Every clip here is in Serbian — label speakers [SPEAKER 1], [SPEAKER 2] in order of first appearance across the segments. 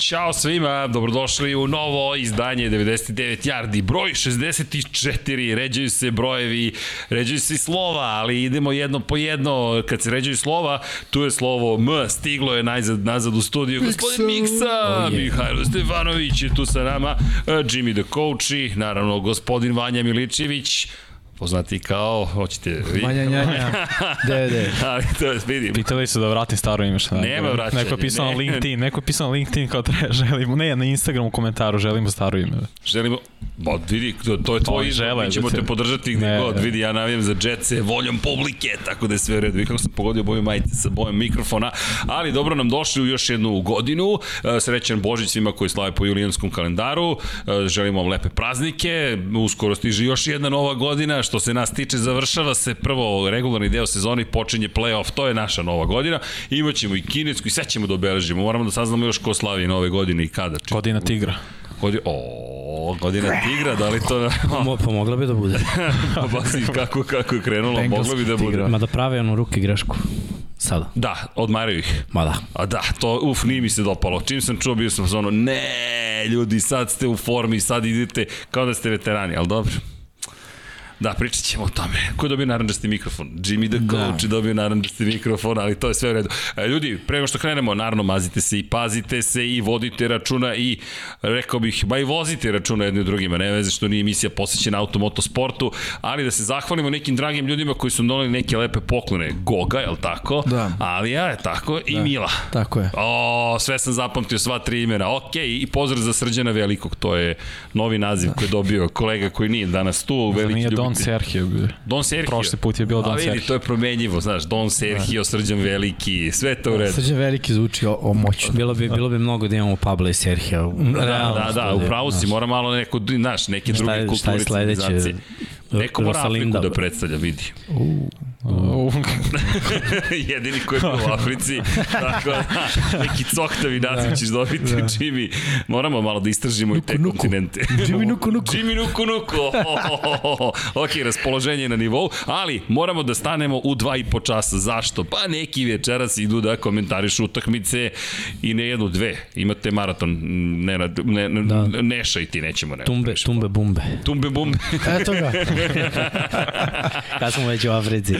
[SPEAKER 1] Ćao svima, dobrodošli u novo izdanje 99 Jardi, broj 64, ređaju se brojevi, ređaju se i slova, ali idemo jedno po jedno, kad se ređaju slova, tu je slovo M, stiglo je najzad, nazad u studiju, gospodin Miksa, oh, yeah. Mihajlo Stefanović je tu sa nama, Jimmy the Coach i naravno gospodin Vanja Miličević, poznati kao, hoćete vi?
[SPEAKER 2] Manja njanja, de, de.
[SPEAKER 1] Ali to je, vidim.
[SPEAKER 3] Pitali su da vratim staro ime šta.
[SPEAKER 1] Nema vraćanja,
[SPEAKER 3] Neko je pisao
[SPEAKER 1] ne.
[SPEAKER 3] na LinkedIn, neko je pisao na LinkedIn kao treba, želimo, ne, na Instagramu u komentaru želimo staro ime.
[SPEAKER 1] Želimo, ba vidi, to, to je tvoj
[SPEAKER 3] Oni
[SPEAKER 1] izbor,
[SPEAKER 3] žele
[SPEAKER 1] mi
[SPEAKER 3] da
[SPEAKER 1] ćemo
[SPEAKER 3] se-
[SPEAKER 1] te podržati gde
[SPEAKER 3] Ne,
[SPEAKER 1] god,
[SPEAKER 3] ne.
[SPEAKER 1] vidi, ja navijam za džetce, voljom publike, tako da je sve u redu. Vi kako sam pogodio boju majice sa bojem mikrofona, ali dobro nam došli u još jednu godinu, E, srećan Božić svima koji slave po julijanskom kalendaru, E, želimo vam lepe praznike, uskoro stiže još jedna nova godina, što se nas tiče završava se prvo regularni deo sezoni, počinje play-off, to je naša nova godina, imaćemo i kinesku i sve ćemo da obeležimo, moramo da saznamo još ko slavi nove godine i kada. Či-
[SPEAKER 3] Godina tigra.
[SPEAKER 1] Godi... O, godina tigra, da li to...
[SPEAKER 2] Mo, pomogla bi da bude.
[SPEAKER 1] Bazi kako, kako je krenulo,
[SPEAKER 3] Bengalskog
[SPEAKER 1] moglo bi da bude.
[SPEAKER 3] tigra.
[SPEAKER 2] Ma da prave ono ruke grešku. Sada.
[SPEAKER 1] Da, odmaraju ih.
[SPEAKER 2] Ma da.
[SPEAKER 1] A da, to, uf, nije mi se dopalo. Čim sam čuo, bio sam za ono, ne, ljudi, sad ste u formi, sad idete kao da ste veterani, ali dobro. Da, pričat ćemo o tome. Ko je dobio naranđasti mikrofon? Jimmy the Coach da. je dobio naranđasti mikrofon, ali to je sve u redu. E, ljudi, pre nego što krenemo, naravno mazite se i pazite se i vodite računa i rekao bih, ba i vozite računa jedni drugima, ne veze što nije emisija posvećena automoto sportu, ali da se zahvalimo nekim dragim ljudima koji su nam doneli neke lepe poklone. Goga, je li tako?
[SPEAKER 2] Da.
[SPEAKER 1] Alija, je tako? I Mila.
[SPEAKER 2] Tako je.
[SPEAKER 1] O, sve sam zapamtio, sva tri imena. Ok, i pozdrav za Srđana Velikog, to je novi naziv koji je dobio kolega koji nije danas tu.
[SPEAKER 3] Da
[SPEAKER 1] Veliki
[SPEAKER 3] nije Don
[SPEAKER 1] ljubitelj.
[SPEAKER 3] Serhije bio.
[SPEAKER 1] Don Sergio.
[SPEAKER 3] Prošli put je bio Don
[SPEAKER 1] A vidi,
[SPEAKER 3] Sergio.
[SPEAKER 1] to je promenjivo, znaš, Don Sergio,
[SPEAKER 2] Da.
[SPEAKER 1] Srđan Veliki, sve je to u redu.
[SPEAKER 4] Srđan Veliki zvuči o, o moćno.
[SPEAKER 2] Bilo bi, bilo bi mnogo da imamo Pabla i Serhija.
[SPEAKER 1] Da, da, da, u pravu si, mora malo neko, znaš, neke druge
[SPEAKER 2] je- šta
[SPEAKER 1] kulture
[SPEAKER 2] je
[SPEAKER 1] i
[SPEAKER 2] sledeće?
[SPEAKER 1] civilizacije. Neko mora Afriku
[SPEAKER 2] Rosalinda.
[SPEAKER 1] da predstavlja, vidi.
[SPEAKER 3] U,
[SPEAKER 1] Jedini koji je bio u Africi, tako da, neki coktavi naziv ćeš dobiti, Jimmy. Moramo malo da istražimo i te kontinente. Jimmy Nuku Nuku. Jimmy Nuku Nuku. ok, raspoloženje je na nivou, ali moramo da stanemo u dva i po časa. Zašto? Pa neki večeras idu da komentarišu utakmice i ne jednu, dve. Imate maraton, ne, ne, ne, da. neša i ti nećemo. Ne,
[SPEAKER 2] Tumbe, tumbe, bumbe.
[SPEAKER 1] Tumbe bumbe.
[SPEAKER 4] Eto ga.
[SPEAKER 2] Kad smo već u Africi.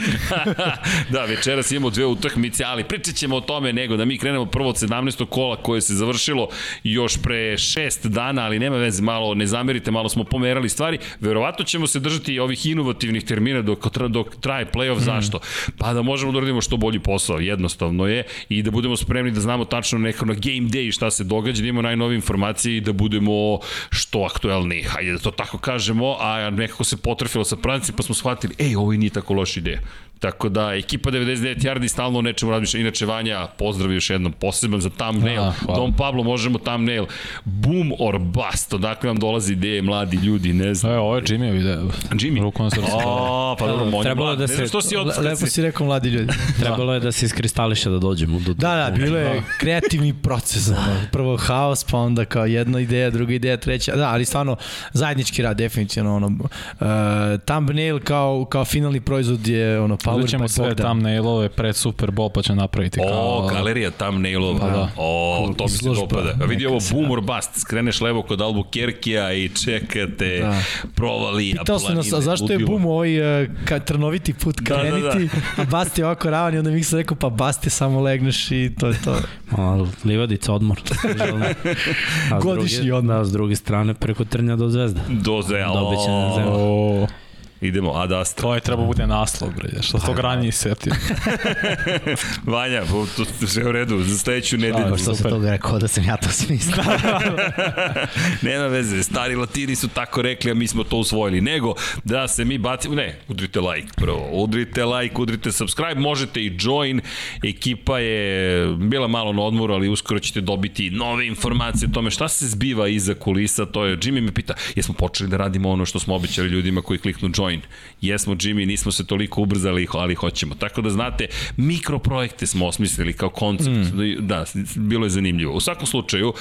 [SPEAKER 1] da, večeras imamo dve utakmice, ali pričat ćemo o tome nego da mi krenemo prvo od 17. kola koje se završilo još pre šest dana, ali nema veze, malo ne zamerite, malo smo pomerali stvari. Verovatno ćemo se držati i ovih inovativnih termina dok, tra- dok traje playoff, zašto? Pa da možemo da uradimo što bolji posao, jednostavno je, i da budemo spremni da znamo tačno neko na game day šta se događa, da imamo najnovije informacije i da budemo što aktuelniji, hajde da to tako kažemo, a nekako se potrefilo sa pranci pa smo shvatili, ej, ovo i nije tako loša ideja. Tako da, ekipa 99 Jardi stalno o nečemu razmišlja. Inače, Vanja, pozdrav još jednom poseban za thumbnail.
[SPEAKER 3] A,
[SPEAKER 1] A,
[SPEAKER 3] hvala.
[SPEAKER 1] Dom Pablo, možemo thumbnail. Boom or bust. Odakle vam dolaze ideje, mladi ljudi, ne znam.
[SPEAKER 3] evo, ovo je Jimmy video. da
[SPEAKER 1] Jimmy.
[SPEAKER 3] Rukom na srcu.
[SPEAKER 1] O, pa dobro, monj
[SPEAKER 2] trebalo
[SPEAKER 1] mlad.
[SPEAKER 2] da
[SPEAKER 1] Ne znam
[SPEAKER 2] se-
[SPEAKER 1] što si
[SPEAKER 4] Le,
[SPEAKER 1] odskad
[SPEAKER 4] lepo
[SPEAKER 1] si-
[SPEAKER 4] si rekao mladi ljudi.
[SPEAKER 2] Trebalo je da se iskristališe da dođemo. Do, do,
[SPEAKER 4] Da, da, bilo je kreativni proces. Ono. Prvo haos, pa onda kao jedna ideja, druga ideja, treća. Da, ali stvarno zajednički rad, definitivno. Ono, uh, thumbnail kao, kao finalni proizvod je ono, power da.
[SPEAKER 3] Uzet ćemo
[SPEAKER 4] by
[SPEAKER 3] sve
[SPEAKER 4] Bogdan.
[SPEAKER 3] thumbnailove pred Super Bowl pa ćemo napraviti kao...
[SPEAKER 1] O, galerija thumbnailova.
[SPEAKER 3] Pa da.
[SPEAKER 1] O, to mi se
[SPEAKER 4] Izložba.
[SPEAKER 1] dopada. A vidi ovo boom or bust. Skreneš levo kod Albuquerquea i čekate da.
[SPEAKER 4] Da.
[SPEAKER 1] provali.
[SPEAKER 4] Pitao sam nas, a zašto je bum ovaj uh, ka, trnoviti put
[SPEAKER 1] Da, da, da.
[SPEAKER 4] kreniti, a Basti je ovako ravan i onda mi se rekao, pa Basti samo legneš i to je to.
[SPEAKER 2] Malo, livadica, odmor. A s
[SPEAKER 4] Godišnji
[SPEAKER 2] druge-
[SPEAKER 4] odmor.
[SPEAKER 2] Da, s druge strane, preko trnja do zvezda.
[SPEAKER 1] Doze,
[SPEAKER 2] Dobit će na
[SPEAKER 1] o,
[SPEAKER 2] zemlju.
[SPEAKER 3] O,
[SPEAKER 1] idemo, ad astra.
[SPEAKER 3] to je trebao bude naslov, bre, što tog
[SPEAKER 1] da.
[SPEAKER 3] ranije setio.
[SPEAKER 1] Vanja, bo- to- to sve u redu, za sledeću nedelju.
[SPEAKER 3] Šta sam
[SPEAKER 2] toga rekao da sam ja to smislio.
[SPEAKER 1] Nema veze, stari latini su tako rekli, a mi smo to usvojili. Nego, da se mi bacimo, ne, udrite like prvo, udrite like, udrite subscribe, možete i join, ekipa je bila malo na odmoru, ali uskoro ćete dobiti nove informacije o tome šta se zbiva iza kulisa, to je, Jimmy me pita, jesmo počeli da radimo ono što smo obećali ljudima koji kliknu join? Jesmo, Jimmy, nismo se toliko ubrzali, ali hoćemo. Tako da znate, mikroprojekte smo osmislili kao koncept, mm. da, bilo je zanimljivo. U svakom slučaju,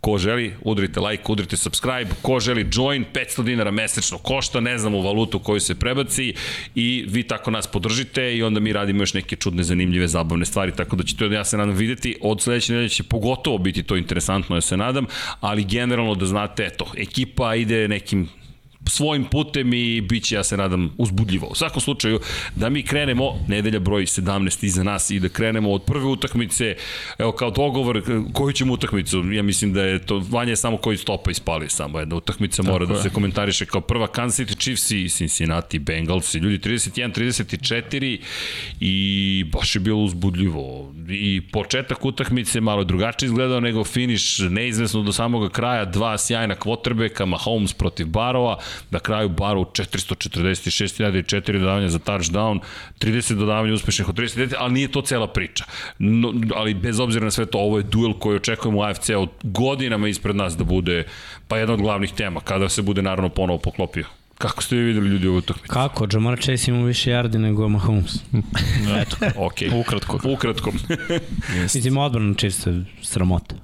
[SPEAKER 1] Ko želi, udrite like, udrite subscribe. Ko želi join, 500 dinara mesečno košta, ne znam u valutu koju se prebaci i vi tako nas podržite i onda mi radimo još neke čudne, zanimljive, zabavne stvari, tako da ćete, ja se nadam, videti. Od sledeće nedelje će pogotovo biti to interesantno, ja se nadam, ali generalno da znate, eto, ekipa ide nekim svojim putem i bit će, ja se nadam, uzbudljivo. U svakom slučaju, da mi krenemo, nedelja broj 17 iza nas i da krenemo od prve utakmice, evo kao dogovor, koju ćemo utakmicu, ja mislim da je to, Vanja je samo koji stopa ispali, samo jedna utakmica mora da se komentariše kao prva, Kansas City Chiefs i Cincinnati Bengals, ljudi 31-34 i baš je bilo uzbudljivo. I početak utakmice malo je drugačije izgledao nego finiš, neizvesno do samoga kraja, dva sjajna kvotrbeka, Mahomes protiv Barova, na kraju Baru 446.004 dodavanja za touchdown, 30 dodavanja uspešnih od 30, ali nije to cela priča. No, ali bez obzira na sve to, ovo je duel koji očekujemo u AFC od godinama ispred nas da bude pa jedna od glavnih tema, kada se bude naravno ponovo poklopio. Kako ste vi videli ljudi u utakmici?
[SPEAKER 2] Kako? Jamar Chase ima više yardi nego Mahomes.
[SPEAKER 1] Eto, okej.
[SPEAKER 3] Ukratko.
[SPEAKER 1] Ukratko.
[SPEAKER 2] Mislim, odbrana čista sramota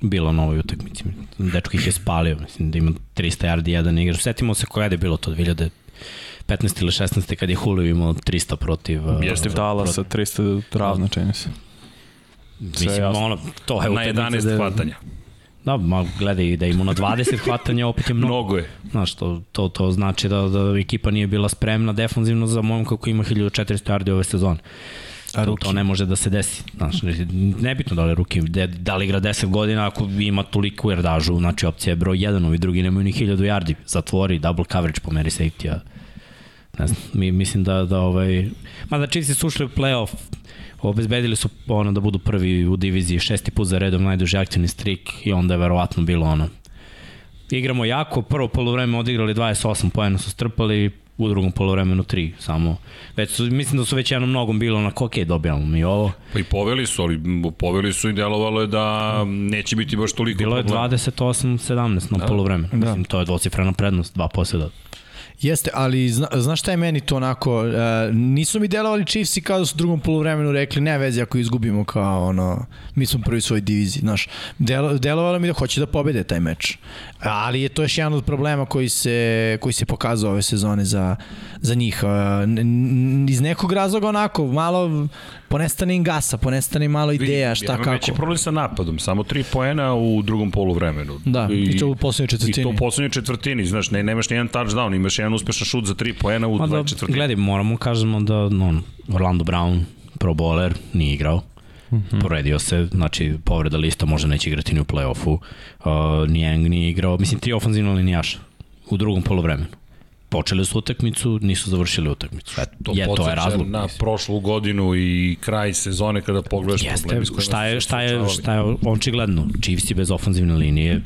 [SPEAKER 2] bilo na ovoj utakmici. Dečko ih je spalio, mislim da ima 300 yardi jedan igrač. Setimo se koja je bilo to 2015 ili 16 kad je Julio imao 300 protiv uh,
[SPEAKER 1] Jeste
[SPEAKER 3] Protiv Dallasa, 300 ravno, čini se.
[SPEAKER 2] mislim
[SPEAKER 3] jasno.
[SPEAKER 2] ono to je
[SPEAKER 1] na
[SPEAKER 2] utakmica
[SPEAKER 1] 11
[SPEAKER 2] da-
[SPEAKER 1] hvatanja.
[SPEAKER 2] Da, ma gledaj i da ima na 20 hvatanja opet je mnogo.
[SPEAKER 1] Mnogo je.
[SPEAKER 2] Znaš, to, to, to znači da, da ekipa nije bila spremna defanzivno za momka koji ima 1400 yardi ove sezone.
[SPEAKER 4] A
[SPEAKER 2] To,
[SPEAKER 4] rookie?
[SPEAKER 2] to ne može da se desi. Znaš, nebitno da li je ruki, da li igra 10 godina ako ima toliku jardažu, znači opcija je broj 1, ovi drugi nemaju ni 1000 yardi. Zatvori, double coverage, pomeri safety-a. Ne znam, mi, mislim da, da ovaj... Ma da Chiefs su ušli u playoff, obezbedili su ono da budu prvi u diviziji šesti put za redom najduži aktivni strik i onda je verovatno bilo ono igramo jako, prvo polovreme odigrali 28 poena su strpali, u drugom polovremenu 3 samo. Već su, mislim da su već jednom nogom bilo onako, ok, dobijamo mi ovo.
[SPEAKER 1] Pa i poveli su, ali m, poveli su i delovalo je da neće biti baš toliko
[SPEAKER 2] Bilo je
[SPEAKER 1] problema.
[SPEAKER 2] 28-17 na da. polovremenu. Da. Mislim, to je dvocifrena prednost, dva posljeda.
[SPEAKER 4] Jeste, ali zna, znaš šta je meni to onako, e, nisu mi delovali Chiefsi kao da su u drugom poluvremenu rekli, ne veze ako izgubimo kao ono, mi smo prvi u svojoj diviziji, znaš. Delo, delovalo mi da hoće da pobede taj meč. Ali je to još jedan od problema koji se, koji se pokazao ove sezone za, za njih. E, n- n- iz nekog razloga onako, malo ponestane im gasa, ponestane im malo ideja, šta
[SPEAKER 1] Jedan Veći
[SPEAKER 4] kako.
[SPEAKER 1] problem sa napadom, samo tri poena u drugom poluvremenu.
[SPEAKER 4] Da, i to u poslednjoj
[SPEAKER 1] I to
[SPEAKER 4] četvrtini.
[SPEAKER 1] u poslednjoj četvrtini, znaš, ne, nemaš ni jedan touchdown, imaš jedan uspešan šut za tri poena u
[SPEAKER 2] Ma da,
[SPEAKER 1] dvaj četvrtini.
[SPEAKER 2] gledaj, moramo kažemo da no, Orlando Brown, pro bowler, nije igrao. Mm -hmm. Povredio se, znači povreda lista, možda neće igrati ni u play-offu. Uh, Nijeng nije igrao, mislim tri ofanzivna linijaša u drugom polovremenu. Počeli su utakmicu, nisu završili utakmicu. Eto, je, to je
[SPEAKER 1] podsjeća
[SPEAKER 2] razlog.
[SPEAKER 1] na
[SPEAKER 2] mislim.
[SPEAKER 1] prošlu godinu i kraj sezone kada pogledaš
[SPEAKER 2] Jeste,
[SPEAKER 1] problemi s kojima
[SPEAKER 2] šta
[SPEAKER 1] su se
[SPEAKER 2] je, šta je,
[SPEAKER 1] suočavali.
[SPEAKER 2] šta je, očigledno, Chiefs je bez ofanzivne linije,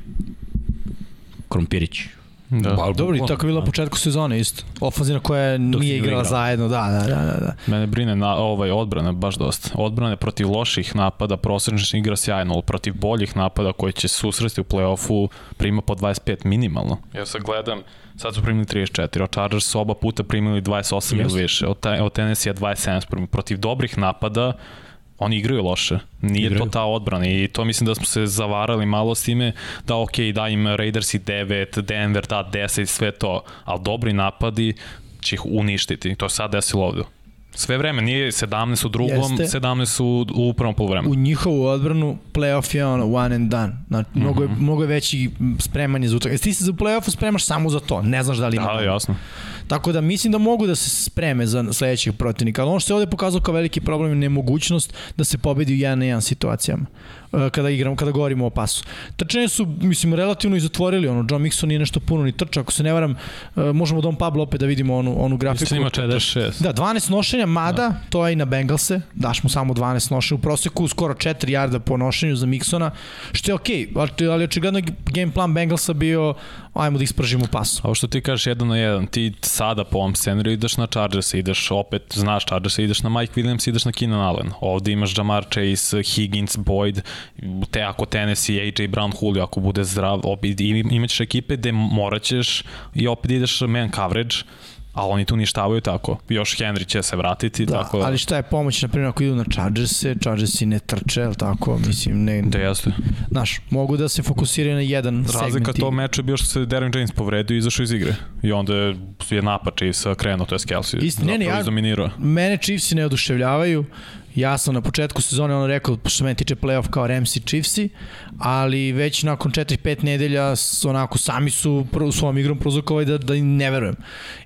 [SPEAKER 2] Krompirić.
[SPEAKER 1] Pa,
[SPEAKER 3] Da.
[SPEAKER 1] ali
[SPEAKER 4] Dobro, i
[SPEAKER 1] bukvalno.
[SPEAKER 4] tako je bilo na početku sezone isto. Ofenzina koja
[SPEAKER 2] nije
[SPEAKER 4] nije igrala
[SPEAKER 2] igrao.
[SPEAKER 4] zajedno, da, da, da, da, da.
[SPEAKER 3] Mene brine na, ovaj, odbrana baš dosta. Odbrane protiv loših napada, prosječna igra sjajno, ali protiv boljih napada koji će se susresti u play-offu prima po 25 minimalno. Ja sad gledam, sad su primili 34, od Chargers su oba puta primili 28
[SPEAKER 2] Jeste.
[SPEAKER 3] ili više, od, te- od Tennessee 27 primili. Protiv dobrih napada oni igraju loše. Nije
[SPEAKER 2] Igraju.
[SPEAKER 3] to ta odbrana i to mislim da smo se zavarali malo s time da ok, da im Raiders i 9, Denver da 10, sve to, ali dobri napadi će ih uništiti. To je sad desilo ovde. Sve vreme, nije 17 u drugom,
[SPEAKER 4] Jeste.
[SPEAKER 3] Jeste. 17 u, u prvom
[SPEAKER 4] u
[SPEAKER 3] polovremenu.
[SPEAKER 4] njihovu odbranu playoff je ono one and done. Znači, mm -hmm. mnogo, je, mnogo je veći spremanje za utakmicu. Jesi ti se za playoffu spremaš samo za to, ne znaš da li ima.
[SPEAKER 3] Da, jasno.
[SPEAKER 4] Tako da mislim da mogu da se spreme za sledećeg protivnika, ali ono što je ovde pokazao kao veliki problem je nemogućnost da se pobedi u 1 na 1 situacijama e, kada igramo, kada govorimo o pasu. Trčanje su, mislim, relativno i zatvorili, ono, John Mixon nije nešto puno ni trča, ako se ne varam, e, možemo Don Pablo opet da vidimo onu, onu grafiku.
[SPEAKER 3] Mislim ima 46.
[SPEAKER 4] Da, 12 nošenja, mada, da. to je i na Bengalse, daš mu samo 12 nošenja, u proseku skoro 4 jarda po nošenju za Miksona, što je okej, okay, ali očigledno je game plan Bengalsa bio, ajmo da ispržimo pasu.
[SPEAKER 3] A ovo što ti kažeš jedan na jedan, ti sada po ovom scenariju ideš na Chargers, ideš opet, znaš Chargers, ideš na Mike Williams, ideš na Keenan Allen. Ovde imaš Jamar Chase, Higgins, Boyd, te ako Tennessee, AJ Brown, Julio, ako bude zdrav, opet, i- imaćeš ekipe gde morat ćeš i opet ideš man coverage, ali oni tu ništavaju tako. Još Henry će se vratiti,
[SPEAKER 4] Da,
[SPEAKER 3] tako da...
[SPEAKER 4] ali šta je pomoć, na primjer, ako idu na Chargerse, Chargersi ne trče, jel tako, mislim, ne,
[SPEAKER 3] Da jeste.
[SPEAKER 4] znaš, mogu da se fokusiraju na jedan segment.
[SPEAKER 3] Razlika
[SPEAKER 4] igre.
[SPEAKER 3] to meča je bio što se Darren James povredio i izašao iz igre. I onda je- je napad Chiefsa krenuo, to je Kelsey.
[SPEAKER 4] Isto, ne, ne, ja-
[SPEAKER 3] ja... Izdominirao.
[SPEAKER 4] Mene Chiefsi ne oduševljavaju. Ja sam na početku sezone ono rekao, što se mene tiče playoff kao Ramsey Chiefsi, ali već nakon 4-5 nedelja s, onako sami su pro- svojom igrom prozvukovali da, da im ne verujem.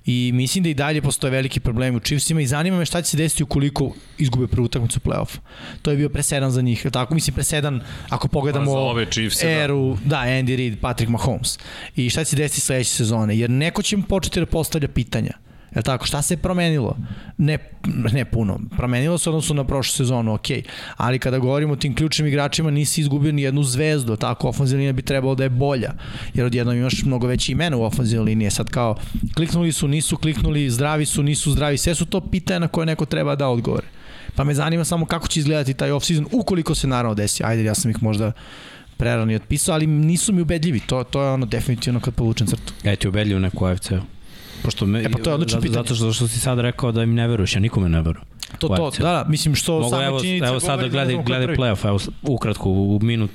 [SPEAKER 4] I mislim da i dalje postoje veliki problemi u Chiefsima i zanima me šta će se desiti ukoliko izgube prvu utakmicu playoff. To je bio presedan za njih, jel tako? Mislim presedan ako pogledamo
[SPEAKER 5] Pa za ove Chiefse, da.
[SPEAKER 4] eru, da. Andy Reid, Patrick Mahomes. I šta će se desiti sledeće sezone? Jer neko će im početi da postavlja pitanja. Jel tako? Šta se je promenilo? Ne, ne puno. Promenilo se odnosno na prošlu sezonu, ok. Ali kada govorimo o tim ključnim igračima, nisi izgubio ni jednu zvezdu, tako ofenzivna linija bi trebalo da je bolja. Jer odjednom imaš mnogo veće imena u ofenzivnoj liniji. E Sad kao, kliknuli su, nisu kliknuli, zdravi su, nisu zdravi. Sve su to pitanja na koje neko treba da odgovore. Pa me zanima samo kako će izgledati taj off-season, ukoliko se naravno desi. Ajde, ja sam ih možda prerano i otpisao, ali nisu mi ubedljivi. To, to je ono definitivno kad povučem crtu.
[SPEAKER 2] Ja ti ubedljiv neku AFC. Pošto me,
[SPEAKER 4] E, pa to je odlično
[SPEAKER 2] zato-
[SPEAKER 4] pitanje.
[SPEAKER 2] Zato što, što si sad rekao da im ne veruješ, ja nikome ne verujem.
[SPEAKER 4] To,
[SPEAKER 2] U
[SPEAKER 4] to,
[SPEAKER 2] AFC.
[SPEAKER 4] da, da, mislim što
[SPEAKER 2] Mogu,
[SPEAKER 4] sama
[SPEAKER 2] evo,
[SPEAKER 4] činjenica
[SPEAKER 2] evo sad da
[SPEAKER 4] govori
[SPEAKER 2] gledaj,
[SPEAKER 4] ne znamo ko je
[SPEAKER 2] gledaj
[SPEAKER 4] prvi.
[SPEAKER 2] playoff, evo s- ukratko, u minut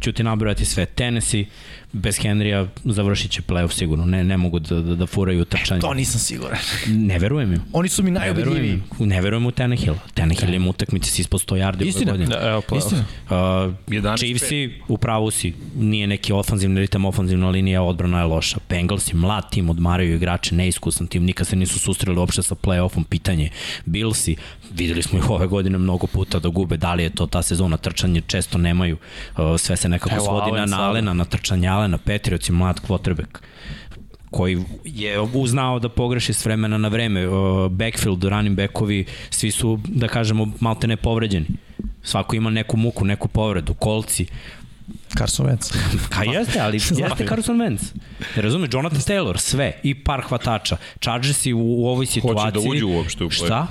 [SPEAKER 2] ću ti nabrojati sve. Tennessee, bez Henrya završit će playoff sigurno, ne, ne mogu da, da, da furaju trčanje.
[SPEAKER 4] To nisam siguran.
[SPEAKER 2] Ne verujem im.
[SPEAKER 4] Oni su mi
[SPEAKER 2] Ne verujem,
[SPEAKER 4] najubedljiviji.
[SPEAKER 2] im. ne verujem u Tenehill. Tenehill im utakmice si ispod 100 yardi ove
[SPEAKER 4] Istina.
[SPEAKER 2] godine.
[SPEAKER 3] Da, evo, playoff.
[SPEAKER 4] Pa, Istina.
[SPEAKER 2] Uh,
[SPEAKER 5] 11-5.
[SPEAKER 2] Chiefsi, u pravu si, nije neki ofanzivni ritam, ofanzivna linija, odbrana je loša. Bengalsi, mlad tim, odmaraju igrače, neiskusan tim, nikad se nisu susreli uopšte sa play-offom, pitanje. Billsi, videli smo ih ove godine mnogo puta da gube, da li je to ta sezona, trčanje često nemaju, uh, sve se nekako
[SPEAKER 3] Evo,
[SPEAKER 2] svodi
[SPEAKER 3] Allen
[SPEAKER 2] na
[SPEAKER 3] sada.
[SPEAKER 2] Nalena, na trčanje Alena, Petrioci, mlad kvotrbek koji je uznao da pogreši s vremena na vreme. Uh, Backfield, running backovi, svi su, da kažemo, malte ne povređeni. Svako ima neku muku, neku povredu. Kolci,
[SPEAKER 4] Carson Wentz.
[SPEAKER 5] Pa,
[SPEAKER 2] Ka jeste, ali jeste Carson Wentz. Ne razumeš, Jonathan Taylor, sve. I par hvatača. Chargersi u, u ovoj situaciji...
[SPEAKER 5] da uđu uopšte u Hmm. play.
[SPEAKER 2] Šta?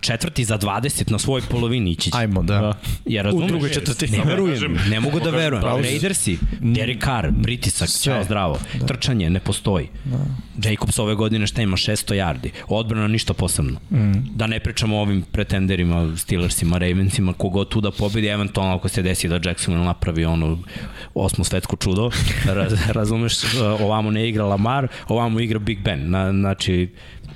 [SPEAKER 2] Četvrti za 20 na svojoj polovini ići će.
[SPEAKER 4] Ajmo, da.
[SPEAKER 3] Da.
[SPEAKER 2] Ja razumem.
[SPEAKER 4] U drugoj četvrtini.
[SPEAKER 2] Ne verujem,
[SPEAKER 5] Kažem,
[SPEAKER 2] ne mogu da
[SPEAKER 5] kažem,
[SPEAKER 2] verujem.
[SPEAKER 5] pravo si.
[SPEAKER 2] Raidersi, Derek Carr, pritisak,
[SPEAKER 4] Sve.
[SPEAKER 2] sve zdravo. Trčanje ne postoji. Jacobs ove godine šta ima 600 yardi. Odbrana ništa posebno. Da ne pričamo o ovim pretenderima, Steelersima, Ravensima, kogo tu da pobedi, eventualno ako se desi da Jacksonville napravi ono osmo svetsko čudo, raz, razumeš, ovamo ne igra Lamar, ovamo igra Big Ben. Na, znači,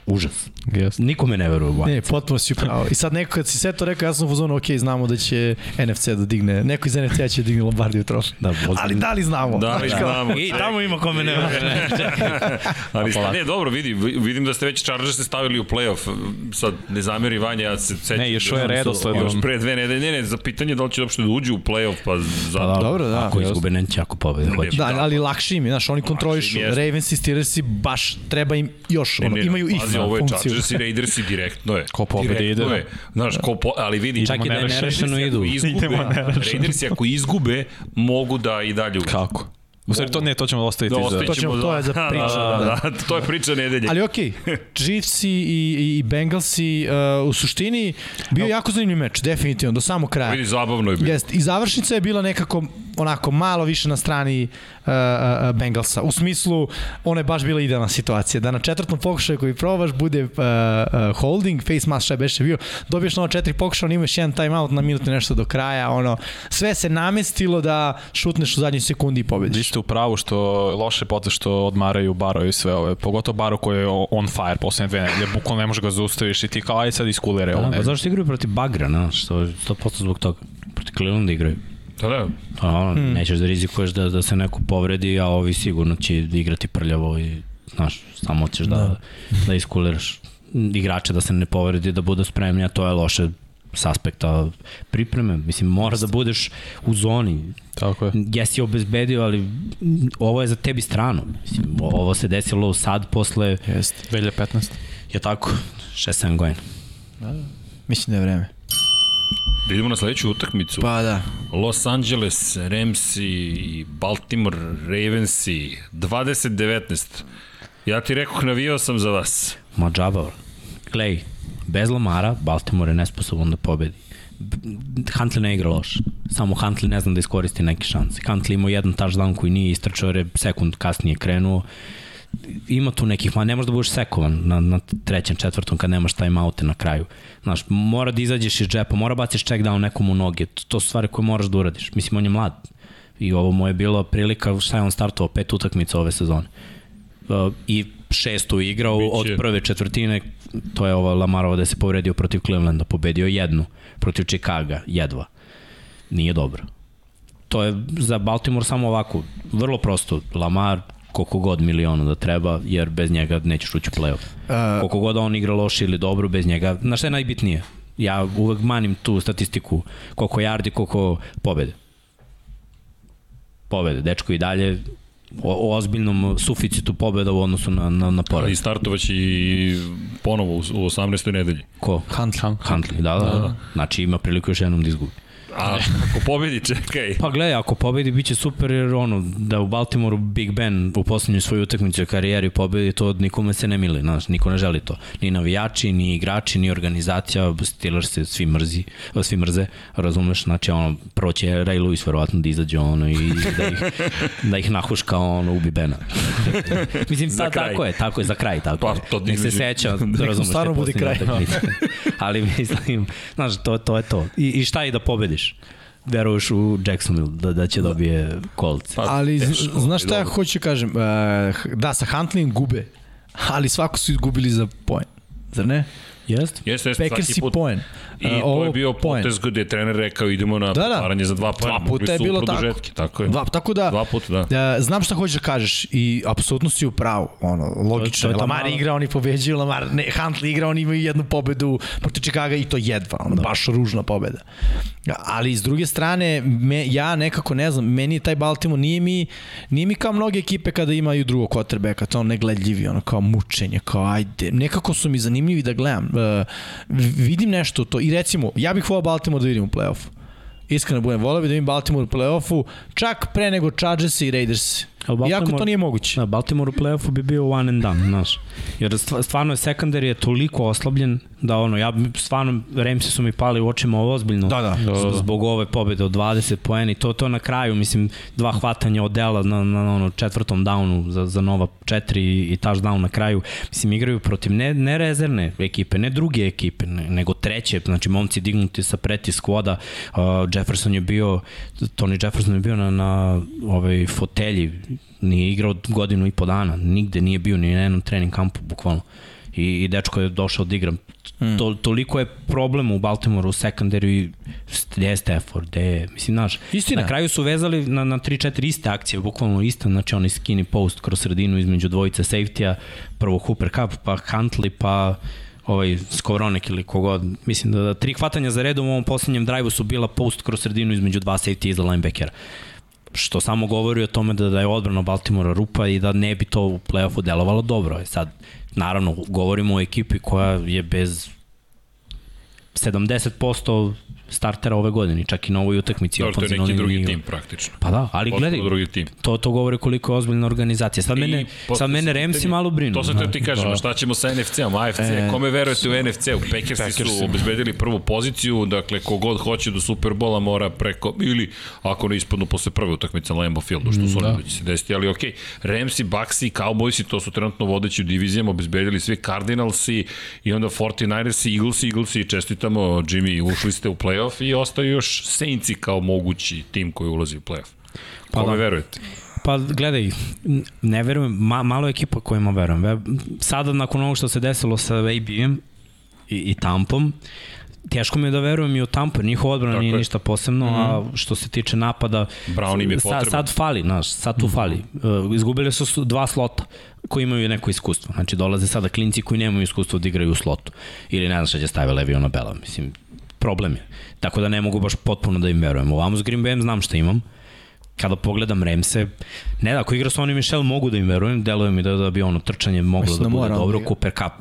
[SPEAKER 2] užas.
[SPEAKER 3] Jeste.
[SPEAKER 2] Nikome ne veruje. Ne,
[SPEAKER 4] Ne, potpuno si pravo. I sad neko kad si sve to rekao, ja sam u fazonu, ok, znamo da će NFC da digne, neko iz NFC-a će digne Lombardiju trofi.
[SPEAKER 2] Da, ozbiljno.
[SPEAKER 4] ali da li znamo?
[SPEAKER 5] Da,
[SPEAKER 4] Znaš
[SPEAKER 5] već
[SPEAKER 4] kao,
[SPEAKER 5] znamo.
[SPEAKER 2] I tamo ima kome Pa ne veruje.
[SPEAKER 5] Ali sta, ne, dobro, vidi, vidim da ste već Chargers ste stavili u play-off. Sad, ne zameri Vanja, ja se sećam.
[SPEAKER 3] Ne, još
[SPEAKER 5] da
[SPEAKER 3] je
[SPEAKER 5] su
[SPEAKER 3] redosled.
[SPEAKER 5] Još pre dve nedelje, ne, ne, za pitanje da li će uopšte da uđu u play-off, pa za...
[SPEAKER 2] Pa
[SPEAKER 4] Dobro, da.
[SPEAKER 2] Ako izgube, neće, ako pobede, hoće.
[SPEAKER 4] Da, ali lakše im je, znaš, oni kontrolišu.
[SPEAKER 5] jeste.
[SPEAKER 4] Ravens i Steelersi baš treba im još, ono, imaju ih
[SPEAKER 5] pazi,
[SPEAKER 4] na
[SPEAKER 5] ovo je
[SPEAKER 4] funkciju.
[SPEAKER 5] Chargers i Raiders i direktno je.
[SPEAKER 3] Ko pobedi,
[SPEAKER 5] Direktno
[SPEAKER 3] ide.
[SPEAKER 5] je. Znaš, ko po, ali vidi,
[SPEAKER 2] Čak i da je
[SPEAKER 5] Raiders
[SPEAKER 2] nerešeno
[SPEAKER 5] ako
[SPEAKER 2] idu.
[SPEAKER 5] Izgube, Raiders ako izgube, mogu da i dalje uđu.
[SPEAKER 3] Kako? U stvari, to ne, to ćemo ostaviti.
[SPEAKER 5] Da,
[SPEAKER 3] za-
[SPEAKER 5] ostavit
[SPEAKER 4] To ćemo-
[SPEAKER 5] ćemo
[SPEAKER 4] to je za priču,
[SPEAKER 5] Da, da, da, to je priča
[SPEAKER 1] E,
[SPEAKER 5] nedelje.
[SPEAKER 4] Ali okej, okay, Chiefsi i, i, i Bengalsi uh, u suštini bio je jako zanimljiv meč, definitivno, do samog kraja.
[SPEAKER 5] Vidi, zabavno je bilo.
[SPEAKER 4] Jest, i završnica je bila nekako onako malo više na strani uh, uh, Bengalsa. U smislu, ona je baš bila idealna situacija. Da na četvrtom pokušaju koji probaš bude uh, uh, holding, face mask šta je beše bio, dobiješ na ova četiri pokušaja, on imaš jedan timeout na minut i nešto do kraja, ono, sve se namestilo da šutneš u zadnjoj sekundi i
[SPEAKER 3] Vi
[SPEAKER 4] pobediš.
[SPEAKER 3] ste Da u pravu što loše pote što odmaraju Baro i sve ove, pogotovo Baro koji je on fire poslednje dve nedelje, bukvalno ne možeš ga zaustaviš i ti kao aj sad iskulere ovo
[SPEAKER 2] Da, pa
[SPEAKER 3] ne.
[SPEAKER 2] zašto igraju protiv Bagra, na, što je 100% zbog toga. Protiv Clevelanda igraju.
[SPEAKER 5] Da, da.
[SPEAKER 2] A, ono, hmm. Nećeš da rizikuješ da, da se neko povredi, a ovi sigurno će igrati prljavo i znaš, samo ćeš da, da. da iskuliraš igrače da se ne povredi, da budu spremni, a to je loše s aspekta pripreme. Mislim, mora da budeš u zoni.
[SPEAKER 3] Tako je.
[SPEAKER 2] Jesi obezbedio, ali mm, ovo je za tebi strano. Mislim, ovo se desilo sad posle,
[SPEAKER 4] Jest.
[SPEAKER 3] 2015.
[SPEAKER 2] je tako, 6-7 godina.
[SPEAKER 4] Mislim da je vreme.
[SPEAKER 5] Da idemo na sledeću utakmicu.
[SPEAKER 4] Pa da.
[SPEAKER 5] Los Angeles, Ramsi i Baltimore Ravensi 2019. Ja ti rekoh, navijao sam za vas.
[SPEAKER 2] Ma džaba. Glej, bez Lamara Baltimore je nesposoban da pobedi. B- Huntley ne igra loš. Samo Huntley ne zna da iskoristi neke šanse. Huntley imao jedan touchdown koji nije istračao jer je sekund kasnije krenuo. ima tu nekih, ma ne možeš da budeš sekovan na, na trećem, četvrtom kad nemaš time oute na kraju. Znaš, mora da izađeš iz džepa, mora baciš check down nekom u noge, to, to su stvari koje moraš da uradiš. Mislim, on je mlad i ovo mu je bilo prilika, šta je on startovao, pet utakmica ove sezone. Uh, I šestu je igrao
[SPEAKER 5] Biće.
[SPEAKER 2] od prve četvrtine, to je ova Lamarova da se povredio protiv Clevelanda, pobedio jednu, protiv Čikaga, jedva. Nije dobro to je za Baltimore samo ovako, vrlo prosto, Lamar koliko god miliona da treba, jer bez njega nećeš ući u playoff.
[SPEAKER 4] A-
[SPEAKER 2] Koliko god on igra loše ili dobro, bez njega, na šta je najbitnije? Ja uvek manim tu statistiku, koliko yardi, koliko pobede. Pobede, dečko i dalje o, o ozbiljnom suficitu pobeda u odnosu na, na, na
[SPEAKER 5] I
[SPEAKER 2] poraz.
[SPEAKER 5] startovaće i ponovo u, u 18. nedelji.
[SPEAKER 2] Ko?
[SPEAKER 4] Hunt.
[SPEAKER 2] Huntley, da, da, da. Znači ima priliku još jednom da izgubi.
[SPEAKER 5] A ako pobedi, čekaj.
[SPEAKER 2] Pa gledaj, ako pobedi biće super jer ono, da u Baltimoru Big Ben u poslednjoj svojoj utakmici u karijeri pobedi, to nikome se ne mili, znaš, niko ne želi to. Ni navijači, ni igrači, ni organizacija, Steelers se svi mrzi, svi mrze, razumeš, znači ono, prvo će Ray Lewis verovatno da izađe ono i da ih, da ih nahuška ono, ubi Bena. Mislim,
[SPEAKER 5] Za
[SPEAKER 2] ta,
[SPEAKER 5] kraj.
[SPEAKER 2] tako je, tako je, za kraj, tako
[SPEAKER 5] Pa,
[SPEAKER 2] je.
[SPEAKER 5] to Da,
[SPEAKER 2] Nek se
[SPEAKER 5] između-
[SPEAKER 2] seća, razumeš,
[SPEAKER 4] stvarno
[SPEAKER 2] te
[SPEAKER 4] bude
[SPEAKER 2] posljednje
[SPEAKER 5] da.
[SPEAKER 4] kraj.
[SPEAKER 2] utakmice. Ali mislim, znaš, to, to je to. I, I šta i da pobediš? Veruješ u Jacksonville da, da će dobije Colts.
[SPEAKER 5] Pa,
[SPEAKER 4] Ali z-
[SPEAKER 5] teško,
[SPEAKER 4] znaš šta ja
[SPEAKER 5] dobro.
[SPEAKER 4] hoću kažem? E, h- Da, sa Huntleyem gube, ali svako su izgubili za poen. Zar ne?
[SPEAKER 2] Jest?
[SPEAKER 5] Jeste, jeste,
[SPEAKER 4] Packers
[SPEAKER 5] svaki
[SPEAKER 4] i
[SPEAKER 5] put.
[SPEAKER 4] poen.
[SPEAKER 5] I
[SPEAKER 4] E,
[SPEAKER 5] to
[SPEAKER 4] ovo
[SPEAKER 5] je bio
[SPEAKER 4] poen.
[SPEAKER 5] potez gde je trener rekao idemo na da,
[SPEAKER 4] da.
[SPEAKER 5] potvaranje za dva pojena.
[SPEAKER 4] Dva puta je bilo tako.
[SPEAKER 5] Tako. tako je.
[SPEAKER 4] Dva, tako da,
[SPEAKER 5] Dva puta, da.
[SPEAKER 4] E, znam šta hoćeš da kažeš i apsolutno si u pravu, ono,
[SPEAKER 2] to
[SPEAKER 4] logično.
[SPEAKER 2] je
[SPEAKER 4] je
[SPEAKER 2] ta
[SPEAKER 4] Lamar
[SPEAKER 2] mala-
[SPEAKER 4] igra, oni pobeđuju, Lamar, ne, Huntley igra, oni imaju jednu pobedu protiv Čikaga i to jedva, ono, da. baš ružna pobeda. Ali s druge strane, me, ja nekako ne znam, meni je taj Baltimore, nije mi, nije mi kao mnoge ekipe kada imaju drugog quarterbacka, to ono negledljivi, ono kao mučenje, kao ajde, nekako su mi zanimljivi da gledam. E, vidim nešto u to i recimo, ja bih volao Baltimore da vidim u playoffu. Iskreno budem, volao bih da vidim Baltimore u play-offu, čak pre nego Chargers i Raiders.
[SPEAKER 2] A u Baltimore-
[SPEAKER 4] Iako to nije moguće.
[SPEAKER 2] Na Da, Baltimore u play-offu bi bio one and done, znaš. Jer stva- stvarno je sekandar je toliko oslabljen da ono, ja bi- stvarno, Ramsey su mi pali u očima ovo ozbiljno.
[SPEAKER 4] Da, da.
[SPEAKER 2] Z- Zbog ove pobede od 20 poena i to to na kraju, mislim, dva hvatanja od dela na, na, na ono, četvrtom downu za, za nova četiri i, i touchdown na kraju. Mislim, igraju protiv ne, ne rezervne ekipe, ne druge ekipe, ne, nego treće, znači momci dignuti sa preti skvoda, uh, Jefferson je bio, Tony Jefferson je bio na, na ovaj, fotelji, nije igrao godinu i po dana, nigde nije bio ni na jednom trening kampu, bukvalno. I, i dečko je došao da igram. To, toliko je problem u Baltimoreu u sekundariju i gde je Stafford, gde je, mislim, znaš,
[SPEAKER 4] Istina.
[SPEAKER 2] na kraju su vezali na, na 3-4 iste akcije, bukvalno iste, znači onaj skinny post kroz sredinu između dvojice safety-a, prvo Hooper Cup, pa Huntley, pa ovaj Skowronek ili kogod. Mislim da, da tri hvatanja za redom u ovom poslednjem drive su bila post kroz sredinu između dva safety iza linebackera što samo govori o tome da, da je odbrana Baltimora rupa i da ne bi to u play-offu delovalo dobro. E Sad, naravno, govorimo o ekipi koja je bez 70% startera ove godine, čak i na ovoj utakmici.
[SPEAKER 5] Dobro, to je
[SPEAKER 2] ofanzivno
[SPEAKER 5] neki drugi
[SPEAKER 2] liniju.
[SPEAKER 5] tim praktično.
[SPEAKER 2] Pa da, ali
[SPEAKER 5] Potpuno
[SPEAKER 2] gledaj,
[SPEAKER 5] drugi tim.
[SPEAKER 2] to, to govori koliko je ozbiljna organizacija. Sad mene,
[SPEAKER 5] I
[SPEAKER 2] sad mene
[SPEAKER 5] postavlja se
[SPEAKER 2] Remsi
[SPEAKER 5] pitanje-
[SPEAKER 2] malo brinu. da. E,
[SPEAKER 5] To sam te ti kažem, a šta ćemo sa NFC-om, AFC, kome verujete u NFC-u? Packersi su obezbedili prvu poziciju, dakle kogod hoće do Superbola mora preko, ili ako ne ispadnu posle prve utakmice na Lambeau Fieldu,
[SPEAKER 2] Mm,
[SPEAKER 5] što su oni da će se desiti, ali okej, Remsi, Baxi, Cowboysi, to su trenutno vodeći u divizijama, obezbedili svi Cardinalsi i onda 49ersi, Eaglesi, Eaglesi, čestitamo Jimmy, ušli ste u playoff i ostaju još Saintsi kao mogući tim koji ulazi u playoff.
[SPEAKER 2] Pa
[SPEAKER 5] Kome
[SPEAKER 2] da.
[SPEAKER 5] verujete?
[SPEAKER 2] Pa gledaj, n- ne verujem, ma, malo je ekipa kojima verujem. Ve- Sada nakon ovog što se desilo sa AB-em i, i Tampom, teško mi je da verujem i u Tampu, jer njihova odbrana
[SPEAKER 5] Tako
[SPEAKER 2] nije
[SPEAKER 5] je.
[SPEAKER 2] ništa posebno, a što se tiče napada,
[SPEAKER 5] Brown im je
[SPEAKER 2] sa,
[SPEAKER 5] potreban.
[SPEAKER 2] sad fali, znaš, sad tu fali. Uh, izgubili su su dva slota koji imaju neko iskustvo. Znači, dolaze sada klinci koji nemaju iskustvo da igraju u slotu. Ili ne znam šta će staviti Leviona Bela. Mislim, problem je. Tako da ne mogu baš potpuno da im verujem. Ovamo s Green Bayem znam šta imam. Kada pogledam Remse, ne da, ako igra sa onim Michel mogu da im verujem, deluje mi da, da bi ono trčanje moglo
[SPEAKER 4] Mislim
[SPEAKER 2] da
[SPEAKER 4] da
[SPEAKER 2] bude
[SPEAKER 4] mora on
[SPEAKER 2] dobro.
[SPEAKER 4] da igra.
[SPEAKER 2] Cooper Cup,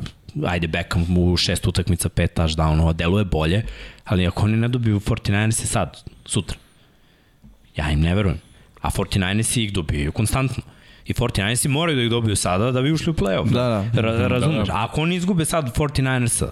[SPEAKER 2] ajde Beckham u šest utakmica, pet touchdownova, deluje bolje, ali ako oni ne dobiju 49 se sad, sutra, Ja im ne verujem. A 49ersi ih dobijaju konstantno. I 49ersi moraju da ih dobiju sada da bi ušli u play-off.
[SPEAKER 4] Da, da.
[SPEAKER 2] Ra razumeš? Da, da. Ako oni izgube sad 49ersa,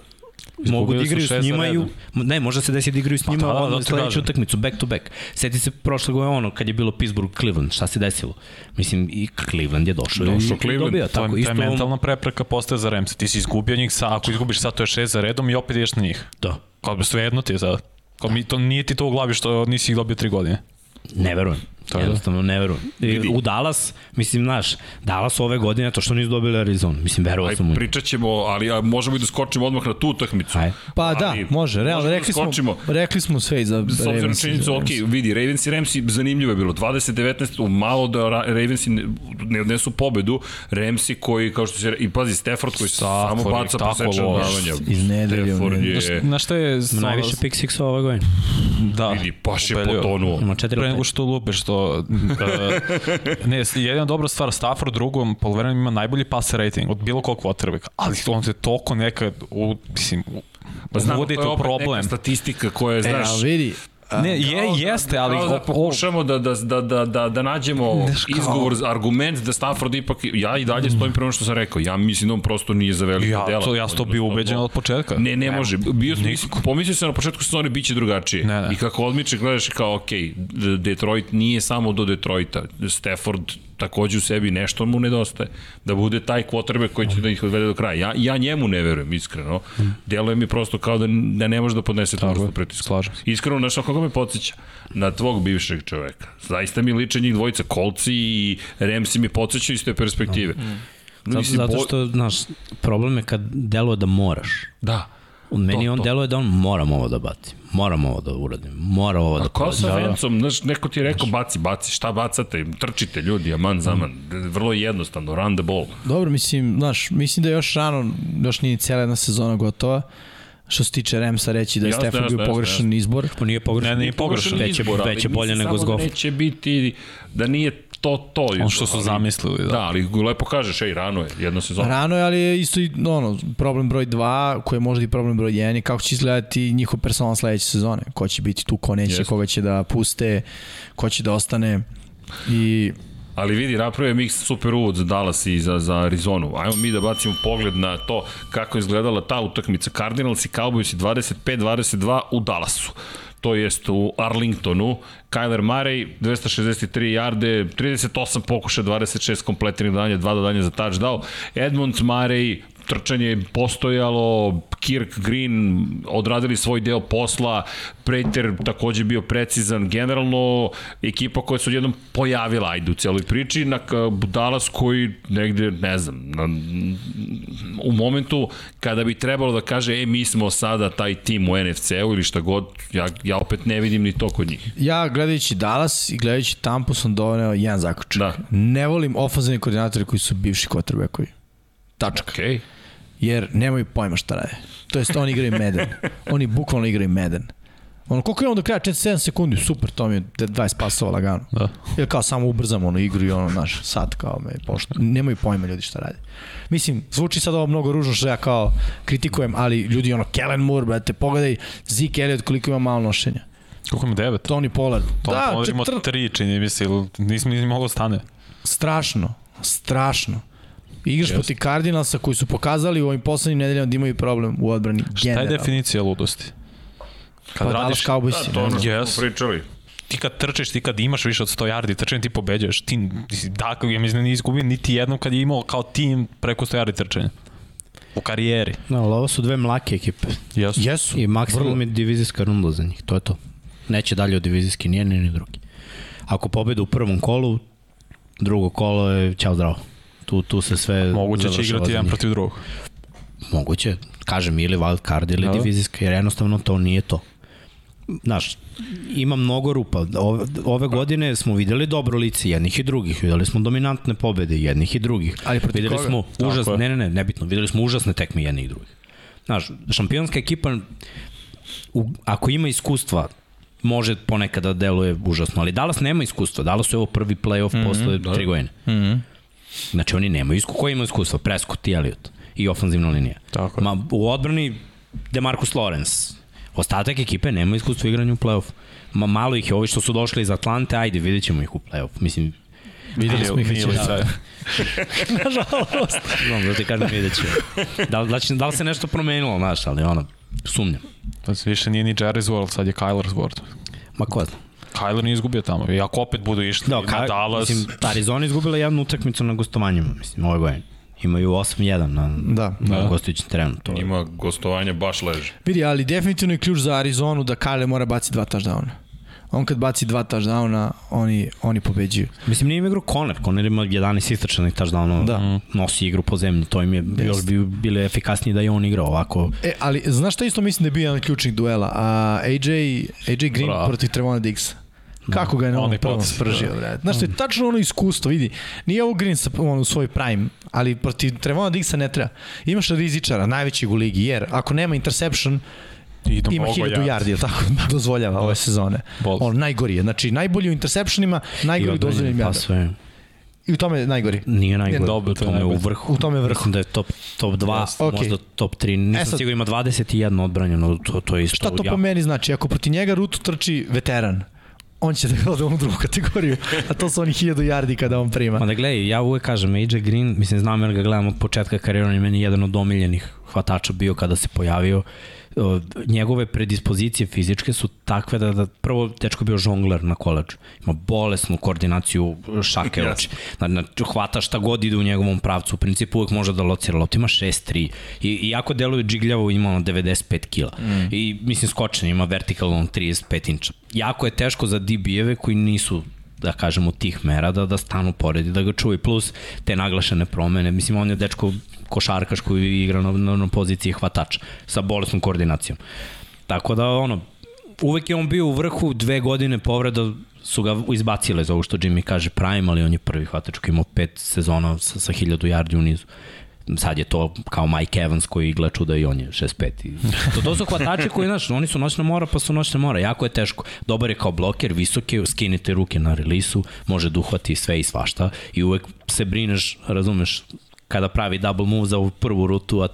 [SPEAKER 2] mogu da
[SPEAKER 3] Izgubili su
[SPEAKER 2] igraju
[SPEAKER 3] šest
[SPEAKER 2] s njima
[SPEAKER 3] za
[SPEAKER 2] i u-
[SPEAKER 3] redom.
[SPEAKER 2] ne, možda se desi da igraju s njima
[SPEAKER 3] da,
[SPEAKER 2] pa,
[SPEAKER 3] da,
[SPEAKER 2] ono,
[SPEAKER 3] zato
[SPEAKER 2] sledeću
[SPEAKER 3] kažem.
[SPEAKER 2] utakmicu back to back. Seti se prošle godine ono kad je bilo Pittsburgh Cleveland, šta se desilo? Mislim i Cleveland je došao,
[SPEAKER 1] Došao
[SPEAKER 2] i,
[SPEAKER 1] Cleveland,
[SPEAKER 2] i dobio,
[SPEAKER 3] To je,
[SPEAKER 2] tako
[SPEAKER 3] to je
[SPEAKER 2] isto mental...
[SPEAKER 3] mentalna prepreka postaje za Remse. Ti si izgubio njih, sa, ako izgubiš sad to je šest za redom i opet ideš na njih.
[SPEAKER 2] da.
[SPEAKER 3] Kao bi svejedno ti je sad. Kao mi to, nije ti to u glavi što nisi ih dobio tri godine.
[SPEAKER 2] Ne verujem. To
[SPEAKER 3] je da.
[SPEAKER 2] Jednostavno ne verujem. I, u Dallas, mislim, znaš, Dallas ove godine to što nisu dobili Arizonu, mislim, verovao
[SPEAKER 1] Aj,
[SPEAKER 2] sam u njih.
[SPEAKER 1] Pa pričat ćemo, ali a, možemo i da skočimo odmah na tu utakmicu.
[SPEAKER 2] Aj.
[SPEAKER 4] Pa da,
[SPEAKER 1] Ali
[SPEAKER 4] može, realno,
[SPEAKER 1] možemo da
[SPEAKER 4] rekli smo,
[SPEAKER 1] skočimo.
[SPEAKER 4] rekli smo sve i za
[SPEAKER 1] S obzirom na
[SPEAKER 4] Da, Ravens i za E,
[SPEAKER 1] činjenicu, ok,
[SPEAKER 4] Rams.
[SPEAKER 1] vidi, Ravens i Ramsi, zanimljivo je bilo, 20-19, u malo da Ra- Ravensi ne- ne odnesu pobedu, Ramsi koji, kao što se, re- i pazi, Stafford koji
[SPEAKER 3] Stafford
[SPEAKER 1] samo
[SPEAKER 3] je
[SPEAKER 1] baca
[SPEAKER 3] tako
[SPEAKER 1] prosečna
[SPEAKER 3] loš.
[SPEAKER 1] davanja.
[SPEAKER 4] Iz nedelje u
[SPEAKER 1] Stafford
[SPEAKER 4] nedelju.
[SPEAKER 1] je,
[SPEAKER 3] Na šta je...
[SPEAKER 2] Najviše pick six ove godine.
[SPEAKER 3] da,
[SPEAKER 1] vidi, baš je
[SPEAKER 3] ubedljivo.
[SPEAKER 1] potonuo.
[SPEAKER 2] Ima četiri
[SPEAKER 3] Pre
[SPEAKER 2] lopte.
[SPEAKER 3] nego što lupe, što... Uh, ne, jedna dobra stvar, Stafford u drugom polovremenu ima najbolji pass rating od bilo kog quarterbacka, ali on se toliko nekad, u, mislim,
[SPEAKER 1] Pa znam,
[SPEAKER 3] uvodite
[SPEAKER 1] to je
[SPEAKER 3] u
[SPEAKER 1] opet
[SPEAKER 3] problem.
[SPEAKER 1] neka statistika koja je,
[SPEAKER 4] E,
[SPEAKER 1] znaš,
[SPEAKER 4] ali vidi,
[SPEAKER 3] Ne, je, jeste, ali...
[SPEAKER 1] Kao
[SPEAKER 3] o-
[SPEAKER 1] da
[SPEAKER 3] o-
[SPEAKER 1] pokušamo da, da, da, da, da, da nađemo
[SPEAKER 3] Znaš, kao-
[SPEAKER 1] izgovor, argument da Stafford ipak, ja i dalje stojim prema što sam rekao, ja mislim da on prosto nije za velika
[SPEAKER 3] Ja,
[SPEAKER 1] dela.
[SPEAKER 3] to, ja sam to bio ubeđen od početka.
[SPEAKER 1] Ne, ne može. Bio sam, pomislio sam na početku sezone biće drugačije.
[SPEAKER 3] Ne, ne.
[SPEAKER 1] I kako odmiče gledaš kao, ok, D- Detroit nije samo do Detroita. Stafford takođe u sebi nešto mu nedostaje. Da bude taj quarterback koji će da ih odvede do kraja. Ja, ja njemu ne verujem, iskreno. Deluje mi prosto kao da, da ne može da podnese tu vrstu pritisku.
[SPEAKER 3] slažem se.
[SPEAKER 1] Iskreno, znaš na koga me podsjeća? Na tvog bivšeg čoveka. Zaista mi liče njih dvojica, Kolci i Remsi mi podsjećaju iz te perspektive.
[SPEAKER 2] Zato,
[SPEAKER 1] Mislim,
[SPEAKER 2] zato
[SPEAKER 1] bo-
[SPEAKER 2] što, znaš, problem je kad deluje da moraš.
[SPEAKER 1] Da.
[SPEAKER 2] U meni
[SPEAKER 1] To,
[SPEAKER 2] to, on
[SPEAKER 1] to.
[SPEAKER 2] deluje da on moram ovo da bacim, moram ovo da uradim, moram ovo da
[SPEAKER 1] Kao sa
[SPEAKER 2] prođem.
[SPEAKER 1] vencom, znaš, neko ti je rekao baci, baci, šta bacate, trčite ljudi, aman zaman, vrlo je jednostavno, run the ball.
[SPEAKER 4] Dobro, mislim, znaš, mislim da je još rano, još nije cijela jedna sezona gotova. Što se tiče Remsa reći da je
[SPEAKER 1] Jasno,
[SPEAKER 4] Stefan
[SPEAKER 1] jasno,
[SPEAKER 4] bio
[SPEAKER 1] jasno,
[SPEAKER 4] pogrešan izbor.
[SPEAKER 2] Pa nije pogrešan.
[SPEAKER 3] Ne, nije pogrešan.
[SPEAKER 2] Veće,
[SPEAKER 1] Izbor, ali
[SPEAKER 2] veće bolje
[SPEAKER 1] mislim
[SPEAKER 2] nego
[SPEAKER 1] samo
[SPEAKER 2] s Goffom.
[SPEAKER 1] Da neće biti, da nije to to.
[SPEAKER 3] Ono što su
[SPEAKER 1] Ali-
[SPEAKER 3] zamislili, da.
[SPEAKER 1] Da, ali lepo kažeš, ej, rano je, jedna sezona.
[SPEAKER 4] Rano je, ali je isto i ono, problem broj 2, koji je možda i problem broj 1, je kako će izgledati njihov personal sledeće sezone. Ko će biti tu, ko neće,
[SPEAKER 1] Jeste.
[SPEAKER 4] koga će da puste, ko će da ostane. I
[SPEAKER 1] Ali vidi, napravio je mix super uvod za Dallas i za, za Arizonu. Ajmo mi da bacimo pogled na to kako je izgledala ta utakmica. Cardinals i Cowboys i 25-22 u Dallasu. To jest u Arlingtonu. Kyler Murray, 263 jarde, 38 pokuša, 26 kompletnih dodanja, 2 dodanja za touchdown. Edmund Murray, trčanje je postojalo, Kirk Green odradili svoj deo posla, Preter takođe bio precizan, generalno ekipa koja se odjednom pojavila ajde u cijeloj priči, na k- Dallas koji negde, ne znam, na, u momentu kada bi trebalo da kaže, e, mi smo sada taj tim u NFC-u ili šta god, ja, ja opet ne vidim ni to kod njih.
[SPEAKER 4] ja gledajući Dallas i gledajući Tampu sam doneo jedan zaključak.
[SPEAKER 1] Da.
[SPEAKER 4] Ne volim ofenzivne koordinatore koji su bivši kotrbekovi. Tačka.
[SPEAKER 1] Okay.
[SPEAKER 4] jer nemaju pojma šta rade. To jest oni igraju Madden. Oni bukvalno igraju Madden. Ono, koliko je on do kraja? 47 sekundi, super, to mi je 20 pasova lagano.
[SPEAKER 3] Da.
[SPEAKER 4] Ili kao samo ubrzam ono igru i ono, znaš, sad kao me pošto. Nemaju pojma ljudi šta rade. Mislim, zvuči sad ovo mnogo ružno što ja kao kritikujem, ali ljudi ono, Kellen Moore, brate, pogledaj Zeke Elliot koliko ima malo nošenja.
[SPEAKER 3] Koliko ima devet?
[SPEAKER 4] Tony Pollard.
[SPEAKER 3] To da, pomerimo
[SPEAKER 4] četr-
[SPEAKER 3] tri, čini mi se, ili nisam ni mogao da stane.
[SPEAKER 4] strašno, strašno. Igraš protiv Cardinalsa koji su pokazali u ovim poslednjim nedeljama da imaju problem u odbrani.
[SPEAKER 3] Šta je
[SPEAKER 4] generalno.
[SPEAKER 3] definicija ludosti? Kad
[SPEAKER 4] Pa Dallas
[SPEAKER 3] radiš,
[SPEAKER 1] Da,
[SPEAKER 4] Cowboys.
[SPEAKER 1] to ono
[SPEAKER 4] Da,
[SPEAKER 1] što smo
[SPEAKER 3] Yes.
[SPEAKER 1] pričali.
[SPEAKER 3] ti kad trčeš, ti kad imaš više od 100 yardi, trčanje ti pobeđuješ. Ti, ti dakle, ja mislim, nije izgubio niti jednom kad je imao kao tim preko 100 yardi trčanja. U karijeri.
[SPEAKER 2] No, ali ovo su dve mlake ekipe.
[SPEAKER 3] Jesu.
[SPEAKER 4] Jesu.
[SPEAKER 2] I maksimum je divizijska runda za njih, to je to. Neće dalje od divizijski, nije ni, ni drugi. Ako pobede u prvom kolu, drugo kolo je ćao zdravo. Tu, tu se sve
[SPEAKER 3] Moguće će
[SPEAKER 2] završava
[SPEAKER 3] igrati
[SPEAKER 2] za
[SPEAKER 3] jedan
[SPEAKER 2] njih.
[SPEAKER 3] protiv drugog.
[SPEAKER 2] Moguće, kažem, ili wild card ili
[SPEAKER 3] Da.
[SPEAKER 2] da. divizijska, jer jednostavno to nije to. Znaš, ima mnogo rupa. Ove, ove godine smo videli dobro lice jednih i drugih, videli smo dominantne pobede jednih i drugih.
[SPEAKER 4] Ali protiv
[SPEAKER 2] videli
[SPEAKER 4] koga?
[SPEAKER 2] smo
[SPEAKER 3] Tako
[SPEAKER 2] užas,
[SPEAKER 3] je.
[SPEAKER 2] ne, ne, ne, nebitno, videli smo užasne tekme jednih i drugih. Znaš, šampionska ekipa u, ako ima iskustva, može ponekad da deluje užasno, ali Dallas nema iskustva. Dallas je ovo prvi play-off mm
[SPEAKER 3] Mhm,
[SPEAKER 2] -hmm, posle da. tri godine. Mm -hmm. Znači oni nemaju iskustva. Ko ima iskustva? Prescott i Elliot. I ofanzivna linija.
[SPEAKER 3] Tako je.
[SPEAKER 2] Ma, u odbrani Demarcus Lawrence. Ostatak ekipe nema iskustva u igranju u play-off. Ma, malo ih je ovi što su došli iz Atlante, ajde, vidjet ćemo ih u play-off. Mislim,
[SPEAKER 4] Videli smo ih već.
[SPEAKER 3] Ili-
[SPEAKER 4] jednom.
[SPEAKER 3] da.
[SPEAKER 2] Nažalost. Znam, da ti kažem vidjet ću. Da, li- da, će, da li se nešto promenilo, znaš, ali ono, Sumnjam.
[SPEAKER 3] Znači, više nije ni Jerry's World, sad je Kyler's World.
[SPEAKER 2] Ma ko zna.
[SPEAKER 3] Kyler nije izgubio tamo. I ako opet budu išli
[SPEAKER 2] Da,
[SPEAKER 3] da, na Dallas,
[SPEAKER 2] mislim, Arizona izgubila jednu utakmicu na gostovanjima, mislim, ove godine. Imaju 8-1 na,
[SPEAKER 4] Da.
[SPEAKER 2] na da. gostujućem terenu. To je.
[SPEAKER 1] Ima gostovanje baš leže.
[SPEAKER 4] Vidi, ali definitivno je ključ za Arizonu da Kyle mora baci dva touchdowna. On kad baci dva touchdowna, oni, oni pobeđuju.
[SPEAKER 2] Mislim, nije im igrao Conner. Conner ima 11 istračanih touchdowna,
[SPEAKER 4] Da.
[SPEAKER 3] Mhm.
[SPEAKER 2] nosi igru po zemlji. To im je još bi bile efikasnije da je on igrao ovako.
[SPEAKER 4] E, ali znaš šta isto mislim da je bio jedan od ključnih duela? A, AJ, AJ Green
[SPEAKER 3] Bravo.
[SPEAKER 4] protiv Trevona Diggsa. Kako ga je na onom
[SPEAKER 3] Onaj
[SPEAKER 4] prvom
[SPEAKER 3] potes,
[SPEAKER 4] spržio, brate. Znaš, to je tačno ono iskustvo, vidi. Nije ovo Green sa, on, u svoj prime, ali protiv Trevona Diggsa ne treba. Imaš rizičara, najvećeg u ligi, jer ako nema interception,
[SPEAKER 3] idu
[SPEAKER 4] ima
[SPEAKER 3] mnogo
[SPEAKER 4] 1000
[SPEAKER 3] yardi.
[SPEAKER 4] yardi, jel tako dozvoljava ove sezone.
[SPEAKER 3] Bol.
[SPEAKER 4] On najgori je. Znači, najbolji u interceptionima, najgori u dozvoljenim
[SPEAKER 2] pa
[SPEAKER 4] yardi.
[SPEAKER 2] sve.
[SPEAKER 4] I u tome je najgori.
[SPEAKER 2] Nije najgore.
[SPEAKER 3] dobro, to
[SPEAKER 2] u
[SPEAKER 3] je
[SPEAKER 2] tome je u
[SPEAKER 3] najbolje.
[SPEAKER 2] vrhu.
[SPEAKER 4] U tome je vrhu.
[SPEAKER 2] Mislim da je top, top 2,
[SPEAKER 4] Ok.
[SPEAKER 2] možda top 3. Nisam
[SPEAKER 4] E sad-
[SPEAKER 2] sigurno ima 21 odbranjeno, to, to je isto.
[SPEAKER 4] Šta to
[SPEAKER 2] jako
[SPEAKER 4] po meni znači? Ako proti njega rutu trči veteran, on će da gleda onu drugu kategoriju, a to su oni 1000 yardi kada on prima.
[SPEAKER 2] Ma da gledaj, ja uvek kažem, AJ Green, mislim, znam jer ga gledam od početka karijera, on je meni jedan od omiljenih hvatača bio kada se pojavio. O, Njegove predispozicije fizičke su takve da, da prvo tečko je bio žongler na koleđu. Ima bolesnu koordinaciju šake oči. Znači, znači, hvata šta god ide u njegovom pravcu. U principu uvek može da locira loptu. Ima 6-3. I, I jako deluje džigljavo, ima ono 95 kila. Mm. I mislim, skočen ima vertikalno 35 inča. Jako je teško za DB-eve koji nisu da kažemo tih mera da da stanu pored i da ga čuvi plus te naglašene promene mislim on je dečko košarkaš koji igra na, na, na poziciji hvatača sa bolesnom koordinacijom tako da ono uvek je on bio u vrhu dve godine povreda su ga izbacile za ovo što Jimmy kaže prime ali on je prvi hvatač koji je imao pet sezona sa, sa 1000 yardi u nizu sad je to kao Mike Evans koji igra čuda i on je 6-5. I To, to su hvatači koji, znaš, oni su noćna mora pa su noćna mora, jako je teško. Dobar je kao bloker, visok je, skinite ruke na relisu, može da uhvati sve i svašta i uvek se brineš, razumeš, kada pravi double move za ovu prvu rutu, a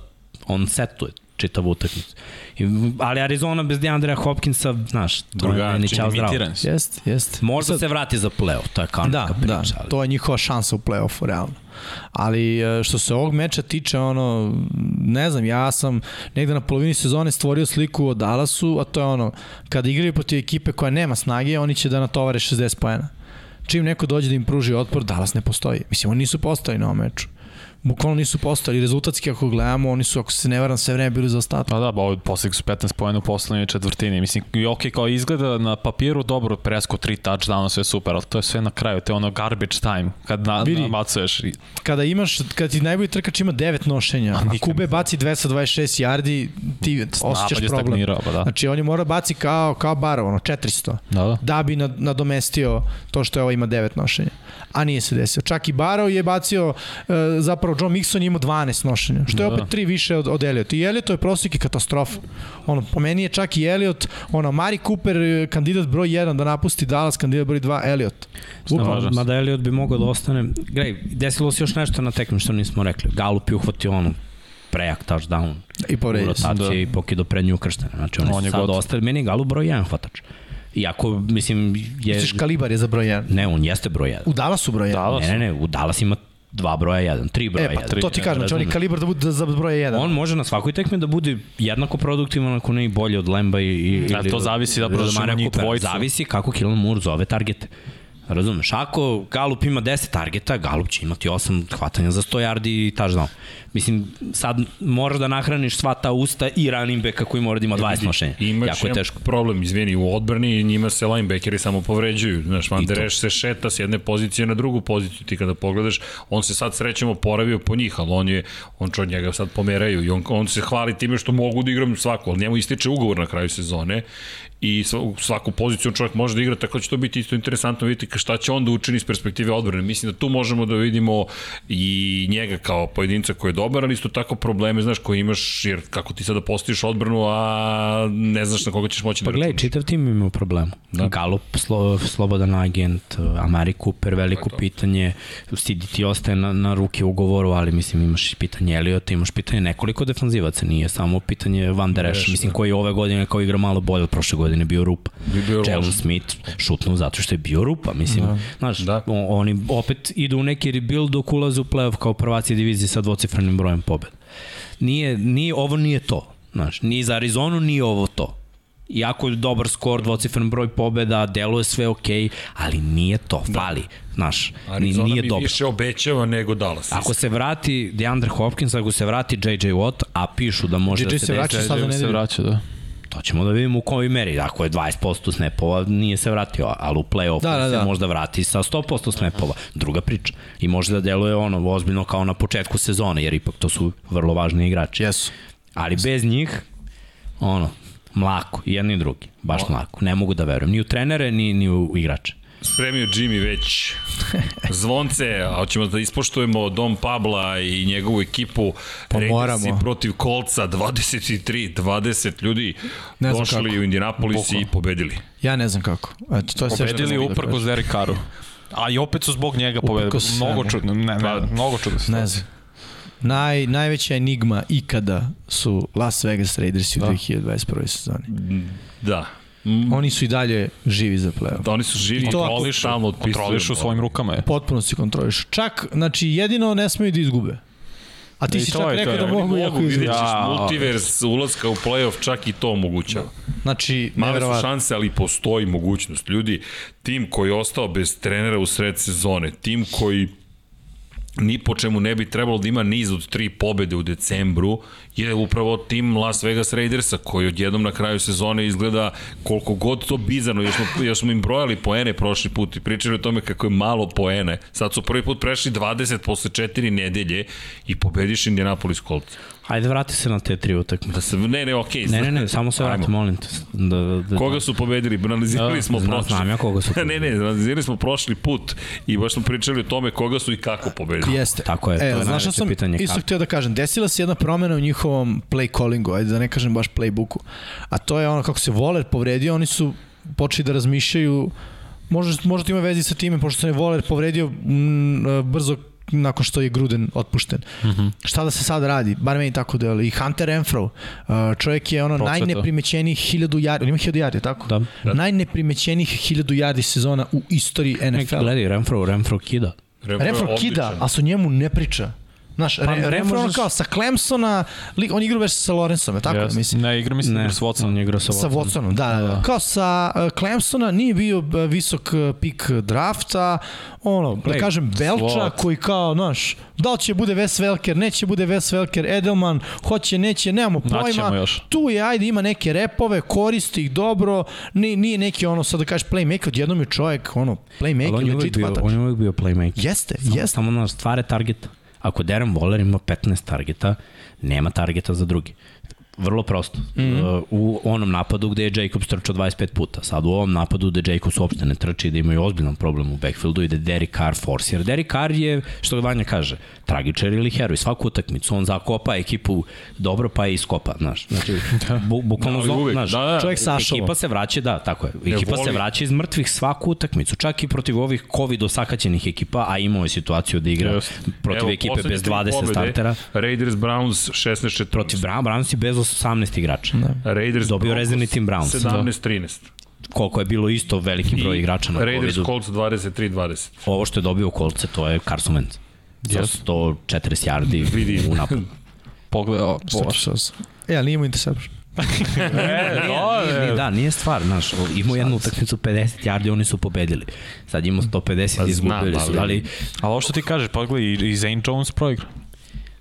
[SPEAKER 2] on setuje čitavu utakmicu. I, ali Arizona bez DeAndrea Hopkinsa, znaš, to je meni
[SPEAKER 1] Drugačije,
[SPEAKER 2] čao zdravo.
[SPEAKER 3] Imitiran si.
[SPEAKER 4] Jest, jest.
[SPEAKER 2] Možda se vrati za play-off, to je kao
[SPEAKER 4] Da,
[SPEAKER 2] neka priča.
[SPEAKER 4] da,
[SPEAKER 2] ali-
[SPEAKER 4] to je njihova šansa u play-offu, realno. Ali e, što se ovog meča tiče, ono, ne znam, ja sam negde na polovini sezone stvorio sliku o Dallasu, a to je ono, kada igraju protiv ekipe koja nema snage, oni će da natovare 60 poena. Čim neko dođe da im pruži otpor, Dallas ne postoji. Mislim, oni nisu postali na ovom meču. Bukvalno nisu postali. Rezultatski ako gledamo, oni su, ako se ne varam, sve vreme bili za ostatak.
[SPEAKER 3] Pa da, ba, postigli su 15 pojena u poslednjoj četvrtini. Mislim, i ok, kao izgleda na papiru dobro, presko tri touchdowna, sve super, ali to je sve na kraju, to je ono garbage time, kad na,
[SPEAKER 4] Vidi.
[SPEAKER 3] namacuješ. I,
[SPEAKER 4] Kada imaš, kada ti najbolji trkač ima 9 nošenja, a Kube baci 226 yardi, ti osjećaš
[SPEAKER 3] napad je
[SPEAKER 4] problem.
[SPEAKER 3] stagnirao, pa da.
[SPEAKER 4] Znači, on je mora baci kao, kao Barov, ono, 400,
[SPEAKER 3] Da, da.
[SPEAKER 4] da bi nad- nadomestio to što je ovaj ima 9 nošenja. A nije se desio. Čak i Barov je bacio, e, zapravo John Mixon je imao 12 nošenja, što je
[SPEAKER 3] Da.
[SPEAKER 4] opet 3 više od, od Elliot. I Elliotov je prosjek je katastrofa. Ono, po meni je čak i Elliot, ono, Mari Cooper, e, kandidat broj 1 da napusti Dallas, kandidat broj 2, Elliot.
[SPEAKER 3] Slažem se.
[SPEAKER 2] Mada Elliot bi mogao da ostane. Grej, desilo se još nešto na tekmi što nismo rekli. Galup je uhvatio onu prejak touchdown
[SPEAKER 4] I
[SPEAKER 2] u
[SPEAKER 4] povredio se.
[SPEAKER 2] rotaciji
[SPEAKER 3] Da.
[SPEAKER 2] i pokido prednju ukrštene. Znači, on,
[SPEAKER 3] On
[SPEAKER 2] je
[SPEAKER 3] je
[SPEAKER 2] sad
[SPEAKER 3] gotov.
[SPEAKER 2] ostaje. Meni je Galup broj 1 hvatač. Iako, mislim, je...
[SPEAKER 4] Misliš, Kalibar je za broj 1.
[SPEAKER 2] Ne, on jeste broj 1.
[SPEAKER 4] U Dallasu broj 1.
[SPEAKER 3] Dallas.
[SPEAKER 2] Ne, ne, ne, u Dallas ima dva broja 1, tri broja 1.
[SPEAKER 4] E, pa to ti kažem, znači on je kalibar da bude da za broj 1.
[SPEAKER 2] On može na svakoj tekmi da bude jednako produktivan ako ne i bolje od Lemba i, i
[SPEAKER 3] Da, to zavisi, zapravo,
[SPEAKER 2] ili
[SPEAKER 3] da ćemo
[SPEAKER 2] Marija
[SPEAKER 3] njih
[SPEAKER 2] Coopera.
[SPEAKER 3] dvojicu.
[SPEAKER 2] Zavisi kako Kilian Moore zove targete. Razumeš, ako Galup ima 10 targeta, Galup će imati 8 hvatanja za 100 yardi i touchdown. Mislim, sad moraš da nahraniš sva ta usta i running backa koji mora da
[SPEAKER 3] E,
[SPEAKER 2] ima 20 nošenja.
[SPEAKER 1] Imaš
[SPEAKER 2] Jako je
[SPEAKER 1] jedan
[SPEAKER 2] teško.
[SPEAKER 1] problem, izvini, u odbrani i njima se linebackeri samo povređuju. Znaš, Van der Esch se šeta s jedne pozicije na drugu poziciju. Ti kada pogledaš, on se sad srećem oporavio po njih, ali on je, on čo njega sad pomeraju i on, on se hvali time što mogu da igram svaku, ali njemu ističe ugovor na kraju sezone i sva- svaku poziciju čovjek može da igra, tako da će to biti isto interesantno vidjeti šta će on da učini iz perspektive odbrane. Mislim da tu možemo da vidimo i njega kao pojedinca koji je dobar, ali isto tako probleme, znaš, koje imaš, jer kako ti sada postojiš odbranu, a ne znaš na koga ćeš moći
[SPEAKER 2] Pa
[SPEAKER 1] da
[SPEAKER 2] gledaj,
[SPEAKER 1] računaš.
[SPEAKER 2] čitav tim ima problem. Da. Galup, slo, slobodan agent, Amari Cooper, veliko pitanje, CDT ostaje na, na ruke ugovoru, ali mislim imaš i pitanje Eliota, imaš pitanje nekoliko defanzivaca, nije samo pitanje Van Der Esch, mislim koji ove godine kao igra malo bolje od prošle godine bio rupa.
[SPEAKER 1] Bi bio
[SPEAKER 2] Jalen
[SPEAKER 1] loš.
[SPEAKER 2] Smith šutnuo zato što je bio rupa, mislim, da. znaš, da.
[SPEAKER 1] Da.
[SPEAKER 2] oni opet idu u neki rebuild dok ulaze u playoff kao prvaci divizije sa dvocifrenim brojem pobjeda. Nije, nije, ovo nije to. Znaš, ni za Arizonu, ni ovo to. Iako je dobar skor, dvocifren broj pobeda, deluje sve okej, okay, ali nije to, fali. Da. Znaš, ni,
[SPEAKER 1] Arizona
[SPEAKER 2] nije
[SPEAKER 1] mi
[SPEAKER 2] dobro.
[SPEAKER 1] više obećava nego Dallas.
[SPEAKER 2] Ako se vrati DeAndre Hopkins, ako se vrati JJ Watt, a pišu da može
[SPEAKER 4] JJ
[SPEAKER 2] da se,
[SPEAKER 4] se
[SPEAKER 2] desi,
[SPEAKER 4] vraća sad na
[SPEAKER 3] se
[SPEAKER 4] nedelju.
[SPEAKER 3] vraća, da.
[SPEAKER 2] to ćemo da vidimo u kojoj meri. Ako je 20% snapova, nije se vratio, ali u play-offu
[SPEAKER 4] Da, da,
[SPEAKER 2] se
[SPEAKER 4] da.
[SPEAKER 2] možda vrati sa 100% snapova. Druga priča. I može da deluje ono ozbiljno kao na početku sezone, jer ipak to su vrlo važni igrači.
[SPEAKER 4] Jesu.
[SPEAKER 2] Ali bez njih, ono, mlako, i jedni i drugi, baš mlako. Ne mogu da verujem, ni u trenere, ni, ni u igrače.
[SPEAKER 1] Spremio Jimmy već zvonce, a hoćemo da ispoštujemo Dom Pabla i njegovu ekipu.
[SPEAKER 4] Pa
[SPEAKER 1] Raidersi
[SPEAKER 4] moramo.
[SPEAKER 1] protiv Kolca 23, 20 ljudi
[SPEAKER 4] Ne znam
[SPEAKER 1] došli
[SPEAKER 4] kako.
[SPEAKER 1] u Indianapolis i pobedili.
[SPEAKER 4] Ja ne znam kako. Eto, to je sve što
[SPEAKER 3] Pobedili
[SPEAKER 4] mogu da
[SPEAKER 3] uprkos
[SPEAKER 4] kažem.
[SPEAKER 3] Derek Karu. A i opet su zbog njega pobedili.
[SPEAKER 4] Uprkos
[SPEAKER 3] Mnogo
[SPEAKER 4] svemu. Pa,
[SPEAKER 3] čudno, ne, ne, mnogo čudno.
[SPEAKER 4] Ne znam. Naj, najveća enigma ikada su Las Vegas Raidersi u 2021. sezoni.
[SPEAKER 1] Da. Mm,
[SPEAKER 4] Oni su i dalje živi za play-off.
[SPEAKER 1] Da, oni su živi,
[SPEAKER 4] I to ako-
[SPEAKER 1] kontrolišu, stalno otpisuju.
[SPEAKER 3] Kontrolišu svojim rukama je.
[SPEAKER 4] Potpuno se kontrolišu. Čak, znači, jedino ne smeju da izgube. A ti
[SPEAKER 3] I
[SPEAKER 4] si
[SPEAKER 3] to
[SPEAKER 4] čak
[SPEAKER 3] je to,
[SPEAKER 4] rekao
[SPEAKER 3] ja.
[SPEAKER 4] da
[SPEAKER 1] Oni
[SPEAKER 4] mogu
[SPEAKER 1] mogu,
[SPEAKER 4] jako
[SPEAKER 1] vidjet
[SPEAKER 4] izgubiti.
[SPEAKER 1] ćeš
[SPEAKER 3] Ja.
[SPEAKER 1] multivers ulazka u play-off, čak i to omogućava.
[SPEAKER 4] Znači,
[SPEAKER 1] Male su
[SPEAKER 4] nevjerovatno.
[SPEAKER 1] šanse, ali postoji mogućnost. Ljudi, tim koji je ostao bez trenera u sred sezone, tim koji ni po čemu ne bi trebalo da ima niz od tri pobede u decembru, je upravo tim Las Vegas Raidersa, koji odjednom na kraju sezone izgleda koliko god to bizarno, još smo, još smo im brojali poene prošli put i pričali o tome kako je malo poene. Sad su prvi put prešli 20 posle 4 nedelje i pobediš Indianapolis Colts.
[SPEAKER 2] Hajde, vrati se na te tri utakme.
[SPEAKER 1] Da se, ne, ne, okej.
[SPEAKER 2] Ne, ne, ne, samo se vrati,
[SPEAKER 1] Ajmo.
[SPEAKER 2] molim te. Da, da, da,
[SPEAKER 1] Koga su pobedili? Analizirali smo
[SPEAKER 2] Znam-
[SPEAKER 1] prošli.
[SPEAKER 2] znam ja koga su
[SPEAKER 1] ne, ne, analizirali smo prošli put i baš smo pričali o tome koga su i kako pobedili.
[SPEAKER 4] Jeste. E,
[SPEAKER 2] Tako je, to je
[SPEAKER 4] znaš šta
[SPEAKER 2] najveće
[SPEAKER 4] sam
[SPEAKER 2] pitanje
[SPEAKER 4] Isto
[SPEAKER 2] kako.
[SPEAKER 4] htio da kažem, desila se jedna promena u njihovom play callingu, ajde da ne kažem baš playbooku. A to je ono kako se Voler povredio, oni su počeli da razmišljaju možda, možda to ima vezi sa time, pošto se je Voler povredio m, e, brzo nakon što je Gruden otpušten. Mm
[SPEAKER 2] Mhm.
[SPEAKER 4] -hmm. Šta da se sad radi? Bar meni tako delo. I Hunter Renfro, e, čovjek je ono
[SPEAKER 3] Procvetao.
[SPEAKER 4] najneprimećenijih 1000 yardi, on ima 1000 yardi, tako?
[SPEAKER 2] Da.
[SPEAKER 1] Da.
[SPEAKER 4] Najneprimećenijih 1000 yardi sezona u istoriji
[SPEAKER 2] Neki
[SPEAKER 4] NFL-a.
[SPEAKER 2] gledaj, Renfro, Renfro kida.
[SPEAKER 1] Renfro je
[SPEAKER 4] Renfro
[SPEAKER 1] odličan.
[SPEAKER 4] kida, a su njemu ne priča. Znaš, pa,
[SPEAKER 2] ne
[SPEAKER 4] Renfro ono
[SPEAKER 2] možeš-
[SPEAKER 4] kao sa Clemsona, li, on igra već sa Lorenzom, je tako? Yes. Mislim.
[SPEAKER 3] Ne, igra mislim
[SPEAKER 2] Ne,
[SPEAKER 3] igra s Watsonom.
[SPEAKER 2] on je igrao sa
[SPEAKER 4] Sa
[SPEAKER 2] Watsonom.
[SPEAKER 4] Watsonom, da, da, da. Kao sa uh, Clemsona nije bio uh, visok uh, pik drafta, ono, da
[SPEAKER 2] Ej,
[SPEAKER 4] kažem, Belča
[SPEAKER 3] slot.
[SPEAKER 4] koji kao, znaš, da li će bude Wes Welker, neće bude Wes Welker, Edelman, hoće, neće, nemamo
[SPEAKER 3] Naćemo
[SPEAKER 4] pojma.
[SPEAKER 3] još.
[SPEAKER 4] Tu je, ajde, ima neke repove, koristi ih dobro, nije, nije neki ono, sad da kažeš playmaker, odjednom je čovjek, ono,
[SPEAKER 2] Ali on je
[SPEAKER 4] playmaker,
[SPEAKER 2] uvijek
[SPEAKER 4] legit
[SPEAKER 2] bio,
[SPEAKER 4] hvatač.
[SPEAKER 2] on je uvijek bio playmaker.
[SPEAKER 4] Jeste,
[SPEAKER 2] Samo-
[SPEAKER 4] jeste.
[SPEAKER 2] Samo na stvare targeta. Ako Darren Waller ima 15 targeta, nema targeta za drugi. Vrlo prosto. Mm
[SPEAKER 4] Mhm.
[SPEAKER 2] -hmm. U onom napadu gde je Jacobs trčao 25 puta, sad u ovom napadu gde Jacobs uopšte ne trči, da imaju ozbiljan problem u backfieldu i da Derek Carr force. Jer Derek Carr je, što ga Vanja kaže, tragičar ili heroj. Svaku utakmicu on zakopa ekipu dobro pa je iskopa, znaš. Znači,
[SPEAKER 4] Da.
[SPEAKER 2] bu, bukvalno
[SPEAKER 1] Ali
[SPEAKER 2] zlo-
[SPEAKER 1] uvek,
[SPEAKER 2] znaš,
[SPEAKER 1] da, da.
[SPEAKER 4] Čovjek sa ašovom.
[SPEAKER 2] Ekipa se vraća, da, tako je.
[SPEAKER 1] Ne
[SPEAKER 2] Ekipa se
[SPEAKER 1] voli.
[SPEAKER 2] vraća iz mrtvih svaku utakmicu, čak i protiv ovih covid osakaćenih ekipa, a imao je situaciju da igra
[SPEAKER 3] Jeste.
[SPEAKER 2] protiv
[SPEAKER 1] Evo,
[SPEAKER 2] ekipe
[SPEAKER 1] poslednje
[SPEAKER 2] bez
[SPEAKER 1] tri
[SPEAKER 2] 20
[SPEAKER 1] pobede,
[SPEAKER 2] startera.
[SPEAKER 1] Raiders Browns 16-14.
[SPEAKER 2] Protiv Brown, Browns je bez 18 igrača. Ne.
[SPEAKER 1] Raiders
[SPEAKER 2] dobio
[SPEAKER 1] Broncos
[SPEAKER 2] rezervni tim Browns, da.
[SPEAKER 1] 17-13.
[SPEAKER 2] Koliko je bilo isto veliki broj igrača na
[SPEAKER 1] Raiders
[SPEAKER 2] covidu.
[SPEAKER 1] Colts 23-20.
[SPEAKER 2] Ovo što je dobio u kolce, to je Carson Wentz. Za 140 yardi
[SPEAKER 1] Vidi.
[SPEAKER 2] u napadu.
[SPEAKER 3] Pogledaj, o, Bože.
[SPEAKER 4] E, ali nije imao interception.
[SPEAKER 2] Nije, nije, da, nije stvar, znaš, imao jednu utakmicu 50 yardi, oni su pobedili. Sad imao 150
[SPEAKER 1] Pa
[SPEAKER 2] i
[SPEAKER 1] znam,
[SPEAKER 2] izgubili su,
[SPEAKER 1] ali-
[SPEAKER 2] ali
[SPEAKER 3] Ali ovo što ti kažeš, pogledaj, i, i Zane Jones proigra.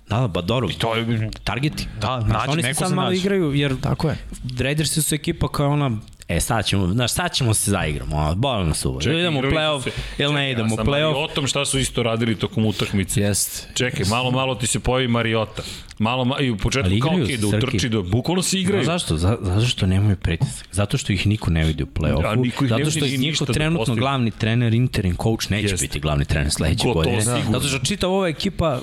[SPEAKER 2] da, da, ba dobro,
[SPEAKER 3] To je...
[SPEAKER 2] targeti.
[SPEAKER 3] Da,
[SPEAKER 2] Znaš,
[SPEAKER 3] nađe,
[SPEAKER 2] oni se
[SPEAKER 3] neko
[SPEAKER 2] sad
[SPEAKER 3] se
[SPEAKER 2] malo
[SPEAKER 3] nađe.
[SPEAKER 2] igraju, jer
[SPEAKER 4] Tako je.
[SPEAKER 2] Raidersi su ekipa koja je ona E, sad ćemo, znaš, sad ćemo se zaigramo, ono, bolno nas uvo. Ili idemo u
[SPEAKER 1] igrali su
[SPEAKER 2] play-off,
[SPEAKER 1] se-
[SPEAKER 2] ili ne idemo u
[SPEAKER 1] Sa
[SPEAKER 2] play-off.
[SPEAKER 1] Mariotom šta su isto radili tokom utakmice.
[SPEAKER 4] Jeste.
[SPEAKER 1] Čekaj, malo, malo ti se pojavi Mariota. Malo, ma, i u početku
[SPEAKER 2] Ali
[SPEAKER 1] kao
[SPEAKER 2] igraju
[SPEAKER 1] okej,
[SPEAKER 2] se,
[SPEAKER 1] da
[SPEAKER 2] Srki.
[SPEAKER 1] utrči, da bukvalno se
[SPEAKER 2] Znaš
[SPEAKER 1] igraju.
[SPEAKER 2] zašto? Za, zato što nemaju pritisak. Zato što ih niko ne vidi u
[SPEAKER 1] A
[SPEAKER 2] play-offu.
[SPEAKER 1] niko ih ne
[SPEAKER 2] zato
[SPEAKER 1] vidi
[SPEAKER 2] što
[SPEAKER 1] ni
[SPEAKER 2] je
[SPEAKER 1] ništa
[SPEAKER 2] njihov
[SPEAKER 1] da
[SPEAKER 2] trenutno
[SPEAKER 1] postigne.
[SPEAKER 2] glavni trener, interim coach, neće
[SPEAKER 1] Jeste.
[SPEAKER 2] biti glavni trener sledeće
[SPEAKER 1] Gotovo,
[SPEAKER 2] godine.
[SPEAKER 1] sigurno.
[SPEAKER 2] Zato što čitava ova ekipa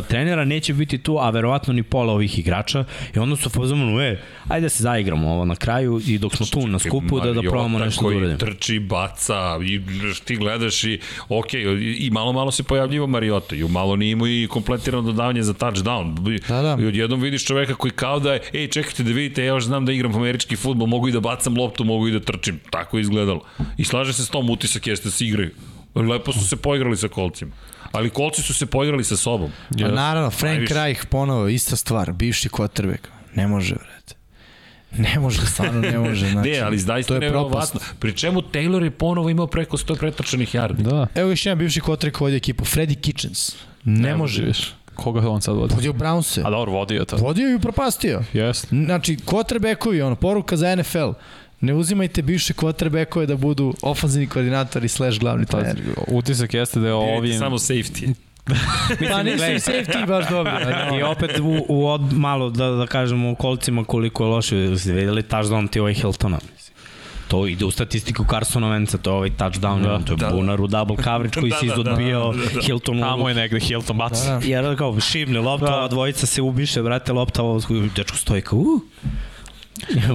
[SPEAKER 2] uh, trenera neće biti tu, a verovatno ni pola ovih igrača. I onda su fazomano, e, ajde da se zaigramo ovo na kraju i dok smo tu na skupu da, da
[SPEAKER 1] Mariota
[SPEAKER 2] probamo nešto da uradimo.
[SPEAKER 1] Koji trči, baca, i znaš, ti gledaš i, ok, i, i malo malo se pojavljivo Mariota, i u malo nije imao i kompletirano dodavanje za touchdown.
[SPEAKER 4] Da, da.
[SPEAKER 1] I odjednom vidiš čoveka koji kao da je, ej, čekajte da vidite, ja još znam da igram američki futbol, mogu i da bacam loptu, mogu i da trčim. Tako je izgledalo. I slažem se s tom, utisak jeste da se igraju. Lepo su se poigrali sa kolcima. Ali kolci su se poigrali sa sobom.
[SPEAKER 4] Yes. Naravno, Frank
[SPEAKER 1] Najviše.
[SPEAKER 4] Reich ponovo, ista stvar, bivši quarterback. Ne može, vrete. Ne može, stvarno ne može. Znači,
[SPEAKER 1] Ne, ali
[SPEAKER 4] to
[SPEAKER 1] zaista
[SPEAKER 4] je
[SPEAKER 1] je
[SPEAKER 4] propast.
[SPEAKER 1] nevjerovatno. Pri čemu Taylor je ponovo imao preko 100 pretrčanih yardi. Da.
[SPEAKER 3] Da.
[SPEAKER 4] Evo još jedan bivši kotrek koji vodi ekipu, Freddy Kitchens. Ne, može.
[SPEAKER 3] Viš. Koga on sad vodi?
[SPEAKER 4] Vodio Brownse.
[SPEAKER 1] da.
[SPEAKER 3] A dobro, vodio je to.
[SPEAKER 4] Vodio i upropastio.
[SPEAKER 3] Jeste.
[SPEAKER 4] Znači, quarterbackovi, ono, poruka za NFL. Ne uzimajte bivše quarterbackove da budu ofanzivni koordinatori slash glavni
[SPEAKER 3] Pa,
[SPEAKER 4] trener.
[SPEAKER 3] utisak jeste da je ovim...
[SPEAKER 1] Samo safety.
[SPEAKER 4] Pa nisu
[SPEAKER 2] gledaj. Da,
[SPEAKER 4] safety baš dobri.
[SPEAKER 2] I opet u, u od, malo da, da kažemo u kolicima koliko je loše. Ste videli touchdown ti ovaj Hiltona? mislim. To ide u statistiku Carsona Venca, to je ovaj touchdown, da, to je da, bunar u double coverage koji da, se izodbio da, da, da, Hiltonu.
[SPEAKER 3] Tamo je negde Hilton bac.
[SPEAKER 4] Da.
[SPEAKER 2] Jer kao šibne lopta, da. dvojica se ubiše, brate, lopta, ovo dečko stoji kao, uh.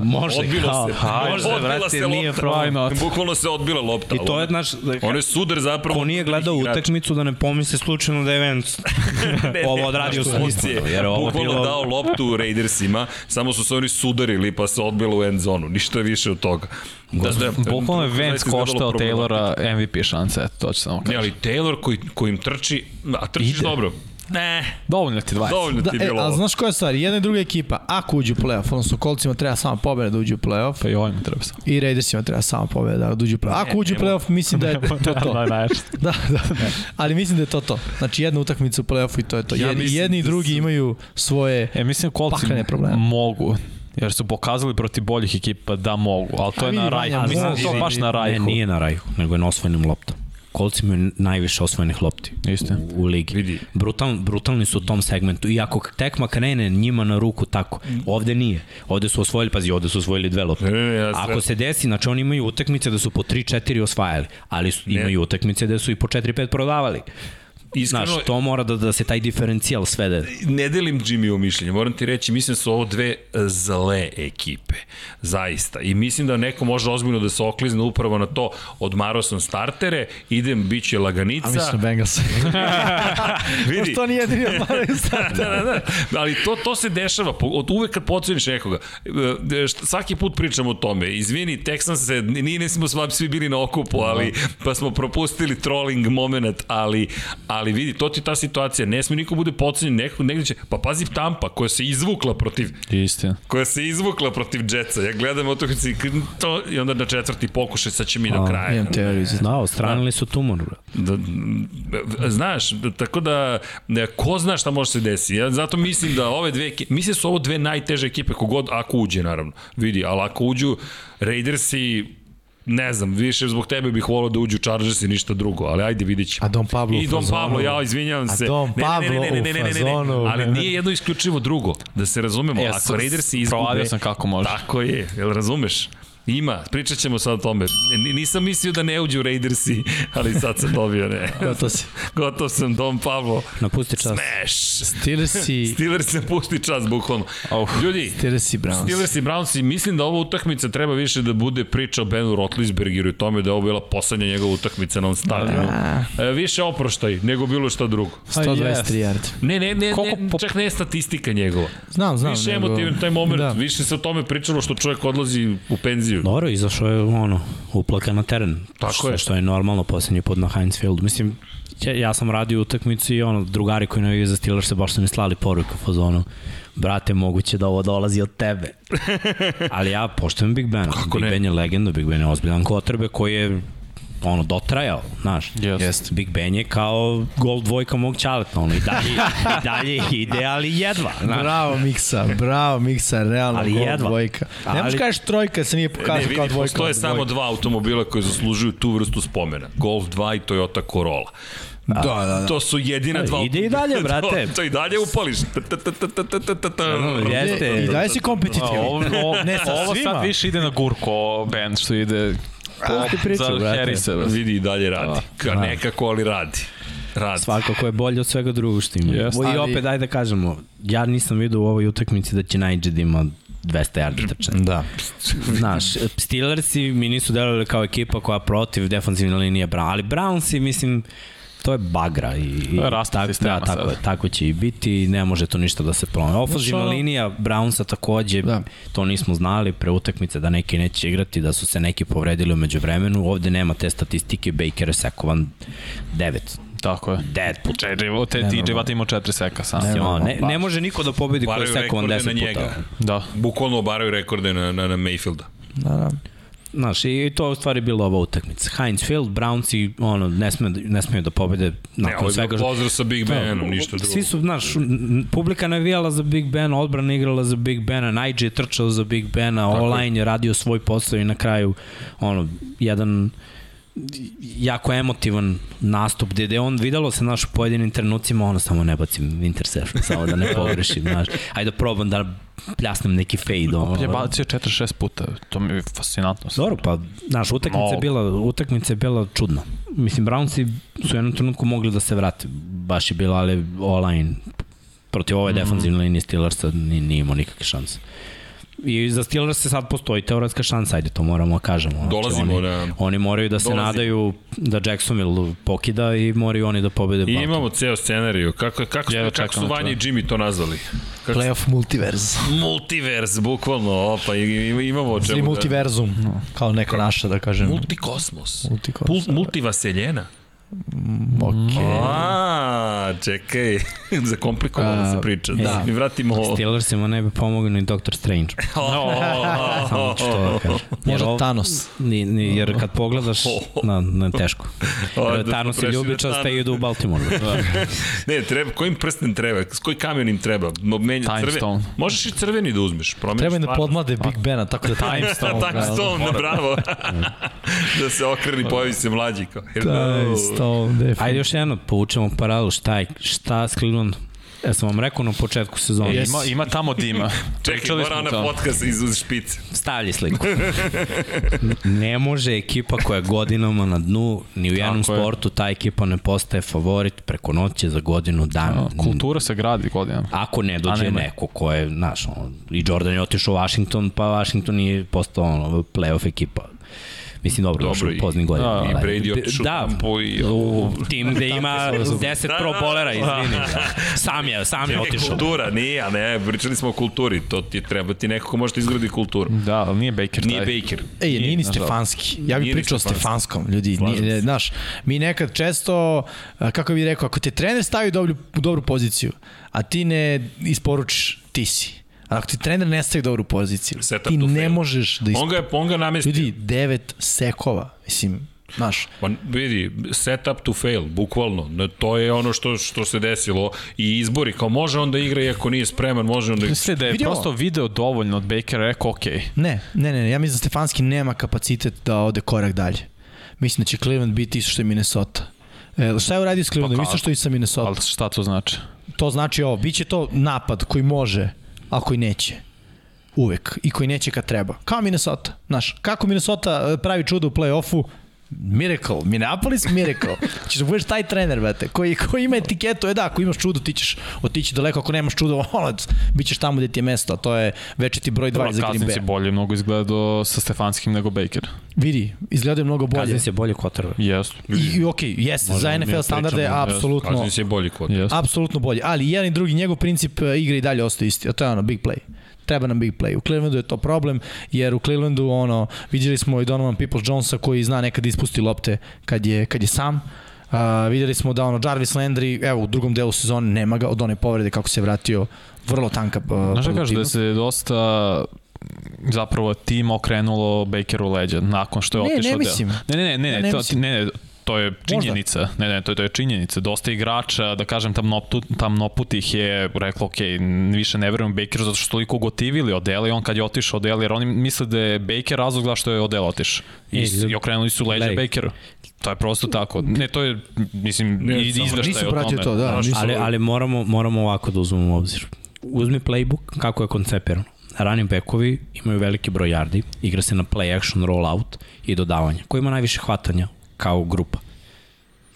[SPEAKER 2] Može,
[SPEAKER 1] Odbilo
[SPEAKER 2] kao,
[SPEAKER 1] se.
[SPEAKER 2] Može,
[SPEAKER 1] Odbila
[SPEAKER 2] brate,
[SPEAKER 1] se
[SPEAKER 2] nije
[SPEAKER 1] lopta.
[SPEAKER 2] problem.
[SPEAKER 3] Why not?
[SPEAKER 1] Bukvalno se odbila lopta.
[SPEAKER 2] I to je,
[SPEAKER 1] Ono-
[SPEAKER 2] znaš, da
[SPEAKER 1] Ono je sudar zapravo.
[SPEAKER 2] ko nije gledao
[SPEAKER 1] igrača.
[SPEAKER 2] utakmicu da ne pomisli slučajno da je Vance ovo odradio sa
[SPEAKER 1] Emocije.
[SPEAKER 2] istom, Pa jer ovo je
[SPEAKER 1] Bukvalno
[SPEAKER 2] bilo...
[SPEAKER 1] dao loptu Raidersima, samo su se oni sudarili pa se odbilo u end zonu. Ništa više od toga. Da, da,
[SPEAKER 3] Bukvalno je
[SPEAKER 1] zaista
[SPEAKER 3] Vance
[SPEAKER 1] izgledalo
[SPEAKER 3] koštao
[SPEAKER 1] problematično.
[SPEAKER 3] Taylora MVP šanse, eto, to ću samo
[SPEAKER 1] Ne,
[SPEAKER 3] kažem.
[SPEAKER 1] ali Taylor koji, kojim trči, a trčiš
[SPEAKER 3] Ide. Pa,
[SPEAKER 1] dobro. Ne,
[SPEAKER 3] Dovoljno ti 20.
[SPEAKER 1] dovoljno
[SPEAKER 4] Da,
[SPEAKER 1] ti je
[SPEAKER 4] e,
[SPEAKER 1] bilo
[SPEAKER 4] a
[SPEAKER 1] ovo.
[SPEAKER 4] znaš koja je stvar? Jedna i druga ekipa, ako uđu u playoff, odnosno kolcima treba samo pobjeda da uđu u playoff,
[SPEAKER 3] Pa i ovim treba samo.
[SPEAKER 4] i Raidersima treba samo pobjeda da uđu u playoff.
[SPEAKER 1] E,
[SPEAKER 4] Ako uđu u playoff, mislim da je to to.
[SPEAKER 3] da, da,
[SPEAKER 4] Da, da. Ali mislim da je to to. Znači jedna utakmica u play-offu i to je to.
[SPEAKER 1] Ja
[SPEAKER 4] Jer i
[SPEAKER 1] mislim
[SPEAKER 4] jedni i
[SPEAKER 1] da
[SPEAKER 4] drugi
[SPEAKER 1] su-
[SPEAKER 4] imaju svoje...
[SPEAKER 3] E, mislim kolci
[SPEAKER 4] Paklene probleme.
[SPEAKER 3] mogu, jer su pokazali protiv boljih ekipa da mogu, ali to
[SPEAKER 4] A
[SPEAKER 3] je
[SPEAKER 4] vidi,
[SPEAKER 3] na
[SPEAKER 4] Vanja,
[SPEAKER 3] rajku. Mislim da je to
[SPEAKER 4] mogu.
[SPEAKER 3] baš na
[SPEAKER 2] Ne,
[SPEAKER 3] rajku.
[SPEAKER 2] nije na rajku, nego je na osvojenim loptom. Kolci imaju najviše osvojenih lopti
[SPEAKER 3] Isto.
[SPEAKER 2] u, u ligi.
[SPEAKER 1] Vidi.
[SPEAKER 2] Brutal, brutalni su u tom segmentu. I ako tekma krene njima na ruku tako, ovde nije. Ovde su osvojili, pazi, ovde su osvojili dve lopte.
[SPEAKER 1] Ne, ne, ne, ja sve-
[SPEAKER 2] Ako se desi, znači oni imaju utakmice da su po 3-4 osvajali, ali su, imaju utakmice da su i po 4-5 prodavali.
[SPEAKER 1] Iskreno,
[SPEAKER 2] Znaš, to mora da, da se taj diferencijal svede.
[SPEAKER 1] ne delim Jimmy u mišljenju, moram ti reći, mislim da su ovo dve e, zle ekipe, zaista. I mislim da neko može ozbiljno da se oklizne upravo na to, odmarao sam startere, idem, bit će laganica.
[SPEAKER 4] A mislim da- Bengals.
[SPEAKER 1] vidi,
[SPEAKER 4] to nije jedini odmaraju
[SPEAKER 1] da, da, da. Ali to, to se dešava. Po- Od uvek kad podceniš nekoga, e, šta- svaki put pričamo o tome. Izvini, Texans se, ni ne smo sva svi bili na okupu, ali, pa smo propustili trolling moment, ali, ali vidi, to ti je ta situacija. Ne sme niko bude podcenjen, neko, negde će, pa pazi Tampa koja se izvukla protiv
[SPEAKER 3] Istina.
[SPEAKER 1] koja se izvukla protiv Jetsa. Ja gledam utakmicu i k- to i onda na četvrti pokušaj sad će mi do kraja.
[SPEAKER 4] Imam teoriju za to.
[SPEAKER 2] Da, ostranili su tumor. bro.
[SPEAKER 1] Da, m, znaš, da, tako da ne, ko zna šta može se desiti. Ja zato mislim da ove dve ekipe, mislim da su ovo dve najteže ekipe kogod ako uđe naravno. Vidi, ali ako uđu Raidersi ne znam, više zbog tebe bih volao da uđu Chargersi ništa drugo, ali ajde vidit ćemo.
[SPEAKER 4] A Don Pablo
[SPEAKER 1] I
[SPEAKER 4] u
[SPEAKER 1] Don
[SPEAKER 4] fazonu.
[SPEAKER 1] Pablo, ja izvinjavam
[SPEAKER 4] A
[SPEAKER 1] se.
[SPEAKER 4] Don
[SPEAKER 1] Ne, ne, ne, ne, ne,
[SPEAKER 4] Pablo u
[SPEAKER 1] ne, ne, ne, ne, ne,
[SPEAKER 4] fazonu.
[SPEAKER 1] ali nije jedno isključivo drugo, da se razumemo.
[SPEAKER 3] E, ja
[SPEAKER 1] Ako
[SPEAKER 3] sam-
[SPEAKER 1] Raidersi izgube... Da.
[SPEAKER 3] provalio sam kako može.
[SPEAKER 1] Tako je, jel razumeš? Ima, pričat ćemo sad o tome. N- Nisam mislio da ne uđu Raidersi, ali sad sam dobio, ne.
[SPEAKER 4] Gotov si.
[SPEAKER 1] Gotov sam, Don Pablo.
[SPEAKER 2] Napusti čas.
[SPEAKER 1] Smash!
[SPEAKER 4] Steelers i...
[SPEAKER 1] Steelers se pusti čas, bukvalno. Ljudi,
[SPEAKER 4] Steelers i Browns.
[SPEAKER 1] Steelers i Browns i mislim da ova utakmica treba više da bude priča o Benu Rotlisbergeru i tome da je ovo bila poslednja njegova utakmica na ovom stadionu. E, više oproštaj nego bilo šta drugo.
[SPEAKER 4] 123 yard.
[SPEAKER 1] Ne, ne, ne,
[SPEAKER 3] Koliko
[SPEAKER 1] ne
[SPEAKER 3] po-
[SPEAKER 1] čak ne statistika njegova.
[SPEAKER 4] Znam, znam.
[SPEAKER 1] Više
[SPEAKER 4] nego-
[SPEAKER 1] emotivan taj moment,
[SPEAKER 4] Da.
[SPEAKER 1] više se o tome pričalo što čovjek odlazi u penziju.
[SPEAKER 2] Dobro, izašao je ono, uplakan na teren.
[SPEAKER 1] Tako
[SPEAKER 2] što,
[SPEAKER 1] je.
[SPEAKER 2] Što je normalno posljednji put na Heinz Fieldu. Mislim, ja, ja sam radio utakmicu i ono, drugari koji navijaju za Steelers se baš su mi slali poruku u fazonu. Brate, moguće da ovo dolazi od tebe. Ali ja poštujem Big Ben. Big
[SPEAKER 1] ne?
[SPEAKER 2] Ben je legenda, Big Ben je ozbiljan kotrbe koji je ono, dotrajao, znaš.
[SPEAKER 3] Jeste.
[SPEAKER 2] Jest. Big Ben je kao gol dvojka mog čaleta, ono, i dalje, i dalje ide, ali jedva,
[SPEAKER 1] Da,
[SPEAKER 2] znaš.
[SPEAKER 4] Bravo Miksa, bravo Miksa, realno
[SPEAKER 2] Ali
[SPEAKER 4] ali gol
[SPEAKER 2] jedva.
[SPEAKER 4] dvojka. Ne možeš
[SPEAKER 2] Ali-
[SPEAKER 4] kažeš trojka se nije
[SPEAKER 1] Ne,
[SPEAKER 4] pokazao
[SPEAKER 1] vidi,
[SPEAKER 4] kao dvojka.
[SPEAKER 1] postoje
[SPEAKER 4] od
[SPEAKER 1] samo
[SPEAKER 4] dvojke.
[SPEAKER 1] dva automobila koji zaslužuju tu vrstu spomena. Golf 2 i Toyota Corolla.
[SPEAKER 4] Da, da, da.
[SPEAKER 1] To su jedina
[SPEAKER 2] Ali
[SPEAKER 1] dva...
[SPEAKER 2] ide i dalje,
[SPEAKER 1] To-
[SPEAKER 2] brate.
[SPEAKER 1] to, i dalje upališ. Ta, ta, ta, ta, ta, ta, ta, ta, ta.
[SPEAKER 4] I dalje si kompetitivni.
[SPEAKER 3] E, Ovo, ovo,
[SPEAKER 4] Ne, sa
[SPEAKER 3] ovo
[SPEAKER 4] svima.
[SPEAKER 3] sad više ide na gurku, ovo band što ide
[SPEAKER 4] Ovo ti pričam,
[SPEAKER 3] za
[SPEAKER 4] brate.
[SPEAKER 3] Harrisa. brate.
[SPEAKER 1] Vidi i dalje radi. Ka nekako, ali radi. Radi.
[SPEAKER 2] Svakako je bolje od svega drugog što ima.
[SPEAKER 3] Jeste.
[SPEAKER 2] I
[SPEAKER 4] Ali-
[SPEAKER 2] opet, daj da kažemo, ja nisam vidio u ovoj utakmici da će Najđe da ima 200 yardi trčanja.
[SPEAKER 4] Da.
[SPEAKER 2] Znaš, Steelersi mi nisu delovali kao ekipa koja protiv defanzivne linije Brown, ali Brownsi, mislim, to je bagra i, i
[SPEAKER 3] To je raspad sistema
[SPEAKER 2] da, tako,
[SPEAKER 3] sad.
[SPEAKER 2] je, tako će i biti i ne može tu ništa da se promene. Ofanzivna linija Brownsa takođe,
[SPEAKER 4] Da.
[SPEAKER 2] da. to nismo znali pre utakmice da neki neće igrati, da su se neki povredili umeđu vremenu. Ovde nema te statistike, Baker je sekovan 9
[SPEAKER 3] Tako je.
[SPEAKER 2] Deadpool.
[SPEAKER 3] Jerry, te TJ Vata imao četiri seka sam.
[SPEAKER 2] Ono, ne, ne može niko da pobedi koji
[SPEAKER 1] Varaju
[SPEAKER 2] stekom
[SPEAKER 1] rekorde
[SPEAKER 2] 10
[SPEAKER 1] na
[SPEAKER 2] puta.
[SPEAKER 1] njega.
[SPEAKER 3] Da.
[SPEAKER 1] Bukvalno obaraju rekorde na, na, na Mayfielda.
[SPEAKER 4] Da, da.
[SPEAKER 2] Znaš, i to je u stvari bila ova utakmica. Heinz Field, Browns i ono, ne, sme, ne smeju da pobede
[SPEAKER 1] Ne,
[SPEAKER 2] nakon
[SPEAKER 1] ovo
[SPEAKER 2] ne,
[SPEAKER 1] je bio
[SPEAKER 2] svega.
[SPEAKER 1] pozdrav sa Big Benom, ništa drugo.
[SPEAKER 2] Svi su, znaš, n- n- publika navijala za Big Ben, odbrana igrala za Big Bena, Nigel je trčao za Big Bena, online je radio svoj posao i na kraju, ono, jedan jako emotivan nastup gde gde on videlo se naš u pojedinim trenucima ono samo ne bacim interception samo da ne pogrešim znaš ajde da probam da pljasnem neki fade ono.
[SPEAKER 3] Je bacio 4-6 puta, to mi je fascinantno.
[SPEAKER 2] Dobro, pa, znaš, utakmica je bila, utakmica je bila čudna. Mislim, Brownsi su u jednom trenutku mogli da se vrate. Baš je bila, ali online protiv ove
[SPEAKER 1] Mhm.
[SPEAKER 2] defanzivne linije Steelersa nije, nije imao nikakve šanse. I za Steelers se sad postoji teoretska šansa, ajde, to moramo da kažemo. Znači,
[SPEAKER 1] Dolazimo
[SPEAKER 2] oni,
[SPEAKER 1] na-
[SPEAKER 2] Oni moraju da se
[SPEAKER 1] Dolazimo.
[SPEAKER 2] nadaju da Jacksonville pokida i moraju oni da pobede
[SPEAKER 1] I
[SPEAKER 2] Baltimore.
[SPEAKER 1] imamo ceo scenariju. Kako, kako,
[SPEAKER 3] Jedva
[SPEAKER 1] kako, kako
[SPEAKER 3] čekam
[SPEAKER 1] su
[SPEAKER 3] na
[SPEAKER 1] Vanja i
[SPEAKER 3] to.
[SPEAKER 1] Jimmy to nazvali? Kako
[SPEAKER 4] Playoff multiverz.
[SPEAKER 1] Multivers, bukvalno, opa, i- i- imamo o čemu
[SPEAKER 4] Ili
[SPEAKER 1] da-
[SPEAKER 4] multiverzum, kao neko naše da kažem.
[SPEAKER 1] Multikosmos.
[SPEAKER 4] Multikosmos,
[SPEAKER 1] Pul-
[SPEAKER 4] da.
[SPEAKER 1] multivaseljena.
[SPEAKER 4] Okay.
[SPEAKER 1] A, čekaj, zakomplikovala se priča. Da. Mi vratimo ovo.
[SPEAKER 2] Steelersima ne bi pomogao ni Dr. Strange. Samo ću to da kažem. Jer
[SPEAKER 4] Možda
[SPEAKER 2] ovo-
[SPEAKER 4] Thanos.
[SPEAKER 2] Ni, ni, jer kad pogledaš, na, na teško.
[SPEAKER 1] O,
[SPEAKER 2] Jer
[SPEAKER 1] da
[SPEAKER 2] Thanos
[SPEAKER 1] smo
[SPEAKER 2] je
[SPEAKER 1] prešli na
[SPEAKER 2] ljubičasta
[SPEAKER 1] Thanos.
[SPEAKER 2] i idu u Baltimore. Da.
[SPEAKER 1] Ne, treba, kojim prsten treba? S koji kamen im treba? Mo- Menja
[SPEAKER 3] Time
[SPEAKER 1] crven.
[SPEAKER 3] stone.
[SPEAKER 1] Možeš i crveni da uzmeš. Promeniš
[SPEAKER 4] Treba im da
[SPEAKER 1] stvar.
[SPEAKER 4] podmlade Big Bena, tako da Time
[SPEAKER 1] Da,
[SPEAKER 4] Stone.
[SPEAKER 1] time stone, da, bravo. da se okreni, pojavi se mlađi. Kao, hello.
[SPEAKER 4] da. Time Stone, definitivno.
[SPEAKER 2] Ajde još jedno, povučemo paralelu. Šta je, šta s Cleveland? Ja sam vam rekao na početku sezone.
[SPEAKER 4] Jes.
[SPEAKER 3] Ima, ima tamo dima.
[SPEAKER 1] Čekaj,
[SPEAKER 3] Pričali
[SPEAKER 1] mora
[SPEAKER 3] smo
[SPEAKER 1] ona
[SPEAKER 3] to.
[SPEAKER 1] podcast iz, iz špice.
[SPEAKER 2] Stavlji sliku. ne može ekipa koja je godinama na dnu, ni u jednom
[SPEAKER 3] Tako je.
[SPEAKER 2] sportu, ta ekipa ne postaje favorit preko noći za godinu dana.
[SPEAKER 3] Kultura se gradi godinama.
[SPEAKER 2] Ako ne dođe
[SPEAKER 3] A nema.
[SPEAKER 2] neko ko je, znaš, ono, i Jordan je otišao u Washington, pa Washington je postao ono, playoff ekipa. Mislim, dobro,
[SPEAKER 1] Dobro,
[SPEAKER 2] dobro
[SPEAKER 1] i-
[SPEAKER 2] u poznim godinama.
[SPEAKER 1] i
[SPEAKER 2] ali-
[SPEAKER 1] Brady je otišao
[SPEAKER 2] da,
[SPEAKER 1] tamo i-
[SPEAKER 2] u tim gde ima 10
[SPEAKER 1] Da,
[SPEAKER 2] pro
[SPEAKER 1] da,
[SPEAKER 2] bolera,
[SPEAKER 1] da.
[SPEAKER 2] izvini. da. Sam je, sam je
[SPEAKER 1] Čekaj,
[SPEAKER 2] otišao.
[SPEAKER 1] kultura, nije, a ne, pričali smo o kulturi, to ti je treba ti neko ko može da izgradi kulturu.
[SPEAKER 3] Da, ali nije Baker
[SPEAKER 1] Nije
[SPEAKER 3] taj.
[SPEAKER 1] Baker.
[SPEAKER 4] Ej, nije, ni
[SPEAKER 3] nažalost.
[SPEAKER 4] Stefanski. Ja bih
[SPEAKER 1] Nije ni
[SPEAKER 4] pričao o
[SPEAKER 1] Stefanski.
[SPEAKER 4] Stefanskom, ljudi. Nije, ne, znaš, mi nekad često, a, kako bih rekao, ako te trener stavi u dobru, u dobru poziciju, a ti ne isporučiš, ti si. A ako ti trener ne stavi u dobru poziciju,
[SPEAKER 1] Setup
[SPEAKER 4] ti
[SPEAKER 1] to
[SPEAKER 4] ne
[SPEAKER 1] fail.
[SPEAKER 4] možeš da
[SPEAKER 1] On
[SPEAKER 4] isporučiš.
[SPEAKER 1] ga je, on ga namestio.
[SPEAKER 4] Ljudi, devet sekova, mislim, znaš,
[SPEAKER 1] Pa vidi, set up to fail, bukvalno. Na- To je ono što, što se desilo. I izbori, kao može on da igra i ako nije spreman, može on da igra.
[SPEAKER 3] Mislim da je
[SPEAKER 4] Vidimo.
[SPEAKER 3] prosto video dovoljno od Bakera, rekao okej.
[SPEAKER 4] Ne, ne, ne, ne, ja mislim da Stefanski nema kapacitet da ode korak dalje. Mislim da će Cleveland biti isto što je Minnesota. E, šta je uradio s Clevelandom?
[SPEAKER 3] Pa
[SPEAKER 4] Pa
[SPEAKER 3] kako?
[SPEAKER 4] isto što i sa Minnesota.
[SPEAKER 3] Ali šta to znači?
[SPEAKER 4] To znači ovo, bit će to napad koji može, a koji neće. Uvek. I koji neće kad treba. Kao Minnesota. Znaš, kako Minnesota e, pravi čudo u play-offu, Miracle, Minneapolis Miracle. Ćeš da budeš taj trener, brate, koji, koji ima etiketu, e da, ako imaš čudo, ti ćeš otići daleko, ako nemaš čudo, ono, bit ćeš tamo gde ti je mesto, a to je večeti broj 2
[SPEAKER 3] Dobro,
[SPEAKER 4] za Green
[SPEAKER 3] Kaznic
[SPEAKER 4] Bay.
[SPEAKER 3] je bolje mnogo izgledao sa Stefanskim nego Baker.
[SPEAKER 4] Vidi, izgledaju mnogo bolje.
[SPEAKER 2] Kazin se bolje kotrve.
[SPEAKER 3] Jesu.
[SPEAKER 4] I, i okej, okay, jeste, za NFL standarde
[SPEAKER 3] pričamo,
[SPEAKER 4] apsolutno,
[SPEAKER 1] Kažem se je bolji kod.
[SPEAKER 3] Jesu.
[SPEAKER 4] apsolutno bolje, ali i jedan i drugi, njegov princip e, igre i dalje ostaje isti, a to je ono, big play. Treba nam big play. U Clevelandu je to problem, jer u Clevelandu, ono, vidjeli smo i Donovan Peoples Jonesa koji zna nekad da ispusti lopte kad je, kad je sam, Uh, videli smo da ono Jarvis Landry, evo u drugom delu sezone nema ga od one povrede kako se vratio, vrlo tanka uh,
[SPEAKER 3] Znaš da kažu da
[SPEAKER 4] produktivnost.
[SPEAKER 3] se dosta zapravo tim okrenulo Bakeru leđa nakon što je
[SPEAKER 4] Ne,
[SPEAKER 3] otišao
[SPEAKER 4] ne
[SPEAKER 3] deo.
[SPEAKER 4] mislim.
[SPEAKER 3] Ne, ne, ne, ne,
[SPEAKER 4] Ja
[SPEAKER 3] ne,
[SPEAKER 4] ne
[SPEAKER 3] to,
[SPEAKER 4] mislim.
[SPEAKER 3] ne, ne, to je činjenica. Ne, ne, to je, to je činjenica. Dosta igrača, da kažem, tamnoputu, tamnoputih je reklo, ok, više ne verujem Bakeru zato što su toliko gotivili Odela i on kad je otišao Odela, jer oni misle da je Baker razlog zašto je Odela otišao. I,
[SPEAKER 2] E,
[SPEAKER 3] s- I okrenuli su leđa
[SPEAKER 2] gledaj.
[SPEAKER 3] Bakeru. To je prosto tako. Ne, to je, mislim,
[SPEAKER 1] Ne,
[SPEAKER 3] ne,
[SPEAKER 1] samo-
[SPEAKER 3] izveštaj
[SPEAKER 4] Nisam
[SPEAKER 3] o
[SPEAKER 4] pratio
[SPEAKER 3] tome.
[SPEAKER 4] to, da.
[SPEAKER 1] Znaš,
[SPEAKER 4] Nisam,
[SPEAKER 2] Ali, ali moramo, moramo ovako da uzmemo u obzir. Uzmi playbook kako je koncepirano. Ranim bekovi imaju veliki broj yardi, igra se na play action, roll out i dodavanje. Ko ima najviše hvatanja kao grupa?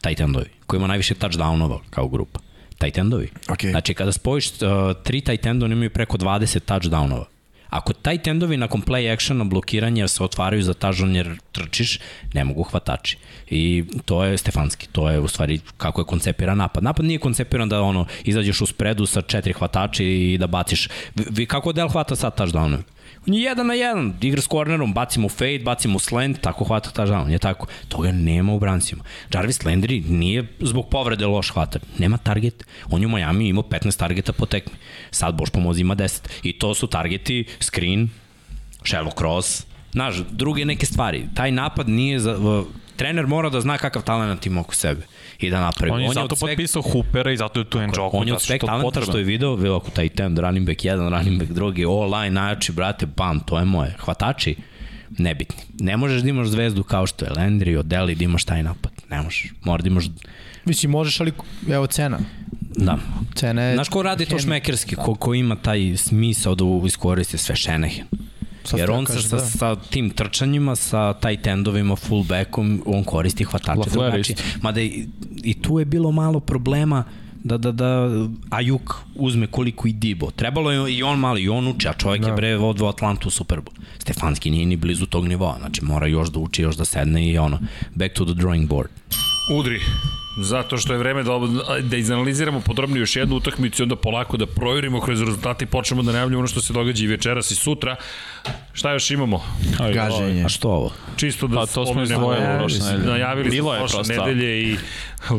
[SPEAKER 2] Tight endovi. Ko ima najviše touchdownova kao grupa? Tight endovi.
[SPEAKER 4] Okej.
[SPEAKER 2] Znači kada spojiš uh, tri tight enda, oni imaju preko 20 touchdownova. Ako tight endovi nakon play actiona blokiranja se otvaraju za touchdown jer trčiš, ne mogu hvatači. I to je Stefanski, to je u stvari kako je koncepiran napad. Napad nije koncepiran da ono izađeš u spredu sa četiri hvatači i da baciš. Vi, vi- kako Del hvata sad touchdownove? On je jedan na jedan, igra s kornerom, bacimo fade, bacimo slant, tako hvata ta žalon, je tako. Toga nema u brancima. Jarvis Landry nije zbog povrede loš hvata, nema target. On je u Miami imao 15 targeta po tekmi. Sad Boš pomozi ima 10. I to su targeti, screen, shallow cross, znaš, druge neke stvari. Taj napad nije za... v- Trener mora da zna kakav talent ima oko sebe i da napravi.
[SPEAKER 3] On je
[SPEAKER 2] od
[SPEAKER 3] zato
[SPEAKER 2] svega-
[SPEAKER 3] potpisao Hoopera i zato je tu Njoku.
[SPEAKER 2] on je od sveg talenta što je video, veo ako taj ten, running back 1, running back 2, all-line, najjači, brate, bam, to je moje. Hvatači, nebitni. Ne možeš da imaš zvezdu kao što je Landry, Odeli, da imaš taj napad. Ne možeš. Mora da imaš...
[SPEAKER 4] Mislim, možeš, ali evo cena.
[SPEAKER 2] Da.
[SPEAKER 4] Cena je...
[SPEAKER 2] Znaš ko radi to
[SPEAKER 4] Hen-
[SPEAKER 2] šmekerski, ko, ko ima taj smisao da iskoristi sve Šenehen.
[SPEAKER 4] Sad
[SPEAKER 2] Jer
[SPEAKER 4] to
[SPEAKER 2] on sa,
[SPEAKER 4] kažeš,
[SPEAKER 2] sa,
[SPEAKER 4] da.
[SPEAKER 2] sa tim trčanjima, sa taj tendovima, fullbackom, on koristi hvatače
[SPEAKER 3] Lafleur
[SPEAKER 2] drugačije. Mada i, i tu je bilo malo problema da, da, da Ajuk uzme koliko i Dibo. Trebalo je i on malo, i on uči, a čovjek da. je bre odveo Atlantu u Super Bowl. Stefanski nije ni blizu tog nivoa, znači mora još da uči, još da sedne i ono, back to the drawing board.
[SPEAKER 1] Udri. Zato što je vreme da, ob- da izanaliziramo podrobno još jednu utakmicu i onda polako da proverimo kroz rezultate i počnemo da najavljamo ono što se događa i večeras i sutra. Šta još imamo?
[SPEAKER 4] Gaženje.
[SPEAKER 2] A što ovo?
[SPEAKER 1] Čisto da
[SPEAKER 3] Pa, to smo
[SPEAKER 1] spomenemo. Najavili
[SPEAKER 3] izdvojili prošle
[SPEAKER 1] smo-
[SPEAKER 3] nedelje.
[SPEAKER 1] Najavili
[SPEAKER 3] Bilo
[SPEAKER 1] smo
[SPEAKER 3] je
[SPEAKER 1] prošle
[SPEAKER 3] prosto.
[SPEAKER 1] nedelje i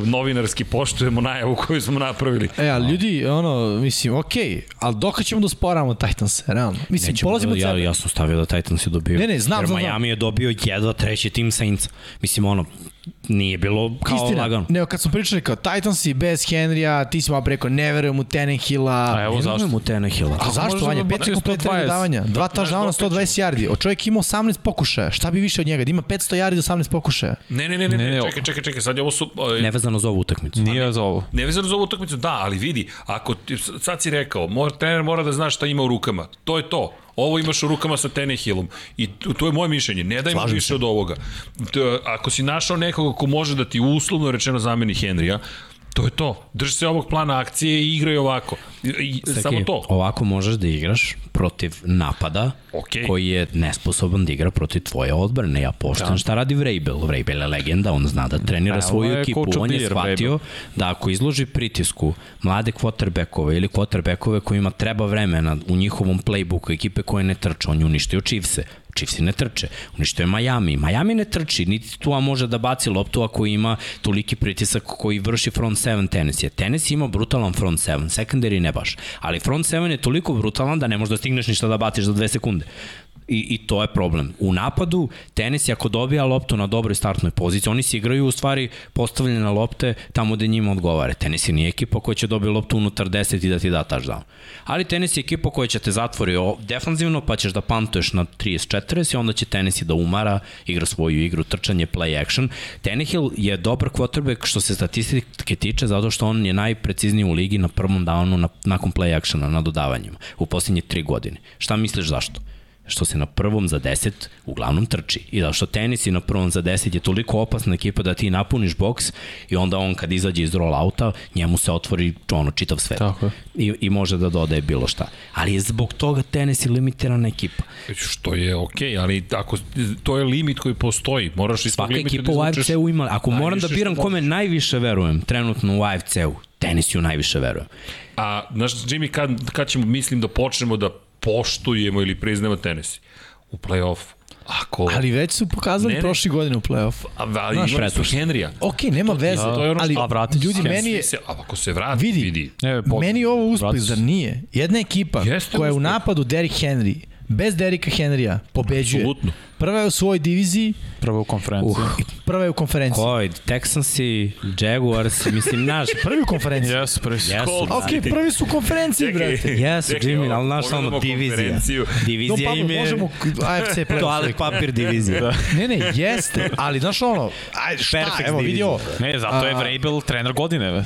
[SPEAKER 1] novinarski poštujemo najavu koju smo napravili.
[SPEAKER 4] E, ali ljudi, ono, mislim, okej, ali dok ćemo da sporavamo Titans, realno. Mislim,
[SPEAKER 2] Nećemo
[SPEAKER 4] polazimo od
[SPEAKER 2] da, ja,
[SPEAKER 4] sebe.
[SPEAKER 2] ja sam stavio da Titans je dobio.
[SPEAKER 4] Ne, ne, znam,
[SPEAKER 2] Jer
[SPEAKER 4] znam, znam.
[SPEAKER 2] Miami je dobio jedva treći tim Saints. Mislim, ono, nije bilo kao
[SPEAKER 4] Istina,
[SPEAKER 2] lagano.
[SPEAKER 4] ne, kad smo pričali kao Titans i bez Henrya, ti si malo preko ne verujem u Tannehilla.
[SPEAKER 3] A evo
[SPEAKER 2] Ne
[SPEAKER 3] zašto.
[SPEAKER 2] verujem u Tenehila.
[SPEAKER 4] A zašto
[SPEAKER 3] možda
[SPEAKER 4] Vanja?
[SPEAKER 3] bi
[SPEAKER 4] Pet
[SPEAKER 3] bacio
[SPEAKER 4] kompleta
[SPEAKER 3] 120.
[SPEAKER 4] davanja. Dva taždana, 120 yardi. O čovjek ima 18 pokušaja. Šta bi više od njega? Da ima 500 yardi, 18 pokušaja.
[SPEAKER 1] Ne, ne, ne, ne,
[SPEAKER 3] Ne,
[SPEAKER 1] ne,
[SPEAKER 3] ne,
[SPEAKER 1] čekaj, čekaj, čekaj, sad je ovo su... e,
[SPEAKER 2] Nevezano za ovu utakmicu.
[SPEAKER 3] Nije za ovo.
[SPEAKER 1] Nevezano za ovu utakmicu, da, ali vidi, ako ti, sad si rekao, mor, trener mora da zna šta ima u rukama. To je to. Ovo imaš u rukama sa Tenehillom. I to- to je moje mišljenje. Ne daj mu više od ovoga. To, ako si našao nekoga ko može da ti uslovno rečeno zameni Henrya, to je to. Drži se ovog plana akcije i igraj ovako. I, i, samo
[SPEAKER 2] Saki,
[SPEAKER 1] to.
[SPEAKER 2] Ovako možeš da igraš protiv napada
[SPEAKER 1] Okej.
[SPEAKER 2] koji je nesposoban da igra protiv tvoje odbrane. Ja poštam šta radi Vrabel. Vrabel je legenda, on zna da trenira
[SPEAKER 3] A,
[SPEAKER 2] svoju
[SPEAKER 3] ovo je
[SPEAKER 2] ekipu.
[SPEAKER 3] coach of
[SPEAKER 2] On
[SPEAKER 3] the
[SPEAKER 2] je
[SPEAKER 3] year
[SPEAKER 2] shvatio da ako izloži pritisku mlade quarterbackove ili quarterbackove kojima treba vremena u njihovom playbooku ekipe koje ne trče, on je uništio Chiefse. Chiefsi ne trče, uništio je Miami. Miami ne trči, niti Tua može da baci loptu ako ima toliki pritisak koji vrši front 7 Tennessee. Tennessee ima brutalan front 7, secondary ne baš, ali front 7 je toliko brutalan da ne možeš da stigneš ništa da baciš za 2 sekunde. I, I to je problem. U napadu, tenis ako dobija loptu na dobroj startnoj poziciji, oni se igraju u stvari postavljene lopte tamo gde njima odgovare. Tenis je nije ekipa koja će dobiti loptu unutar 10 i da ti da touchdown. Ali tenis je ekipa koja će te zatvori o- defanzivno, pa ćeš da pantuješ na 30-40 i onda će tenis da umara, igra svoju igru, trčanje, play action. Tenehill je dobar quarterback što se statistike tiče zato što on je najprecizniji u ligi na prvom downu na, nakon play actiona, na dodavanjima, u posljednje tri godine. Šta misliš zašto? što se na prvom za 10 uglavnom trči. I da što tenis i na prvom za 10 je toliko opasna ekipa da ti napuniš boks i onda on kad izađe iz rollouta, njemu se otvori ono čitav svet.
[SPEAKER 3] Tako je.
[SPEAKER 2] I, I može da dodaje bilo šta. Ali je zbog toga tenis i limitirana ekipa.
[SPEAKER 1] Što je okej, okay, ali ako, to je limit koji postoji. Moraš iz tog
[SPEAKER 2] Svaka
[SPEAKER 1] limita
[SPEAKER 2] ekipa
[SPEAKER 1] da
[SPEAKER 2] u
[SPEAKER 1] izvučeš-
[SPEAKER 2] AFC-u ima, ako moram da
[SPEAKER 1] najviše
[SPEAKER 2] biram
[SPEAKER 1] što
[SPEAKER 2] kome najviše verujem trenutno u AFC-u, tenisi u najviše verujem.
[SPEAKER 1] A, znaš, Jimmy, kad, kad ćemo, mislim, da počnemo da poštujemo ili priznamo tenis? U play-offu. Ako...
[SPEAKER 4] Ali već su pokazali
[SPEAKER 1] Ne, ne.
[SPEAKER 4] prošle godine u play-offu.
[SPEAKER 1] a, ali
[SPEAKER 2] Znaš,
[SPEAKER 1] imali su
[SPEAKER 2] pretpošli.
[SPEAKER 1] Henrya.
[SPEAKER 4] Okej, nema veze,
[SPEAKER 1] to je ono
[SPEAKER 4] ali
[SPEAKER 1] što-
[SPEAKER 3] a vratit će se.
[SPEAKER 4] ljudi, meni je,
[SPEAKER 1] Svi Se, a ako se vrati, vidi.
[SPEAKER 4] Vidi.
[SPEAKER 1] vidi.
[SPEAKER 3] Ne, po-
[SPEAKER 4] meni je ovo uspeh,
[SPEAKER 3] vratit će
[SPEAKER 4] zar
[SPEAKER 3] se.
[SPEAKER 4] nije? Jedna ekipa
[SPEAKER 1] E, Jeste
[SPEAKER 4] koja je u
[SPEAKER 1] uspeh.
[SPEAKER 4] napadu Derrick Henry, bez Derricka Henrya, pobeđuje.
[SPEAKER 1] Apsolutno.
[SPEAKER 4] Prva je u svojoj diviziji,
[SPEAKER 3] Prvo u konferenciji.
[SPEAKER 4] i prva je u konferenciji.
[SPEAKER 2] Koji, Texansi, Jaguars, mislim, naš,
[SPEAKER 4] Prvi u konferenciji.
[SPEAKER 3] Jesu, prvi su.
[SPEAKER 2] jesu, da.
[SPEAKER 1] Cold.
[SPEAKER 4] Ok, prvi su u konferenciji, brate.
[SPEAKER 2] jesu, Jimmy, ali naš ono
[SPEAKER 1] pogledamo
[SPEAKER 2] divizija.
[SPEAKER 1] konferenciju.
[SPEAKER 4] Don
[SPEAKER 2] Divizija
[SPEAKER 4] Pablo,
[SPEAKER 2] im je...
[SPEAKER 4] pa, možemo AFC play
[SPEAKER 2] Toalet papir divizija. da.
[SPEAKER 4] Ne, ne, jeste, ali znaš ono, ajde, šta,
[SPEAKER 2] Perfect
[SPEAKER 4] evo, vidi
[SPEAKER 2] division.
[SPEAKER 4] ovo.
[SPEAKER 3] Ne, zato je Vrabel trener godine. ve.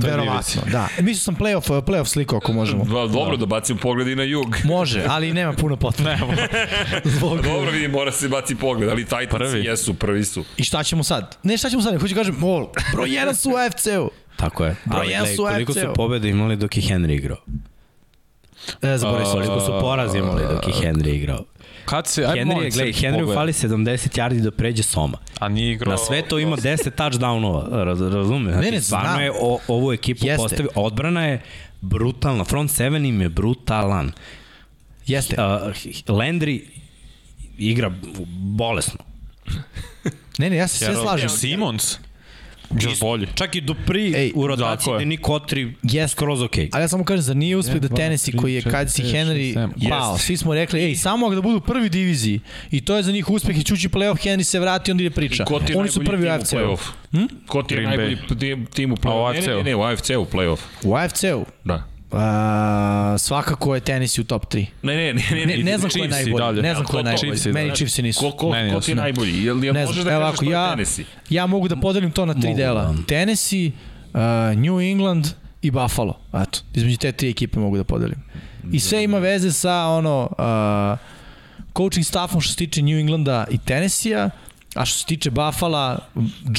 [SPEAKER 3] To je
[SPEAKER 4] Verovatno, da. Mislio sam playoff, playoff sliku ako možemo.
[SPEAKER 1] Dva, dobro da bacim pogled i na jug.
[SPEAKER 4] Može, ali nema puno potrebe. Zbog...
[SPEAKER 1] Dobro vidim, mora se baci pogled, ali Titans prvi.
[SPEAKER 3] Prvi.
[SPEAKER 1] jesu, prvi su.
[SPEAKER 4] I šta ćemo sad? Ne, šta ćemo sad? Hoću da kažem, mol, broj 1 su u AFC-u.
[SPEAKER 2] Tako je.
[SPEAKER 4] Broj
[SPEAKER 2] Ali
[SPEAKER 4] jedan
[SPEAKER 2] gledaj,
[SPEAKER 4] su
[SPEAKER 2] koliko su
[SPEAKER 4] AFC-u.
[SPEAKER 2] pobjede imali dok je Henry igrao?
[SPEAKER 4] E, zaboravio sam.
[SPEAKER 1] da.
[SPEAKER 2] Koliko su porazi imali dok je Henry igrao?
[SPEAKER 3] Kad se, ajde
[SPEAKER 2] Henry, je,
[SPEAKER 3] molim,
[SPEAKER 2] gledaj,
[SPEAKER 3] Srki,
[SPEAKER 2] Henry
[SPEAKER 3] pogledaj.
[SPEAKER 2] fali 70 yardi da pređe Soma.
[SPEAKER 3] A nije igrao...
[SPEAKER 2] Na sve to ima 10 touchdownova, raz, razume? Znači,
[SPEAKER 4] Ne, ne,
[SPEAKER 2] stvarno
[SPEAKER 4] znam.
[SPEAKER 2] je o, ovu ekipu
[SPEAKER 4] Jeste.
[SPEAKER 2] postavio. Odbrana je brutalna, front 7 im je brutalan.
[SPEAKER 4] Jeste.
[SPEAKER 2] Uh, Landry igra bolesno.
[SPEAKER 4] Ne, ne, ja se sve slažem.
[SPEAKER 3] Simons? Još bolji.
[SPEAKER 2] Čak i Dupri
[SPEAKER 4] Ej,
[SPEAKER 2] Ej, u rotaciji
[SPEAKER 3] tako je.
[SPEAKER 2] gde Niko Otri
[SPEAKER 4] Jeste.
[SPEAKER 2] skroz okej. Okay.
[SPEAKER 4] Ali ja samo kažem, za nije uspeh da
[SPEAKER 3] dva,
[SPEAKER 4] Tennessee
[SPEAKER 3] tri,
[SPEAKER 4] koji je
[SPEAKER 3] četiri,
[SPEAKER 4] kad si
[SPEAKER 3] pet, šest,
[SPEAKER 4] Henry
[SPEAKER 3] sedam.
[SPEAKER 4] pao,
[SPEAKER 3] Jeste.
[SPEAKER 4] svi smo rekli, ej, samo da budu prvi diviziji i to je za njih uspeh i čući play-off, Henry se vrati, onda ide priča.
[SPEAKER 1] Ko ti je
[SPEAKER 4] Oni su
[SPEAKER 1] najbolji
[SPEAKER 4] prvi u
[SPEAKER 1] tim u
[SPEAKER 4] AFC-u.
[SPEAKER 1] play-off? Hm? Ko ti je
[SPEAKER 3] Green
[SPEAKER 1] najbolji tim- tim u play-off?
[SPEAKER 3] A, u
[SPEAKER 1] Ne, Ne,
[SPEAKER 3] AFC-u?
[SPEAKER 1] ne, ne, u AFC-u play-off.
[SPEAKER 4] U AFC-u.
[SPEAKER 1] Da.
[SPEAKER 4] A, svakako je tenis u top 3.
[SPEAKER 1] Ne, ne, ne, ne,
[SPEAKER 4] Ne, ne znam ko je
[SPEAKER 3] Chiefs i
[SPEAKER 4] najbolji.
[SPEAKER 3] dalje.
[SPEAKER 4] Ne znam ko je
[SPEAKER 1] Ko- ko- Chiefs
[SPEAKER 4] najbolji.
[SPEAKER 1] i
[SPEAKER 4] Meni
[SPEAKER 1] dalje.
[SPEAKER 4] Chiefs i Znači, nisu.
[SPEAKER 1] Znači, Ko, ko,
[SPEAKER 3] Meni
[SPEAKER 1] ko ti je
[SPEAKER 3] jasno.
[SPEAKER 1] najbolji? Jel, jel
[SPEAKER 4] Ne
[SPEAKER 1] možeš
[SPEAKER 4] znam,
[SPEAKER 1] da
[SPEAKER 4] evo
[SPEAKER 1] kažeš
[SPEAKER 4] ovako,
[SPEAKER 1] ko je
[SPEAKER 4] ja,
[SPEAKER 1] Tennessee?
[SPEAKER 4] ja mogu da podelim to na tri
[SPEAKER 2] Mogu,
[SPEAKER 4] dela.
[SPEAKER 2] da.
[SPEAKER 4] Tennessee, uh, New England i Buffalo. Eto, između te tri ekipe mogu da podelim. I sve ima veze sa ono, uh, coaching staffom što se tiče New Englanda i Tennessee-a, a što se tiče Buffalo,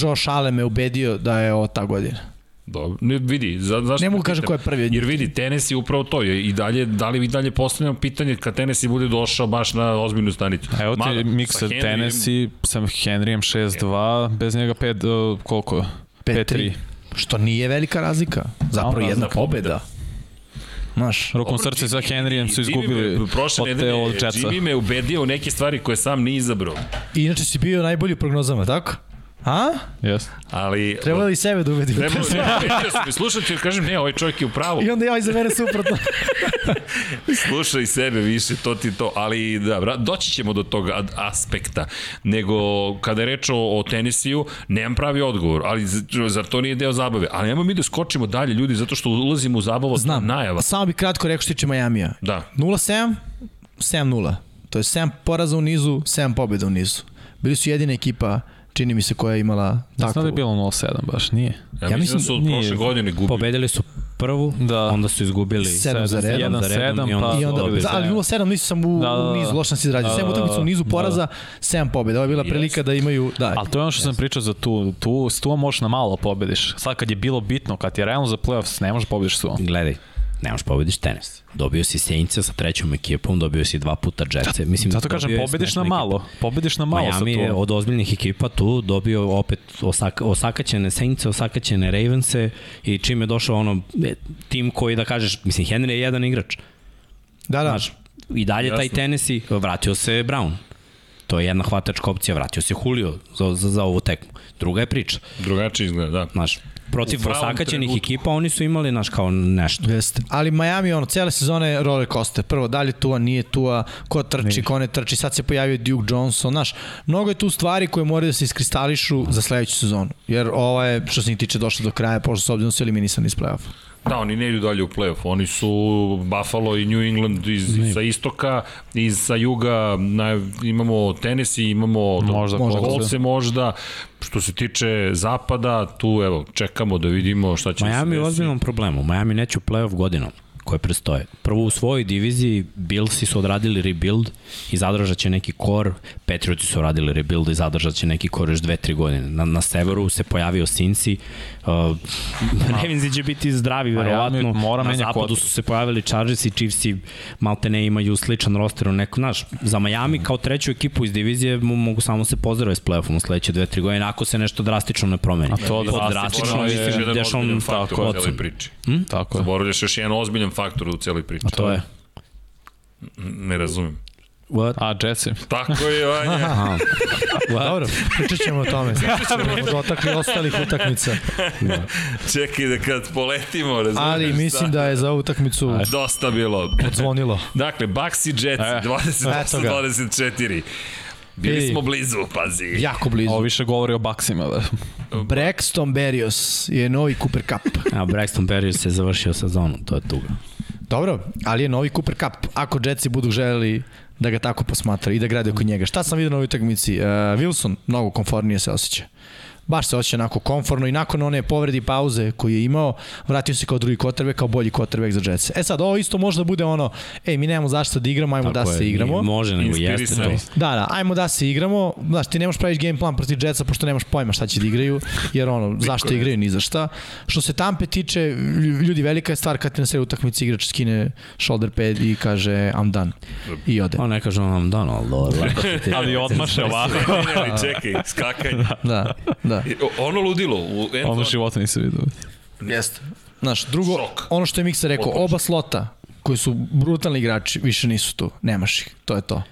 [SPEAKER 4] Josh Allen me ubedio da je ovo ta godina.
[SPEAKER 1] Dobro, ne vidi, za, zašto
[SPEAKER 4] Ne mogu
[SPEAKER 1] te
[SPEAKER 4] kažem
[SPEAKER 1] pitam?
[SPEAKER 4] ko je prvi od njih.
[SPEAKER 1] Jer vidi, tenis je upravo to je i dalje, da li vi dalje postavljamo pitanje kad tenis bude došao baš na ozbiljnu stanicu.
[SPEAKER 3] Evo ti
[SPEAKER 1] Mada,
[SPEAKER 3] miks
[SPEAKER 1] sa
[SPEAKER 3] sa
[SPEAKER 1] Henryjem-
[SPEAKER 3] Tennessee, sa Henryjem 6-2, bez njega 5, uh, koliko? 5-3.
[SPEAKER 4] Što nije velika razlika. Zapravo
[SPEAKER 3] Malo
[SPEAKER 4] jedna
[SPEAKER 1] razlika.
[SPEAKER 4] pobeda. Znaš,
[SPEAKER 3] Rukom
[SPEAKER 1] Dobro,
[SPEAKER 3] srce
[SPEAKER 1] Jimmy-
[SPEAKER 3] sa Henryjem su
[SPEAKER 1] Jimmy
[SPEAKER 3] izgubili
[SPEAKER 1] me prošle
[SPEAKER 3] od te
[SPEAKER 1] nedelje,
[SPEAKER 3] od Jetsa.
[SPEAKER 1] Jimmy me ubedio u neke stvari koje sam nije izabrao.
[SPEAKER 4] i inače si bio najbolji u prognozama, tako? A?
[SPEAKER 3] Yes.
[SPEAKER 1] Ali...
[SPEAKER 4] Trebalo li sebe da ubedim?
[SPEAKER 1] Trebalo ne, ne, sam i slušati jer kažem, ne, ovaj čovjek je u pravu.
[SPEAKER 4] I onda ja iza mene suprotno.
[SPEAKER 1] Slušaj sebe više, to ti to. Ali da, vra- doći ćemo do tog ad- aspekta. Nego, kada je reč o, o tenisiju, nemam pravi odgovor. Ali z- zar to nije deo zabave? Ali nemoj mi da skočimo dalje, ljudi, zato što ulazimo u zabavu
[SPEAKER 4] Znam,
[SPEAKER 1] najava.
[SPEAKER 4] samo bih kratko rekao što tiče Majamija.
[SPEAKER 1] Da.
[SPEAKER 4] 0-7, 7-0. To je 7 poraza u nizu, 7 pobjeda u nizu. Bili su jedina ekipa, čini mi se, koja je imala
[SPEAKER 3] Ne
[SPEAKER 4] takvu.
[SPEAKER 3] znam da je bilo 0-7 baš, nije.
[SPEAKER 1] Ja, ja mislim da su od
[SPEAKER 3] nije.
[SPEAKER 1] prošle godine gubili.
[SPEAKER 2] Pobedili su prvu,
[SPEAKER 3] Da.
[SPEAKER 2] da. onda su izgubili
[SPEAKER 4] Sedam za redom.
[SPEAKER 2] sedam za redom i onda,
[SPEAKER 3] Pa,
[SPEAKER 4] I
[SPEAKER 2] su
[SPEAKER 4] onda,
[SPEAKER 2] dobili.
[SPEAKER 3] dobili
[SPEAKER 4] da, ali
[SPEAKER 3] sedam.
[SPEAKER 4] 0-7 nisu sam u,
[SPEAKER 3] Da, da, da.
[SPEAKER 4] u nizu, lošno si izradio. 7
[SPEAKER 3] Da,
[SPEAKER 4] utakmica u nizu
[SPEAKER 3] da, da.
[SPEAKER 4] poraza, 7 pobjeda. Ovo je bila prilika da imaju... Da,
[SPEAKER 3] Ali to je ono što sam pričao za tu, tu, s tuom možeš na malo pobediš. Sad kad je bilo bitno, kad je realno za playoffs, ne možeš da pobediš s tuom.
[SPEAKER 2] Gledaj, ne možeš pobediš tenis. Dobio si Saintsa sa trećom ekipom, dobio si dva puta Jetsa. Mislim,
[SPEAKER 3] Da, Zato
[SPEAKER 2] dobio
[SPEAKER 3] kažem,
[SPEAKER 2] je
[SPEAKER 3] pobediš
[SPEAKER 2] smešna
[SPEAKER 3] na
[SPEAKER 2] ekipa.
[SPEAKER 3] malo. Pobediš na malo
[SPEAKER 2] Miami
[SPEAKER 3] sa
[SPEAKER 2] je
[SPEAKER 3] tuom.
[SPEAKER 2] od ozbiljnih ekipa tu dobio opet osaka, osakaćene Saintse, osakaćene Ravense i čim je došao ono e, tim koji da kažeš, mislim Henry je jedan igrač.
[SPEAKER 4] da, da.
[SPEAKER 2] Znaš, i dalje taj Tennessee, vratio se Brown. To je jedna hvatačka opcija, vratio se Julio za, za, za ovu tekmu. Druga je priča.
[SPEAKER 1] Drugačije izgleda, da.
[SPEAKER 2] Znaš, protiv
[SPEAKER 1] U pravom
[SPEAKER 2] osakaćenih
[SPEAKER 1] trenutku.
[SPEAKER 2] ekipa oni su imali, znaš, kao nešto.
[SPEAKER 4] Jeste. Ali Miami, ono, cele sezone roller coaster. Prvo, da li je Tua, nije Tua, ko trči, ko ne trči, sad se pojavio Duke Johnson, znaš, mnogo je tu stvari koje moraju da se iskristališu za sledeću sezonu. Jer ova je, što se njih tiče, došla do kraja, pošto s obzirom da su eliminisani iz play-offa.
[SPEAKER 1] Da, oni ne idu dalje u play-off. Oni su Buffalo i New England iz, sa istoka, iz sa juga na, imamo Tennessee, imamo
[SPEAKER 3] Možda
[SPEAKER 1] možda
[SPEAKER 3] Colts.
[SPEAKER 1] Coltse možda. Što se tiče zapada, tu evo, čekamo da vidimo šta će
[SPEAKER 2] Miami je u
[SPEAKER 1] se desiti.
[SPEAKER 2] ozbiljnom problemu. Miami neće u playoff godinom koje prestoje. Prvo u svojoj diviziji Billsi su odradili rebuild i zadržat će neki kor, Patrioti su radili rebuild i zadržat će neki kor još 2-3 godine. Na, na severu se pojavio Sinci, uh, Ravensi će biti zdravi verovatno,
[SPEAKER 3] mora
[SPEAKER 2] na
[SPEAKER 3] menja
[SPEAKER 2] zapadu
[SPEAKER 3] kvotu.
[SPEAKER 2] su se pojavili Chargers i Chiefsi, malte ne imaju sličan roster u neku, znaš, za Miami kao treću ekipu iz divizije mo- mogu samo se pozdraviti s playoffom u sledeće 2-3 godine, ako se nešto drastično ne promeni. A
[SPEAKER 3] to drastično
[SPEAKER 1] Zaboravljaš još
[SPEAKER 2] mislim,
[SPEAKER 1] jedan
[SPEAKER 2] Deshaun
[SPEAKER 1] ozbiljan faktor u
[SPEAKER 2] Watson.
[SPEAKER 1] celoj priči.
[SPEAKER 3] Tako je.
[SPEAKER 1] Zaboravljaš još jedan ozbiljan faktor u celoj priči.
[SPEAKER 2] To je.
[SPEAKER 1] Ne razumem.
[SPEAKER 2] What?
[SPEAKER 3] A, Jetsi.
[SPEAKER 1] Tako je, Vanja.
[SPEAKER 2] What?
[SPEAKER 4] Dobro, pričat ćemo o tome. Pričat dotakli ostalih utakmica.
[SPEAKER 1] Čekaj da kad poletimo, razumeš?
[SPEAKER 4] Ali mislim da je za ovu utakmicu
[SPEAKER 1] Dosta bilo.
[SPEAKER 4] odzvonilo.
[SPEAKER 1] Dakle, Bucks i Jets,
[SPEAKER 3] E,
[SPEAKER 4] eto ga.
[SPEAKER 1] 28-24. Bili
[SPEAKER 4] Ej.
[SPEAKER 1] smo blizu, pazi.
[SPEAKER 4] Jako blizu.
[SPEAKER 3] Ovo više govori o Baksima. Da.
[SPEAKER 4] Braxton Berrios je novi Cooper Cup.
[SPEAKER 2] A Braxton Berrios je završio sezonu, to je tuga.
[SPEAKER 4] Dobro, ali je novi Cooper Cup. Ako Jetsi budu želeli da ga tako posmatra i da grade oko njega. Šta sam vidio na ovoj utakmici? Uh, Wilson mnogo konfornije se osjeća. Baš se osjeća onako konforno i nakon one povredi pauze koju je imao, vratio se kao drugi kotrbek, kao bolji kotrbek za Jetsi. E sad, ovo isto možda bude ono, ej, mi nemamo zašto da igramo, ajmo da
[SPEAKER 2] Tako je,
[SPEAKER 4] se igramo.
[SPEAKER 2] nije- Može nego jeste to.
[SPEAKER 1] Inspirisani.
[SPEAKER 4] Da, da, ajmo da se igramo. Znaš, ti ne možeš praviš game plan protiv Jetsa pošto nemaš pojma šta će da igraju, jer ono, zašto igraju, ni za šta. Što se Tampe tiče, lju- ljudi, velika je stvar kad ti na sred utakmice igrač skine shoulder pad i kaže I'm done. I ode.
[SPEAKER 2] On ne kaže on vam dan, ali dobro. lako se ti-
[SPEAKER 3] Ali odmaše ovako.
[SPEAKER 1] Ne, E, ali čekaj, skakanje.
[SPEAKER 4] Da, da.
[SPEAKER 1] O- Ono ludilo. U end
[SPEAKER 3] Ono
[SPEAKER 1] zone.
[SPEAKER 3] života nisam vidio.
[SPEAKER 4] Jeste. Znaš, drugo,
[SPEAKER 1] Šok.
[SPEAKER 4] ono što je Miksa rekao, oba slota koji su brutalni igrači, više nisu tu. Nemaš ih, to je to.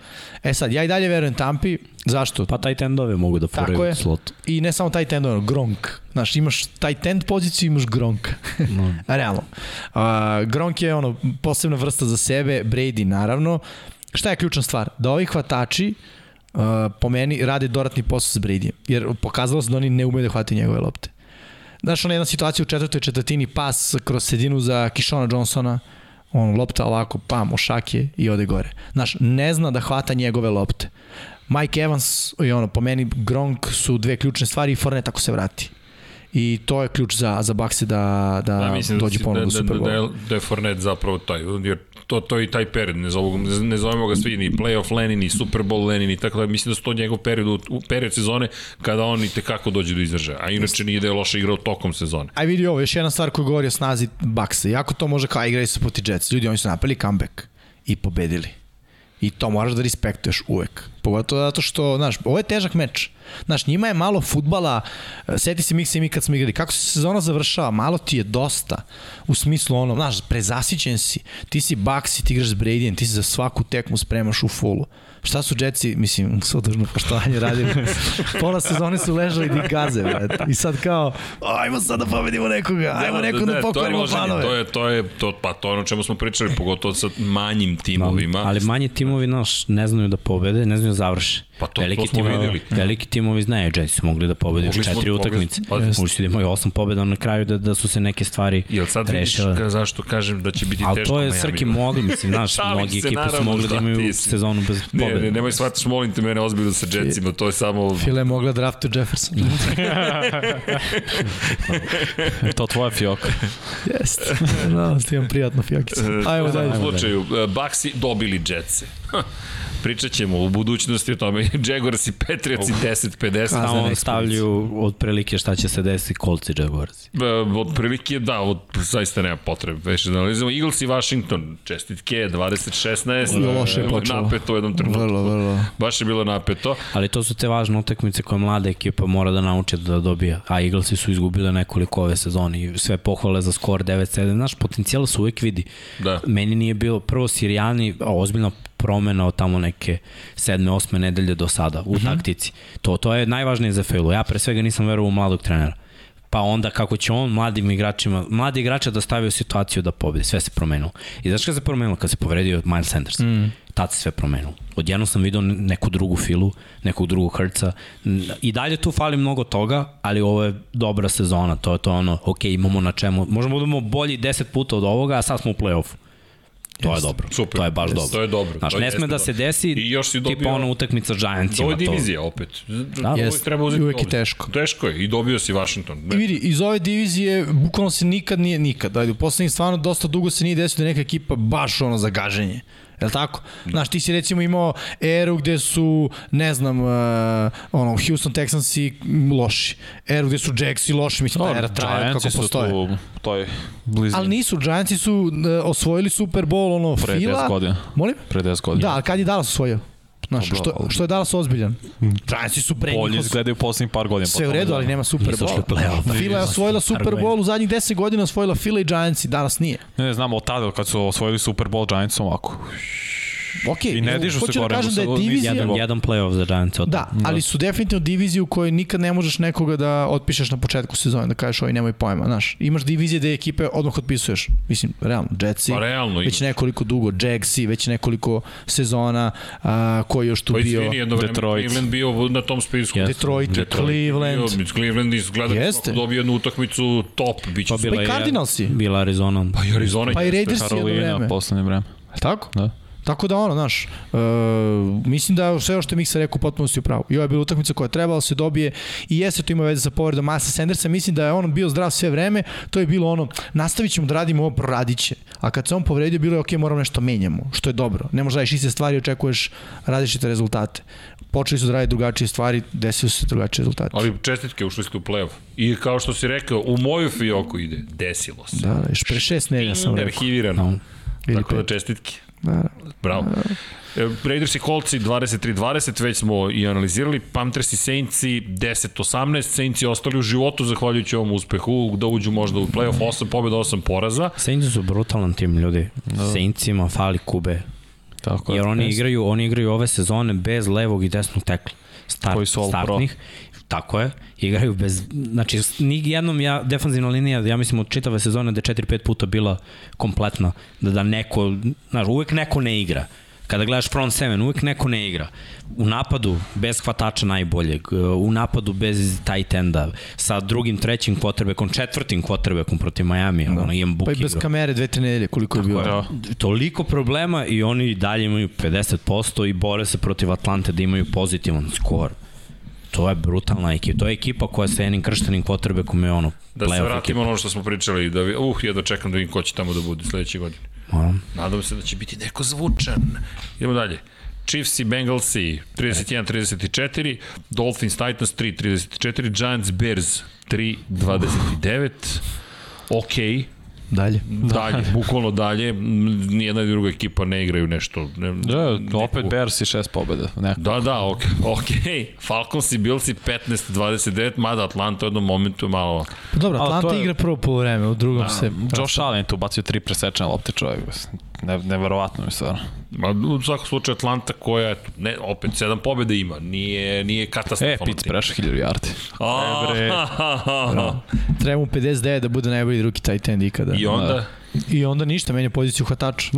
[SPEAKER 4] E sad, ja i dalje verujem Tampi, zašto?
[SPEAKER 2] Pa taj tendove mogu da
[SPEAKER 4] Tako
[SPEAKER 2] furaju
[SPEAKER 4] je.
[SPEAKER 2] slot.
[SPEAKER 4] I ne samo taj tend, ono, Gronk. Znaš, imaš taj tend poziciju, imaš Gronk. No. Realno. A, Gronk je ono, posebna vrsta za sebe, Brady naravno. Šta je ključna stvar? Da ovi hvatači uh, po meni rade dodatni posao s Bradyjem. Jer pokazalo se da oni ne umeju da hvataju njegove lopte. Znaš, ona jedna situacija u četvrtoj četvrtini, pas kroz sredinu za Kishona Johnsona, on lopta ovako, pam, ošak je i ode gore. Znaš, ne zna da hvata njegove lopte. Mike Evans i ono, po meni Gronk su dve ključne stvari i Fornet ako se vrati. I to je ključ za, za Bakse da, da,
[SPEAKER 1] Da,
[SPEAKER 4] da
[SPEAKER 1] mislim
[SPEAKER 4] dođe
[SPEAKER 1] si-
[SPEAKER 4] ponovno
[SPEAKER 1] da,
[SPEAKER 4] do
[SPEAKER 1] da,
[SPEAKER 4] Super
[SPEAKER 1] da, da,
[SPEAKER 4] Bowl.
[SPEAKER 1] je- da je Fornet zapravo taj, jer to, to je i taj period, ne zovemo, ga- ne zovemo ga svi ni playoff Lenin, ni Super Bowl Lenin i tako da, mislim da su to njegov period, u- u period sezone kada on i tekako dođe do izražaja, a inače nije da je loše igrao tokom sezone.
[SPEAKER 4] Aj vidi ovo, još jedna stvar koja govori o snazi Baksa. Iako to može kao "A, igrali su proti Jets, ljudi oni su napali comeback i pobedili. I to moraš da respektuješ uvek. Pogotovo zato što, znaš, ovo je težak meč. Znaš, njima je malo futbala, e, seti se Miksa i mi kad smo igrali, kako se sezona završava, malo ti je dosta. U smislu ono, znaš, prezasićen si, ti si baksi, ti igraš s Bradyjem, ti se za svaku tekmu spremaš u fullu. Šta su Jetsi, mislim, s odužno poštovanje radili? Pola sezone su ležali di gaze, brate. I sad kao, ajmo sad da pobedimo nekoga, ajmo nekom da,
[SPEAKER 1] to je
[SPEAKER 4] pokvarimo
[SPEAKER 1] loženje,
[SPEAKER 4] planove.
[SPEAKER 1] To je, to je, to, pa to je ono o čemu smo pričali, pogotovo sa manjim timovima.
[SPEAKER 2] Da. Ali manje timovi naš ne znaju da pobede, ne znaju da završe.
[SPEAKER 1] Pa to- to smo videli.
[SPEAKER 2] Veliki timovi znaju, Jetsi su mogli da pobede
[SPEAKER 1] Mogli
[SPEAKER 2] još
[SPEAKER 1] smo-
[SPEAKER 2] četiri
[SPEAKER 1] mogli-
[SPEAKER 2] utakmice.
[SPEAKER 1] pa-
[SPEAKER 2] Mogli su da imaju osam pobeda na kraju da, da su se neke stvari
[SPEAKER 1] Jel sad vidiš
[SPEAKER 2] rešile.
[SPEAKER 1] ka, zašto kažem da će biti
[SPEAKER 2] Ali
[SPEAKER 1] teško
[SPEAKER 2] to je
[SPEAKER 1] Miami?
[SPEAKER 2] Srki mogli, mislim, znaš,
[SPEAKER 1] Šalim
[SPEAKER 2] mnogi
[SPEAKER 1] se,
[SPEAKER 2] ekipe su
[SPEAKER 1] naravno,
[SPEAKER 2] mogli da
[SPEAKER 1] šta ti
[SPEAKER 2] imaju
[SPEAKER 1] si.
[SPEAKER 2] sezonu bez
[SPEAKER 1] Ne,
[SPEAKER 2] pobeda.
[SPEAKER 1] ne, nemoj shvataš, molim te mene ozbiljno sa Jetsima, to je samo...
[SPEAKER 4] File mogla draftu Jefferson.
[SPEAKER 3] E, To tvoja fioka.
[SPEAKER 4] Jeste. Da, ste imam prijatno fiokicu. Ajmo
[SPEAKER 1] e, U
[SPEAKER 4] dalje.
[SPEAKER 1] svakom slučaju, Baxi dobili Jetse. Pričat ćemo u budućnosti o tome. Jaguars i Patriots i 10-50.
[SPEAKER 4] za
[SPEAKER 2] Tamo
[SPEAKER 4] next
[SPEAKER 2] stavljaju otprilike šta će se desiti kolci Jaguarsi.
[SPEAKER 1] E, Od prilike, da, od, zaista nema potrebe. Već da analizamo. Eagles i Washington, čestitke, 20-16.
[SPEAKER 4] Loše je
[SPEAKER 1] E,
[SPEAKER 4] počelo.
[SPEAKER 1] Napeto u jednom trenutku.
[SPEAKER 4] Vrlo, vrlo.
[SPEAKER 1] Baš je bilo napeto.
[SPEAKER 2] Ali to su te važne utakmice koje mlada ekipa mora da nauče da dobija. A Eaglesi su izgubile nekoliko ove sezone i sve pohvale za skor 9-7. Znaš, potencijal se uvek vidi.
[SPEAKER 1] Da.
[SPEAKER 2] Meni nije bilo prvo Sirijani, a ozbiljna promena od tamo neke sedme, osme nedelje do sada u taktici. To, to je najvažnije za Fejlu. Ja pre svega nisam verovao u mladog trenera. Pa onda kako će on mladim igračima, mladi igrača da stavi u situaciju da pobedi. Sve se promenilo. I znaš kada se promenilo? Kad se povredio Miles Sanders. Mm. Tad se sve promenilo. Odjedno sam vidio neku drugu filu, nekog drugog hrca. N- I dalje tu fali mnogo toga, ali ovo je dobra sezona. To je to ono, ok, imamo na čemu. Možemo da budemo bolji 10 puta od ovoga, a sad smo u play-offu. To je dobro.
[SPEAKER 1] Super.
[SPEAKER 2] To je baš
[SPEAKER 1] Jeste.
[SPEAKER 2] dobro.
[SPEAKER 1] To je dobro.
[SPEAKER 2] Znaš,
[SPEAKER 1] To
[SPEAKER 2] ne
[SPEAKER 1] jeste
[SPEAKER 2] sme da
[SPEAKER 1] dobro.
[SPEAKER 2] se desi
[SPEAKER 1] I još si
[SPEAKER 2] tipa
[SPEAKER 1] dobio-
[SPEAKER 2] ona utakmica Giantsima.
[SPEAKER 1] Ovo je
[SPEAKER 2] to.
[SPEAKER 1] divizija opet. Da,
[SPEAKER 4] Jest.
[SPEAKER 1] treba uzeti
[SPEAKER 4] Uvek je
[SPEAKER 1] u obzir.
[SPEAKER 4] teško.
[SPEAKER 1] Teško je i dobio si Washington.
[SPEAKER 4] I vidi, iz ove divizije bukvalno se nikad nije nikad. Ajde, u poslednjih stvarno dosta dugo se nije desio da je neka ekipa baš ono za gaženje. Je li tako? Znaš, ti si recimo imao eru gde su, ne znam, uh, ono, Houston Texans i mm, loši. Eru gde su Jacks i loši, mislim, ta era traje kako
[SPEAKER 3] Giantsi su
[SPEAKER 4] postoje.
[SPEAKER 3] tu, to je blizini.
[SPEAKER 4] Ali nisu, Giantsi su uh, osvojili Super Bowl, ono,
[SPEAKER 3] Pre 10
[SPEAKER 4] Fila.
[SPEAKER 3] godina.
[SPEAKER 4] Molim?
[SPEAKER 3] Pre 10 godina.
[SPEAKER 4] Da, ali kad je Dallas osvojio? Znaš, što, što je Dallas ozbiljan? Giantsi su pre
[SPEAKER 3] Bolje
[SPEAKER 4] njih
[SPEAKER 3] izgledaju poslednjih par godina. da.
[SPEAKER 4] Sve u redu, ali nema Super
[SPEAKER 2] Nisu ušli u
[SPEAKER 4] Bowl.
[SPEAKER 2] play-off.
[SPEAKER 4] Fila je osvojila Super Bowl u zadnjih 10 godina, osvojila Fila i Giants i danas nije.
[SPEAKER 3] Ne, ne, znamo od tada kad su osvojili Super Bowl Giants ovako.
[SPEAKER 4] Ok,
[SPEAKER 3] I ne dižu se
[SPEAKER 4] hoću da
[SPEAKER 3] gore,
[SPEAKER 4] kažem da je
[SPEAKER 3] nisu- nisu-
[SPEAKER 4] divizija...
[SPEAKER 2] Jedan, jedan play-off za Giants. od-
[SPEAKER 4] Da, ali su definitivno divizije u kojoj nikad ne možeš nekoga da otpišeš na početku sezone, da kažeš ovaj nemoj pojma, znaš. Imaš divizije gde ekipe odmah otpisuješ. Mislim, realno, Jetsi,
[SPEAKER 1] Pa realno,
[SPEAKER 4] već nekoliko dugo, Jagsi, već nekoliko sezona, a, koji je još tu
[SPEAKER 3] Pa
[SPEAKER 1] Koji
[SPEAKER 4] bio...
[SPEAKER 1] izvini, pa jedno vreme
[SPEAKER 3] Detroit.
[SPEAKER 1] Cleveland bio na tom spisku.
[SPEAKER 2] Jeste.
[SPEAKER 4] Detroit,
[SPEAKER 1] Detroit
[SPEAKER 4] Cleveland,
[SPEAKER 1] Bio, Cleveland izgleda
[SPEAKER 4] Jeste.
[SPEAKER 1] Jeste. dobio jednu utakmicu top, bit će
[SPEAKER 2] Pa
[SPEAKER 1] pa,
[SPEAKER 2] bila
[SPEAKER 4] i
[SPEAKER 2] je-
[SPEAKER 4] Cardinalsi.
[SPEAKER 2] Bila Arizona.
[SPEAKER 1] pa i Arizona.
[SPEAKER 4] pa i
[SPEAKER 1] jeste.
[SPEAKER 4] Raiders jedno vreme.
[SPEAKER 3] Karolina, poslednje vreme.
[SPEAKER 4] Je li Tako?
[SPEAKER 3] Da.
[SPEAKER 4] Tako da ono, znaš, e, mislim da sve ovo što je Miksa rekao potpuno si u pravu. I ovo je bila utakmica koja je trebala da se dobije i jeste to ima veze sa povredom Masa Sandersa. Mislim da je on bio zdrav sve vreme. To je bilo ono, nastavit ćemo da radimo ovo, proradit će. A kad se on povredio, bilo je ok, moramo nešto da menjamo, što je dobro. Ne možeš da radiš iste stvari, očekuješ različite rezultate. Počeli su da rade drugačije stvari, desili su se drugačiji rezultati.
[SPEAKER 1] Ali čestitke, ušli ste u play-off. I kao što si rekao, u moju fioku ide. Desilo se.
[SPEAKER 4] Da, da, još pre šest nedelja sam
[SPEAKER 1] Da,
[SPEAKER 4] rekao.
[SPEAKER 1] Arhivirano.
[SPEAKER 4] Ili
[SPEAKER 1] Tako da
[SPEAKER 4] pet.
[SPEAKER 1] čestitke.
[SPEAKER 4] Da, da.
[SPEAKER 1] Bravo. E, Raiders i Colts i 23-20, već smo i analizirali. Panthers i Saints i 10-18, Saints i ostali u životu zahvaljujući ovom uspehu, da uđu možda u playoff, 8 pobjeda, 8 poraza.
[SPEAKER 2] Saints su brutalan tim ljudi. Da. Saintsima fali kube.
[SPEAKER 3] Tako
[SPEAKER 2] Jer oni
[SPEAKER 3] Jeste.
[SPEAKER 2] igraju, oni igraju ove sezone bez levog i desnog tekla. Start,
[SPEAKER 3] Koji su all pro.
[SPEAKER 2] startnih. Tako je. Igraju bez, znači, s- ni jednom ja, defanzivna linija, ja mislim od čitave sezone da je 4-5 puta bila kompletna. Da, da neko, znaš, uvek neko ne igra. Kada gledaš front seven, uvek neko ne igra. U napadu bez hvatača najboljeg, e, u napadu bez tight enda, sa drugim, trećim kvotrbekom, četvrtim kvotrbekom protiv Miami, da. ono, imam
[SPEAKER 4] Pa i bez kamere dve, tri nedelje, koliko je bilo.
[SPEAKER 3] Da.
[SPEAKER 2] toliko problema i oni i dalje imaju 50% i bore se protiv Atlante da imaju pozitivan skor. To je brutalna ekipa. To je ekipa koja sa jednim krštenim kotrebekom je ono
[SPEAKER 1] Da se
[SPEAKER 2] playoff ekipa.
[SPEAKER 1] vratimo na ono što smo pričali, da vi, uh, jedno čekam da vidim ko će tamo da bude sledeće godine.
[SPEAKER 2] Ono,
[SPEAKER 1] Nadam se da će biti neko zvučan. Idemo dalje. Chiefs i Bengals i 31-34, Dolphins Titans 3-34, Giants Bears 3-29, ok,
[SPEAKER 4] Dalje.
[SPEAKER 1] dalje, bukvalno dalje, m, nijedna i druga ekipa ne igraju nešto. Ne,
[SPEAKER 3] Da,
[SPEAKER 1] neku-
[SPEAKER 3] opet Bears i šest pobjeda. Neko.
[SPEAKER 1] Da, da, ok, okay. Falcons i Bills i 15-29, mada Atlanta u jednom momentu je malo...
[SPEAKER 4] Pa dobro,
[SPEAKER 3] Ali to
[SPEAKER 4] Atlanta
[SPEAKER 3] je- Da.
[SPEAKER 4] igra prvo polovreme, u drugom se...
[SPEAKER 3] Josh Allen je tu bacio tri presečene lopte čovjek. mislim. Ne, neverovatno mi stvarno.
[SPEAKER 1] Ma, u svakom slučaju Atlanta koja, eto, ne, opet, sedam pobjede ima, nije, nije
[SPEAKER 3] E,
[SPEAKER 1] katastrofalno.
[SPEAKER 3] Pitts prešao 1000 yardi.
[SPEAKER 1] A,
[SPEAKER 3] E, bre.
[SPEAKER 4] Treba mu 59 da bude najbolji drugi tight end ikada. Da.
[SPEAKER 1] I onda,
[SPEAKER 4] I onda ništa, menja poziciju hvatača.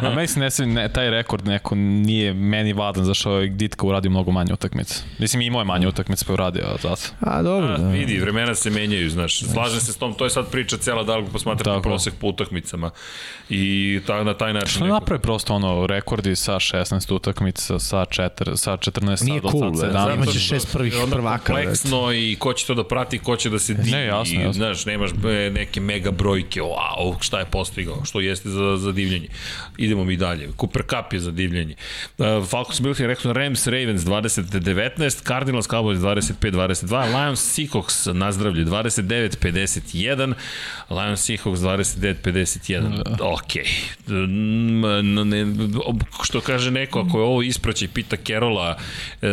[SPEAKER 3] A meni se ne sviđa ne, taj rekord neko nije meni vadan zašto je ovaj Ditka uradio mnogo manje utakmica. Mislim imao je manje utakmica pa je uradio a zato.
[SPEAKER 4] A dobro,
[SPEAKER 1] a,
[SPEAKER 4] da.
[SPEAKER 1] vidi, vremena se menjaju, znaš, slažem se s tom, to je sad priča cela da li posmatrati
[SPEAKER 3] Tako.
[SPEAKER 1] prosek po utakmicama i ta, na taj način...
[SPEAKER 3] Što
[SPEAKER 1] neko-
[SPEAKER 3] napravi prosto ono rekordi sa 16 utakmica, sa, 4, sa 14,
[SPEAKER 4] Nije
[SPEAKER 3] sa
[SPEAKER 4] cool,
[SPEAKER 3] sad
[SPEAKER 4] Da,
[SPEAKER 1] Zato
[SPEAKER 3] 17.
[SPEAKER 4] imaće
[SPEAKER 1] što
[SPEAKER 4] šest prvih
[SPEAKER 1] je onda
[SPEAKER 4] prvaka, E,
[SPEAKER 1] Kompleksno i ko će to da prati, ko će da se divi.
[SPEAKER 3] jasno, jasno.
[SPEAKER 1] Znaš, nemaš e, neke mega brojke, wow, šta je postigao, što jeste za, za divljenje. Idemo mi dalje. Cooper Cup je za divljenje. Uh, Falcons Bills je rekao Rams, Ravens 20-19, Cardinals Cowboys 25-22, Lions Seahawks na zdravlje 29-51, Lions Seahawks 29-51.
[SPEAKER 4] Da.
[SPEAKER 1] Ok. Mm, ne, što kaže neko, ako je ovo ispraćaj Pita Kerola e,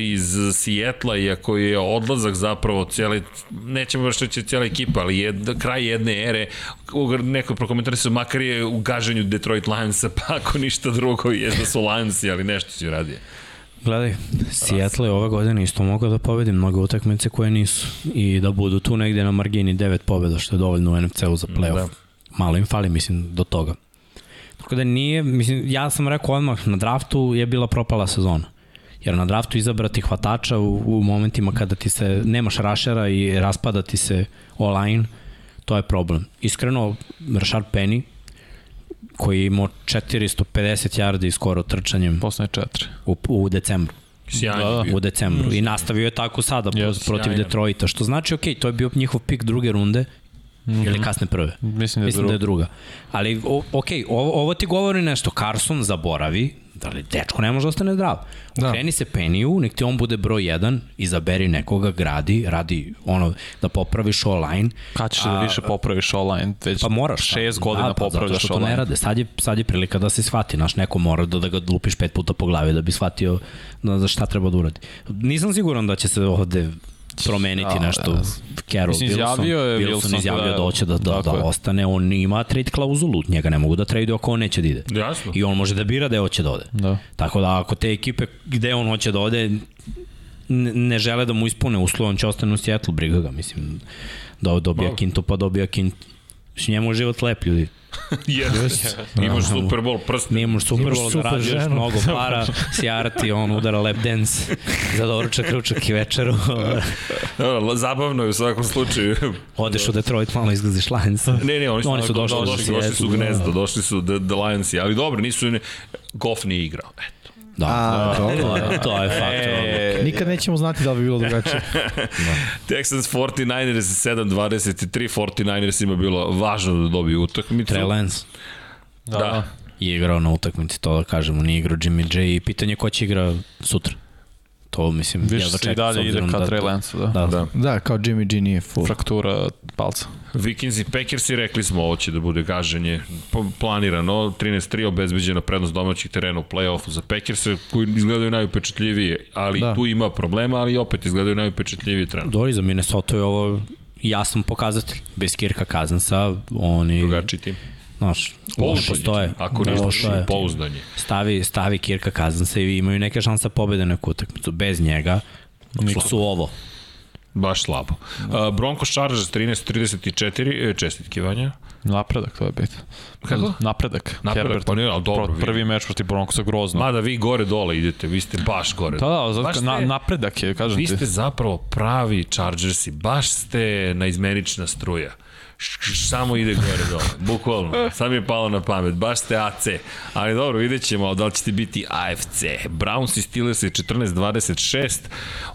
[SPEAKER 1] iz Sijetla i ako je odlazak zapravo cijele, nećemo baš reći cijela ekipa, ali je kraj jedne ere, u- neko prokomentari su makar je u gaženju Detroit Lionsa, pa ako ništa drugo je da su Lionsi, ali nešto si uradio.
[SPEAKER 2] Gledaj, Seattle je ove godine isto mogao da pobedi mnogo utakmice koje nisu i da budu tu negde na margini 9 pobeda što je dovoljno u NFC-u za playoff.
[SPEAKER 1] Da.
[SPEAKER 2] Da. Malo im fali, mislim, do toga. Tako da nije, mislim, ja sam rekao odmah, na draftu je bila propala sezona. Jer na draftu izabrati hvatača u, u momentima kada ti se, nemaš rašera i raspada ti se online, to je problem. Iskreno, Rashard Penny, koji je imao 450 yardi skoro trčanjem
[SPEAKER 3] Posle četiri.
[SPEAKER 2] u, u decembru
[SPEAKER 1] Sjajno da, bio.
[SPEAKER 2] u decembru i nastavio je tako sada yes,
[SPEAKER 3] Jeste,
[SPEAKER 2] protiv
[SPEAKER 1] sjajno.
[SPEAKER 2] Detroita, što znači ok, to je bio njihov pik druge runde mm -hmm. ili kasne prve.
[SPEAKER 3] Mislim da je
[SPEAKER 2] Mislim da je
[SPEAKER 3] drugo.
[SPEAKER 2] druga. Ali o, ok, ovo, ovo ti govori nešto. Carson zaboravi, da li dečko ne može da ostane zdrav.
[SPEAKER 4] Da.
[SPEAKER 2] Da. Kreni se peniju, nek ti on bude broj 1, izaberi nekoga, gradi, radi ono da popraviš online.
[SPEAKER 3] Kad ćeš da više popraviš online? Već
[SPEAKER 2] Pa moraš.
[SPEAKER 3] Šest
[SPEAKER 2] sad.
[SPEAKER 3] godina
[SPEAKER 2] da, pa, zato
[SPEAKER 3] popravljaš ovaj.
[SPEAKER 2] što to ne
[SPEAKER 3] online.
[SPEAKER 2] rade. Sad je, sad je prilika da se shvati. Naš neko mora da, da ga lupiš pet puta po glavi da bi shvatio da, za šta treba da uradi. Nisam siguran da će se ovde promeniti
[SPEAKER 3] Da,
[SPEAKER 2] nešto.
[SPEAKER 3] da.
[SPEAKER 2] Carol
[SPEAKER 3] Mislim,
[SPEAKER 2] Wilson,
[SPEAKER 3] izjavio je
[SPEAKER 2] Wilson
[SPEAKER 3] Wilson
[SPEAKER 2] izjavio da,
[SPEAKER 3] da-
[SPEAKER 2] hoće da, da, da
[SPEAKER 3] tako je.
[SPEAKER 2] ostane. On ima trade klauzulu. Njega ne mogu da trade ako on neće da ide.
[SPEAKER 1] Jasno.
[SPEAKER 2] I on može da bira da hoće da ode.
[SPEAKER 3] Da.
[SPEAKER 2] Tako da ako te ekipe gde on hoće da ode ne ne žele da mu ispune uslove, on će ostane u Seattle, briga ga, mislim. Da dobija Kintu, pa dobija Kintu. Mislim, njemu je život lep, ljudi.
[SPEAKER 1] Yes. Imaš Super Bowl, prst.
[SPEAKER 2] Nije možeš Super Bowl,
[SPEAKER 4] super
[SPEAKER 2] zaradio još
[SPEAKER 4] ženu.
[SPEAKER 2] mnogo para, sjarati, on udara lap dance za doručak, ručak i večeru.
[SPEAKER 1] Zabavno je u svakom slučaju.
[SPEAKER 2] Odeš u Detroit, malo izgaziš Lions.
[SPEAKER 1] Ne, ne, oni su,
[SPEAKER 2] Oni su došli da.
[SPEAKER 1] došli,
[SPEAKER 2] do
[SPEAKER 1] došli, došli su u
[SPEAKER 2] Seattle,
[SPEAKER 1] gnezdo, došli su The, the Lionsi, ali dobro, nisu, ne, Goff nije igrao. E, Eto.
[SPEAKER 2] Da,
[SPEAKER 4] A,
[SPEAKER 2] to,
[SPEAKER 4] dobro.
[SPEAKER 2] je, to je
[SPEAKER 3] E,
[SPEAKER 2] fakt. ono.
[SPEAKER 4] Nikad nećemo znati da li bi bilo drugačije.
[SPEAKER 1] Texans 49ers 7-23, 49ersima bilo važno da dobiju utakmicu.
[SPEAKER 2] Trey Lance
[SPEAKER 1] Da. da.
[SPEAKER 2] je igrao na utakmici, to da kažemo, nije igrao Jimmy J i pitanje ko će igra sutra. to mislim,
[SPEAKER 3] Više
[SPEAKER 2] jedva
[SPEAKER 3] se i
[SPEAKER 2] čekam, s
[SPEAKER 3] dalje ide
[SPEAKER 2] obzirom
[SPEAKER 3] ka
[SPEAKER 2] da-
[SPEAKER 3] Trey Lance, da.
[SPEAKER 1] Da.
[SPEAKER 2] Da, da.
[SPEAKER 4] Da, kao Jimmy G nije full.
[SPEAKER 3] Fraktura palca.
[SPEAKER 1] Vikings i Packers i rekli smo ovo će da bude gaženje po- planirano, 13-3 obezbeđena prednost domaćih terena u play-offu za Packers koji izgledaju najupečatljivije, ali da.
[SPEAKER 4] Da.
[SPEAKER 1] tu ima problema, ali opet izgledaju najupečatljivije trenutno.
[SPEAKER 2] Dori za Minnesota je ovo jasan pokazatelj. Bez Kirka Kazansa, oni...
[SPEAKER 1] Drugačiji tim.
[SPEAKER 2] Znaš, ne
[SPEAKER 1] Pouzdanje.
[SPEAKER 2] Da, postoje.
[SPEAKER 1] Ako
[SPEAKER 2] Ne
[SPEAKER 1] ništa,
[SPEAKER 2] postoje.
[SPEAKER 1] pouzdanje.
[SPEAKER 2] stavi, stavi Kirka Kazansa i imaju neke šanse da pobede neku utakmicu. Bez njega su, su ovo.
[SPEAKER 1] Baš slabo.
[SPEAKER 3] Da.
[SPEAKER 1] Uh, Broncos Chargers 13-34, e, čestitke Vanja.
[SPEAKER 3] Napredak, to je bit.
[SPEAKER 1] Kako?
[SPEAKER 3] Napredak.
[SPEAKER 1] Napredak,
[SPEAKER 3] Herbert.
[SPEAKER 1] pa nije, ali dobro,
[SPEAKER 3] Pro-
[SPEAKER 1] vidi.
[SPEAKER 3] Prvi meč protiv Broncosa grozno.
[SPEAKER 1] Mada vi gore dole idete, vi ste baš gore.
[SPEAKER 3] Da, da, zato,
[SPEAKER 1] Baš
[SPEAKER 3] na,
[SPEAKER 1] ste-
[SPEAKER 3] napredak je, kažem
[SPEAKER 1] Vi
[SPEAKER 3] ti.
[SPEAKER 1] ste zapravo pravi Chargersi, baš ste naizmerična struja. Š- š- Samo ide gore dole, bukvalno. Sad mi je palo na pamet, baš ste AC. Ali dobro, vidjet ćemo da li ćete biti AFC. Browns i Steelers je 14-26,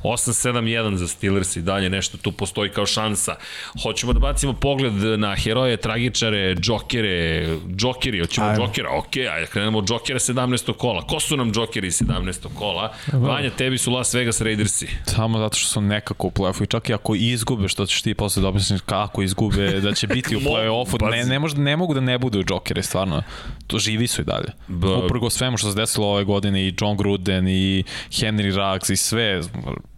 [SPEAKER 1] 8-7-1 za Steelers i dalje nešto tu postoji kao šansa. Hoćemo da bacimo pogled na heroje, tragičare, džokere, džokeri, hoćemo Ajmo. džokera, ok, ajde krenemo od džokera 17. kola. Ko su nam džokeri 17. kola? Vanja, tebi su Las Vegas Raidersi.
[SPEAKER 3] Samo zato što su nekako u play-offu i čak i ako izgube, što ćeš ti posle da objasniš kako izgube, da će biti u
[SPEAKER 1] Mogu,
[SPEAKER 3] play-offu, ne,
[SPEAKER 1] pazi.
[SPEAKER 3] ne, mož, ne mogu da ne budu džokeri, stvarno. To živi su i dalje.
[SPEAKER 1] Da.
[SPEAKER 3] Uprgo svemu što se desilo ove godine i John Gruden i Henry Ruggs i sve,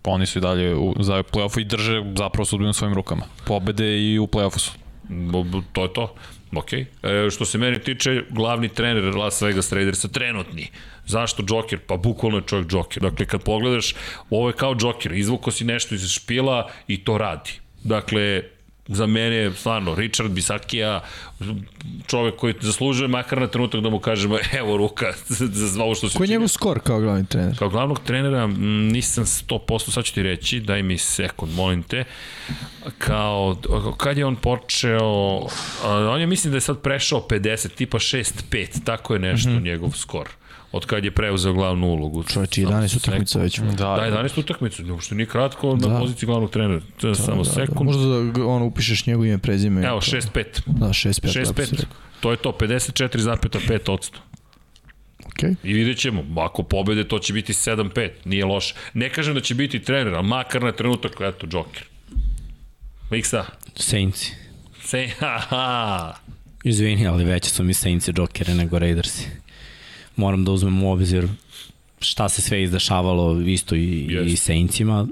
[SPEAKER 3] oni su i dalje u, za play-offu i drže zapravo sudbinu u svojim rukama. Pobede i u play-offu su.
[SPEAKER 1] Bo- bo- To je to. Ok. E, što se mene tiče, glavni trener Las Vegas Raidersa, trenutni. Zašto Joker? Pa bukvalno je čovjek Joker. Dakle, kad pogledaš, ovo je kao Joker. Izvuko si nešto iz špila i to radi. Dakle, za mene je stvarno Richard Bisakija čovek koji zaslužuje makar na trenutak da mu kažemo evo ruka za ovo što si
[SPEAKER 4] Koji je
[SPEAKER 1] učinio.
[SPEAKER 4] njegov skor kao glavni trener?
[SPEAKER 1] Kao glavnog trenera m, nisam 100%, sad ću ti reći, daj mi sekund, molim te. Kao, kad je on počeo, a, on je mislim da je sad prešao 50, tipa 6-5, tako je nešto mm -hmm. njegov skor. Od kad je preuzeo glavnu ulogu.
[SPEAKER 4] Čovječi,
[SPEAKER 1] Samo
[SPEAKER 4] 11
[SPEAKER 1] sekund.
[SPEAKER 4] utakmica već.
[SPEAKER 1] Da, 11 utakmicu, uopšte nije kratko na da.
[SPEAKER 4] Da.
[SPEAKER 1] poziciji glavnog trenera. To je samo da, sekund. Da,
[SPEAKER 4] Možda da ga, ono upišeš njegovo ime, prezime.
[SPEAKER 1] da. Evo, 6-5.
[SPEAKER 4] Da, 6-5.
[SPEAKER 1] 6-5. To je to, 54,5%.
[SPEAKER 4] Okay.
[SPEAKER 1] I vidjet ćemo, ako pobede to će biti 7-5, nije loše. Ne kažem da će biti trener, ali makar na trenutak, eto, Joker. Miksa,
[SPEAKER 2] Saintsi.
[SPEAKER 1] se, ha, ha.
[SPEAKER 2] Izvini, ali veće su mi Saintsi džokere nego Raidersi. Moram da uzmem u obzir šta se sve izdešavalo isto i, yes.
[SPEAKER 1] Jeste.
[SPEAKER 2] i Saintsima.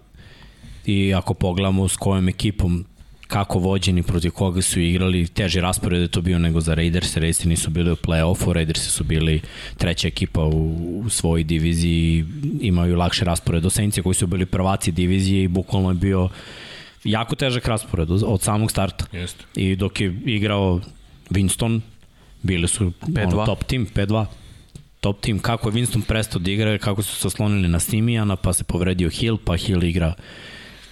[SPEAKER 2] I ako pogledamo s kojom ekipom kako vođeni, protiv koga su igrali, teži raspored je to bio nego za Raiders. Raidersi nisu bili u play-offu, Raidersi su bili treća ekipa u, u svojoj diviziji, imaju lakše raspored do Saintsi koji su bili prvaci divizije i bukvalno je bio jako težak raspored od- od samog starta.
[SPEAKER 1] Jeste.
[SPEAKER 2] I dok je igrao Winston, bili su ono,
[SPEAKER 3] 5-2.
[SPEAKER 2] top tim, 5-2. Top tim, kako je Winston prestao da igra, kako su se oslonili na Simijana, pa se povredio Hill, pa Hill igra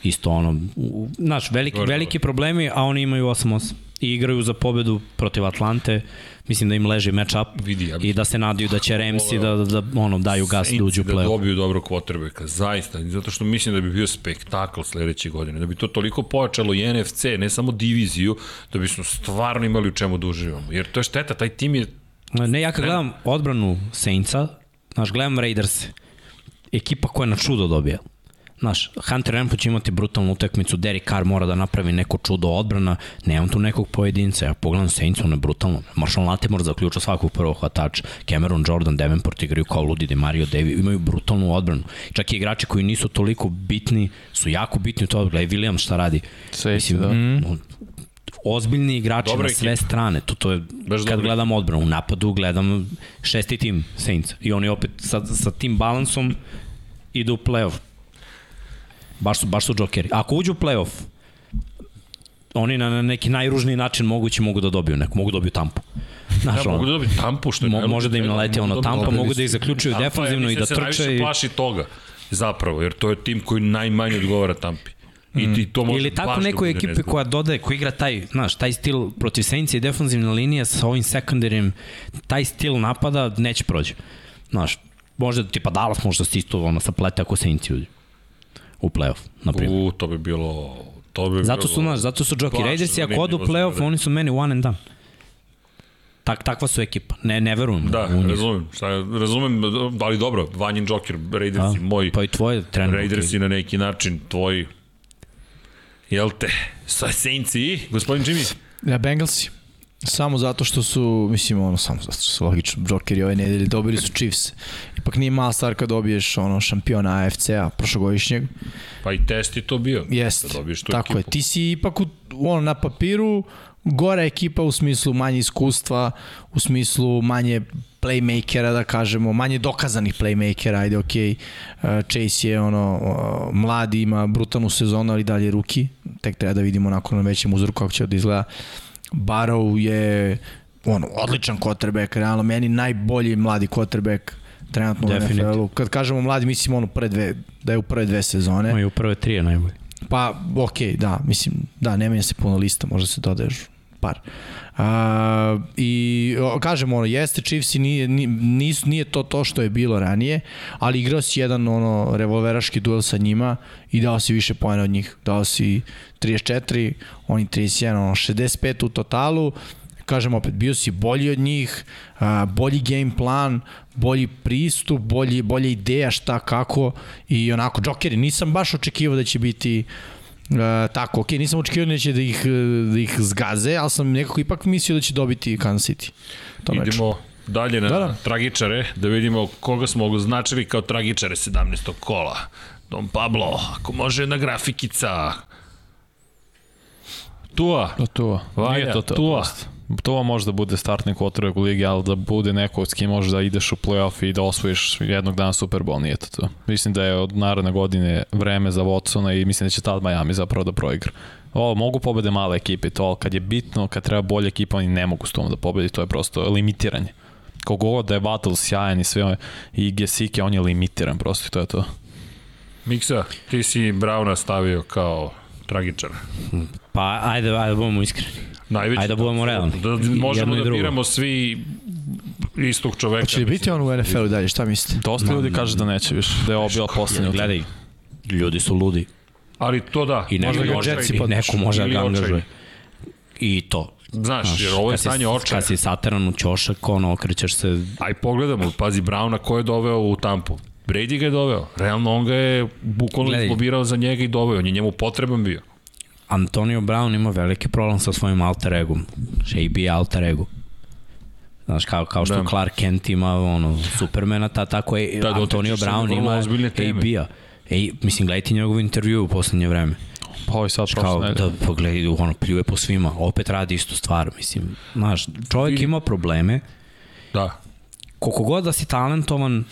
[SPEAKER 2] isto ono, u- u- znaš, veliki,
[SPEAKER 1] Gore,
[SPEAKER 2] veliki problemi, a oni imaju 8-8 i igraju za pobedu protiv Atlante, mislim da im leži match-up
[SPEAKER 1] Vidi, ja bih-
[SPEAKER 2] i da se nadaju da će Remsi da, da, da ono, daju gas da uđu u
[SPEAKER 1] da
[SPEAKER 2] play-off.
[SPEAKER 1] dobiju dobro quarterbacka, zaista, zato što mislim da bi bio spektakl sledeće godine, da bi to toliko pojačalo i NFC, ne samo diviziju, da bismo stvarno imali u čemu da uživamo. Jer to je šteta, taj tim je
[SPEAKER 2] Ne, ja kad gledam odbranu Saintsa, znaš, gledam Raiders, ekipa koja na čudo dobija. Znaš, Hunter Renfro će imati brutalnu utakmicu, Derek Carr mora da napravi neko čudo odbrana, nemam tu nekog pojedinca, ja pogledam Saints, ono je brutalno. Marshall Latimore zaključa svakog prvog hvatača, Cameron Jordan, Davenport igraju kao ludi, Demario Davi, imaju brutalnu odbranu. Čak i igrači koji nisu toliko bitni, su jako bitni u toj odbrani. Gledaj, Williams šta radi.
[SPEAKER 3] Safety, da.
[SPEAKER 2] no, ozbiljni igrači
[SPEAKER 1] Dobra
[SPEAKER 2] na sve strane. To, to je,
[SPEAKER 1] Baš
[SPEAKER 2] kad
[SPEAKER 1] dobra
[SPEAKER 2] gledam odbranu, u napadu gledam šesti tim Saints. I oni opet sa, sa tim balansom idu u play-off. Baš su, baš su džokeri. Ako uđu u play-off, oni na, na neki najružniji način moguće mogu da dobiju neku, mogu da dobiju tampu. Znaš,
[SPEAKER 1] Ja,
[SPEAKER 2] ono,
[SPEAKER 1] mogu da dobiti tampu, što je...
[SPEAKER 2] Mo-
[SPEAKER 1] najbolje.
[SPEAKER 2] može da im naleti ono
[SPEAKER 1] Mogu
[SPEAKER 2] tampa,
[SPEAKER 1] dobiti-
[SPEAKER 2] mogu da ih zaključuju
[SPEAKER 1] Tampa je,
[SPEAKER 2] defanzivno i
[SPEAKER 1] pa, mislim
[SPEAKER 2] da
[SPEAKER 1] se najviše
[SPEAKER 2] trče i-
[SPEAKER 1] plaši toga, zapravo, jer to je tim koji najmanje odgovara tampi. I ti to može
[SPEAKER 2] Mm. Ili
[SPEAKER 1] baš
[SPEAKER 2] tako
[SPEAKER 1] da
[SPEAKER 2] nekoj
[SPEAKER 1] bude
[SPEAKER 2] ekipi
[SPEAKER 1] nezgodno.
[SPEAKER 2] koja dodaje, koja igra taj, znaš, taj stil protiv Saintsa i defanzivna linija sa ovim sekundarim, taj stil napada neće prođe. Znaš, možda tipa Dallas možda se isto ono, saplete ako Saintsi uđu u playoff, na primjer.
[SPEAKER 1] U, to bi bilo... To bi
[SPEAKER 2] Zato
[SPEAKER 1] bilo...
[SPEAKER 2] su, znaš, zato su Joki
[SPEAKER 1] Plašno,
[SPEAKER 2] Raidersi, ako odu u
[SPEAKER 1] zanimljivo
[SPEAKER 2] playoff,
[SPEAKER 1] zgleda.
[SPEAKER 2] oni su meni one and done. tak, takva su ekipa. Ne, ne verujem
[SPEAKER 1] Da,
[SPEAKER 2] u njih.
[SPEAKER 1] razumem. Šta, razumem, ali dobro, Vanjin Joker,
[SPEAKER 2] A?
[SPEAKER 1] Raidersi, moj,
[SPEAKER 2] Pa i tvoje trenutno.
[SPEAKER 1] Raidersi na neki način, tvoji, jel te, sa Saintsi i, gospodin Jimmy,
[SPEAKER 4] Ja, Bengalsi. Samo zato što su, mislim, ono, samo zato što su logično džokeri ove nedelje, dobili su Chiefs. Ipak nije mala stvar kad dobiješ ono, šampiona AFC-a prošlogodišnjeg.
[SPEAKER 1] pa i test je to bio.
[SPEAKER 4] Jeste,
[SPEAKER 1] Da dobiješ tu
[SPEAKER 4] tako je.
[SPEAKER 1] ekipu.
[SPEAKER 4] Ti si ipak u, ono, na papiru gora ekipa u smislu manje iskustva, u smislu manje playmakera, da kažemo, manje dokazanih playmakera, ajde, okej. Okay. Chase je ono, uh, mladi, ima brutalnu sezonu, ali dalje ruki. Tek treba da vidimo nakon na većem uzorku kako će da izgleda. Barrow je ono, odličan quarterback, realno meni najbolji mladi quarterback trenutno
[SPEAKER 2] Definitivno.
[SPEAKER 4] u NFL-u. Kad kažemo mladi, mislim ono pre dve, da je u prve dve sezone.
[SPEAKER 2] Imaju prve trije najbolje.
[SPEAKER 4] Pa, okej, okay, da, mislim, da, ne menja se puno lista, možda se dodaje još par. A, I, o, kažem, ono, jeste Chiefs i nije, ni- nis, nije to to što je bilo ranije, ali igrao si jedan ono, revolveraški duel sa njima i dao si više pojena od njih. Dao si 34, oni 31, ono, 65 u totalu, kažem opet, bio si bolji od njih, a, bolji game plan, bolji pristup, bolji, bolja ideja šta, kako i onako, džokeri, nisam baš očekivao da će biti Uh, tako, okej, nisam očekivao da će da ih, e, da ih zgaze, ali sam nekako ipak mislio da će dobiti Kansas City. u tom meču.
[SPEAKER 1] Idemo dalje na da,
[SPEAKER 4] Pa Da,
[SPEAKER 1] da.
[SPEAKER 4] da.
[SPEAKER 1] tragičare, da vidimo koga smo označili kao tragičare 17. kola. Don Pablo, ako može jedna grafikica. Tua,
[SPEAKER 3] Da, Tua.
[SPEAKER 1] Valja,
[SPEAKER 3] Nije to, to
[SPEAKER 1] Tua.
[SPEAKER 3] oprosti. Tua može da bude startni quarterback u ligi, ali da bude neko s kim možeš da ideš u playoff i da osvojiš jednog dana Super Bowl, nije to to. Mislim da je od naredne godine vreme za Watsona i mislim da će tad Miami zapravo da proigra. O, mogu pobede male ekipe, i to, ali kad je bitno, kad treba bolja ekipa, oni ne mogu s tom da pobedi, to je prosto limitiranje. Kogod da je Battle sjajan i sve, ove- i Gesike, on je limitiran prosto i to je to.
[SPEAKER 1] Miksa, ti si Brauna stavio kao tragičar.
[SPEAKER 2] Pa, ajde, ajde, budemo iskreni.
[SPEAKER 1] Najveći
[SPEAKER 2] Ajde da budemo realni.
[SPEAKER 1] Da,
[SPEAKER 2] I-
[SPEAKER 1] možemo
[SPEAKER 2] jedno i
[SPEAKER 1] da
[SPEAKER 2] drugo.
[SPEAKER 1] biramo svi istog čoveka.
[SPEAKER 4] Hoće li biti on u NFL-u dalje, šta mislite?
[SPEAKER 3] Dosta ljudi kaže da neće više, da je ovo bila poslednja. utakmica.
[SPEAKER 2] Gledaj, ljudi su ludi.
[SPEAKER 1] Ali to da.
[SPEAKER 2] I neko
[SPEAKER 1] možda ga
[SPEAKER 2] može,
[SPEAKER 1] očaj.
[SPEAKER 2] i neko može da
[SPEAKER 1] Ili
[SPEAKER 2] ga
[SPEAKER 1] očaj.
[SPEAKER 2] angažuje. I to.
[SPEAKER 1] Znaš, jer ovo je
[SPEAKER 2] kad si-
[SPEAKER 1] stanje očaja.
[SPEAKER 2] Kad si sateran u ćošak, ono, okrećeš se
[SPEAKER 1] Aj pogledamo, pazi Brauna ko je doveo u tampu. Brady ga je doveo. Realno on ga je bukvalno
[SPEAKER 2] Gledaj.
[SPEAKER 1] izlobirao za njega i doveo. On je njemu potreban bio.
[SPEAKER 2] Antonio Brown ima veliki problem sa svojim alter egom. JB je alter ego. Znaš, kao, kao što
[SPEAKER 1] Da.
[SPEAKER 2] da. Clark Kent ima ono, Supermana, ta, tako
[SPEAKER 1] Da,
[SPEAKER 2] je da,
[SPEAKER 1] dotiče
[SPEAKER 2] Antonio
[SPEAKER 1] se
[SPEAKER 2] Brown
[SPEAKER 1] vrlo
[SPEAKER 2] ima
[SPEAKER 1] ozbiljne teme.
[SPEAKER 2] JB-a. Ej, mislim, gledajte njegov intervju u poslednje vreme.
[SPEAKER 3] Pa ovo je sad
[SPEAKER 2] Kao
[SPEAKER 3] prošle nedelje.
[SPEAKER 2] da pogledaj, ono, pljuje po svima. Opet radi istu stvar, mislim. Znaš, čovjek ima probleme,
[SPEAKER 1] Da.
[SPEAKER 2] koliko god da si talentovan,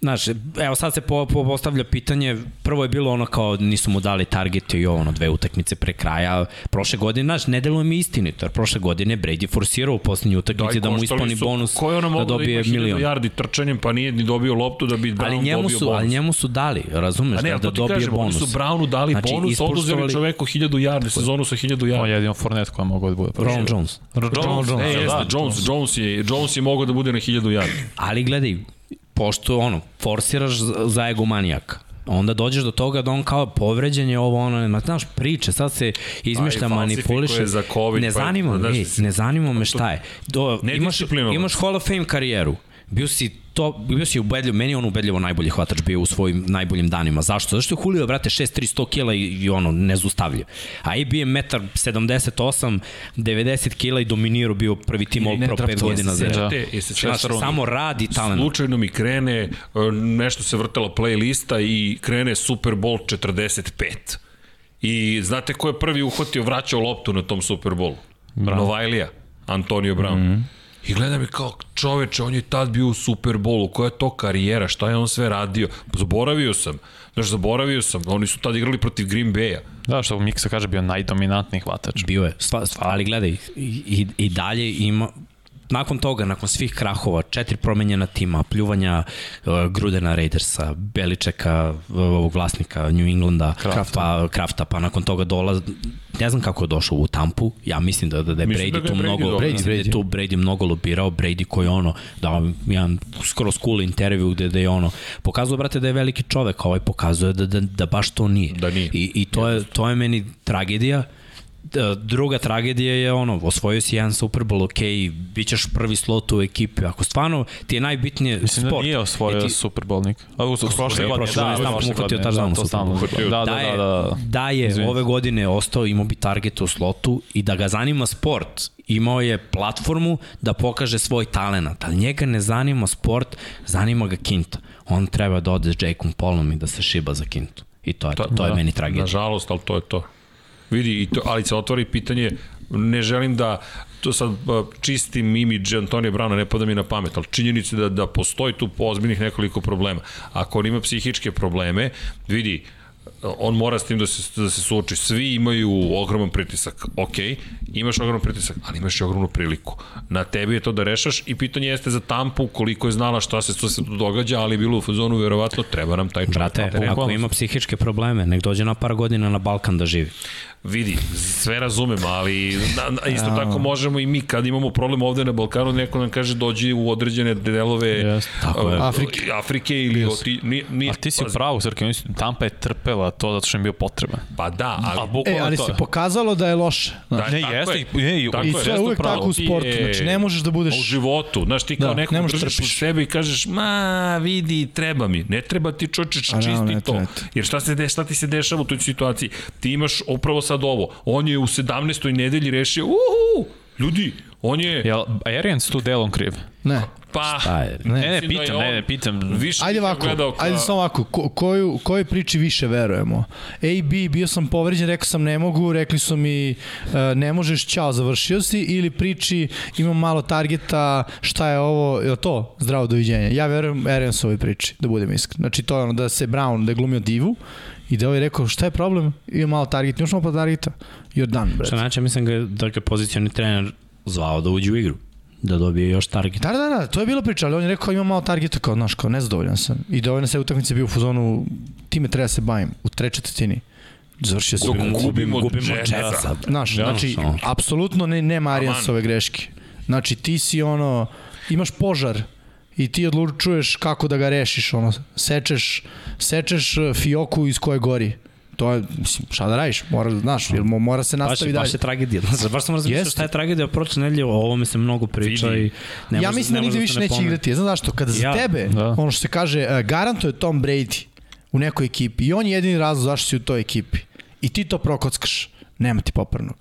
[SPEAKER 2] znaš, evo sad se po, po, postavlja pitanje, prvo je bilo ono kao nisu mu dali target i ovo, ono, dve utakmice pre kraja, prošle godine, znaš, ne deluje mi istinito, jer prošle godine Brady je forsirao u poslednju utakmici da, mu
[SPEAKER 1] koštali
[SPEAKER 2] ispani
[SPEAKER 1] su-
[SPEAKER 2] bonus
[SPEAKER 1] ko je ono
[SPEAKER 2] da
[SPEAKER 1] mogao
[SPEAKER 2] dobije
[SPEAKER 1] ima 1000
[SPEAKER 2] milion.
[SPEAKER 1] Jardi trčanjem, pa nije ni dobio loptu da bi Brown
[SPEAKER 2] ali njemu
[SPEAKER 1] dobio
[SPEAKER 2] su,
[SPEAKER 1] bonus.
[SPEAKER 2] ali njemu su dali, razumeš,
[SPEAKER 1] A ne,
[SPEAKER 2] da,
[SPEAKER 1] ali
[SPEAKER 2] da
[SPEAKER 1] to ti
[SPEAKER 2] dobije
[SPEAKER 1] kažem,
[SPEAKER 2] bonus.
[SPEAKER 1] oni su Brownu dali
[SPEAKER 2] Znači,
[SPEAKER 1] bonus, oduzeli
[SPEAKER 2] ispoštovali-
[SPEAKER 1] čoveku 1000 jardi, sezonu sa 1000
[SPEAKER 3] On
[SPEAKER 1] jardi.
[SPEAKER 3] je jedino Fournette koja mogu da bude. prošle.
[SPEAKER 2] Ron Jones. Da,
[SPEAKER 1] Jones, Jones, e,
[SPEAKER 3] da?
[SPEAKER 1] jeste, Jones, Jones, je, Jones je mogao da bude na 1000 jardi.
[SPEAKER 2] Ali gledaj, pošto ono, forsiraš za- za egomanijaka, onda dođeš do toga da on kao povređen je ovo ono, ma znaš priče, sad se izmišlja,
[SPEAKER 1] A i falsifikuje
[SPEAKER 2] manipuliše.
[SPEAKER 1] za COVID,
[SPEAKER 2] ne
[SPEAKER 1] pa je-
[SPEAKER 2] zanima me,
[SPEAKER 1] znaš, pa
[SPEAKER 2] ej, ne zanima me šta je. Do, imaš,
[SPEAKER 1] Nedisciplinovan.
[SPEAKER 2] imaš Hall of Fame karijeru, bio si to, bio si ubedljiv, meni je on ubedljivo najbolji hvatač bio u svojim najboljim danima. Zašto? Zašto je Julio, brate, 6-300 kila i, i ono, nezustavljiv. A i bio je 1,78 90 kila i dominirao bio prvi tim All Pro 5
[SPEAKER 4] nedraftovan.
[SPEAKER 2] godina za redom.
[SPEAKER 1] Sećate, jeste se
[SPEAKER 2] Znaš,
[SPEAKER 1] sećate
[SPEAKER 2] samo radi talent.
[SPEAKER 1] Slučajno mi krene, e, nešto se vrtela playlista i krene Super Bowl 45. I znate ko je prvi uhvatio, vraćao loptu na tom Super Bowlu?
[SPEAKER 2] Da.
[SPEAKER 1] Brown. Novajlija, Antonio Brown.
[SPEAKER 2] Mhm.
[SPEAKER 1] Mm -hmm. I gleda mi kao, čoveče, on je tad bio u Super Bowlu, koja je to karijera, šta je on sve radio? Zaboravio sam, znaš, zaboravio sam, oni su tad igrali protiv Green Bay-a.
[SPEAKER 3] Da, što Miksa kaže, bio najdominantniji hvatač.
[SPEAKER 2] Bio je, sva, sva, ali gledaj, i, i, i dalje ima, nakon toga, nakon svih krahova, četiri promenjena tima, pljuvanja uh, Grudena Raidersa, Beličeka, uh, ovog vlasnika New Englanda, Krafta. pa Krafta, pa nakon toga dolaz, ne znam kako je došao u tampu, ja mislim da, da, da je
[SPEAKER 1] Mislim
[SPEAKER 2] Brady
[SPEAKER 1] da ga je
[SPEAKER 2] tu
[SPEAKER 1] Brady
[SPEAKER 2] mnogo,
[SPEAKER 1] doveo.
[SPEAKER 2] Brady, Brady. Da je tu Brady mnogo lobirao, Brady koji je ono, da jedan skroz cool intervju gde da je ono, pokazuje brate da je veliki čovek, a ovaj pokazuje da, da, da baš to nije.
[SPEAKER 1] Da nije.
[SPEAKER 2] I, i to, je, to je meni tragedija Da, druga tragedija je ono, osvojio si jedan Super Bowl, ok, bit ćeš prvi slot u ekipi, ako stvarno ti je najbitnije
[SPEAKER 3] Mislim
[SPEAKER 2] sport.
[SPEAKER 3] da nije osvojio
[SPEAKER 2] E ti-
[SPEAKER 3] Super Bowl nik. A, u, prošle
[SPEAKER 2] je,
[SPEAKER 3] godine,
[SPEAKER 2] prošle
[SPEAKER 3] da,
[SPEAKER 2] godine, znam,
[SPEAKER 3] prošle
[SPEAKER 2] uhvatio
[SPEAKER 3] godine,
[SPEAKER 2] touchdown u
[SPEAKER 3] to
[SPEAKER 2] Super
[SPEAKER 3] stalno
[SPEAKER 2] Bowlu.
[SPEAKER 3] uhvatio. Da, da,
[SPEAKER 2] je,
[SPEAKER 3] da, da.
[SPEAKER 2] da je
[SPEAKER 3] Izvini.
[SPEAKER 2] ove godine ostao, imao bi target u slotu i da ga zanima sport. Imao je platformu da pokaže svoj talent, ali njega ne zanima sport, zanima ga Kinta. On treba da ode s Jakeom Polom i da se šiba za Kintu. I to je to, to,
[SPEAKER 3] da,
[SPEAKER 2] je meni tragedija.
[SPEAKER 1] Da, Nažalost, ali to je to. Vidi, i to, ali se otvori pitanje, ne želim da to sad a, čistim imidž Antonija Brauna, ne pada mi na pamet, ali činjenica je da, da postoji tu ozbiljnih nekoliko problema. Ako on ima psihičke probleme, vidi, on mora s tim da se, da se suoči. Svi imaju ogroman pritisak. Ok, imaš ogroman pritisak, ali imaš i ogromnu priliku. Na tebi je to da rešaš i pitanje jeste za tampu koliko je znala šta se, šta se tu događa, ali je bilo u fazonu, verovatno treba nam taj čovjek.
[SPEAKER 2] Brate, ako ima psihičke probleme, nek dođe na par godina na Balkan da živi.
[SPEAKER 1] Vidi, sve razumem, ali na, na, isto tako možemo i mi kad imamo problem ovde na Balkanu, neko nam kaže dođi u određene delove
[SPEAKER 3] Jeste,
[SPEAKER 1] tako
[SPEAKER 4] je. Afrike.
[SPEAKER 1] Afrike ili oti, ni, ni, pa,
[SPEAKER 3] A ti si u
[SPEAKER 1] pazi,
[SPEAKER 3] pravu, Srke, mislim, Tampa je trpela to zato što im bio potreban.
[SPEAKER 1] Pa da, ali...
[SPEAKER 3] A
[SPEAKER 4] E,
[SPEAKER 3] bukvalno
[SPEAKER 4] ali
[SPEAKER 3] to
[SPEAKER 4] se
[SPEAKER 3] je.
[SPEAKER 4] pokazalo da je loše. znaš.
[SPEAKER 1] Da,
[SPEAKER 3] Ne,
[SPEAKER 1] tako
[SPEAKER 3] jeste,
[SPEAKER 1] je.
[SPEAKER 3] i- ne, i-
[SPEAKER 1] Tako
[SPEAKER 3] i
[SPEAKER 1] je.
[SPEAKER 3] sve je
[SPEAKER 1] Jeste u
[SPEAKER 4] uvek
[SPEAKER 1] pravu.
[SPEAKER 4] tako u sportu,
[SPEAKER 1] Ti
[SPEAKER 4] znači, ne možeš da budeš-
[SPEAKER 1] U životu, znaš, ti kao
[SPEAKER 4] Da,
[SPEAKER 1] da,
[SPEAKER 4] ne
[SPEAKER 1] nekog
[SPEAKER 4] možeš
[SPEAKER 1] držiš u
[SPEAKER 4] trpiš.
[SPEAKER 1] sebi i kažeš, ma, vidi, treba mi. Ne treba ti čoče,
[SPEAKER 4] A,
[SPEAKER 1] čisti
[SPEAKER 4] realno, ne
[SPEAKER 1] to.
[SPEAKER 4] treba ti.
[SPEAKER 1] Jer šta, se de, šta ti se dešava u toj situaciji? Ti imaš upravo sad ovo. On je u 17. nedelji rešio, uhu, ljudi, on je...
[SPEAKER 3] Jel, Arians tu delom kriv?
[SPEAKER 4] Ne.
[SPEAKER 1] Pa,
[SPEAKER 2] Ajde.
[SPEAKER 4] Ne.
[SPEAKER 3] Ne, ne,
[SPEAKER 1] Mislim da je
[SPEAKER 3] pitam,
[SPEAKER 1] on-
[SPEAKER 3] ne, ne, pitam.
[SPEAKER 1] više
[SPEAKER 4] Ajde
[SPEAKER 1] bih
[SPEAKER 4] ovako,
[SPEAKER 1] gledao ka-
[SPEAKER 4] ajde samo ovako, ko, koju, kojoj priči više verujemo? AB, bio sam povređen, rekao sam ne mogu, rekli su mi e, ne možeš, ćao, završio si, ili priči imam malo targeta, šta je ovo, je li to zdravo doviđenje? Ja verujem Ariansovoj priči, da budem iskren. Znači to je ono da se Brown, da je glumio divu, i da je ovaj rekao šta je problem, imam malo targeta, imaš malo pa targeta, you're done, bre.
[SPEAKER 2] Što znači, mislim ga, da ga je pozicioni trener zvao da uđe u igru, da dobije još target.
[SPEAKER 4] Da, da, da, to je bilo priča, ali on je rekao imam malo targeta kao, znaš, kao nezadovoljan sam. I da ovaj na sve utakmice bio u fazonu, time treba da se bavim, u trećoj četvrtini. Završio sam.
[SPEAKER 1] Dok gubimo,
[SPEAKER 2] gubimo
[SPEAKER 1] gubimo
[SPEAKER 2] Jetsa.
[SPEAKER 1] Jetsa.
[SPEAKER 4] Znaš,
[SPEAKER 2] Da,
[SPEAKER 4] znači,
[SPEAKER 2] ono.
[SPEAKER 4] apsolutno ne, nema Ariansove greške. Znači, ti si ono, imaš požar i ti odlučuješ kako da ga rešiš, ono, sečeš, sečeš eh, fioku iz koje gori. To je, mislim, šta da radiš, mora, znaš, jer mo- mora se
[SPEAKER 2] Baš,
[SPEAKER 4] nastavi
[SPEAKER 2] je-
[SPEAKER 4] dalje.
[SPEAKER 2] baš je tragedija. Znaš, baš sam razmišljao
[SPEAKER 4] Jeste.
[SPEAKER 2] šta je tragedija prošle nedelje, o ovome se mnogo priča
[SPEAKER 1] Vidi.
[SPEAKER 2] i ne
[SPEAKER 4] ja
[SPEAKER 2] može-
[SPEAKER 4] mislim
[SPEAKER 2] ne
[SPEAKER 4] da nigde
[SPEAKER 2] može
[SPEAKER 4] više
[SPEAKER 2] se ne
[SPEAKER 4] neće
[SPEAKER 2] pomene.
[SPEAKER 4] igrati. Ja Znaš zašto? Kada za
[SPEAKER 2] Ja,
[SPEAKER 4] tebe,
[SPEAKER 3] da.
[SPEAKER 4] ono što se kaže, e, garantuje Tom Brady u nekoj ekipi i on je jedini razlog zašto si u toj ekipi. I ti to prokockaš. Nema ti popravnog.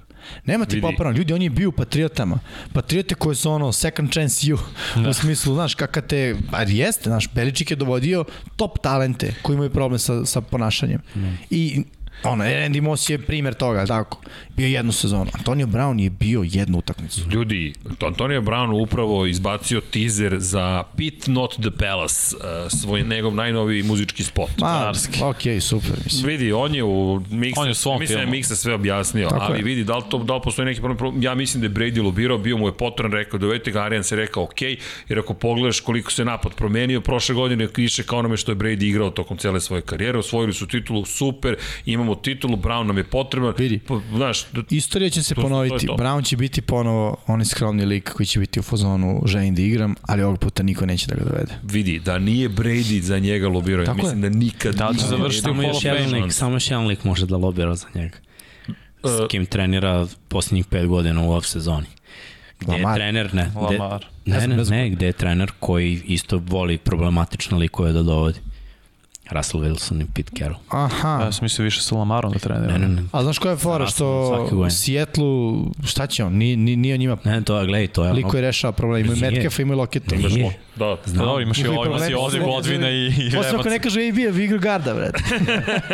[SPEAKER 4] Nema ti
[SPEAKER 1] Vidi.
[SPEAKER 4] popravnog. Ljudi, on je bio u Patriotama. Patriote koji su ono second chance you.
[SPEAKER 2] Da.
[SPEAKER 4] U smislu, znaš, kaka te... Ar jeste, znaš, Beličik je dovodio top talente koji imaju problem sa, sa ponašanjem.
[SPEAKER 2] Da.
[SPEAKER 4] I ono, Randy Moss je primer toga, jel tako. Bio je jednu sezonu. Antonio Brown je bio jednu utakmicu.
[SPEAKER 1] Ljudi, Antonio Brown upravo izbacio teaser za Pit Not The Palace, eh, svoj njegov najnoviji muzički spot.
[SPEAKER 4] Ma,
[SPEAKER 3] Carski.
[SPEAKER 4] okej, super, mislim.
[SPEAKER 1] Vidi, on je u Miksa,
[SPEAKER 3] On je u svom
[SPEAKER 1] mislim da je
[SPEAKER 3] filmu.
[SPEAKER 1] Miksa sve objasnio,
[SPEAKER 4] Tako
[SPEAKER 1] ali
[SPEAKER 4] je.
[SPEAKER 1] vidi, da li, to, da li postoji neki problem, problem, ja mislim da je Brady lobirao, bio mu je potran, rekao, dovedite ga, Arijan se rekao, ok, jer ako pogledaš koliko se napad promenio, prošle godine više kao onome što je Brady igrao tokom cele svoje karijere, osvojili su titulu, super, imamo titulu, Brown nam je potreban,
[SPEAKER 4] Vidi.
[SPEAKER 1] Pa, znaš, da-
[SPEAKER 4] Istorija će se
[SPEAKER 1] To- to je
[SPEAKER 4] ponoviti.
[SPEAKER 1] to.
[SPEAKER 4] Brown će biti ponovo onaj skromni lik koji će biti u fazonu želim da igram, ali ovog puta niko neće da ga dovede.
[SPEAKER 1] vidi, da nije Brady za njega lobirao, ja
[SPEAKER 4] Tako
[SPEAKER 1] mislim da nikad
[SPEAKER 3] Da li će
[SPEAKER 1] nikad
[SPEAKER 3] završiti u
[SPEAKER 2] Samo
[SPEAKER 3] Hall
[SPEAKER 2] još
[SPEAKER 3] of Fame?
[SPEAKER 2] jedan lik, samo još jedan lik može da lobira za njega.
[SPEAKER 1] E,
[SPEAKER 2] S
[SPEAKER 3] E.
[SPEAKER 2] kim trenira posljednjih pet godina u off sezoni. Gde je
[SPEAKER 4] Lamar.
[SPEAKER 2] trener, ne. Gde,
[SPEAKER 3] Lamar.
[SPEAKER 2] ne, ne, ne, gde je trener koji isto voli problematične likove da dovodi. Russell Wilson i Pete Carroll.
[SPEAKER 4] Aha.
[SPEAKER 1] Da.
[SPEAKER 3] Ja sam mislio više sa Lamarom da trenira.
[SPEAKER 2] Ne, ne, ne.
[SPEAKER 4] A znaš koja je fora
[SPEAKER 2] Rasno,
[SPEAKER 4] što
[SPEAKER 2] svake godine.
[SPEAKER 4] Sijetlu, šta će on? Ni, ni, nije on njima
[SPEAKER 1] Da,
[SPEAKER 2] Ne, to je, gledaj, to je ono...
[SPEAKER 4] lik koji rešava problem. Imaju
[SPEAKER 2] Nije.
[SPEAKER 4] Metcalfa, imaju Loketa.
[SPEAKER 1] imaš
[SPEAKER 2] Nije.
[SPEAKER 1] lo- Da,
[SPEAKER 3] Pa dobro, imaš i
[SPEAKER 4] Njihovi
[SPEAKER 3] ovo, imaš i
[SPEAKER 4] problemi
[SPEAKER 3] Ozzy
[SPEAKER 4] su-
[SPEAKER 3] Godvina i i
[SPEAKER 4] Osim
[SPEAKER 3] Rebac.
[SPEAKER 4] ako ne kaže AB je u igru garda, vred.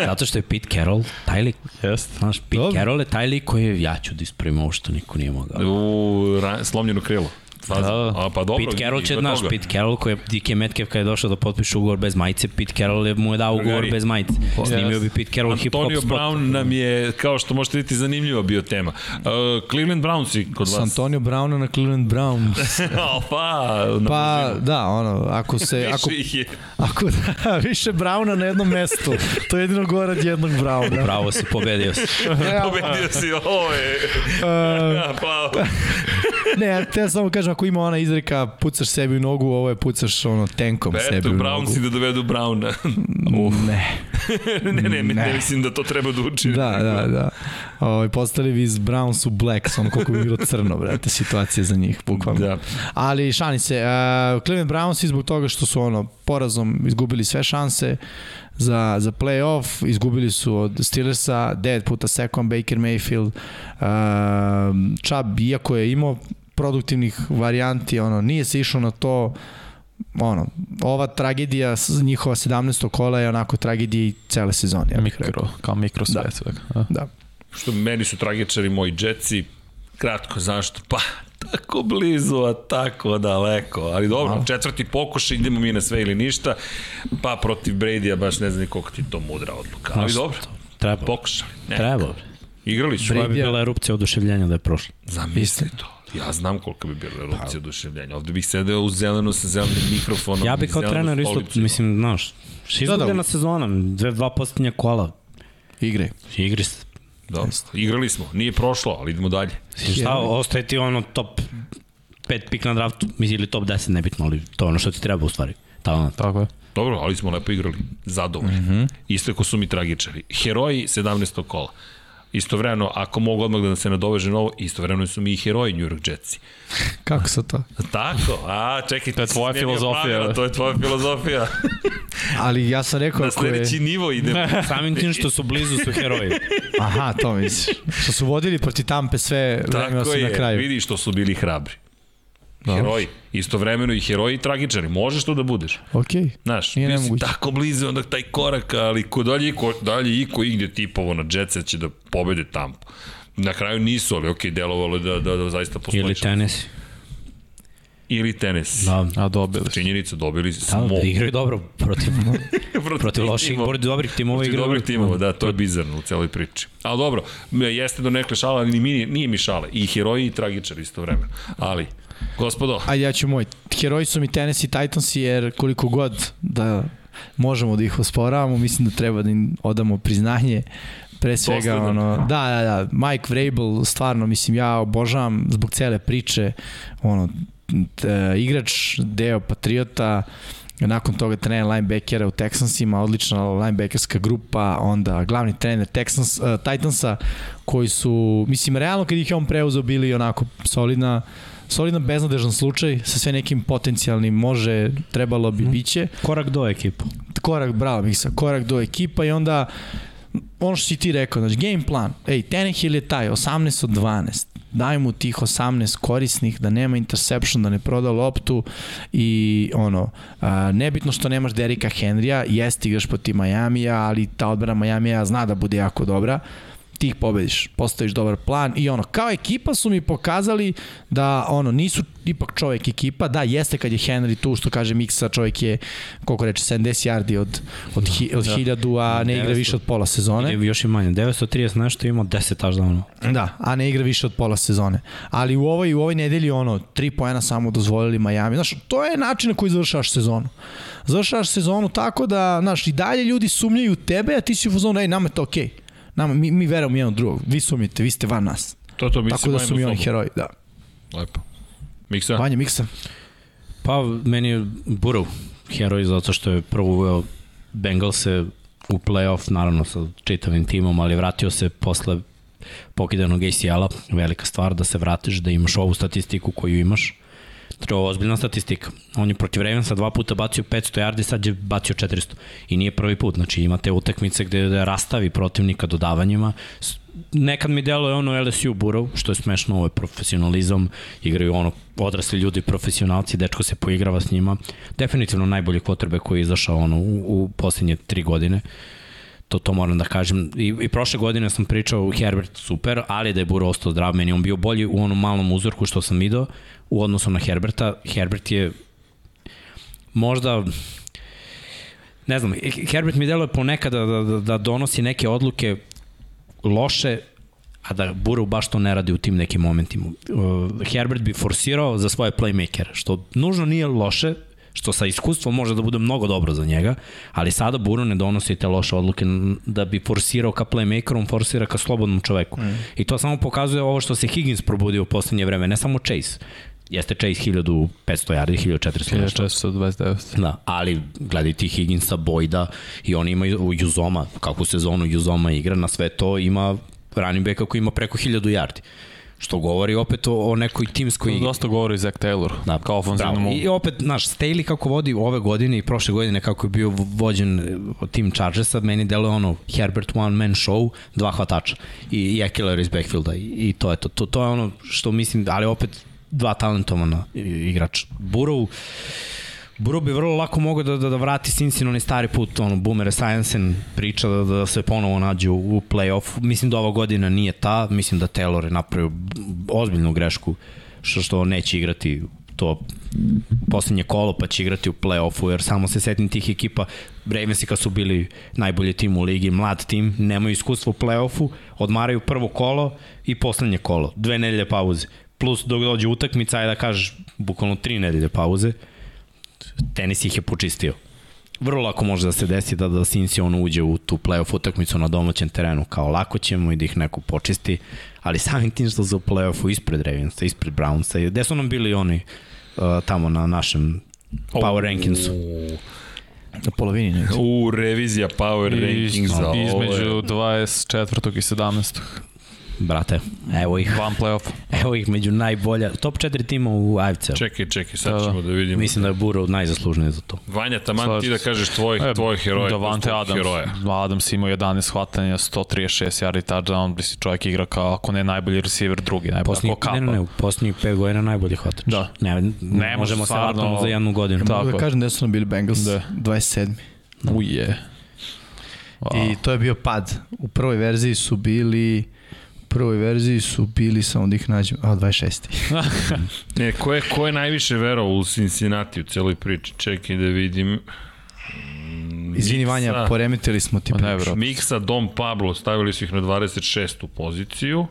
[SPEAKER 2] Zato što je Pete Carroll taj lik.
[SPEAKER 3] Jeste.
[SPEAKER 2] Znaš, Pete
[SPEAKER 4] Dobro.
[SPEAKER 2] Carroll je taj lik koji je ja ću da ispravim ovo što niko nije mogao.
[SPEAKER 1] u ra, slomljeno krilo. Faza.
[SPEAKER 3] Da.
[SPEAKER 1] A pa dobro.
[SPEAKER 2] Pete Carroll će,
[SPEAKER 1] ima
[SPEAKER 2] znaš,
[SPEAKER 1] toga.
[SPEAKER 2] Pete Carroll koji je Dike Metcalf kada je došao da potpiše ugovor bez majice, Pete Carroll je mu je dao ugovor
[SPEAKER 1] Drugari.
[SPEAKER 2] bez majice. Snimio bi Pete Carroll hip hop
[SPEAKER 1] Antonio
[SPEAKER 2] spot.
[SPEAKER 1] Brown nam je, kao što možete vidjeti, zanimljiva bio tema. Uh, Cleveland Browns i kod
[SPEAKER 4] S
[SPEAKER 1] vas.
[SPEAKER 4] Antonio Browna na Cleveland Brown.
[SPEAKER 1] pa, na
[SPEAKER 4] Pa, da, ono, ako se,
[SPEAKER 1] Više
[SPEAKER 4] ako,
[SPEAKER 1] ih je.
[SPEAKER 4] ako da, više Browna na jednom mestu, to je jedino gore od jednog Browna.
[SPEAKER 2] Bravo si, pobedio si.
[SPEAKER 1] Pobedio si, ovo je.
[SPEAKER 4] E,
[SPEAKER 1] Pa,
[SPEAKER 4] Ne, ja te samo kažem, kažem, ako ima ona izreka pucaš sebi u nogu, ovo je pucaš ono tenkom sebi
[SPEAKER 1] Eto,
[SPEAKER 4] u
[SPEAKER 1] Brown
[SPEAKER 4] nogu.
[SPEAKER 1] si da dovedu Browna.
[SPEAKER 4] Ne.
[SPEAKER 1] ne, ne, ne, ne,
[SPEAKER 4] Ne.
[SPEAKER 1] mislim da to treba da uči.
[SPEAKER 4] Da, da, da. Ovaj postali bi iz Browns u Blacks, on koliko bi bilo crno, brate, situacija za njih, bukvalno.
[SPEAKER 1] Da.
[SPEAKER 4] Ali šalim se, uh, Cleveland Browns i zbog toga što su ono porazom izgubili sve šanse za, za play-off, izgubili su od Steelersa, 9 puta sekon Baker Mayfield, uh, Chubb, iako je imao produktivnih varijanti, ono, nije se išao na to, ono, ova tragedija s- njihova 17. kola je onako tragedija i cele sezone. Ja bih rekao.
[SPEAKER 3] Mikro, kao mikro sve da. svega. Da.
[SPEAKER 4] Da.
[SPEAKER 1] Što meni su tragičari moji džetci, kratko zašto, pa tako blizu, a tako daleko. Ali dobro, četvrti pokušaj, idemo mi na sve ili ništa, pa protiv Brady-a baš ne znam ni koliko ti je to mudra odluka. Ali dobro,
[SPEAKER 2] Treba.
[SPEAKER 1] pokušali. Ne,
[SPEAKER 2] Treba.
[SPEAKER 1] Igrali su.
[SPEAKER 2] Koja bi bila erupcija oduševljenja da je prošla?
[SPEAKER 1] Zamisli to. Ja znam koliko bi bila erupcija oduševljenja. Ovde bih sedeo u zeleno sa zelenim mikrofonom.
[SPEAKER 2] Pa. Ja bih
[SPEAKER 1] i
[SPEAKER 2] kao
[SPEAKER 1] zelenu
[SPEAKER 2] trener isto,
[SPEAKER 1] stolicu.
[SPEAKER 2] mislim, znaš,
[SPEAKER 4] Da,
[SPEAKER 2] izgubljena
[SPEAKER 4] da.
[SPEAKER 2] sezona, dve, dva posljednja kola,
[SPEAKER 4] Igre.
[SPEAKER 2] igri se.
[SPEAKER 1] Dobro, Da. igrali smo, nije prošlo, ali idemo dalje.
[SPEAKER 2] Mislim, Šta, ostaje ti ono top 5 pik na draftu, mislim, ili top 10, nebitno, ali to je ono što ti treba u stvari. Talent.
[SPEAKER 3] Tako je.
[SPEAKER 1] Dobro, ali smo lepo igrali. Zadovoljni. Mm -hmm. Isto ko su mi tragičari. Heroji 17. kola. Istovremeno, ako mogu odmah da se nadoveže novo, istovremeno su mi i heroji New York Jetsi.
[SPEAKER 4] Kako se to?
[SPEAKER 1] Tako, a čekaj, to
[SPEAKER 3] je tvoja filozofija.
[SPEAKER 1] to je tvoja filozofija.
[SPEAKER 4] Ali ja sam rekao
[SPEAKER 1] Na
[SPEAKER 4] ako je...
[SPEAKER 1] Da sledeći nivo idemo.
[SPEAKER 2] Samim tim što su blizu su heroji.
[SPEAKER 4] Aha, to misliš. Što su vodili protiv Tampe sve vreme
[SPEAKER 1] Tako
[SPEAKER 4] osim na
[SPEAKER 1] je,
[SPEAKER 4] kraju.
[SPEAKER 1] vidi što su bili hrabri. Heroji. Istovremeno i heroji i tragičari. Možeš to da budeš.
[SPEAKER 4] Okej.
[SPEAKER 1] Znaš,
[SPEAKER 4] Nije
[SPEAKER 1] Nije si
[SPEAKER 4] nemoguće.
[SPEAKER 1] tako blizu onda taj korak, ali ko dalje, i ko, dalje i ko igde tipovo na Jetsa će da pobede Tampa. Na kraju nisu, ali okej, delovalo je da, da, da zaista postoji.
[SPEAKER 2] Ili
[SPEAKER 1] šansa.
[SPEAKER 2] tenis.
[SPEAKER 1] Ili tenis. Da.
[SPEAKER 2] Da,
[SPEAKER 3] A dobili su.
[SPEAKER 1] Činjenica, dobili smo.
[SPEAKER 2] da, da igraju dobro protiv, protiv loših,
[SPEAKER 1] timova.
[SPEAKER 2] protiv dobrih timova
[SPEAKER 1] Protiv
[SPEAKER 2] igraju.
[SPEAKER 1] dobrih timova, da, to je bizarno u celoj priči. Ali dobro, jeste do nekle šala, ali ni mi, nije mi šale. I heroji i tragičari isto vremena. Ali, gospodo,
[SPEAKER 4] Ajde, ja ću moj. Heroji su mi Tennessee Titans jer koliko god da možemo da ih osporavamo, mislim da treba da im odamo priznanje. Pre svega,
[SPEAKER 1] Dosledno.
[SPEAKER 4] ono, da, da, da, Mike Vrabel, stvarno, mislim, ja obožavam zbog cele priče, ono, t, e, igrač, deo Patriota, nakon toga trener linebackera u Texansima, odlična linebackerska grupa, onda glavni trener Texans, uh, Titansa, koji su, mislim, realno kad ih je on preuzeo bili onako solidna, solidno beznadežan slučaj sa sve nekim potencijalnim može, trebalo bi, biće
[SPEAKER 2] Korak do ekipu.
[SPEAKER 4] korak, bravo Miksa, korak do ekipa i onda ono što si ti rekao, znači game plan, ej, Tenehill je taj, 18 od 12, daj mu tih 18 korisnih, da nema interception, da ne proda loptu i ono, a, nebitno što nemaš Derika Henrya, jeste igraš po ti Majamija, ali ta odbrana Majamija zna da bude jako dobra, ti ih pobediš, postaviš dobar plan i ono, kao ekipa su mi pokazali da ono, nisu ipak čovek ekipa, da jeste kad je Henry tu, što kaže Miksa, čovek je, koliko reče, 70 yardi od, od, hi, od hiljadu, a ne igra
[SPEAKER 2] 900.
[SPEAKER 4] više od pola sezone.
[SPEAKER 2] Ne? Još i manje. 930 nešto ima 10 touchdowna.
[SPEAKER 4] Da, a ne igra više od pola sezone. Ali u ovoj, u ovoj nedelji ono, tri poena samo dozvolili Miami. Znaš, to je način na koji završavaš sezonu. Završavaš sezonu tako da, znaš, i dalje ljudi sumnjaju u tebe, a ti si u fazonu, ej, nama je to okej. Okay. Nama, mi, mi verujemo jedan u drugog. Vi sumnjate, vi ste van nas.
[SPEAKER 1] to to mi se
[SPEAKER 4] Tako da su mi
[SPEAKER 1] bavimo
[SPEAKER 4] oni
[SPEAKER 1] sobom.
[SPEAKER 4] heroji, da.
[SPEAKER 1] Lepo. Miksa?
[SPEAKER 3] Da.
[SPEAKER 4] Vanja Miksa.
[SPEAKER 2] Pa, meni je Burov heroj zato što je prvo uveo Bengalse u play-off, naravno sa čitavim timom, ali vratio se posle pokidanog ACL-a, velika stvar da se vratiš, da imaš ovu statistiku koju imaš. To je ozbiljna statistika. On je protiv Ravensa dva puta bacio 500 yardi, sad je bacio 400. I nije prvi put, znači imate utakmice gde da rastavi protivnika dodavanjima. S- Nekad mi deluje ono LSU Burov, što je smešno, ovo je profesionalizam, igraju ono odrasli ljudi, profesionalci, dečko se poigrava s njima. Definitivno najbolji kvotrbe koji je izašao ono, u, u posljednje tri godine to, to moram da kažem. I, I prošle godine sam pričao Herbert super, ali da je Burrow ostao zdrav, meni je on bio bolji u onom malom uzorku što sam video u odnosu na Herberta. Herbert je možda ne znam, Herbert mi deluje ponekad da, da, da donosi neke odluke loše, a da Burrow baš to ne radi u tim nekim momentima. Uh, Herbert bi forsirao za svoje playmakere, što nužno nije loše, što sa iskustvom može da bude mnogo dobro za njega, ali sada Burrow ne donosi te loše odluke n- da bi forsirao ka playmakerom, forsira ka slobodnom čoveku. Mm. I to samo pokazuje ovo što se Higgins probudio u poslednje vreme, ne samo Chase. Jeste Chase 1500 yardi, 1400 nešto.
[SPEAKER 3] 1429.
[SPEAKER 2] Da, ali gledaj ti Higginsa, Bojda i oni imaju Juzoma, kakvu sezonu Juzoma igra, na sve to ima running backa koji ima preko 1000 yardi. Što govori opet o, o nekoj timskoj igri.
[SPEAKER 3] Dosta govori Zach Taylor, da, kao ofenzivnom
[SPEAKER 2] Bravo. I opet, znaš, Staley kako vodi ove godine i prošle godine kako je bio vođen e, tim Chargersa, meni deluje ono Herbert one man show, dva hvatača i, i Ekeler iz backfielda i, i to je to. to. To je ono što mislim, ali opet dva talentovana i- igrača. Burov, Burov bi vrlo lako mogao da, da, da vrati Sinsin onaj stari put, ono, Boomer Science priča da, da se ponovo nađe u, u play-offu. Mislim da ova godina nije ta, mislim da Taylor je napravio ozbiljnu grešku što, što neće igrati to poslednje kolo pa će igrati u play-offu jer samo se setim tih ekipa Ravensi kad su bili najbolji tim u ligi, mlad tim, nemaju iskustva u play-offu, odmaraju prvo kolo i poslednje kolo, dve nedelje pauze. Plus dok dođe utakmica, ajde da kažeš, bukvalno tri nedelje pauze, tenis ih je počistio. Vrlo lako može da se desi da, da Sinsi on uđe u tu playoff utakmicu na domaćem terenu. Kao lako ćemo i da ih neko počisti, ali samim tim što su u playoffu ispred Ravensa, ispred Brownsa, i- gde su nam bili oni uh, tamo na našem power rankingsu.
[SPEAKER 4] Na polovini negdje.
[SPEAKER 5] U, revizija Power Rankingsa.
[SPEAKER 3] Između 24. i 17.
[SPEAKER 2] Brate, evo ih.
[SPEAKER 3] Van playoff.
[SPEAKER 2] Evo ih među najbolja, top 4 tima u AFC.
[SPEAKER 1] Čekaj, čekaj, sad ćemo da vidimo.
[SPEAKER 2] Mislim da je Burrow najzaslužniji za to.
[SPEAKER 1] Vanja, taman ti
[SPEAKER 3] Slažem
[SPEAKER 1] da
[SPEAKER 3] se. E,
[SPEAKER 1] kažeš tvojih, tvojih heroja.
[SPEAKER 3] Davante
[SPEAKER 1] tvojih
[SPEAKER 3] Adams.
[SPEAKER 1] Heroja.
[SPEAKER 3] Adams imao 11 hvatanja, 136 yardi touchdown, mislim čovjek igra kao ako ne najbolji receiver, drugi najbolji.
[SPEAKER 2] Posljednjih,
[SPEAKER 3] ako kapa.
[SPEAKER 2] ne, ne, ne, u posljednjih 5 godina najbolji hvatač.
[SPEAKER 3] Da.
[SPEAKER 2] Ne, ne, ne možemo se
[SPEAKER 3] stvarno-
[SPEAKER 2] vratiti za jednu godinu.
[SPEAKER 3] Da.
[SPEAKER 4] Mogu da
[SPEAKER 3] Tako je.
[SPEAKER 4] kažem da su nam bili Bengals,
[SPEAKER 3] Da.
[SPEAKER 4] 27.
[SPEAKER 3] Uje. Pa.
[SPEAKER 4] I to je bio pad. U prvoj verziji su bili u prvoj verziji su bili samo da ih nađem, a 26.
[SPEAKER 1] Ne, E, ko je, ko je najviše verao u Cincinnati u celoj priči? Čekaj da vidim. Mm,
[SPEAKER 4] Izvini
[SPEAKER 1] Miksa-
[SPEAKER 4] Vanja, poremetili smo ti
[SPEAKER 3] Ma ne,
[SPEAKER 4] priču.
[SPEAKER 3] bro.
[SPEAKER 1] Miksa, Dom Pablo, stavili su ih na 26. poziciju.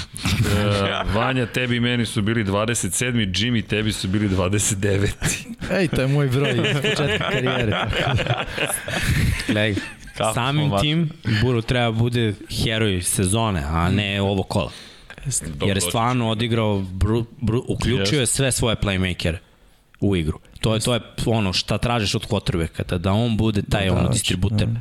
[SPEAKER 1] E, Vanja, tebi i meni su bili 27. Jimmy, tebi su bili 29.
[SPEAKER 4] Ej, to je moj broj iz početka karijere. tako da.
[SPEAKER 2] Gledaj,
[SPEAKER 3] Kako smo
[SPEAKER 2] samim
[SPEAKER 3] vas-
[SPEAKER 2] tim Buru treba da bude heroj sezone, a ne ovo kola. Jer je stvarno odigrao, bru, bru, uključio je sve svoje playmakere u igru. To je, to je ono šta tražiš od quarterbacka, da on bude taj ono distributer.
[SPEAKER 4] da.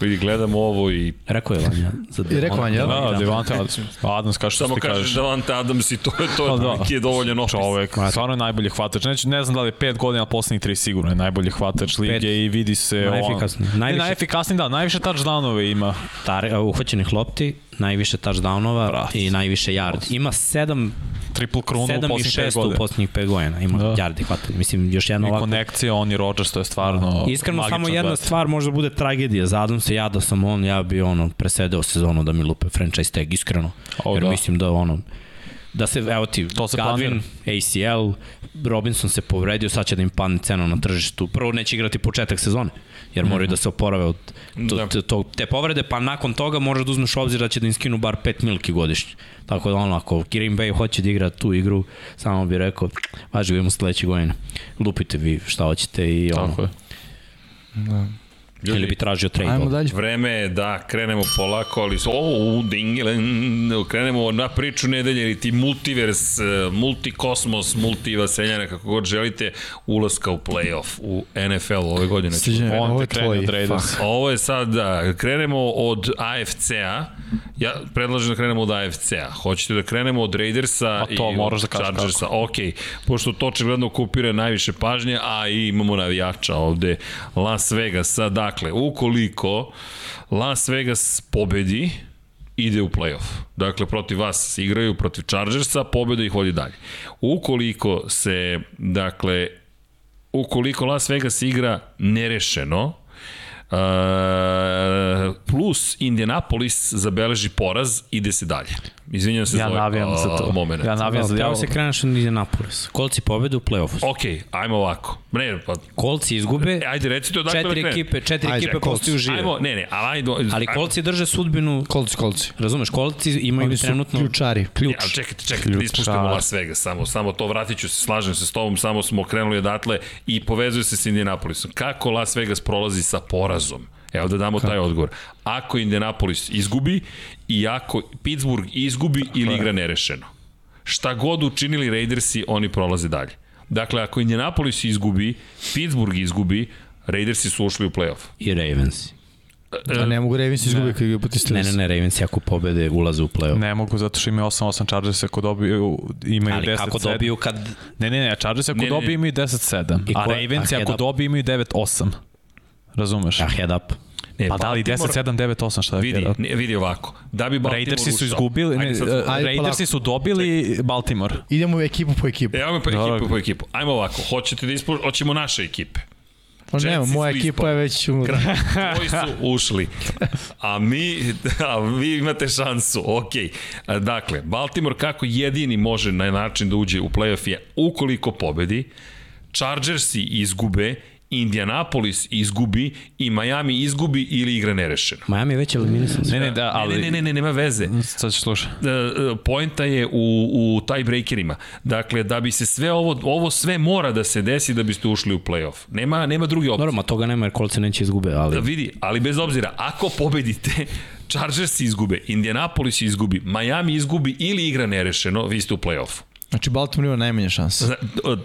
[SPEAKER 1] Vidi, gledam ovo i...
[SPEAKER 2] Rekao je Vanja. Za
[SPEAKER 4] I rekao Vanja, da?
[SPEAKER 3] Da, Devante Adams. Adams, kaže što
[SPEAKER 1] Samo
[SPEAKER 3] ti
[SPEAKER 1] kažeš
[SPEAKER 3] kažeš.
[SPEAKER 1] Davante Adams i to je, to
[SPEAKER 3] Pa
[SPEAKER 1] je,
[SPEAKER 3] da.
[SPEAKER 1] da. je dovoljan opis.
[SPEAKER 3] Čovek, stvarno je najbolji hvatač. Ne, ne znam da li je 5 godina, ali poslednjih 3 sigurno je najbolji hvatač lige i vidi se...
[SPEAKER 2] Najefikasniji.
[SPEAKER 3] On, najviše...
[SPEAKER 2] Najviše-
[SPEAKER 3] Ne, najefikasniji, da, najviše touchdownove ima.
[SPEAKER 2] Tare, uhvaćenih lopti, najviše touchdownova
[SPEAKER 3] Brate.
[SPEAKER 2] i najviše yardi. Ima sedam
[SPEAKER 3] Triple krunu u
[SPEAKER 2] 7 i
[SPEAKER 3] poslednjih 5
[SPEAKER 2] 6 u
[SPEAKER 3] godina.
[SPEAKER 2] poslednjih 5 godina. Ima
[SPEAKER 3] Da.
[SPEAKER 2] da. yardi hvatanje. Mislim, još jedna
[SPEAKER 3] I
[SPEAKER 2] ovako
[SPEAKER 3] konekcija, on i Rodgers, to je stvarno
[SPEAKER 2] Iskreno,
[SPEAKER 3] magično
[SPEAKER 2] samo jedna
[SPEAKER 3] gledati.
[SPEAKER 2] stvar možda bude tragedija. Zadam se ja da sam on, ja bi ono, presedeo sezonu da mi lupe franchise tag, iskreno.
[SPEAKER 3] O,
[SPEAKER 2] O, Jer
[SPEAKER 3] da.
[SPEAKER 2] da. mislim da ono, da se, evo ti,
[SPEAKER 3] To se
[SPEAKER 2] Godwin, ACL, Robinson se povredio, sad će da im padne cena na tržištu. Prvo neće igrati početak sezone, jer moraju
[SPEAKER 3] Mhm.
[SPEAKER 2] da se oporave od to,
[SPEAKER 1] Da.
[SPEAKER 2] to, to, te povrede, pa nakon toga moraš da uzmeš u obzir da će da im skinu bar 5 milki godišnje. Tako da ono, ako Green Bay hoće da igra tu igru, samo bi rekao, važi vidimo sledeće godine. Lupite vi šta hoćete i ono,
[SPEAKER 3] Tako je.
[SPEAKER 1] Ljudi,
[SPEAKER 2] Ili bi tražio trade.
[SPEAKER 4] Ajmo
[SPEAKER 2] Ajmo
[SPEAKER 4] dalje.
[SPEAKER 1] Vreme je da krenemo polako, ali su, o, dingilen, krenemo na priču nedelje, ili ti multivers, e, multikosmos, multivaseljana, kako god želite, ulaska u playoff, u NFL ove godine.
[SPEAKER 4] Srđane,
[SPEAKER 3] On
[SPEAKER 4] ovo
[SPEAKER 3] te
[SPEAKER 4] je
[SPEAKER 3] krene
[SPEAKER 4] tvoj.
[SPEAKER 3] od Raiders.
[SPEAKER 1] Ovo je sad, da, krenemo od AFC-a, ja predlažem da krenemo od AFC-a, hoćete da krenemo od Raidersa
[SPEAKER 3] A to
[SPEAKER 1] i
[SPEAKER 3] moraš da
[SPEAKER 1] od
[SPEAKER 3] kažeš
[SPEAKER 1] Chargersa, ok, pošto to očigledno kupira najviše pažnje, a i imamo navijača ovde Las Vegasa, dakle, ukoliko Las Vegas pobedi, ide u playoff. Dakle, protiv vas igraju, protiv Chargersa, pobeda ih vodi dalje. Ukoliko se, dakle, ukoliko Las Vegas igra nerešeno, Uh, plus Indianapolis zabeleži poraz, ide se dalje. Izvinjam se
[SPEAKER 3] Ja
[SPEAKER 1] za ovaj
[SPEAKER 3] navijam za to.
[SPEAKER 1] moment.
[SPEAKER 3] Ja navijam za
[SPEAKER 2] Treba
[SPEAKER 3] djavo.
[SPEAKER 2] se kreneš na Indianapolis. Kolci pobede u play-offu.
[SPEAKER 1] Ok, ajmo ovako. Ne, pa,
[SPEAKER 2] Kolci izgube,
[SPEAKER 1] e, ajde recite odakle
[SPEAKER 2] četiri
[SPEAKER 1] da krenemo.
[SPEAKER 2] ekipe, četiri
[SPEAKER 4] Ajde,
[SPEAKER 2] ekipe
[SPEAKER 4] Colts.
[SPEAKER 2] postaju žive.
[SPEAKER 1] Ajmo, ne, ne, ali ajde.
[SPEAKER 2] Ali
[SPEAKER 1] ajmo.
[SPEAKER 2] kolci drže sudbinu,
[SPEAKER 4] Kolci, kolci.
[SPEAKER 2] razumeš, kolci imaju
[SPEAKER 4] Oni su
[SPEAKER 2] trenutno
[SPEAKER 4] ključari.
[SPEAKER 2] ključ.
[SPEAKER 1] Ja, ali čekajte, čekajte, da ispuštamo Las Vegas, samo, samo to vratit ću se, slažem se s tobom, samo smo krenuli odatle i povezuje se s Indianapolisom. Kako Las Vegas prolazi sa porazom? Evo da damo taj odgovor. Ako Indianapolis izgubi i ako Pittsburgh izgubi ili igra nerešeno. šta god učinili Raidersi, oni prolaze dalje. Dakle, ako Indianapolis izgubi, Pittsburgh izgubi, Raidersi su ušli u playoff. E,
[SPEAKER 2] I Ravens.
[SPEAKER 4] Da ne mogu Ravens izgubiti kad ga potistili.
[SPEAKER 2] Ne, ne, ne, Ravens ako pobede ulaze u play-off.
[SPEAKER 3] Ne mogu, zato što imaju 8-8 Chargers ako dobiju, imaju 10-7.
[SPEAKER 2] Ali kako dobiju kad...
[SPEAKER 3] Ne, ne, ne, Chargers ako
[SPEAKER 1] Ne, ne, ne.
[SPEAKER 3] dobiju imaju 10-7.
[SPEAKER 2] I
[SPEAKER 3] A
[SPEAKER 2] ko-
[SPEAKER 3] Ravens
[SPEAKER 2] a Ah,
[SPEAKER 3] ako
[SPEAKER 2] head up?
[SPEAKER 3] dobiju imaju 9-8. Razumeš?
[SPEAKER 2] A head up.
[SPEAKER 1] Ne,
[SPEAKER 3] Pa da li 10-7, 9-8 šta je
[SPEAKER 1] Vidi,
[SPEAKER 3] head up?
[SPEAKER 1] ne, vidi ovako. Da bi Baltimore
[SPEAKER 3] Raidersi su
[SPEAKER 1] ušao-
[SPEAKER 3] izgubili, ne,
[SPEAKER 1] Ajde sad,
[SPEAKER 3] eh,
[SPEAKER 4] Ajde,
[SPEAKER 3] Raidersi
[SPEAKER 4] polako.
[SPEAKER 3] su dobili Baltimore.
[SPEAKER 4] Idemo ekipu po ekipu.
[SPEAKER 1] Evo me E, po
[SPEAKER 3] Dobro.
[SPEAKER 1] ekipu, po ekipu. Ajmo ovako, hoćete da ispo... hoćemo naše ekipe.
[SPEAKER 4] Pa ne,
[SPEAKER 1] Jetsi
[SPEAKER 4] moja
[SPEAKER 1] su
[SPEAKER 4] ekipa
[SPEAKER 1] ispali.
[SPEAKER 4] je već umrla.
[SPEAKER 1] Koji su ušli. A mi, a vi imate šansu, ok. Dakle, Baltimore kako jedini može na način da uđe u playoff je ukoliko pobedi, Chargersi izgube, Indianapolis izgubi i Miami izgubi ili igra nerešeno.
[SPEAKER 2] Miami je već eliminisan.
[SPEAKER 3] Ne, ne, da, ali...
[SPEAKER 1] Ne, ne, ne, ne, nema veze.
[SPEAKER 3] Sad ću slušati.
[SPEAKER 1] E, e, poenta je u, u tiebreakerima. Dakle, da bi se sve ovo, ovo sve mora da se desi da biste ušli u playoff. Nema, nema druge opcije. Da
[SPEAKER 2] Normalno, toga nema jer kolce neće izgube, ali...
[SPEAKER 1] Vidi, ali bez obzira, ako pobedite, Chargers izgube, Indianapolis izgubi, Miami izgubi ili igra nerešeno, vi ste u play-offu.
[SPEAKER 4] Znači, Baltimore ima najmanje šanse.
[SPEAKER 1] Zna-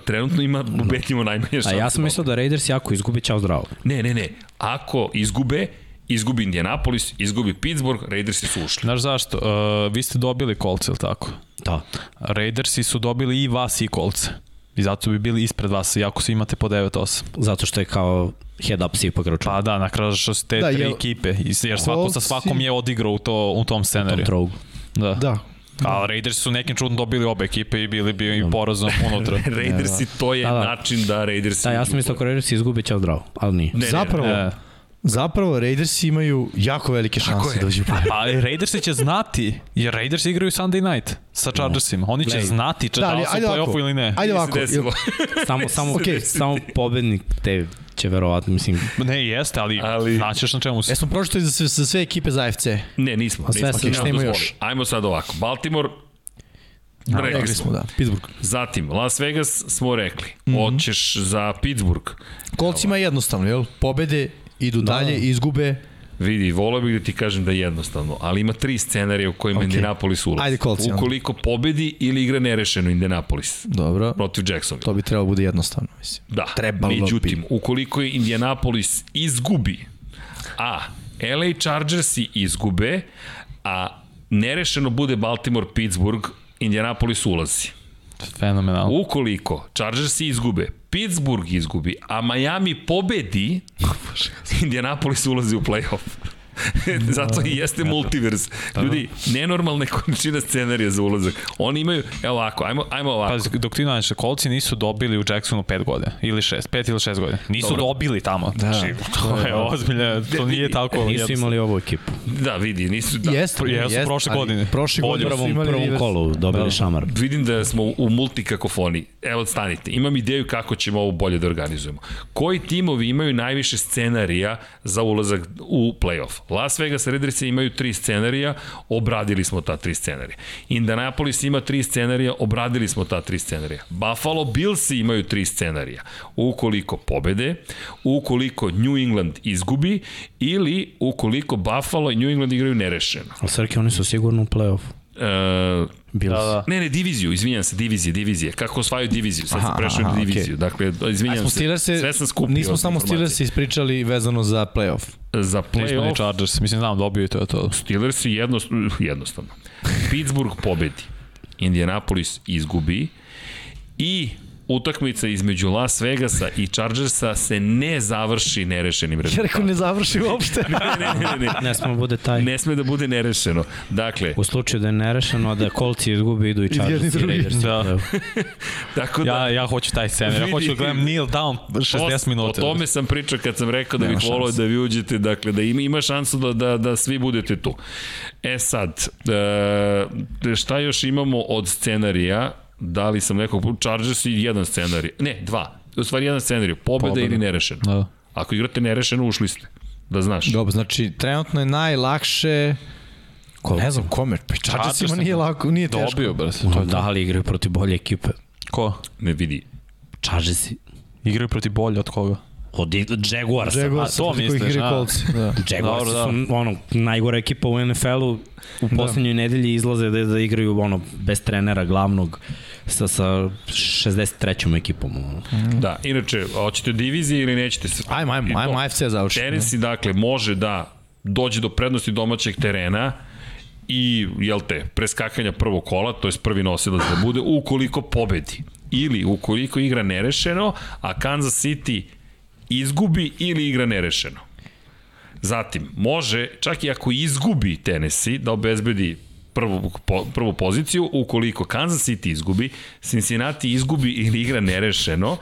[SPEAKER 1] Trenutno ima ubedljivo najmanje
[SPEAKER 2] Da. A
[SPEAKER 1] šanse.
[SPEAKER 2] ja sam mislio da Raiders jako izgube, čao zdravo.
[SPEAKER 1] Ne, ne, ne. Ako izgube, izgubi Indianapolis, izgubi Pittsburgh, Raidersi su ušli.
[SPEAKER 3] Znaš zašto? Uh, vi ste dobili kolce, ili tako?
[SPEAKER 2] Da.
[SPEAKER 3] Raidersi su dobili i vas i kolce. I zato bi bili ispred vas, iako svi imate po 9-8.
[SPEAKER 2] Zato što je kao head up se ipak računa.
[SPEAKER 3] Pa da, na kraju što su te
[SPEAKER 4] Da,
[SPEAKER 3] da, tri
[SPEAKER 4] jel-
[SPEAKER 3] ekipe, is- jer svako sa
[SPEAKER 4] Coltsi-
[SPEAKER 3] svakom je odigrao u, to, u tom
[SPEAKER 2] Pa,
[SPEAKER 3] scenariju.
[SPEAKER 2] Trogu.
[SPEAKER 3] Da. da.
[SPEAKER 4] Da.
[SPEAKER 3] A Raiders su nekim čudom dobili obe ekipe i bili bi i porazno unutra.
[SPEAKER 1] Raidersi, to je
[SPEAKER 2] Da, da.
[SPEAKER 1] način da Raidersi...
[SPEAKER 2] Da, ja sam
[SPEAKER 1] izgube.
[SPEAKER 2] mislio ako Raiders izgube, čao zdravo, ali nije.
[SPEAKER 1] Ne, Da. ne, ne.
[SPEAKER 4] Zapravo,
[SPEAKER 3] E,
[SPEAKER 4] zapravo Raiders imaju jako velike šanse da uđu u play.
[SPEAKER 3] ali Raidersi će znati, jer Raiders igraju Sunday night sa Chargersima. Oni će
[SPEAKER 2] Play.
[SPEAKER 3] znati če da, li su u play-offu ili ne.
[SPEAKER 1] Nije
[SPEAKER 4] Ajde
[SPEAKER 1] se
[SPEAKER 4] ovako.
[SPEAKER 1] desilo.
[SPEAKER 2] Samo, samo,
[SPEAKER 1] Okej.
[SPEAKER 2] samo pobednik te će verovatno, mislim,
[SPEAKER 3] Ne, jeste, ali,
[SPEAKER 1] Ali-
[SPEAKER 3] ali... E, znaćeš na čemu su.
[SPEAKER 4] Jesmo pročitali za sve, za sve ekipe za AFC.
[SPEAKER 1] Ne, nismo.
[SPEAKER 2] A sve
[SPEAKER 1] nismo,
[SPEAKER 2] sam,
[SPEAKER 1] nismo
[SPEAKER 4] šta ima
[SPEAKER 1] dozvolili.
[SPEAKER 4] još?
[SPEAKER 1] Ajmo sad ovako. Baltimore, rekli smo.
[SPEAKER 4] da. Pittsburgh.
[SPEAKER 1] Zatim, Las Vegas smo rekli.
[SPEAKER 4] Mhm.
[SPEAKER 1] Hoćeš za Pittsburgh.
[SPEAKER 4] Kolcima je jednostavno, jel? Pobede, idu da. dalje, izgube.
[SPEAKER 1] Vidi, volao bih da ti kažem da je jednostavno, ali ima tri scenarija u kojima okay. Indianapolis ulazi.
[SPEAKER 4] Ajde, Colts, onda.
[SPEAKER 1] Ukoliko pobedi ili igra nerešeno Indianapolis
[SPEAKER 4] Dobro.
[SPEAKER 1] protiv Jacksonville.
[SPEAKER 4] To bi trebalo bude jednostavno, mislim.
[SPEAKER 1] Da,
[SPEAKER 4] Trebalo bi.
[SPEAKER 1] međutim, ukoliko je Indianapolis izgubi, a LA Chargersi izgube, a nerešeno bude Baltimore-Pittsburgh, Indianapolis ulazi.
[SPEAKER 3] Fenomenalno.
[SPEAKER 1] Ukoliko Chargersi izgube, Pittsburgh izgubi, a Miami pobedi, Indianapolis ulazi u playoff. Zato i jeste multivers. Ljudi, nenormalne količine scenarija za ulazak. Oni imaju, evo ovako, ajmo, ajmo ovako.
[SPEAKER 3] Pazi, dok ti nađeš, kolci nisu dobili u Jacksonu 5 godina, ili 6, 5 ili 6 godina. Nisu
[SPEAKER 1] Dobro.
[SPEAKER 3] Dobro. dobili tamo. Da. Znači, to je ozbiljno, to nije tako.
[SPEAKER 2] nisu
[SPEAKER 3] jednostavno.
[SPEAKER 2] imali ovu ekipu.
[SPEAKER 1] Da, vidi, nisu... Da.
[SPEAKER 4] Da. Jeste,
[SPEAKER 3] Jesu prošle
[SPEAKER 4] ali
[SPEAKER 3] godine.
[SPEAKER 4] Prošle
[SPEAKER 3] Bolje.
[SPEAKER 4] godine su
[SPEAKER 2] U
[SPEAKER 4] imali
[SPEAKER 2] prvom
[SPEAKER 4] rivers.
[SPEAKER 2] kolu dobili šamar.
[SPEAKER 1] Vidim da smo u multikakofoni. Evo, stanite. Imam ideju kako ćemo ovo bolje da organizujemo. Koji timovi imaju najviše scenarija za ulazak u playoff? Las Vegas Raiders imaju tri scenarija, obradili smo ta tri scenarija. Indianapolis ima tri scenarija, obradili smo ta tri scenarija. Buffalo Bills imaju tri scenarija. Ukoliko pobede, ukoliko New England izgubi ili ukoliko Buffalo i New England igraju nerešeno.
[SPEAKER 2] Ali Srke, oni su sigurno u play-offu.
[SPEAKER 1] E,
[SPEAKER 2] Bili da,
[SPEAKER 3] da.
[SPEAKER 1] Ne, ne, diviziju, izvinjam se, divizije, divizije. Kako osvajaju diviziju? Sad sam prešao na diviziju. Okay. Dakle,
[SPEAKER 4] A
[SPEAKER 1] izvinjam
[SPEAKER 4] smo
[SPEAKER 1] se.
[SPEAKER 4] Steelers se,
[SPEAKER 1] Sve sam skupio.
[SPEAKER 4] nismo samo
[SPEAKER 1] informacije.
[SPEAKER 4] Steelers se ispričali vezano za play-off.
[SPEAKER 1] Za
[SPEAKER 3] Nismo ni
[SPEAKER 1] play-off,
[SPEAKER 3] Chargers, mislim, znam, dobio i to je to.
[SPEAKER 1] Steelers je jednostavno, jednostavno. Pittsburgh pobedi. Indianapolis izgubi. I utakmica između Las Vegasa i Chargersa se ne završi nerešenim rezultatom.
[SPEAKER 4] ne završi uopšte.
[SPEAKER 1] ne, ne, ne, ne.
[SPEAKER 2] Ne smo bude taj.
[SPEAKER 1] Ne sme da bude nerešeno. Dakle,
[SPEAKER 2] U slučaju da je nerešeno, a da kolci izgubi, idu i
[SPEAKER 4] jedni
[SPEAKER 2] Chargers i
[SPEAKER 4] drugi.
[SPEAKER 2] Raiders.
[SPEAKER 3] Da.
[SPEAKER 2] Da.
[SPEAKER 1] tako da...
[SPEAKER 3] Ja, ja hoću taj scenar, ja hoću da gledam kneel down 60
[SPEAKER 1] Post-
[SPEAKER 3] minuta.
[SPEAKER 1] O tome sam pričao kad sam rekao da bih volao da vi uđete, dakle da ima, ima šansu da, da, da svi budete tu. E sad, e, šta još imamo od scenarija? Da li sam nekog... Chargers i jedan scenarij. Ne, dva. U stvari jedan scenarij. Pobeda,
[SPEAKER 3] Pobeda.
[SPEAKER 1] ili nerešeno.
[SPEAKER 3] Da.
[SPEAKER 1] Ako igrate nerešeno, ušli ste. Da znaš.
[SPEAKER 4] Dobro, znači trenutno je najlakše
[SPEAKER 2] Kolci.
[SPEAKER 4] Ne znam kome, pa Chargersima
[SPEAKER 3] Chargersima.
[SPEAKER 4] nije lako, nije teško.
[SPEAKER 3] Dobio, brz.
[SPEAKER 2] Da, ali igraju protiv bolje ekipe.
[SPEAKER 3] Ko?
[SPEAKER 1] Ne vidi.
[SPEAKER 2] Chargersi
[SPEAKER 3] Igraju protiv bolje od koga?
[SPEAKER 2] Od Jaguarsa.
[SPEAKER 4] Jaguars,
[SPEAKER 3] to
[SPEAKER 4] protiv
[SPEAKER 3] misliš,
[SPEAKER 4] kojih igra
[SPEAKER 3] a?
[SPEAKER 4] Colts. Da.
[SPEAKER 2] Jaguars
[SPEAKER 3] Dobro, da.
[SPEAKER 2] su ono, najgora ekipa u NFL-u. U poslednjoj da. nedelji izlaze da, da igraju ono, bez trenera glavnog sa, sa 63. ekipom. Ono.
[SPEAKER 1] Da, inače, hoćete divizije ili nećete? S-
[SPEAKER 4] Ajmo,
[SPEAKER 1] I
[SPEAKER 4] ajmo,
[SPEAKER 1] to.
[SPEAKER 4] ajmo, AFC završi.
[SPEAKER 1] Tennessee, dakle, može da dođe do prednosti domaćeg terena i, jel te, preskakanja prvog kola, to je prvi nosilac da bude, ukoliko pobedi. Ili ukoliko igra nerešeno, a Kansas City izgubi ili igra nerešeno. Zatim, može, čak i ako izgubi Tennessee, da obezbedi prvu, po, prvu poziciju, ukoliko Kansas City izgubi, Cincinnati izgubi ili igra nerešeno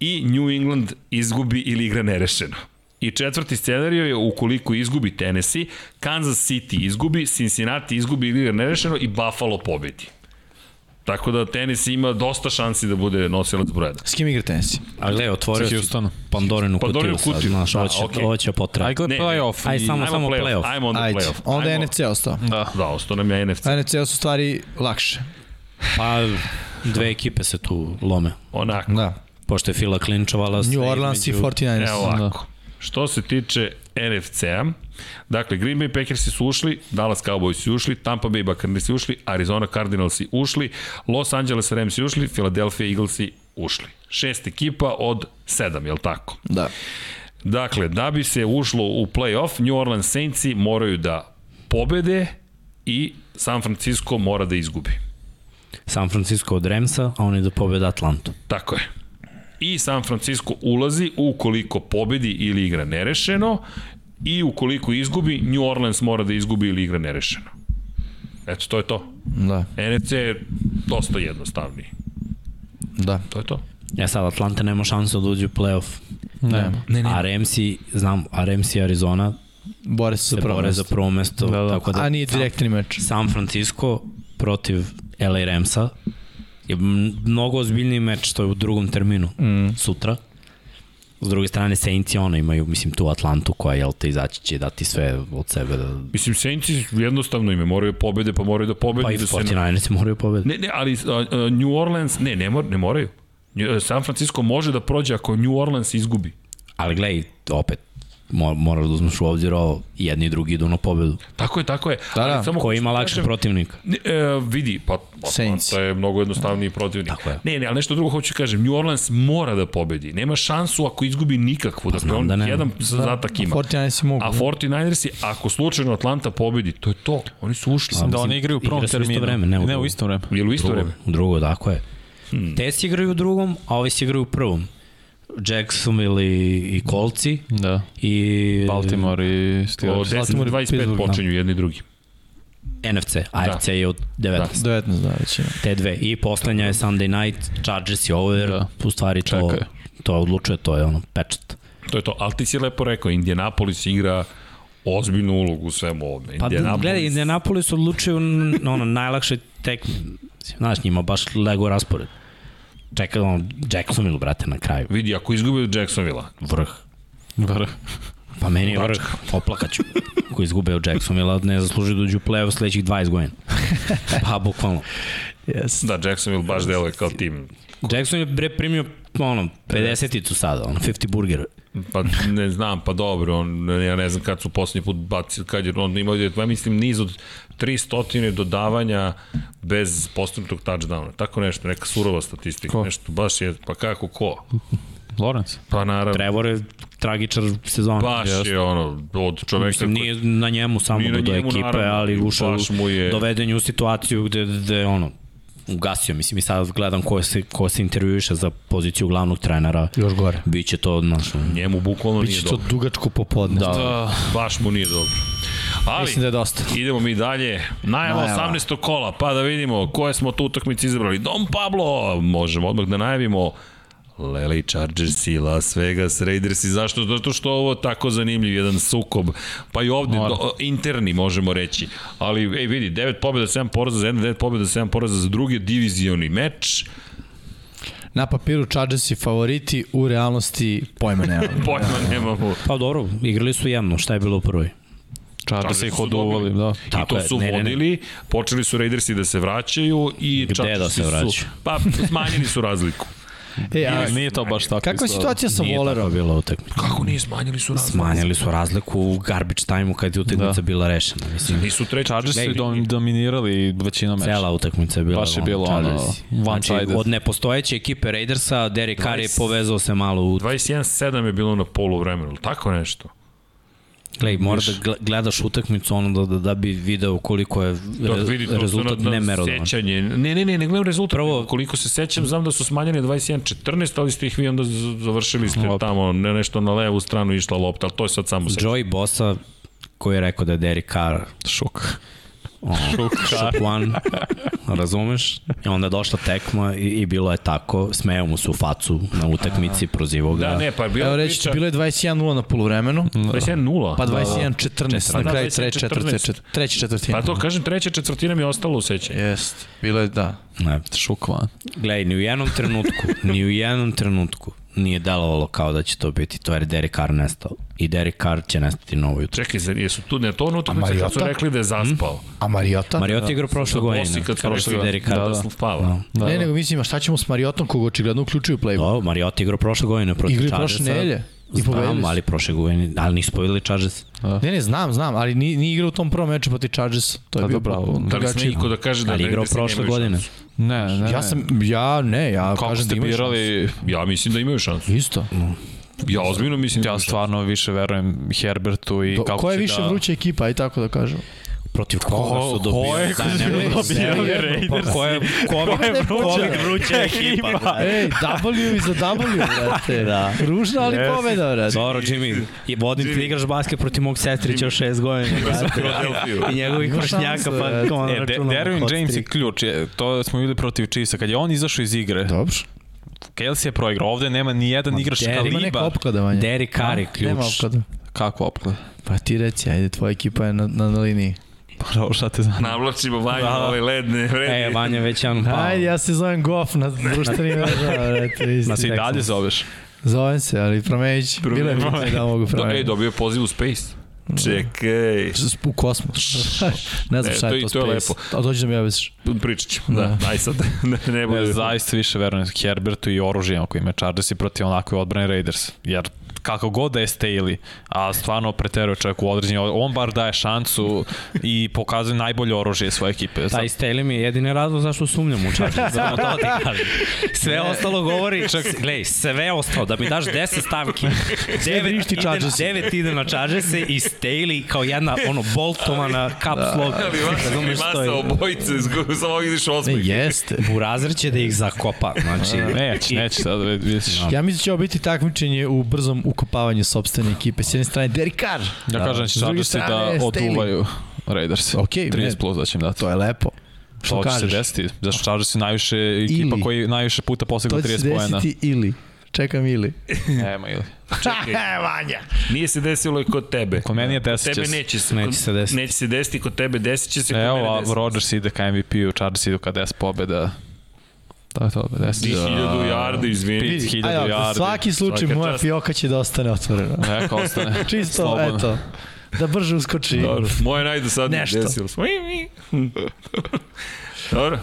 [SPEAKER 1] i New England izgubi ili igra nerešeno. I četvrti scenario je ukoliko izgubi Tennessee, Kansas City izgubi, Cincinnati izgubi ili igra nerešeno i Buffalo pobedi. Tako da Tennessee ima dosta šansi da bude nosilac broja.
[SPEAKER 4] da. S kim igra Tennessee?
[SPEAKER 2] A gle, otvorio
[SPEAKER 3] Sa
[SPEAKER 2] si
[SPEAKER 3] Houstonom.
[SPEAKER 2] Pandorinu
[SPEAKER 1] Pandorinu
[SPEAKER 2] kutiju sad,
[SPEAKER 1] kutiju,
[SPEAKER 2] znaš,
[SPEAKER 1] da,
[SPEAKER 2] ovo će,
[SPEAKER 1] okej.
[SPEAKER 2] ovo će potreba.
[SPEAKER 3] Aj gle
[SPEAKER 1] Ne,
[SPEAKER 3] playoff.
[SPEAKER 2] aj,
[SPEAKER 3] i-
[SPEAKER 2] samo-
[SPEAKER 1] Ajmo playoff.
[SPEAKER 2] playoff.
[SPEAKER 1] Ajmo onda
[SPEAKER 4] Ajde.
[SPEAKER 1] playoff.
[SPEAKER 4] Onda je
[SPEAKER 1] Ajmo-
[SPEAKER 4] NFC ostao.
[SPEAKER 3] Da.
[SPEAKER 1] Da, ostao nam je NFC.
[SPEAKER 4] NFC su stvari lakše.
[SPEAKER 2] Pa, dve ekipe se tu lome.
[SPEAKER 1] Onako.
[SPEAKER 4] Da.
[SPEAKER 2] Pošto je Fila klinčovala sve
[SPEAKER 4] New Orleans i
[SPEAKER 2] između-
[SPEAKER 4] 49ers.
[SPEAKER 1] Evo ovako. Što se tiče NFC-a, dakle Green Bay Packersi su ušli, Dallas Cowboysi ušli, Tampa Bay Buccaneersi ušli, Arizona Cardinalsi ušli, Los Angeles Ramsi ušli, Philadelphia Eaglesi ušli. Šest ekipa od sedam, je li tako?
[SPEAKER 4] Da.
[SPEAKER 1] Dakle, da bi se ušlo u play-off, New Orleans Saintsi moraju da pobede i San Francisco mora da izgubi.
[SPEAKER 2] San Francisco od Remsa, a oni da pobede Atlantu.
[SPEAKER 1] Tako je. I San Francisco ulazi ukoliko pobedi ili igra nerešeno i ukoliko izgubi, New Orleans mora da izgubi ili igra nerešeno. Eto, to je to.
[SPEAKER 4] Da.
[SPEAKER 1] NFC je dosta jednostavniji.
[SPEAKER 4] Da.
[SPEAKER 1] To je to.
[SPEAKER 2] Ja E sad Atlanta nema šansu da uđe u playoff.
[SPEAKER 3] Ne.
[SPEAKER 2] Ne, ne. A Remsi, znam, a Remsi i Arizona
[SPEAKER 4] Bore se za
[SPEAKER 2] se
[SPEAKER 4] prvo
[SPEAKER 2] bore za
[SPEAKER 4] mesto.
[SPEAKER 2] prvo mesto.
[SPEAKER 3] Da, da.
[SPEAKER 2] Tako da
[SPEAKER 4] A nije direktni meč.
[SPEAKER 2] San Francisco protiv LA Ramsa je m- mnogo ozbiljniji meč, to je u drugom terminu, mm. sutra. S druge strane, Saints i ono imaju, mislim, tu Atlantu koja, jel te, izaći će dati sve od sebe. Da,
[SPEAKER 1] Mislim, Saintsi jednostavno ime moraju da pobede, pa moraju da pobede.
[SPEAKER 2] pa i
[SPEAKER 1] da se-
[SPEAKER 2] 49 moraju pobediti.
[SPEAKER 1] Ne, ne, ali a, a, New Orleans, ne, ne, mor, ne moraju. Nju- San Francisco može da prođe ako New Orleans izgubi.
[SPEAKER 2] Ali gledaj, opet, mo- moraš da uzmeš u obzir ovo, jedni i drugi idu na pobedu.
[SPEAKER 1] Tako je, tako je.
[SPEAKER 4] Da, da.
[SPEAKER 1] Ali samo
[SPEAKER 2] Ko ima lakšeg
[SPEAKER 1] Kažem,
[SPEAKER 2] protivnika?
[SPEAKER 1] Ne, e, vidi, pa
[SPEAKER 4] Saints.
[SPEAKER 1] to je mnogo jednostavniji protivnik.
[SPEAKER 2] Tako je.
[SPEAKER 1] Ne, ne, ali nešto drugo hoću kažem. New Orleans mora da pobedi. Nema šansu ako izgubi nikakvu. dakle,
[SPEAKER 2] znam
[SPEAKER 1] on
[SPEAKER 2] da nema. Da,
[SPEAKER 1] jedan zadatak ima.
[SPEAKER 4] 49ers mogu.
[SPEAKER 1] A 49ersi, ako slučajno Atlanta pobedi, to je to. Oni su ušli.
[SPEAKER 2] A,
[SPEAKER 3] Da
[SPEAKER 2] Pa, mislim,
[SPEAKER 3] oni igraju u prvom
[SPEAKER 2] igra se u isto
[SPEAKER 3] terminu.
[SPEAKER 2] vreme, ne u
[SPEAKER 3] ne u
[SPEAKER 2] drugom.
[SPEAKER 3] isto vreme.
[SPEAKER 1] Ili u isto
[SPEAKER 2] Drugo,
[SPEAKER 1] vreme.
[SPEAKER 2] drugo, tako je. Hmm. Test igraju u drugom, a ovi se igraju u prvom. Jacksonville i, i Kolci
[SPEAKER 3] Da.
[SPEAKER 2] i
[SPEAKER 3] Baltimore i
[SPEAKER 1] O
[SPEAKER 3] Steelers.
[SPEAKER 1] 10
[SPEAKER 4] Baltimore i
[SPEAKER 1] 25
[SPEAKER 4] Pittsburgh, da.
[SPEAKER 1] počinju jedni i drugi.
[SPEAKER 2] NFC,
[SPEAKER 3] Da.
[SPEAKER 2] AFC je od 19.
[SPEAKER 4] 19, da, većina.
[SPEAKER 2] Te dve. I poslednja je Sunday night, Chargers i ovo, jer
[SPEAKER 3] Da.
[SPEAKER 2] da. u stvari to,
[SPEAKER 3] Čekaj.
[SPEAKER 2] to odlučuje, to je ono pečat.
[SPEAKER 1] To je to. Ali ti si lepo rekao, Indianapolis igra ozbiljnu ulogu u svemu ovome.
[SPEAKER 2] Pa
[SPEAKER 1] Indianapolis-
[SPEAKER 2] gledaj, Indianapolis odlučuju na ono, najlakše tek, znaš, njima baš lego raspored. Čekaj, ono, Jacksonville, brate, na kraju.
[SPEAKER 1] Vidi, ako izgubi od Jacksonville-a,
[SPEAKER 2] Vrh.
[SPEAKER 3] Vrh.
[SPEAKER 2] Pa meni je vrh, oplakaću. Ko izgube od Jacksonville, ne zasluži da uđu u play-off sledećih 20 godina. Pa, bukvalno.
[SPEAKER 4] Yes.
[SPEAKER 1] da, Jacksonville baš deluje kao tim.
[SPEAKER 2] Jackson je bre primio ono, 50-icu sada, ono, 50 burger.
[SPEAKER 1] Pa ne znam, pa dobro, on, ja ne znam kad su poslednji put bacili, kad je on imao, ja mislim, niz od 300 dodavanja bez postignutog touchdowna. Tako nešto, neka surova statistika,
[SPEAKER 3] Ko?
[SPEAKER 1] nešto, baš je, pa kako ko?
[SPEAKER 3] Lawrence.
[SPEAKER 1] Pa naravno,
[SPEAKER 2] Trevor je tragičar sezona.
[SPEAKER 1] baš je ono, od čoveka
[SPEAKER 2] Mislim, nije na njemu samo da
[SPEAKER 1] Nije na
[SPEAKER 2] do, do
[SPEAKER 1] njemu,
[SPEAKER 2] ekipe,
[SPEAKER 1] naravno,
[SPEAKER 2] ali ušao
[SPEAKER 1] baš mu je-
[SPEAKER 2] je... doveden je u situaciju gde, gde ono, ugasio, mislim, i sad gledam ko se, ko se intervjuiše za poziciju glavnog trenera.
[SPEAKER 4] Još gore.
[SPEAKER 2] Biće to, znaš, ono,
[SPEAKER 1] njemu bukvalno nije
[SPEAKER 4] Biće to
[SPEAKER 1] dobro.
[SPEAKER 4] dugačko popodne.
[SPEAKER 2] Da.
[SPEAKER 1] Da, baš mu nije dobro. Ali,
[SPEAKER 4] Mislim da je dosta.
[SPEAKER 1] Idemo mi dalje. Najava,
[SPEAKER 4] Najava.
[SPEAKER 1] 18. kola, pa da vidimo koje smo tu utakmice izabrali. Dom Pablo, možemo odmah da najavimo Lele Chargers i Las Vegas Raiders i zašto? Zato što je ovo tako zanimljiv jedan sukob. Pa i ovde
[SPEAKER 3] Mora.
[SPEAKER 1] do, interni možemo reći. Ali ej vidi, 9 pobjeda, 7 poraza za jedne, 9 pobjeda, 7 poraza za drugi divizioni meč.
[SPEAKER 4] Na papiru Chargers i favoriti, u realnosti pojma nema.
[SPEAKER 1] Pojma nemamo.
[SPEAKER 2] Pa dobro, igrali su jedno, šta je bilo u prvoj?
[SPEAKER 3] Chargers
[SPEAKER 1] Chargers
[SPEAKER 3] ih
[SPEAKER 1] su
[SPEAKER 3] oduvali,
[SPEAKER 1] dobili.
[SPEAKER 3] da.
[SPEAKER 1] I to
[SPEAKER 2] Tako je,
[SPEAKER 1] su
[SPEAKER 2] ne, ne, ne.
[SPEAKER 1] vodili, počeli su Raidersi da se vraćaju i
[SPEAKER 2] Gde da
[SPEAKER 1] Chargersi
[SPEAKER 2] se
[SPEAKER 1] su-
[SPEAKER 2] vraćaju?
[SPEAKER 1] Pa smanjili su razliku.
[SPEAKER 4] E, a,
[SPEAKER 3] Nije, nije to baš tako.
[SPEAKER 4] kakva je
[SPEAKER 3] izgledalo.
[SPEAKER 4] situacija sa
[SPEAKER 2] Nije tako
[SPEAKER 4] Wallerom?
[SPEAKER 2] bila utakmica.
[SPEAKER 1] Kako nije smanjili su razliku?
[SPEAKER 2] Smanjili su razliku u garbage time-u kad je utakmica da. bila rešena. Mislim,
[SPEAKER 1] Nisu treći.
[SPEAKER 3] Chargers su dom- dominirali većinom meča.
[SPEAKER 2] Cela utakmica je bila
[SPEAKER 3] Baš je bilo ono,
[SPEAKER 2] Chargersi.
[SPEAKER 3] one-sided.
[SPEAKER 2] Znači, od nepostojeće ekipe Raidersa, Derek Carr je
[SPEAKER 1] 20.
[SPEAKER 2] povezao se malo u...
[SPEAKER 1] 21-7 je bilo na polu vremenu, tako nešto.
[SPEAKER 2] Glej, mora da gle- gledaš utakmicu ono da, da, da bi video koliko je
[SPEAKER 1] Da,
[SPEAKER 2] re,
[SPEAKER 1] vidi, to su
[SPEAKER 2] rezultat
[SPEAKER 1] na- na
[SPEAKER 2] nemerodovan.
[SPEAKER 1] Sećanje. Ne, ne, ne, ne gledam rezultat.
[SPEAKER 2] Prvo-
[SPEAKER 1] Prvo, koliko se sećam, znam da su smanjeni 21-14, ali ste ih vi onda z- završili ste
[SPEAKER 3] Lopta.
[SPEAKER 1] tamo, ne, nešto na levu stranu išla lopta, ali to je sad samo sećanje.
[SPEAKER 2] Joey Bosa, koji je rekao da je Derek Carr
[SPEAKER 3] Šuk.
[SPEAKER 2] šupuan, razumeš? I onda je došla tekma i, i bilo je tako, smeo mu se u facu na utakmici, prozivao ga.
[SPEAKER 1] Da, ne, pa je bila
[SPEAKER 4] Evo reći, ću, bilo je 21-0 na poluvremenu,
[SPEAKER 1] 21-0.
[SPEAKER 4] pa 21-14 na
[SPEAKER 1] Da,
[SPEAKER 4] kraju
[SPEAKER 1] 21:14.
[SPEAKER 4] treće četvrte, treće četvrtine.
[SPEAKER 1] Pa to kažem, treća četvrtina mi je ostala u sećanju.
[SPEAKER 4] Jest, bilo je da.
[SPEAKER 2] Ne.
[SPEAKER 3] Šuk van.
[SPEAKER 2] Glej, ni u jednom trenutku, ni u jednom trenutku nije delovalo kao da će to biti, to je Derek Carr nestao. I Derek Carr će nestati na ovoj utakmici.
[SPEAKER 1] Čekaj, zar jesu tu ne to ono utakmice kad su
[SPEAKER 4] Mariota?
[SPEAKER 1] rekli da je zaspao?
[SPEAKER 4] A Mariota?
[SPEAKER 2] Mariota je igrao prošle godine,
[SPEAKER 1] Osim da, kad su
[SPEAKER 2] kao što
[SPEAKER 1] rekli
[SPEAKER 2] je Derek
[SPEAKER 1] da,
[SPEAKER 2] Carr.
[SPEAKER 1] da, da, spava.
[SPEAKER 4] Da, ne, nego mislim, a šta ćemo s Mariotom koga očigledno uključuju u play-off?
[SPEAKER 2] Da, Mariota je igrao prošle godine protiv
[SPEAKER 4] Igri
[SPEAKER 2] Chargersa.
[SPEAKER 4] prošle nedelje. I pobedili
[SPEAKER 2] Znam,
[SPEAKER 4] su.
[SPEAKER 2] ali prošle godine, ali nisu pobedili Chargers.
[SPEAKER 4] Ne, ne, znam, znam, ali ni, ni igra u tom prvom meču protiv Chargers. To je
[SPEAKER 3] Pa
[SPEAKER 4] bio
[SPEAKER 3] dobro,
[SPEAKER 4] potpuno
[SPEAKER 1] Da li
[SPEAKER 4] drugačiji-
[SPEAKER 1] sme niko da kaže da
[SPEAKER 2] ali
[SPEAKER 1] negde
[SPEAKER 2] igrao
[SPEAKER 1] se
[SPEAKER 2] prošle
[SPEAKER 1] nemaju
[SPEAKER 2] godine.
[SPEAKER 1] šansu?
[SPEAKER 3] Ne, ne, ne.
[SPEAKER 4] Ja sam, ja ne, ja
[SPEAKER 3] Kako
[SPEAKER 4] kažem da
[SPEAKER 3] ste
[SPEAKER 4] imaš.
[SPEAKER 3] birali,
[SPEAKER 1] Ja mislim da imaju šansu.
[SPEAKER 4] Isto.
[SPEAKER 1] Ja ozbiljno mislim da
[SPEAKER 3] ja
[SPEAKER 1] imaju šansu.
[SPEAKER 3] stvarno više verujem Herbertu i
[SPEAKER 4] Do,
[SPEAKER 3] kako
[SPEAKER 4] ko je
[SPEAKER 3] će
[SPEAKER 4] više
[SPEAKER 3] da...
[SPEAKER 4] vruća ekipa, aj tako da kažem.
[SPEAKER 2] Protiv koga su Da, dobili? Ko je
[SPEAKER 3] Raiders?
[SPEAKER 4] Pa,
[SPEAKER 2] Ko je Covid Covid vruća ekipa? brate.
[SPEAKER 4] Ej, W i za W, brate.
[SPEAKER 2] Da.
[SPEAKER 4] Ružna, ali yes. pobeda, brate.
[SPEAKER 2] Dobro, Jimmy, i vodim ti da igraš basket protiv mog sestrića od šest godina. I njegovih
[SPEAKER 4] Ima
[SPEAKER 2] vršnjaka,
[SPEAKER 4] šansu,
[SPEAKER 2] pa
[SPEAKER 4] eto.
[SPEAKER 2] on
[SPEAKER 3] E, De-
[SPEAKER 2] računamo.
[SPEAKER 3] Derwin
[SPEAKER 2] hot
[SPEAKER 3] James je
[SPEAKER 2] streak.
[SPEAKER 3] ključ. Je, to smo bili protiv Chiefsa. Kad je on izašao iz igre,
[SPEAKER 4] Dobro.
[SPEAKER 3] Kelsey je proigrao. Ovde nema ni jedan igrač
[SPEAKER 2] Derwin-
[SPEAKER 4] Ima neka
[SPEAKER 3] kaliba.
[SPEAKER 4] opklada vanja.
[SPEAKER 2] Derek Carr je
[SPEAKER 4] Nema
[SPEAKER 2] ključ.
[SPEAKER 4] opklada.
[SPEAKER 3] Kako opklada?
[SPEAKER 4] Pa ti reci, ajde, tvoja ekipa je na, na, na liniji.
[SPEAKER 3] Bravo, Pa, šta te zanima?
[SPEAKER 1] Navlačimo vanju da. ove ledne vredi.
[SPEAKER 2] E, Vanja već jedan
[SPEAKER 3] Pa.
[SPEAKER 2] pao.
[SPEAKER 4] Ajde, ja se zovem Goff na društvenim mrežama, brate. isti
[SPEAKER 3] Nas i
[SPEAKER 4] tekst.
[SPEAKER 3] dalje zoveš.
[SPEAKER 4] Zovem se, ali promenit ću. Bilo je
[SPEAKER 1] Promenit.
[SPEAKER 4] pitanje da mogu
[SPEAKER 1] Do, e,
[SPEAKER 4] promeniti.
[SPEAKER 1] dobio je poziv u Space. Čekaj.
[SPEAKER 4] U kosmos. ne znam
[SPEAKER 1] E,
[SPEAKER 4] šta
[SPEAKER 1] to
[SPEAKER 4] je
[SPEAKER 1] i-
[SPEAKER 4] to,
[SPEAKER 1] to je
[SPEAKER 4] space. A dođi da mi objasniš.
[SPEAKER 1] Pričat ćemo. Da. Aj sad. ne, ne bude.
[SPEAKER 3] Ja zaista više verujem Herbertu i oružijama koji ima Chargers i protiv onakve odbrane Raiders. Jer kako god da je Staley, a stvarno preteruje čovjek u određenju, on bar daje šancu i pokazuje najbolje oružje svoje ekipe. Sad,
[SPEAKER 2] Taj Staley mi je jedini razlog zašto sumnjam u Chargers. Samo to ti kažem. Sve ostalo govori, čak, glej, sve ostalo, da mi daš 10 stavki, 9
[SPEAKER 4] vrišti
[SPEAKER 2] ide,
[SPEAKER 4] Chargers.
[SPEAKER 2] 9 ide na Chargers i Staley kao jedna ono boltovana caps lock.
[SPEAKER 3] Da.
[SPEAKER 1] Ali vaša
[SPEAKER 2] Razumeš što
[SPEAKER 1] klimasa
[SPEAKER 2] je?
[SPEAKER 1] obojice, zgo- samo ovdje ideš
[SPEAKER 4] Ne,
[SPEAKER 1] osmih.
[SPEAKER 4] jeste.
[SPEAKER 2] Burazir će da ih zakopa, znači...
[SPEAKER 3] Neće, neće sad, vidiš.
[SPEAKER 4] Ja mislim da će ovo biti takmičenje u brzom ukopavanju sobstvene ekipe. S jedne strane, Derek Carr.
[SPEAKER 3] Ja kažem da
[SPEAKER 4] S
[SPEAKER 3] će
[SPEAKER 4] druge
[SPEAKER 3] Chargersi da
[SPEAKER 4] strane, Staley.
[SPEAKER 3] oduvaju Raiders.
[SPEAKER 4] Ok,
[SPEAKER 3] 30
[SPEAKER 4] ne.
[SPEAKER 3] plus da će im dati.
[SPEAKER 4] To je lepo. Što
[SPEAKER 3] To će se
[SPEAKER 4] kažeš?
[SPEAKER 3] desiti, zašto Chargers je najviše ekipa
[SPEAKER 4] Ili.
[SPEAKER 3] koji najviše puta postigla
[SPEAKER 4] To će se
[SPEAKER 3] 30 poena. E,
[SPEAKER 4] desiti ili. Čekam ili.
[SPEAKER 3] Nema ili.
[SPEAKER 1] Čekaj. Vanja. Nije se desilo i kod tebe.
[SPEAKER 3] Kod meni je
[SPEAKER 1] Kod
[SPEAKER 3] desit će
[SPEAKER 1] tebe
[SPEAKER 3] se.
[SPEAKER 1] neće se.
[SPEAKER 2] Neće
[SPEAKER 1] kod-
[SPEAKER 2] se desiti.
[SPEAKER 1] Neće se desiti kod tebe, desit će se kod mene
[SPEAKER 3] Evo,
[SPEAKER 1] desiti.
[SPEAKER 3] Rodgers ide ka MVP-u, Chargers idu ka 10 pobjeda. To je to, 10.
[SPEAKER 1] 1000 jardi, izvini.
[SPEAKER 3] Vidi. 1000
[SPEAKER 4] Ajde, ovako,
[SPEAKER 3] yardi.
[SPEAKER 4] Svaki slučaj
[SPEAKER 1] Svaka
[SPEAKER 4] moja
[SPEAKER 1] čast.
[SPEAKER 4] fioka će da ostane otvorena.
[SPEAKER 3] Neka ostane.
[SPEAKER 4] Čisto,
[SPEAKER 3] Slobodno.
[SPEAKER 4] eto. Da brže uskoči.
[SPEAKER 1] Dobro, moje najdosadnije
[SPEAKER 4] Nešto.
[SPEAKER 1] desilo se. Ui, ui. Dobro.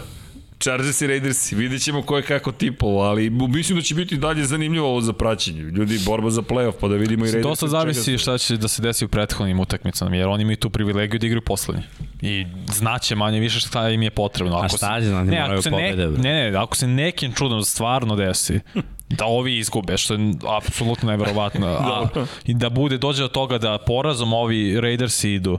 [SPEAKER 1] Chargers i Raiders, vidjet ćemo ko je kako tipovo, ali mislim da će biti dalje zanimljivo ovo za praćenje. Ljudi, borba za playoff, pa da vidimo i Raiders.
[SPEAKER 3] Dosta zavisi šta će da se desi u prethodnim utakmicama, jer oni imaju tu privilegiju da igraju poslednji. I znaće manje više šta im je potrebno.
[SPEAKER 2] A šta će znati,
[SPEAKER 3] ne,
[SPEAKER 2] moraju
[SPEAKER 3] ako se ne,
[SPEAKER 2] pobede, bre.
[SPEAKER 3] ne, ne, ako se nekim čudom stvarno desi, da ovi izgube, što je apsolutno neverovatno. A, I da bude, dođe do toga da porazom ovi Raidersi idu.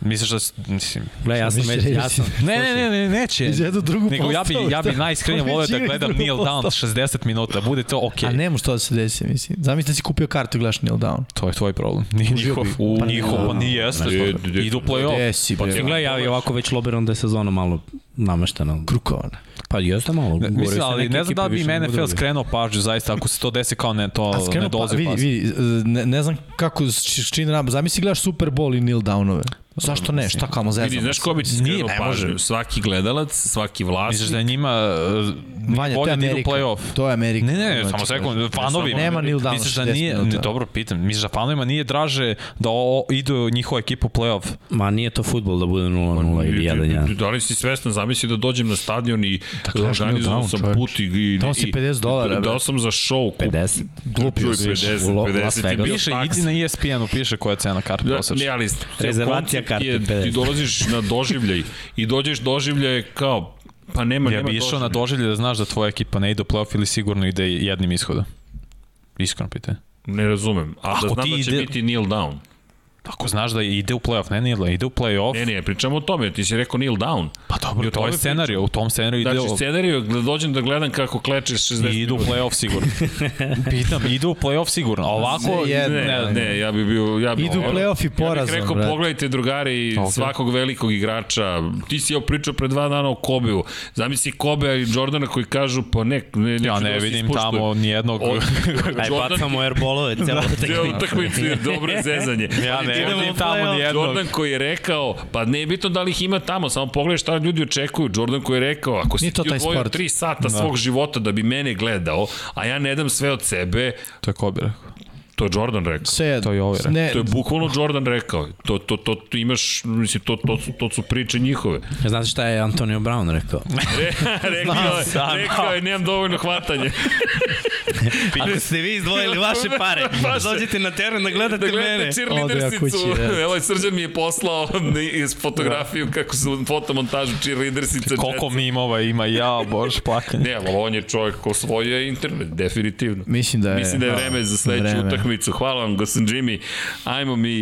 [SPEAKER 3] Misliš da, s- mislim,
[SPEAKER 2] Gle, ja sam
[SPEAKER 4] Šta
[SPEAKER 2] već,
[SPEAKER 4] misliš?
[SPEAKER 2] ja sam...
[SPEAKER 3] Ne, ne, ne, ne, neće.
[SPEAKER 4] Iz jednu drugu
[SPEAKER 3] Nego ja bi,
[SPEAKER 4] postavu,
[SPEAKER 3] ja bi
[SPEAKER 4] šta?
[SPEAKER 3] najiskrenije volio da
[SPEAKER 4] Već igraš
[SPEAKER 3] gledam
[SPEAKER 4] drugu
[SPEAKER 3] Neil
[SPEAKER 4] postavu.
[SPEAKER 3] Down 60 minuta, bude to okej.
[SPEAKER 4] A
[SPEAKER 3] Okay.
[SPEAKER 4] ne može to da se desi, mislim. Zamisli da si kupio kartu i gledaš Neil Down.
[SPEAKER 3] To je tvoj problem. Nije
[SPEAKER 4] Užio
[SPEAKER 3] njihov,
[SPEAKER 4] bi.
[SPEAKER 3] u
[SPEAKER 4] Pa ne,
[SPEAKER 3] njihov, pa nije jeste.
[SPEAKER 1] Ne, ne,
[SPEAKER 3] Idu u play-off. Pa
[SPEAKER 4] Desi, bre.
[SPEAKER 2] Gle, ja i ovako već lobiram da je sezona malo nameštena.
[SPEAKER 4] Krukovan.
[SPEAKER 2] Pa jeste malo. gore
[SPEAKER 3] Mislim,
[SPEAKER 2] su
[SPEAKER 3] ali
[SPEAKER 2] neke
[SPEAKER 3] ne znam da
[SPEAKER 2] ekipe
[SPEAKER 3] bi
[SPEAKER 2] više
[SPEAKER 3] mene
[SPEAKER 2] nego
[SPEAKER 3] NFL
[SPEAKER 2] druge.
[SPEAKER 3] skrenuo pažnju, zaista, ako se to desi kao ne,
[SPEAKER 4] A
[SPEAKER 3] to ne
[SPEAKER 4] skrenuo pa,
[SPEAKER 3] dolazi
[SPEAKER 4] vidi,
[SPEAKER 3] pas.
[SPEAKER 4] vidi, e, ne, ne znam kako, s či- s čim rab, zamisli gledaš Super Bowl i Neil Downove. Zašto ne? Šta kamo zezamo?
[SPEAKER 5] Vidi, znaš ko bi ti
[SPEAKER 4] Nije,
[SPEAKER 5] skrenuo
[SPEAKER 4] ne
[SPEAKER 5] pažnju?
[SPEAKER 4] može.
[SPEAKER 5] Svaki gledalac, svaki
[SPEAKER 3] Misliš
[SPEAKER 5] vlasnik.
[SPEAKER 3] da je njima
[SPEAKER 4] Vanja,
[SPEAKER 3] Vanja,
[SPEAKER 4] to
[SPEAKER 3] bolje da
[SPEAKER 4] je
[SPEAKER 3] idu u
[SPEAKER 4] Amerika.
[SPEAKER 3] play-off?
[SPEAKER 4] To je Amerika.
[SPEAKER 3] Ne, ne,
[SPEAKER 4] Znači,
[SPEAKER 3] samo sekund, fanovi.
[SPEAKER 4] Nema Neil Downa
[SPEAKER 3] Misliš da
[SPEAKER 4] 60
[SPEAKER 3] nije,
[SPEAKER 4] minuta.
[SPEAKER 3] ne, dobro pitam, misliš da fanovima nije draže da o, idu njihova ekipa u play-off?
[SPEAKER 2] Ma nije to futbol da bude 0-0 ili
[SPEAKER 5] Ti-
[SPEAKER 2] 1-1.
[SPEAKER 5] Da li si svestan, zamisli da dođem na stadion i
[SPEAKER 4] traži mi
[SPEAKER 5] organizovan
[SPEAKER 4] down,
[SPEAKER 5] sam
[SPEAKER 4] čoveč.
[SPEAKER 5] put i... i
[SPEAKER 4] Dao si
[SPEAKER 5] i- da,
[SPEAKER 4] 50 dolara, bre.
[SPEAKER 5] Dao sam za show, kup,
[SPEAKER 2] 50.
[SPEAKER 5] Glupio si. 50,
[SPEAKER 2] U Lo-
[SPEAKER 5] 50
[SPEAKER 2] Las
[SPEAKER 5] je bio
[SPEAKER 2] Vegasu.
[SPEAKER 3] Piše,
[SPEAKER 5] taks.
[SPEAKER 3] idi na E ESPN-u, piše koja je cena karte
[SPEAKER 5] Da,
[SPEAKER 3] prosečna.
[SPEAKER 5] ne, ali
[SPEAKER 2] Rezervacija
[SPEAKER 5] koncept je-
[SPEAKER 2] karte,
[SPEAKER 5] Ti
[SPEAKER 2] 50.
[SPEAKER 5] dolaziš na doživljaj i dođeš doživljaje kao, pa nema,
[SPEAKER 3] Ja
[SPEAKER 5] nema
[SPEAKER 3] bi išao na
[SPEAKER 5] doživljaja.
[SPEAKER 3] doživlje da znaš da tvoja ekipa ne ide u play-off ili sigurno ide jednim ishodom. Iskreno pitanje.
[SPEAKER 5] Ne razumem, a da
[SPEAKER 3] Ako
[SPEAKER 5] znam
[SPEAKER 3] ti
[SPEAKER 5] da će
[SPEAKER 3] ide-
[SPEAKER 5] biti kneel down.
[SPEAKER 3] Ako znaš da ide u play-off, ne, ne, ide u play-off,
[SPEAKER 5] Ne, ne, pričamo o tome, ti si rekao kneel down.
[SPEAKER 3] pa
[SPEAKER 5] E, I o
[SPEAKER 3] dobro, to
[SPEAKER 5] tome
[SPEAKER 3] je scenarij, u tom scenariju ide
[SPEAKER 5] Znači,
[SPEAKER 3] u-
[SPEAKER 5] scenariju, da dođem da gledam kako klečeš 60
[SPEAKER 3] I idu u play-off sigurno. Pitam, idu u play-off sigurno. A ovako,
[SPEAKER 4] Se jedno.
[SPEAKER 5] Ne, ne, ne, ja bi bio... Ja bi
[SPEAKER 4] Idu u play-off i
[SPEAKER 5] Ja bih
[SPEAKER 4] porazom,
[SPEAKER 5] rekao,
[SPEAKER 4] brate.
[SPEAKER 5] pogledajte drugari
[SPEAKER 3] Ok.
[SPEAKER 5] svakog velikog igrača. Ti si joj pričao pre dva dana o Kobeu. Zamisli Kobea i Jordana koji kažu, pa ne, ne, neću
[SPEAKER 3] ja
[SPEAKER 5] da
[SPEAKER 3] ne
[SPEAKER 5] vas
[SPEAKER 3] vidim
[SPEAKER 5] ispuštujem.
[SPEAKER 3] tamo nijednog...
[SPEAKER 5] O-
[SPEAKER 2] Aj,
[SPEAKER 5] Jordan, Da,
[SPEAKER 2] bacamo airbolove, celo
[SPEAKER 5] Deo
[SPEAKER 2] utakmicu.
[SPEAKER 5] utakmicu je dobro zezanje.
[SPEAKER 3] Ja
[SPEAKER 5] Ali
[SPEAKER 3] ne
[SPEAKER 5] Jordan-
[SPEAKER 3] vidim
[SPEAKER 2] play-off.
[SPEAKER 3] tamo nijednog.
[SPEAKER 5] Jordan koji je rekao, pa ne je bitno da li ih ima tamo, samo pogledaj šta ljudi očekuju. Jordan koji je rekao, ako si
[SPEAKER 4] Nije to
[SPEAKER 5] ti
[SPEAKER 4] taj
[SPEAKER 5] odvojio
[SPEAKER 4] sport.
[SPEAKER 5] 3 sata svog života da bi mene gledao, a ja ne dam sve od sebe,
[SPEAKER 3] To je Kobe rekao.
[SPEAKER 5] to je Jordan rekao.
[SPEAKER 4] Sve jedno.
[SPEAKER 3] To je ovaj,
[SPEAKER 4] Ne,
[SPEAKER 5] To je bukvalno Jordan rekao. To, to, to, to imaš, mislim, to, to, su, to su priče njihove.
[SPEAKER 2] Znate šta je Antonio Brown rekao?
[SPEAKER 5] Re, rekao,
[SPEAKER 2] da.
[SPEAKER 5] je, rekao je, nemam dovoljno hvatanja.
[SPEAKER 2] Ako ste vi izdvojili vaše pare,
[SPEAKER 5] Vaše.
[SPEAKER 2] dođite na teren da gledate,
[SPEAKER 5] Da gledate
[SPEAKER 4] Ode ja
[SPEAKER 5] cheerleadersicu.
[SPEAKER 4] kući, da.
[SPEAKER 5] Evo, Srđan mi je poslao iz fotografiju kako su fotomontažu cheerleadersice.
[SPEAKER 3] Da. Koliko mimova ima, ja, bož, plakanje.
[SPEAKER 5] Ne, ali on je čovjek ko osvojio internet, definitivno.
[SPEAKER 4] Mislim da je-
[SPEAKER 5] Mislim da je
[SPEAKER 4] da,
[SPEAKER 5] vreme za sledeću
[SPEAKER 4] vreme.
[SPEAKER 5] utakmicu. Hvala vam, Gosan Jimmy. Ajmo mi,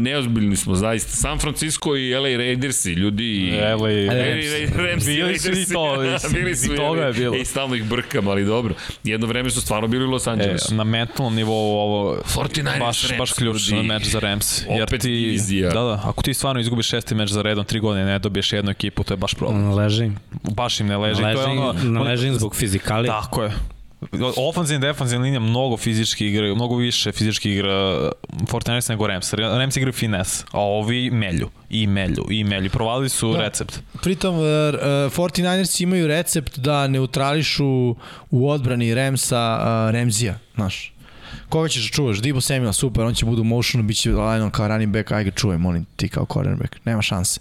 [SPEAKER 5] neozbiljni smo zaista. San Francisco i LA Raidersi, ljudi.
[SPEAKER 3] LA
[SPEAKER 5] Raidersi. Ramsi,
[SPEAKER 3] Bili su i
[SPEAKER 5] Raidersi.
[SPEAKER 3] to, i-
[SPEAKER 5] bili su
[SPEAKER 3] i
[SPEAKER 5] i
[SPEAKER 3] toga je bilo.
[SPEAKER 5] I stalno ih brkam, ali dobro. Jedno vreme su stvarno bili u Los
[SPEAKER 3] E,
[SPEAKER 5] Angelesu.
[SPEAKER 3] na mentalnom nivou ovo
[SPEAKER 5] 49ers
[SPEAKER 3] baš,
[SPEAKER 5] Rams,
[SPEAKER 3] baš ključan
[SPEAKER 5] ljudi.
[SPEAKER 3] meč za Rams. Jer
[SPEAKER 5] Opet
[SPEAKER 3] ti,
[SPEAKER 5] divizija.
[SPEAKER 3] Da, da, ako ti stvarno izgubiš šesti meč za redom, tri godine ne dobiješ jednu ekipu, to je baš
[SPEAKER 2] Mm.
[SPEAKER 3] problem.
[SPEAKER 2] Ležim.
[SPEAKER 3] Baš im ne leži. to je
[SPEAKER 2] Ležim,
[SPEAKER 3] ono,
[SPEAKER 2] na
[SPEAKER 3] oni-
[SPEAKER 2] ležim zbog fizikali.
[SPEAKER 3] Tako je. Ofenzivna i defenzivna linija mnogo fizički igra, mnogo više fizički igra Fortnite nego Rams. Rams igraju finesse, a ovi melju, i melju, i melju. Provadili su da. recept.
[SPEAKER 4] Pritom, e, e, 49ers imaju recept da neutrališu u odbrani Remsa uh, Remzija, znaš. Koga ćeš da čuvaš? Dibo Samuel, super, on će bude u motionu, bit će lineom kao running back, aj ga čuvaj, molim ti kao cornerback, nema šanse.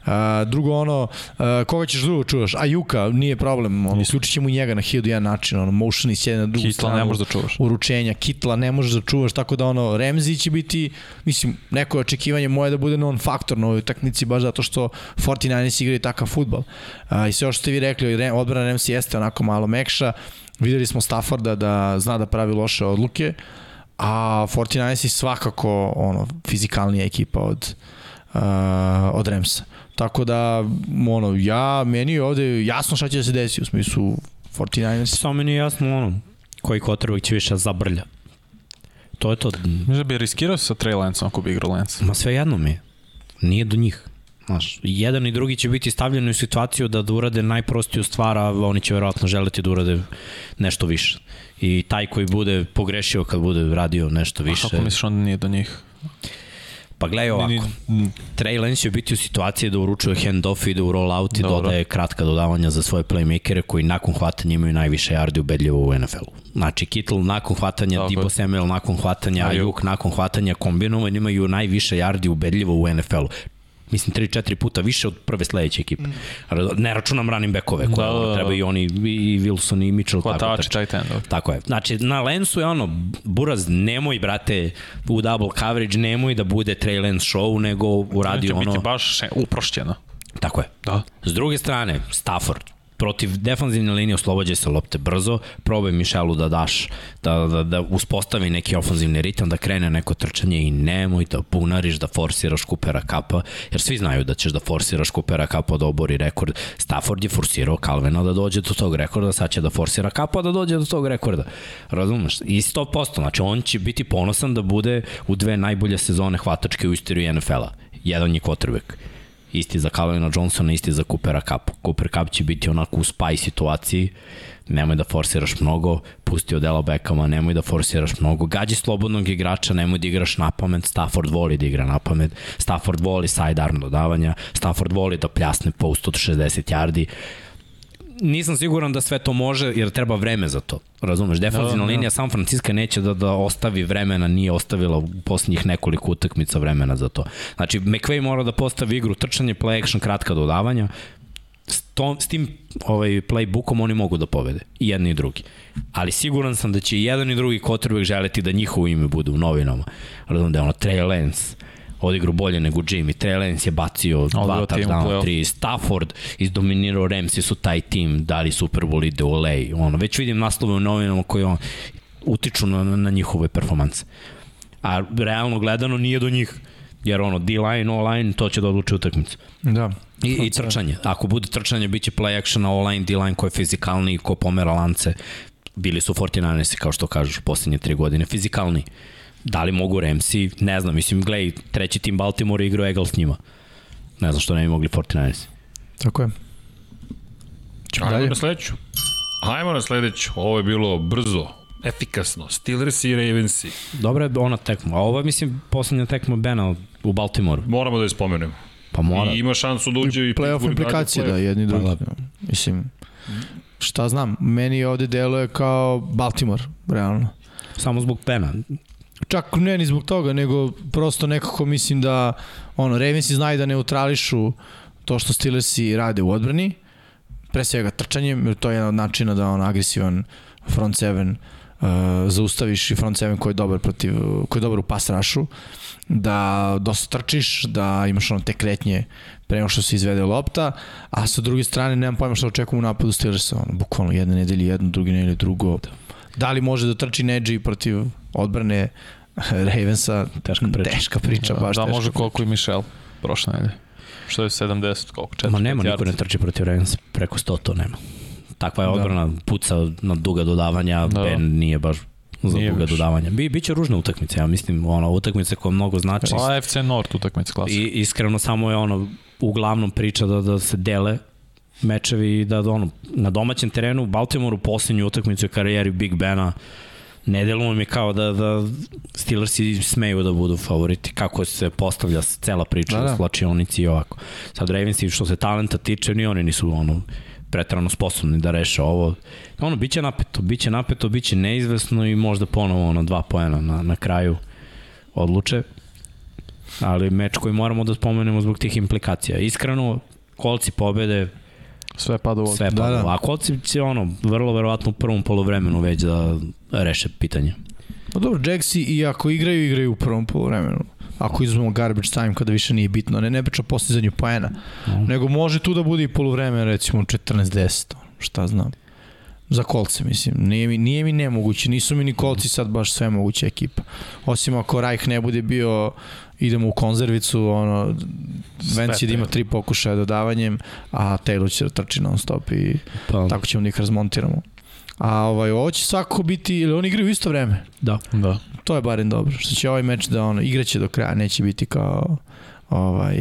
[SPEAKER 4] Uh, drugo ono, uh, koga ćeš drugo čuvaš? Ajuka, nije problem, ono, uključit ćemo i njega na 1001 način, ono, motion i sjede na drugu
[SPEAKER 3] Kitla
[SPEAKER 4] stranu.
[SPEAKER 3] ne možeš da čuvaš.
[SPEAKER 4] Uručenja, kitla ne možeš da čuvaš, tako da ono, Remzi će biti, mislim, neko je očekivanje moje da bude non-faktor na ovoj utakmici, baš zato što 49ers igraju takav futbal. A, I sve ovo što ste vi rekli, Re- odbrana Remzi jeste onako malo mekša, videli smo Stafforda da zna da pravi loše odluke, a 49ers je svakako ono, fizikalnija ekipa od, uh, od Remsa. Tako da, ono, ja, meni je ovde jasno šta će da se desi, u smislu 49ers.
[SPEAKER 2] Samo mi nije jasno ono, koji kotrbek će više zabrlja. To je to.
[SPEAKER 3] Mislim da bi riskirao sa Trey Lanceom ako bi igrao Lance.
[SPEAKER 2] Ma sve jedno mi je. Nije do njih. Znaš, i jedan i drugi će biti stavljeni u situaciju da, da urade najprostiju stvar, a oni će verovatno želiti da urade nešto više. I taj koji bude pogrešio kad bude radio nešto više.
[SPEAKER 3] Kako misliš onda nije do njih?
[SPEAKER 2] Pa gledaj ovako. Trey Lance će biti u situaciji da uručuje handoff i da u rollout i
[SPEAKER 3] Dobro.
[SPEAKER 2] dodaje kratka dodavanja za svoje playmakere koji nakon hvatanja imaju najviše yardi ubedljivo u NFL-u. Znači Kittle nakon hvatanja,
[SPEAKER 3] Tako je.
[SPEAKER 2] Debo Samuel nakon hvatanja, Ayuk nakon hvatanja kombinovan imaju najviše yardi ubedljivo u NFL-u. Mislim 3-4 puta više od prve sledeće ekipe. Ne računam running backove koje
[SPEAKER 3] Mm. Da, da, da.
[SPEAKER 2] treba i oni i i Wilson i Mitchell tako da-
[SPEAKER 3] Hvatači, tight end. da. ok.
[SPEAKER 2] Tako je. Znači, na Lensu je ono, Buraz, nemoj, brate, u double coverage, nemoj da bude Trey Lance show, nego uradi
[SPEAKER 3] Će
[SPEAKER 2] ono...
[SPEAKER 3] biti baš še- uprošćeno.
[SPEAKER 2] Tako je.
[SPEAKER 3] Da.
[SPEAKER 2] S druge strane, Stafford, protiv defanzivne linije oslobađa se lopte brzo, probaj Mišelu da daš, da, da, da uspostavi neki ofanzivni ritam, da krene neko trčanje i nemoj da bunariš, da forsiraš Kupera Kapa, jer svi znaju da ćeš da forsiraš Kupera Kapa da obori rekord. Stafford je forsirao Kalvena da dođe do tog rekorda, sad će da forsira Kapa da dođe do tog rekorda. Razumeš? I 100%, znači on će biti ponosan da bude u dve najbolje sezone hvatačke u istoriji NFL-a. Jedan je quarterback isti za Kalina Johnsona, isti za Coopera Cup. Cooper Cup će biti onako u spaj situaciji, nemoj da forsiraš mnogo, pusti od Ela Beckama, nemoj da forsiraš mnogo, gađi slobodnog igrača, nemoj da igraš na pamet, Stafford voli da igra na pamet, Stafford voli sidearm dodavanja, Stafford voli da pljasne post od 60 yardi, nisam siguran da sve to može jer treba vreme za to. Razumeš, defanzivna da, linija San Francisco neće da da ostavi vremena, nije ostavila u poslednjih nekoliko utakmica vremena za to. Znači McVay mora da postavi igru trčanje, play action, kratka dodavanja. S, to, s tim ovaj playbookom oni mogu da povede i jedni i drugi. Ali siguran sam da će i jedan i drugi quarterback želeti da njihovo ime bude u novinama. Razumem da je ono Trey Lance, odigru bolje nego Jimmy. Trey Lance je bacio dva touchdowna, tri. Stafford izdominirao Ramsey su taj tim, dali Super Bowl ide u LA. Ono, već vidim naslove u novinama koji on, utiču na, na njihove performanse. A realno gledano nije do njih. Jer ono, D-line, O-line, to će da odluči utakmicu.
[SPEAKER 4] Da.
[SPEAKER 2] I, I trčanje. Ako bude trčanje, bit će play action, O-line, D-line koji je fizikalniji, ko pomera lance. Bili su 49 kao što kažeš, poslednje tri godine, fizikalniji da li mogu Remsi, ne znam, mislim, gledaj, treći tim Baltimore igrao Egal s njima. Ne znam što ne bi mogli 49ers.
[SPEAKER 4] Tako je.
[SPEAKER 5] Ćemo Ajmo dalje. na sledeću. Ajmo na sledeću. Ovo je bilo brzo, efikasno. Steelers i Ravensi.
[SPEAKER 2] Dobra je ona tekma. A ovo je, mislim, poslednja tekma Bena u Baltimoru.
[SPEAKER 5] Moramo da je spomenemo.
[SPEAKER 2] Pa mora.
[SPEAKER 5] I ima šansu da uđe i
[SPEAKER 4] Playoff implikacije, da, jedni drugi. Pa, Mislim, šta znam, meni ovde deluje kao Baltimore, realno.
[SPEAKER 2] Samo zbog Bena
[SPEAKER 4] čak ne ni zbog toga, nego prosto nekako mislim da ono, Ravensi znaju da neutrališu to što Steelersi rade u odbrani, pre svega trčanjem, jer to je jedan od načina da on agresivan front seven uh, zaustaviš i front seven koji je dobar protiv, koji je dobar u pass rushu, da dosta trčiš, da imaš ono te kretnje pre nego što se izvede lopta, a sa druge strane nemam pojma šta očekujem u napadu Steelersa, ono, bukvalno jedne nedelje jedno, druge nedelje drugo. Da li može da trči Nedži protiv odbrane Ravensa,
[SPEAKER 2] Teška priča.
[SPEAKER 4] teška priča, baš
[SPEAKER 3] da,
[SPEAKER 4] teška.
[SPEAKER 3] može koliko i Michel prošle nedelje. Što je 70, koliko? 4,
[SPEAKER 2] Ma nema, niko ne trči protiv Ravens, preko 100 to nema. Takva je odbrana, da. puca na duga dodavanja, da. Ben nije baš za nije duga baš. dodavanja. Bi, biće ružna utakmica, ja mislim, ona utakmica koja mnogo znači.
[SPEAKER 3] Pa AFC Nord utakmica klasa.
[SPEAKER 2] I iskreno samo je ono, uglavnom priča da, da se dele mečevi i da ono, na domaćem terenu u Baltimoru poslednju utakmicu u karijeri Big Bena ne deluje mi kao da, da Steelersi smeju da budu favoriti, kako se postavlja cela priča da, da. u slačionici i ovako. Sad Ravensi što se talenta tiče, ni oni nisu ono pretrano sposobni da reše ovo. Ono, bit će napeto, bit će napeto, bit će neizvesno i možda ponovo ono, dva poena na, na kraju odluče. Ali meč koji moramo da spomenemo zbog tih implikacija. Iskreno, kolci pobede,
[SPEAKER 3] Sve pada u
[SPEAKER 2] sve da, da. A kolci će ono, vrlo verovatno u prvom polovremenu već da reše pitanje.
[SPEAKER 4] Pa dobro, Jaxi i ako igraju, igraju u prvom polovremenu. Ako izuzmemo garbage time kada više nije bitno, ne, ne priča o postizanju poena, mm. nego može tu da bude i polovreme recimo 14-10, šta znam. Za kolce, mislim. Nije mi, nije mi nemoguće. Nisu mi ni kolci sad baš sve moguća ekipa. Osim ako Rajh ne bude bio idemo u konzervicu, ono, Vance će da ima tri pokušaja dodavanjem, a Taylor će da trči non stop i pa. tako ćemo da ih razmontiramo. A ovaj, ovo će svakako biti, ili oni igraju u isto vreme.
[SPEAKER 2] Da.
[SPEAKER 3] Da.
[SPEAKER 4] To je barem dobro, što će ovaj meč da ono, igraće do kraja, neće biti kao ovaj,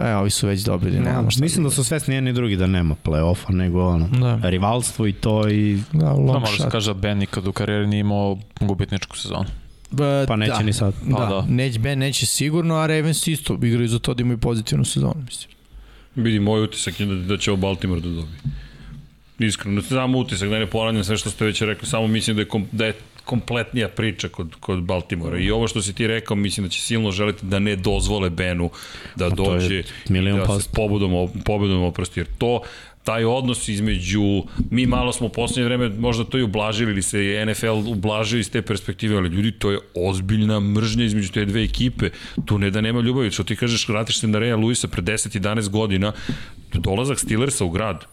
[SPEAKER 4] e, ovi su već dobili,
[SPEAKER 2] Ne,
[SPEAKER 4] nemamo šta.
[SPEAKER 2] mislim da su svesni jedni i drugi da nema play-offa, nego ono,
[SPEAKER 4] Da.
[SPEAKER 2] da. rivalstvo i to i
[SPEAKER 4] Da,
[SPEAKER 3] Da,
[SPEAKER 4] long
[SPEAKER 3] može se
[SPEAKER 4] shot.
[SPEAKER 3] kaže da Ben nikad u karijeri nije imao gubitničku sezonu.
[SPEAKER 4] Ba,
[SPEAKER 2] pa neće
[SPEAKER 4] da.
[SPEAKER 2] ni sad.
[SPEAKER 4] Pa,
[SPEAKER 3] Pa
[SPEAKER 4] da, da.
[SPEAKER 3] da.
[SPEAKER 4] Neć, ben neće sigurno, a Ravens isto igraju za to da imaju pozitivnu sezonu, mislim.
[SPEAKER 5] Vidi, moj utisak je da, da će ovo Baltimore da dobije. Iskreno, samo utisak, da ne ponavljam sve što ste već rekli, samo mislim da je, kom, da je kompletnija priča kod, kod Baltimora. I ovo što si ti rekao, mislim da će silno želiti da ne dozvole Benu da
[SPEAKER 2] Pa to je
[SPEAKER 5] dođe
[SPEAKER 2] milion
[SPEAKER 5] da se
[SPEAKER 2] posto.
[SPEAKER 5] pobudom, o- pobedom oprosti, jer to taj odnos između, mi malo smo u poslednje vreme možda to i ublažili ili se je NFL ublažio iz te perspektive, ali ljudi, to je ozbiljna mržnja između te dve ekipe. Tu ne da nema ljubavi, što ti kažeš, vratiš se na Reja Luisa pre 10-11 godina, dolazak Steelersa u grad,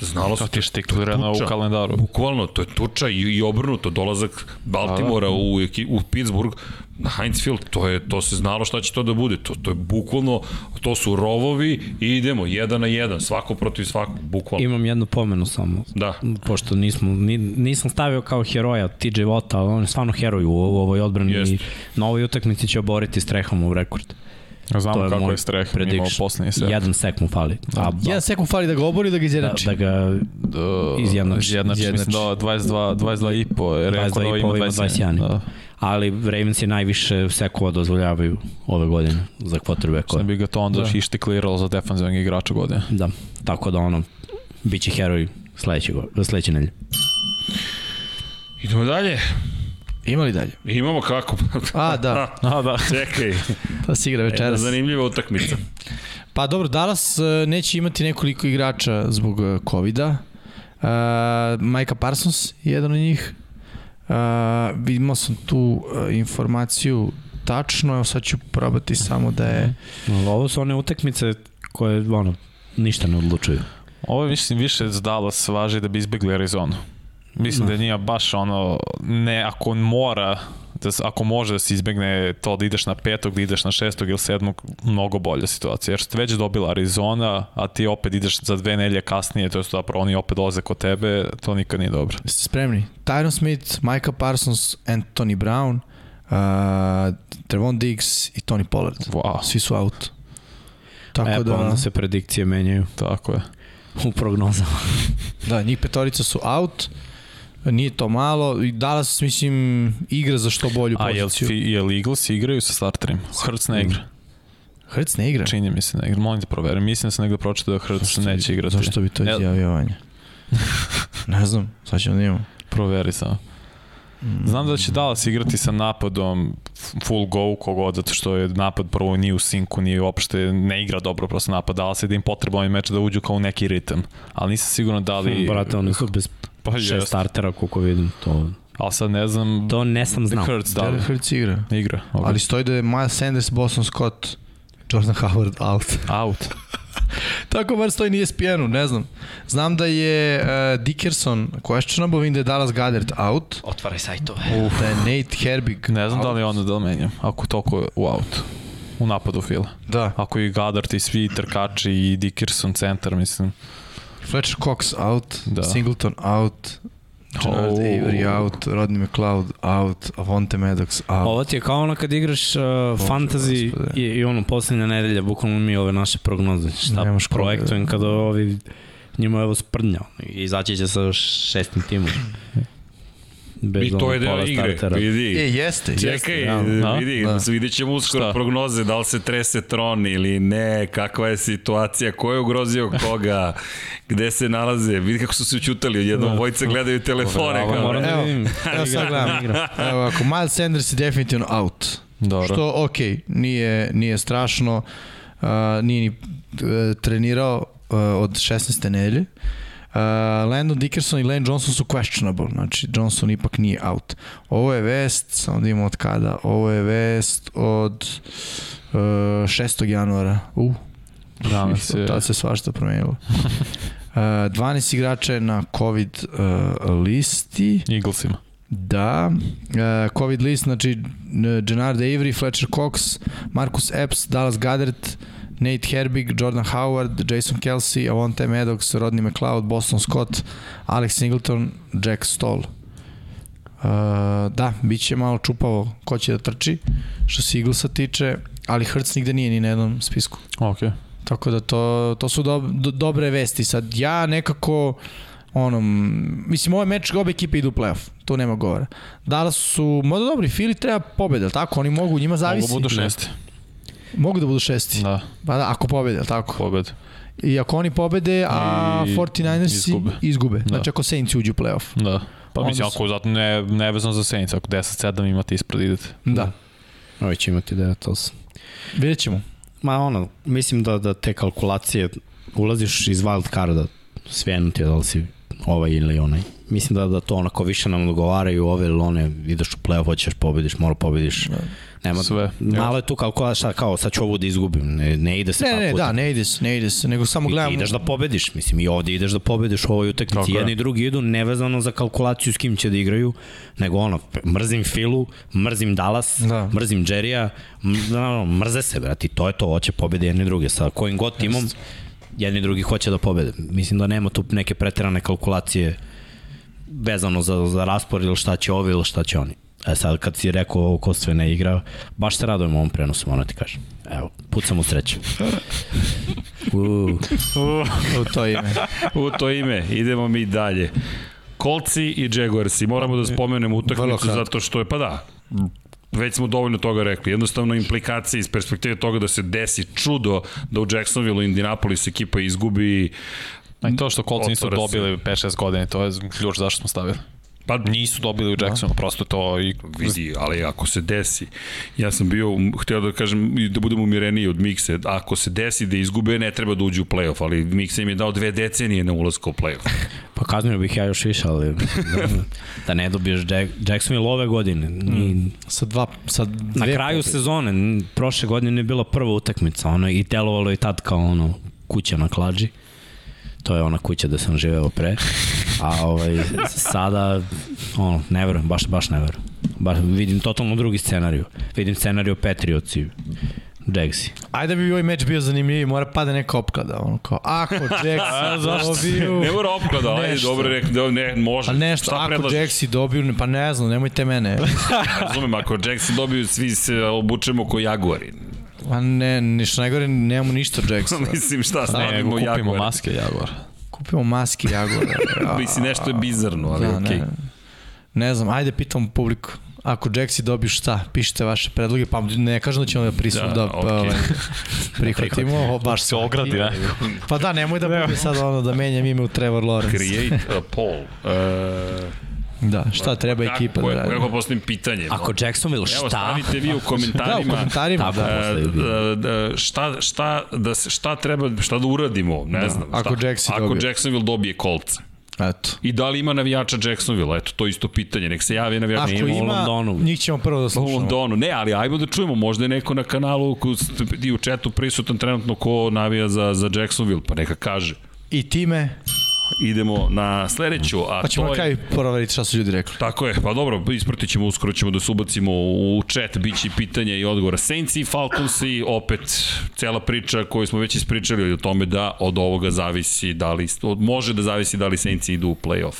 [SPEAKER 5] znalo se
[SPEAKER 3] To ti je štiklirano u
[SPEAKER 5] tuča.
[SPEAKER 3] kalendaru.
[SPEAKER 5] Bukvalno, to je tuča i, i obrnuto, dolazak Baltimora u, eki- u Pittsburgh na Heinz Field, to, je, to se znalo šta će to da bude, to, to je bukvalno, to su rovovi i idemo, jedan na jedan, svako protiv svakog, bukvalno.
[SPEAKER 2] Imam jednu pomenu samo.
[SPEAKER 5] Da.
[SPEAKER 2] Pošto nismo, ni, nisam stavio kao heroja TJ Watt, ali on je stvarno heroj u, u ovoj odbrani.
[SPEAKER 5] Jeste.
[SPEAKER 2] I na ovoj utakmici će oboriti strehom u rekord.
[SPEAKER 3] Znamo
[SPEAKER 2] to je
[SPEAKER 3] kako
[SPEAKER 2] moj
[SPEAKER 3] je Streh
[SPEAKER 2] prediction.
[SPEAKER 3] imao poslednji set.
[SPEAKER 2] Jedan sek mu fali. A, ba,
[SPEAKER 4] Jedan sekund fali da ga obori da ga
[SPEAKER 2] da,
[SPEAKER 4] izjednači.
[SPEAKER 2] da ga
[SPEAKER 3] Do,
[SPEAKER 2] Izjednači.
[SPEAKER 3] Izjednači, da, mislim da 22, 22 i po. je Rekao da
[SPEAKER 2] 22
[SPEAKER 3] ovaj
[SPEAKER 2] i
[SPEAKER 3] ima
[SPEAKER 2] pol, ima
[SPEAKER 3] 21.
[SPEAKER 2] 21.
[SPEAKER 3] Da.
[SPEAKER 2] Ali Ravens je najviše sekova dozvoljavaju ove godine za
[SPEAKER 3] Ne
[SPEAKER 2] quarterbackove.
[SPEAKER 3] bi ga to onda da. ištikliralo za defanzivnog igrača godine.
[SPEAKER 2] Da, tako da ono, bit će heroj sledeće, go- sledeće nelje.
[SPEAKER 5] Idemo dalje.
[SPEAKER 4] Ima li dalje?
[SPEAKER 5] Imamo kako.
[SPEAKER 4] A, da,
[SPEAKER 3] A, da.
[SPEAKER 5] Čekaj,
[SPEAKER 4] pa se
[SPEAKER 5] da
[SPEAKER 4] igra večeras.
[SPEAKER 5] zanimljiva utakmica.
[SPEAKER 4] Pa dobro, Dallas e, neće imati nekoliko igrača zbog e, COVID-a. Uh, Majka Parsons je jedan od njih. Uh, imao sam tu e, informaciju tačno, evo sad ću probati samo da je...
[SPEAKER 2] Ali ovo su one utakmice koje, ono, ništa ne odlučuju.
[SPEAKER 3] Ovo je, mislim više za Dallas važi da bi izbjegli Arizonu.
[SPEAKER 2] Da.
[SPEAKER 3] Mislim da je njima baš ono, ne, ako on mora, da, s- ako može da se izbjegne to da ideš na petog, da ideš na šestog ili sedmog, mnogo bolja situacija. Jer ste već dobila Arizona, a ti opet ideš za dve nelje kasnije, to je zapravo oni opet dolaze kod tebe, to nikad nije dobro.
[SPEAKER 4] Jeste spremni? Tyron Smith, Majka Parsons, Anthony Brown, uh, Trevon Diggs i Tony Pollard.
[SPEAKER 3] Wow,
[SPEAKER 4] Svi su out. Tako
[SPEAKER 2] E,
[SPEAKER 4] da...
[SPEAKER 2] pa onda se predikcije menjaju
[SPEAKER 3] tako je.
[SPEAKER 2] u prognozama.
[SPEAKER 4] Da, njih petorica su out. Nije to malo. I Dallas, mislim, igra za što bolju
[SPEAKER 3] A jel,
[SPEAKER 4] poziciju.
[SPEAKER 3] fi- jel Eagles igraju sa starterima? Hrc ne igra.
[SPEAKER 4] Hrc ne igra.
[SPEAKER 3] Čini mi se ne igra. Molim te proverim. Mislim da sam negde pročitao da Hrc
[SPEAKER 4] bi-
[SPEAKER 3] neće igrati.
[SPEAKER 4] Zašto bi to
[SPEAKER 3] Ne-
[SPEAKER 4] izjavio Vanja? ne znam, sad ćemo da imamo.
[SPEAKER 3] Proveri samo. Znam da će Dallas igrati sa napadom full go kogod, zato što je napad prvo nije u sinku, nije uopšte, ne igra dobro prosto napad Dallas i da im potrebno ovaj meč da uđu kao u neki ritam. Ali nisam sigurno da li...
[SPEAKER 2] Brate, oni su bez
[SPEAKER 3] pa
[SPEAKER 2] šest
[SPEAKER 3] jest.
[SPEAKER 2] startera, koliko vidim. To,
[SPEAKER 3] Ali sad ne znam...
[SPEAKER 2] to ne sam znao.
[SPEAKER 3] Hurts da li
[SPEAKER 4] Derek Hrc igra.
[SPEAKER 3] igra. Okay.
[SPEAKER 4] Ali stoji da je Miles Sanders, Boston Scott, Jordan Howard out.
[SPEAKER 3] Out.
[SPEAKER 4] Tako bar stoji na E ESPN-u, ne znam. Znam da je uh, Dickerson questionable, vidim da je Dallas Goddard out.
[SPEAKER 2] Otvaraj sajtove.
[SPEAKER 4] Uf. Da je Nate Herbig
[SPEAKER 3] Ne znam da
[SPEAKER 4] out.
[SPEAKER 3] li onda da li menjam. Ako toliko je u out. U napadu fila.
[SPEAKER 4] Da,
[SPEAKER 3] Ako i Goddard i svi trkači i Dickerson centar, mislim.
[SPEAKER 4] Fletcher Cox out, da.
[SPEAKER 3] Da.
[SPEAKER 4] Singleton out, Gerard
[SPEAKER 3] Oh.
[SPEAKER 4] Avery out, Rodney McLeod out, Avonte Maddox out.
[SPEAKER 2] Ovo ti je kao ono kad igraš uh, fantasy
[SPEAKER 4] gospode.
[SPEAKER 2] i, i ono posljednja nedelja, bukvalno mi ove naše prognoze, šta
[SPEAKER 4] Nemaš koga,
[SPEAKER 2] projektujem kada ovi njima je ovo sprnja i izaći će sa šestim timom. Bez
[SPEAKER 5] I to
[SPEAKER 2] ono
[SPEAKER 5] je
[SPEAKER 2] pola
[SPEAKER 5] deo igre.
[SPEAKER 2] startera.
[SPEAKER 4] E,
[SPEAKER 5] Vidi.
[SPEAKER 4] jeste, jeste.
[SPEAKER 5] Čekaj,
[SPEAKER 4] realno.
[SPEAKER 5] vidi,
[SPEAKER 4] Da.
[SPEAKER 5] vidjet ćemo uskoro
[SPEAKER 3] Šta?
[SPEAKER 5] prognoze, da li se trese tron ili ne, kakva je situacija, ko je ugrozio koga, gde se nalaze, vidi kako su se učutali, odjednom da. vojica gledaju telefone.
[SPEAKER 3] Overalo,
[SPEAKER 5] Kao,
[SPEAKER 3] moram
[SPEAKER 5] ne,
[SPEAKER 4] Evo,
[SPEAKER 2] da vidim.
[SPEAKER 4] evo sad gledam. Evo, ako Miles Sanders je definitivno out.
[SPEAKER 3] Dobro.
[SPEAKER 4] Što, ok, nije, nije strašno, uh, nije ni uh, trenirao uh, od 16. nedelje. Uh, Landon Dickerson i Lane Johnson su questionable, znači Johnson ipak nije out. Ovo je vest, samo da imamo od kada, ovo je vest od uh, 6. januara. Uh,
[SPEAKER 3] Danas je...
[SPEAKER 4] Tad se svašta promenilo. Uh, 12 igrača je na COVID uh, listi.
[SPEAKER 3] Eaglesima.
[SPEAKER 4] Da, e, COVID list, znači e, Gennard Avery, Fletcher Cox, Marcus Epps, Dallas Goddard, Nate Herbig, Jordan Howard, Jason Kelsey, Avonte Maddox, Rodney McLeod, Boston Scott, Alex Singleton, Jack Stoll. E, da, bit će malo čupavo ko će da trči, što se Eaglesa tiče, ali Hertz nigde nije ni na jednom spisku.
[SPEAKER 3] Ok.
[SPEAKER 4] Tako da to, to su do, do, dobre vesti. Sad ja nekako ono, mislim ovaj meč obe ekipe idu u playoff, tu nema govora. Dallas su, možda dobri, Fili treba pobeda, jel tako? Oni mogu, njima zavisi.
[SPEAKER 3] Mogu budu šesti.
[SPEAKER 4] mogu da budu šesti. Da.
[SPEAKER 3] Da,
[SPEAKER 4] Pa da, ako pobede, jel tako?
[SPEAKER 3] pobed.
[SPEAKER 4] I ako oni pobede, a
[SPEAKER 3] I
[SPEAKER 4] 49ersi izgube.
[SPEAKER 3] izgube.
[SPEAKER 4] izgube. Da.
[SPEAKER 3] Da.
[SPEAKER 4] Znači ako Saints uđu u playoff.
[SPEAKER 3] Da. Pa
[SPEAKER 4] Onda
[SPEAKER 3] mislim,
[SPEAKER 4] su-
[SPEAKER 3] ako zato ne, nevezano za Saints, ako 10-7 imate ispred idete.
[SPEAKER 4] Da,
[SPEAKER 2] Ovi će imati 9-8.
[SPEAKER 4] vidjet ćemo.
[SPEAKER 2] Ma ono, mislim da, da te kalkulacije, ulaziš iz wild carda, svenuti da li si ovaj ili onaj. Mislim da, da to onako više nam dogovaraju ove ili one, ideš u playoff, hoćeš pobediš, mora pobediš.
[SPEAKER 4] Da.
[SPEAKER 2] Nema,
[SPEAKER 3] Sve.
[SPEAKER 2] Malo je tu kalkulacija, šta kao, sad ću ovu da izgubim, ne, ne ide se
[SPEAKER 4] Ne,
[SPEAKER 2] tako.
[SPEAKER 4] ne, da, ne ide se, ne ide se, nego samo
[SPEAKER 2] I
[SPEAKER 4] gledamo.
[SPEAKER 2] ti ideš da pobediš, mislim, i ovde ideš da pobediš u ovoj utakmici.
[SPEAKER 3] Tako je.
[SPEAKER 2] Jedni i drugi idu nevezano za kalkulaciju s kim će da igraju, nego ono, mrzim Filu, mrzim Dallas,
[SPEAKER 4] Da.
[SPEAKER 2] da. mrzim Jerrya, m- da, ono, mrze se, brati, to je to, hoće pobede jedni i druge. Sa kojim god timom, jedni i drugi hoće da pobede. Mislim da nema tu neke preterane kalkulacije vezano za, za raspor ili šta će ovi ili šta će oni. E sad kad si rekao ovo ko sve ne igra, baš se radujem ovom prenosu, moram ti kažem. Evo, pucam u sreću. Uuu.
[SPEAKER 4] u to ime.
[SPEAKER 5] U to ime, idemo mi dalje. Kolci i Jaguarsi, moramo da spomenemo
[SPEAKER 4] Vrlo
[SPEAKER 5] utakmicu
[SPEAKER 4] kratko.
[SPEAKER 5] zato što je, pa da, već smo dovoljno toga rekli. Jednostavno implikacije iz perspektive toga da se desi čudo da u Jacksonville i Indianapolis ekipa izgubi
[SPEAKER 3] A i to što Colts nisu
[SPEAKER 5] Otvara se.
[SPEAKER 3] dobili 5-6 godine, to je ključ zašto smo stavili.
[SPEAKER 5] pa
[SPEAKER 3] Nisu dobili
[SPEAKER 4] da.
[SPEAKER 3] u Jacksonu, prosto to i
[SPEAKER 5] vidi, ali ako se desi, ja sam bio, um, hteo da kažem, i da budem umireniji od Mikse, ako se desi da izgube, ne treba da uđu u playoff, ali Mikse im je dao dve decenije na ulazku u playoff.
[SPEAKER 2] Pa kaznio bih ja još više, ali da, da ne dobiješ Jack, Jacksonville ove godine. I
[SPEAKER 4] Sa dva, sa Mm. dve
[SPEAKER 2] na kraju
[SPEAKER 4] pobjede.
[SPEAKER 2] sezone, n- prošle godine je bila prva utakmica, ono, i delovalo je tad kao ono, kuća na klađi. To je ona kuća da sam živeo pre. A ovaj, sada, ono, ne verujem, baš, baš ne verujem. Baš, vidim totalno drugi scenariju. Vidim scenariju Patriotsi, Jagsi.
[SPEAKER 4] Ajde da bi ovaj meč bio zanimljiviji, mora pada neka opklada, ono kao, ako Jacks dobiju...
[SPEAKER 5] Ne mora opklada, ajde,
[SPEAKER 4] Nešto.
[SPEAKER 5] dobro rekli, da ne, može.
[SPEAKER 4] A nešto,
[SPEAKER 5] Šta
[SPEAKER 4] ako
[SPEAKER 5] predlažeš?
[SPEAKER 4] Jacksi dobiju, ne- pa ne znam, nemojte mene.
[SPEAKER 5] Razumem, ako Jackson dobiju, svi se obučemo ko Jaguari.
[SPEAKER 4] Ma Pa ne, ništa najgore, nemamo ništa od Jacksa.
[SPEAKER 5] Mislim,
[SPEAKER 4] Da,
[SPEAKER 5] šta
[SPEAKER 3] ne,
[SPEAKER 5] stavimo
[SPEAKER 3] kupimo
[SPEAKER 5] Jaguari?
[SPEAKER 3] maske Jaguar.
[SPEAKER 4] Kupimo maski Jaguara. a-
[SPEAKER 5] Mislim, nešto je bizarno, ali
[SPEAKER 4] Da,
[SPEAKER 5] da, okej.
[SPEAKER 4] ne, ne znam, ajde pitam publiku. Ako Jacksi dobiju šta, pišite vaše predloge, pa ne kažem da ćemo da prisutno
[SPEAKER 5] Da,
[SPEAKER 4] da,
[SPEAKER 5] okej.
[SPEAKER 4] ovaj, prihvatimo, o, baš svaki.
[SPEAKER 3] ogradi, ne?
[SPEAKER 4] Pa da, nemoj da bude sad ono da menjam ime u Trevor Lawrence.
[SPEAKER 5] Create a poll. Uh,
[SPEAKER 4] Da, šta treba ekipa
[SPEAKER 5] kako,
[SPEAKER 4] da
[SPEAKER 5] je-
[SPEAKER 4] radi?
[SPEAKER 5] Kako postavim pitanje?
[SPEAKER 2] Ako Jacksonville šta?
[SPEAKER 5] Evo, stavite vi u
[SPEAKER 4] Da, u
[SPEAKER 5] komentarima.
[SPEAKER 4] komentarima,
[SPEAKER 2] Tako.
[SPEAKER 4] da.
[SPEAKER 5] e, da, da, šta, šta, da, se- šta treba, šta da uradimo, ne da, znam.
[SPEAKER 4] ako
[SPEAKER 5] šta,
[SPEAKER 4] Jackson
[SPEAKER 5] ako
[SPEAKER 4] dobije.
[SPEAKER 5] Jacksonville dobije kolca.
[SPEAKER 4] Eto.
[SPEAKER 5] I da li ima navijača Jacksonville? Eto, to je isto pitanje. Nek se javi navijača.
[SPEAKER 4] Ako
[SPEAKER 2] u
[SPEAKER 4] ima,
[SPEAKER 2] Londonu.
[SPEAKER 4] njih ćemo prvo da
[SPEAKER 5] U
[SPEAKER 4] slušamo.
[SPEAKER 5] Londonu, ne, ali ajmo da čujemo, možda je neko na kanalu ko- i u četu prisutan trenutno ko navija za, za Jacksonville, pa neka kaže.
[SPEAKER 4] I time,
[SPEAKER 5] Idemo na sledeću, a
[SPEAKER 4] pa ćemo
[SPEAKER 5] to
[SPEAKER 4] na
[SPEAKER 5] je...
[SPEAKER 4] kraju proveriti šta su ljudi rekli.
[SPEAKER 5] Tako je, pa dobro, ispratit ćemo, uskoro ćemo da se ubacimo u chat, bit će i pitanja i odgovora. Saints i Falcons i opet cela priča koju smo već ispričali o tome da od ovoga zavisi da li, od, može da zavisi da li Saints idu u playoff.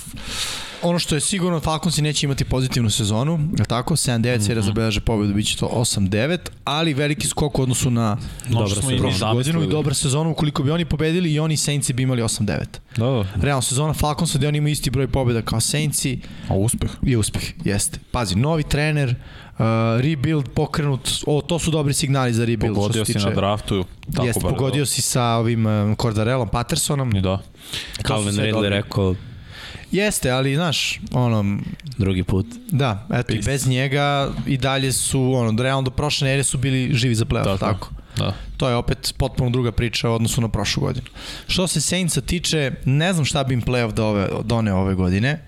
[SPEAKER 4] Ono što je sigurno, Falconsi neće imati pozitivnu sezonu, je li tako? 7-9 serija zabeleže pobedu, bit će to 8-9, ali veliki skok u odnosu na
[SPEAKER 2] Dobro
[SPEAKER 3] smo
[SPEAKER 2] se
[SPEAKER 3] i mi
[SPEAKER 2] prošlo.
[SPEAKER 4] prošlu godinu i
[SPEAKER 3] zamislili.
[SPEAKER 4] dobra sezona ukoliko bi oni pobedili i oni Saintsi bi imali 8-9.
[SPEAKER 3] Da, da.
[SPEAKER 4] Realno sezona Falconsa gde oni imaju isti broj pobeda kao Saintsi
[SPEAKER 3] A uspeh?
[SPEAKER 4] je uspeh, jeste. Pazi, novi trener, uh, rebuild pokrenut, o, to su dobri signali za rebuild. što
[SPEAKER 3] Pogodio
[SPEAKER 4] se
[SPEAKER 3] si
[SPEAKER 4] tiče-
[SPEAKER 3] na draftu. Tako
[SPEAKER 4] Jeste,
[SPEAKER 3] bar je
[SPEAKER 4] pogodio
[SPEAKER 3] dobro.
[SPEAKER 4] si sa ovim um, Cordarelom Pattersonom.
[SPEAKER 3] I Da.
[SPEAKER 4] To su
[SPEAKER 2] Calvin
[SPEAKER 4] sve
[SPEAKER 2] Ridley
[SPEAKER 4] dobri.
[SPEAKER 2] rekao
[SPEAKER 4] Jeste, ali znaš, ono,
[SPEAKER 2] drugi put.
[SPEAKER 4] da, eto, i bez njega i dalje su, ono, realno do prošle nere su bili živi za playoff, tako.
[SPEAKER 3] Tako.
[SPEAKER 4] tako.
[SPEAKER 3] Da.
[SPEAKER 4] To je opet potpuno druga priča u odnosu na prošlu godinu. Što se Saintsa tiče, ne znam šta bi im playoff da ove, done ove godine,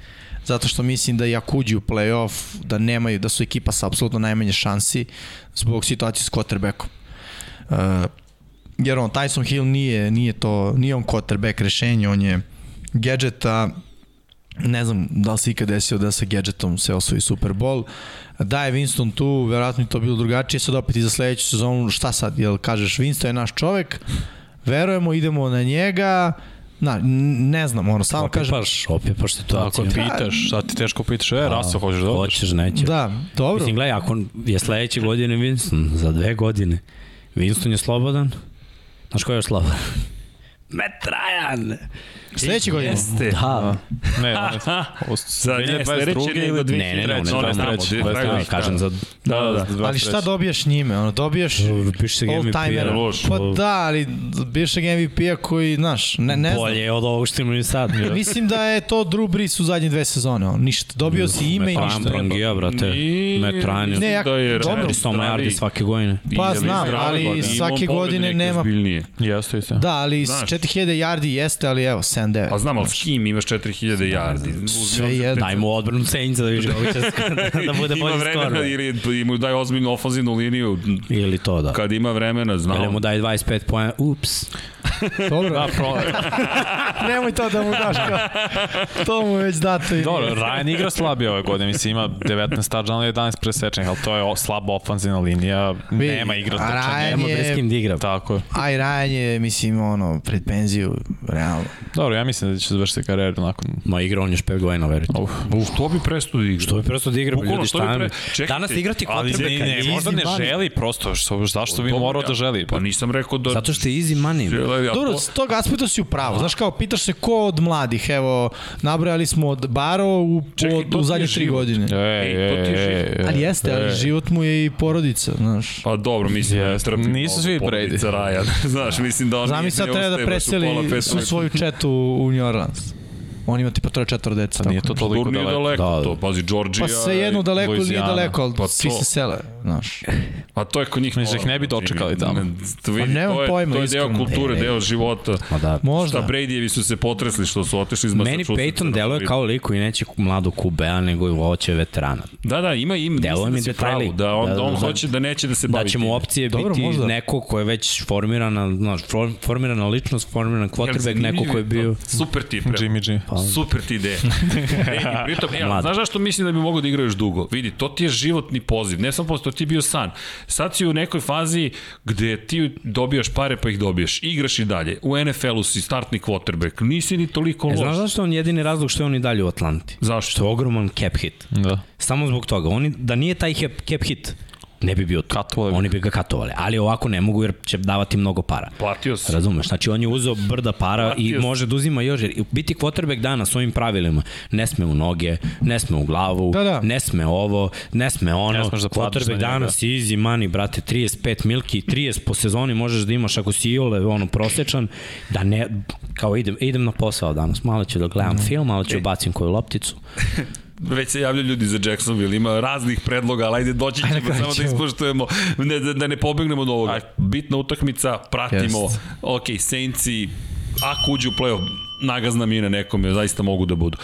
[SPEAKER 4] zato što mislim da i ako uđu u playoff, da nemaju, da su ekipa sa apsolutno najmanje šansi zbog situacije s quarterbackom. Uh, jer on, Tyson Hill nije, nije to, nije on quarterback rešenje, on je gadgeta, ne znam da li se ikad desio da sa gadgetom se osvoji Super Bowl. Da je Winston tu, verovatno je to bilo drugačije, sad opet i za sledeću sezonu, šta sad, jel kažeš Winston je naš čovek, verujemo, idemo na njega, Na, n- ne znam, ono, samo kažem...
[SPEAKER 2] Opipaš, opipaš
[SPEAKER 3] Da, Ako
[SPEAKER 2] situaciju.
[SPEAKER 3] pitaš, sad ti teško pitaš, e, Rasa, hoćeš da odeš?
[SPEAKER 2] Hoćeš, nećeš.
[SPEAKER 4] Da, dobro.
[SPEAKER 2] Mislim, gledaj, ako je sledeće godine Winston, za dve godine, Winston je slobodan. Znaš ko je još slobodan? Matt Ryan!
[SPEAKER 4] Sledeće godine.
[SPEAKER 5] Jeste.
[SPEAKER 2] Da,
[SPEAKER 3] Ne, on je
[SPEAKER 5] Za ne, sledeće
[SPEAKER 2] ne,
[SPEAKER 5] nego
[SPEAKER 2] ne, ne, ne, ne, ne, ne, kažem za...
[SPEAKER 3] Da, da,
[SPEAKER 4] Ali šta dobijaš njime? Ono, dobiješ
[SPEAKER 2] Piše se
[SPEAKER 4] all timera.
[SPEAKER 2] MVP-a.
[SPEAKER 5] loš.
[SPEAKER 4] Pa da, ali bivšeg MVP-a koji, znaš, ne, ne znam.
[SPEAKER 2] Bolje je od ovog što imaju sad.
[SPEAKER 4] Mislim da je to Drew Brees u zadnje dve sezone. On, ništa. Dobio si ime i
[SPEAKER 2] Ryan
[SPEAKER 4] ništa.
[SPEAKER 2] Prangija, brate. Matt Ryan
[SPEAKER 4] Ne,
[SPEAKER 2] je
[SPEAKER 4] ja-
[SPEAKER 5] Da
[SPEAKER 4] dobro.
[SPEAKER 2] Sto yardi svake godine.
[SPEAKER 4] Pa znam, ali svake godine nema-
[SPEAKER 3] Jeste, jeste.
[SPEAKER 4] Da, ali s
[SPEAKER 5] Znaš.
[SPEAKER 4] 4000 yardi jeste, ali evo, 7-9.
[SPEAKER 5] Pa znam, ali s kim imaš 4000 jardi?
[SPEAKER 4] Sve jedno.
[SPEAKER 2] Daj mu odbranu Saintsa da vidimo kako će da bude
[SPEAKER 5] Ima
[SPEAKER 2] bolji skor.
[SPEAKER 5] vremena
[SPEAKER 2] brate.
[SPEAKER 5] ili mu daj ozbiljnu ofenzivnu liniju
[SPEAKER 2] Ili to da.
[SPEAKER 5] kad ima vremena,
[SPEAKER 2] Ili
[SPEAKER 5] znamo.
[SPEAKER 2] mu daj 25 poena, ups.
[SPEAKER 4] Dobro.
[SPEAKER 3] Da, pro...
[SPEAKER 4] Nemoj to da mu daš kao. To mu je već dato. i-
[SPEAKER 3] Dobro, Ryan igra slabije ove godine, mislim ima 19 touchdown, 11 presečnih, ali to je o- slaba ofanzivna linija,
[SPEAKER 4] Vidi,
[SPEAKER 3] nema igra
[SPEAKER 4] a
[SPEAKER 3] trčanja.
[SPEAKER 2] Nema
[SPEAKER 4] Ryan
[SPEAKER 2] bez
[SPEAKER 4] je-
[SPEAKER 2] kim da igra.
[SPEAKER 3] Tako je.
[SPEAKER 4] Aj, Ryan je, mislim, ono, pred penziju, realno.
[SPEAKER 3] Dobro, ja mislim da će završiti karijeru nakon...
[SPEAKER 2] Ma igra on još 5 godina, verujte.
[SPEAKER 3] Uf.
[SPEAKER 5] Što bi presto igrao?
[SPEAKER 2] To je prosto da igra,
[SPEAKER 5] Bukvalno,
[SPEAKER 2] ljudi,
[SPEAKER 5] što bi
[SPEAKER 2] šta
[SPEAKER 5] pre-
[SPEAKER 2] pre...
[SPEAKER 5] Čekajte,
[SPEAKER 2] Danas igrati
[SPEAKER 3] Ali ne,
[SPEAKER 2] quarterbacka je
[SPEAKER 3] ne, možda
[SPEAKER 2] easy
[SPEAKER 3] ne
[SPEAKER 2] money.
[SPEAKER 3] želi prosto, što, zašto bi
[SPEAKER 5] Dobro,
[SPEAKER 3] morao da
[SPEAKER 5] ja-
[SPEAKER 3] želi?
[SPEAKER 5] Pa nisam rekao da...
[SPEAKER 2] Zato što je easy money.
[SPEAKER 5] Ja,
[SPEAKER 4] Dobro,
[SPEAKER 5] to-
[SPEAKER 4] s tog aspekta si u pravu. Znaš kao, pitaš se ko od mladih, evo, nabrojali smo od Baro u,
[SPEAKER 5] Čekaj,
[SPEAKER 4] od,
[SPEAKER 5] to
[SPEAKER 4] u
[SPEAKER 5] ti je
[SPEAKER 4] zadnje tri
[SPEAKER 5] život.
[SPEAKER 4] godine.
[SPEAKER 3] Ej,
[SPEAKER 5] Ej, to ti je
[SPEAKER 3] ej,
[SPEAKER 5] život.
[SPEAKER 3] ej,
[SPEAKER 4] Ali jeste, ali
[SPEAKER 3] ej.
[SPEAKER 4] život mu je i porodica, znaš.
[SPEAKER 5] Pa dobro, mislim da ne
[SPEAKER 3] Jeste,
[SPEAKER 5] trpi
[SPEAKER 3] nisu
[SPEAKER 5] mnogo
[SPEAKER 3] svi
[SPEAKER 5] porodica Raja. Znaš, mislim da on
[SPEAKER 4] Zamisli sad
[SPEAKER 5] ne
[SPEAKER 4] treba da
[SPEAKER 5] ostaje baš u pola
[SPEAKER 4] preseli
[SPEAKER 5] pet
[SPEAKER 4] svu
[SPEAKER 5] ujutru.
[SPEAKER 4] svoju četu u New Orleans. On ima tipa troje četvr deca.
[SPEAKER 3] Pa Nije
[SPEAKER 4] tako
[SPEAKER 3] to
[SPEAKER 4] nešto.
[SPEAKER 3] toliko
[SPEAKER 5] Dobro, Pa nije
[SPEAKER 3] daleko.
[SPEAKER 5] daleko
[SPEAKER 2] Da.
[SPEAKER 5] to, pazi, Georgia...
[SPEAKER 4] Pa sve jedno
[SPEAKER 5] da-
[SPEAKER 4] daleko ili nije
[SPEAKER 3] Louisiana.
[SPEAKER 4] daleko, ali
[SPEAKER 5] Pa
[SPEAKER 4] svi
[SPEAKER 5] to- E,
[SPEAKER 4] se sele, znaš.
[SPEAKER 5] A to je kod njih...
[SPEAKER 3] Mislim da ih ne bi dočekali tamo.
[SPEAKER 5] To, vidi,
[SPEAKER 4] Pa nemam
[SPEAKER 5] to je,
[SPEAKER 4] pojma,
[SPEAKER 5] to je deo
[SPEAKER 4] iskreno.
[SPEAKER 5] kulture,
[SPEAKER 2] E,
[SPEAKER 5] deo života.
[SPEAKER 2] Ma da.
[SPEAKER 4] Možda.
[SPEAKER 5] Šta Bradyjevi su se potresli što su otišli iz
[SPEAKER 2] Meni
[SPEAKER 5] Massachusettsa. da
[SPEAKER 2] Peyton
[SPEAKER 1] da
[SPEAKER 5] na
[SPEAKER 2] deluje
[SPEAKER 5] Floridu.
[SPEAKER 2] kao liku i neće mladu kubea, nego hoće veterana.
[SPEAKER 5] Da, da, ima im,
[SPEAKER 2] Deluje
[SPEAKER 5] mislim da
[SPEAKER 2] mi
[SPEAKER 5] si u
[SPEAKER 2] detalji.
[SPEAKER 5] pravu, da on,
[SPEAKER 2] Da,
[SPEAKER 5] da,
[SPEAKER 2] da,
[SPEAKER 5] on
[SPEAKER 2] da.
[SPEAKER 5] hoće da neće da se
[SPEAKER 1] Pa
[SPEAKER 5] bavi
[SPEAKER 2] Da će mu
[SPEAKER 5] time.
[SPEAKER 2] opcije
[SPEAKER 4] Dobro,
[SPEAKER 2] biti
[SPEAKER 4] možda.
[SPEAKER 2] neko ko je već formirana, znaš, for- formirana ličnost, formiran quarterback,
[SPEAKER 5] Jel,
[SPEAKER 2] neko ko je bio...
[SPEAKER 5] Super ti, pre.
[SPEAKER 3] Jimmy G.
[SPEAKER 2] Pa.
[SPEAKER 5] Super ti ideja. e, i pritom, ja,
[SPEAKER 2] Mlad.
[SPEAKER 5] znaš zašto mislim da bi mogao da igra još dugo? Vidi, to ti je životni poziv, ne samo posto, ti je bio san. Sad si u nekoj fazi gde ti dobijaš pare pa ih dobijaš, igraš i dalje. U NFL-u si startni quarterback, nisi ni toliko
[SPEAKER 2] E,
[SPEAKER 5] loš.
[SPEAKER 2] znaš zašto je on jedini razlog što je on i dalje u Atlanti?
[SPEAKER 5] Zašto?
[SPEAKER 2] Što je ogroman cap hit.
[SPEAKER 3] Da.
[SPEAKER 2] Samo zbog toga. Oni, da nije taj cap, cap hit, ne bi bio tu.
[SPEAKER 3] Katovali bi.
[SPEAKER 2] Oni bi ga katovali. Ali ovako ne mogu jer će davati mnogo para.
[SPEAKER 3] Pa,
[SPEAKER 5] Platio si.
[SPEAKER 2] Razumeš, znači on je uzeo brda para i
[SPEAKER 5] Platio si.
[SPEAKER 2] može da uzima još, jer biti quarterback danas ovim pravilima, ne sme u noge, ne sme u glavu,
[SPEAKER 4] Da, da.
[SPEAKER 2] ne sme ovo, ne sme ono,
[SPEAKER 3] Ne smeš da platiš na
[SPEAKER 2] quarterback
[SPEAKER 3] njega.
[SPEAKER 2] danas easy money, brate, 35 milki, 30 po sezoni možeš da imaš ako si iole ono, prosečan, da ne, kao idem, idem na posao danas, malo ću da gledam film, malo
[SPEAKER 3] E.
[SPEAKER 2] ću bacim koju lopticu.
[SPEAKER 5] Već se javljaju ljudi za Jacksonville, ima raznih predloga, ali ajde doći
[SPEAKER 4] Ajde,
[SPEAKER 5] ćemo
[SPEAKER 4] na kraju
[SPEAKER 5] samo da
[SPEAKER 4] ćemo.
[SPEAKER 5] ispoštujemo, ne, da, da ne pobegnemo od ovoga. Bitna utakmica, pratimo,
[SPEAKER 4] Jest.
[SPEAKER 5] ok, Saintsi, ako uđu u playoff, nagazna mina nekome, zaista mogu da budu.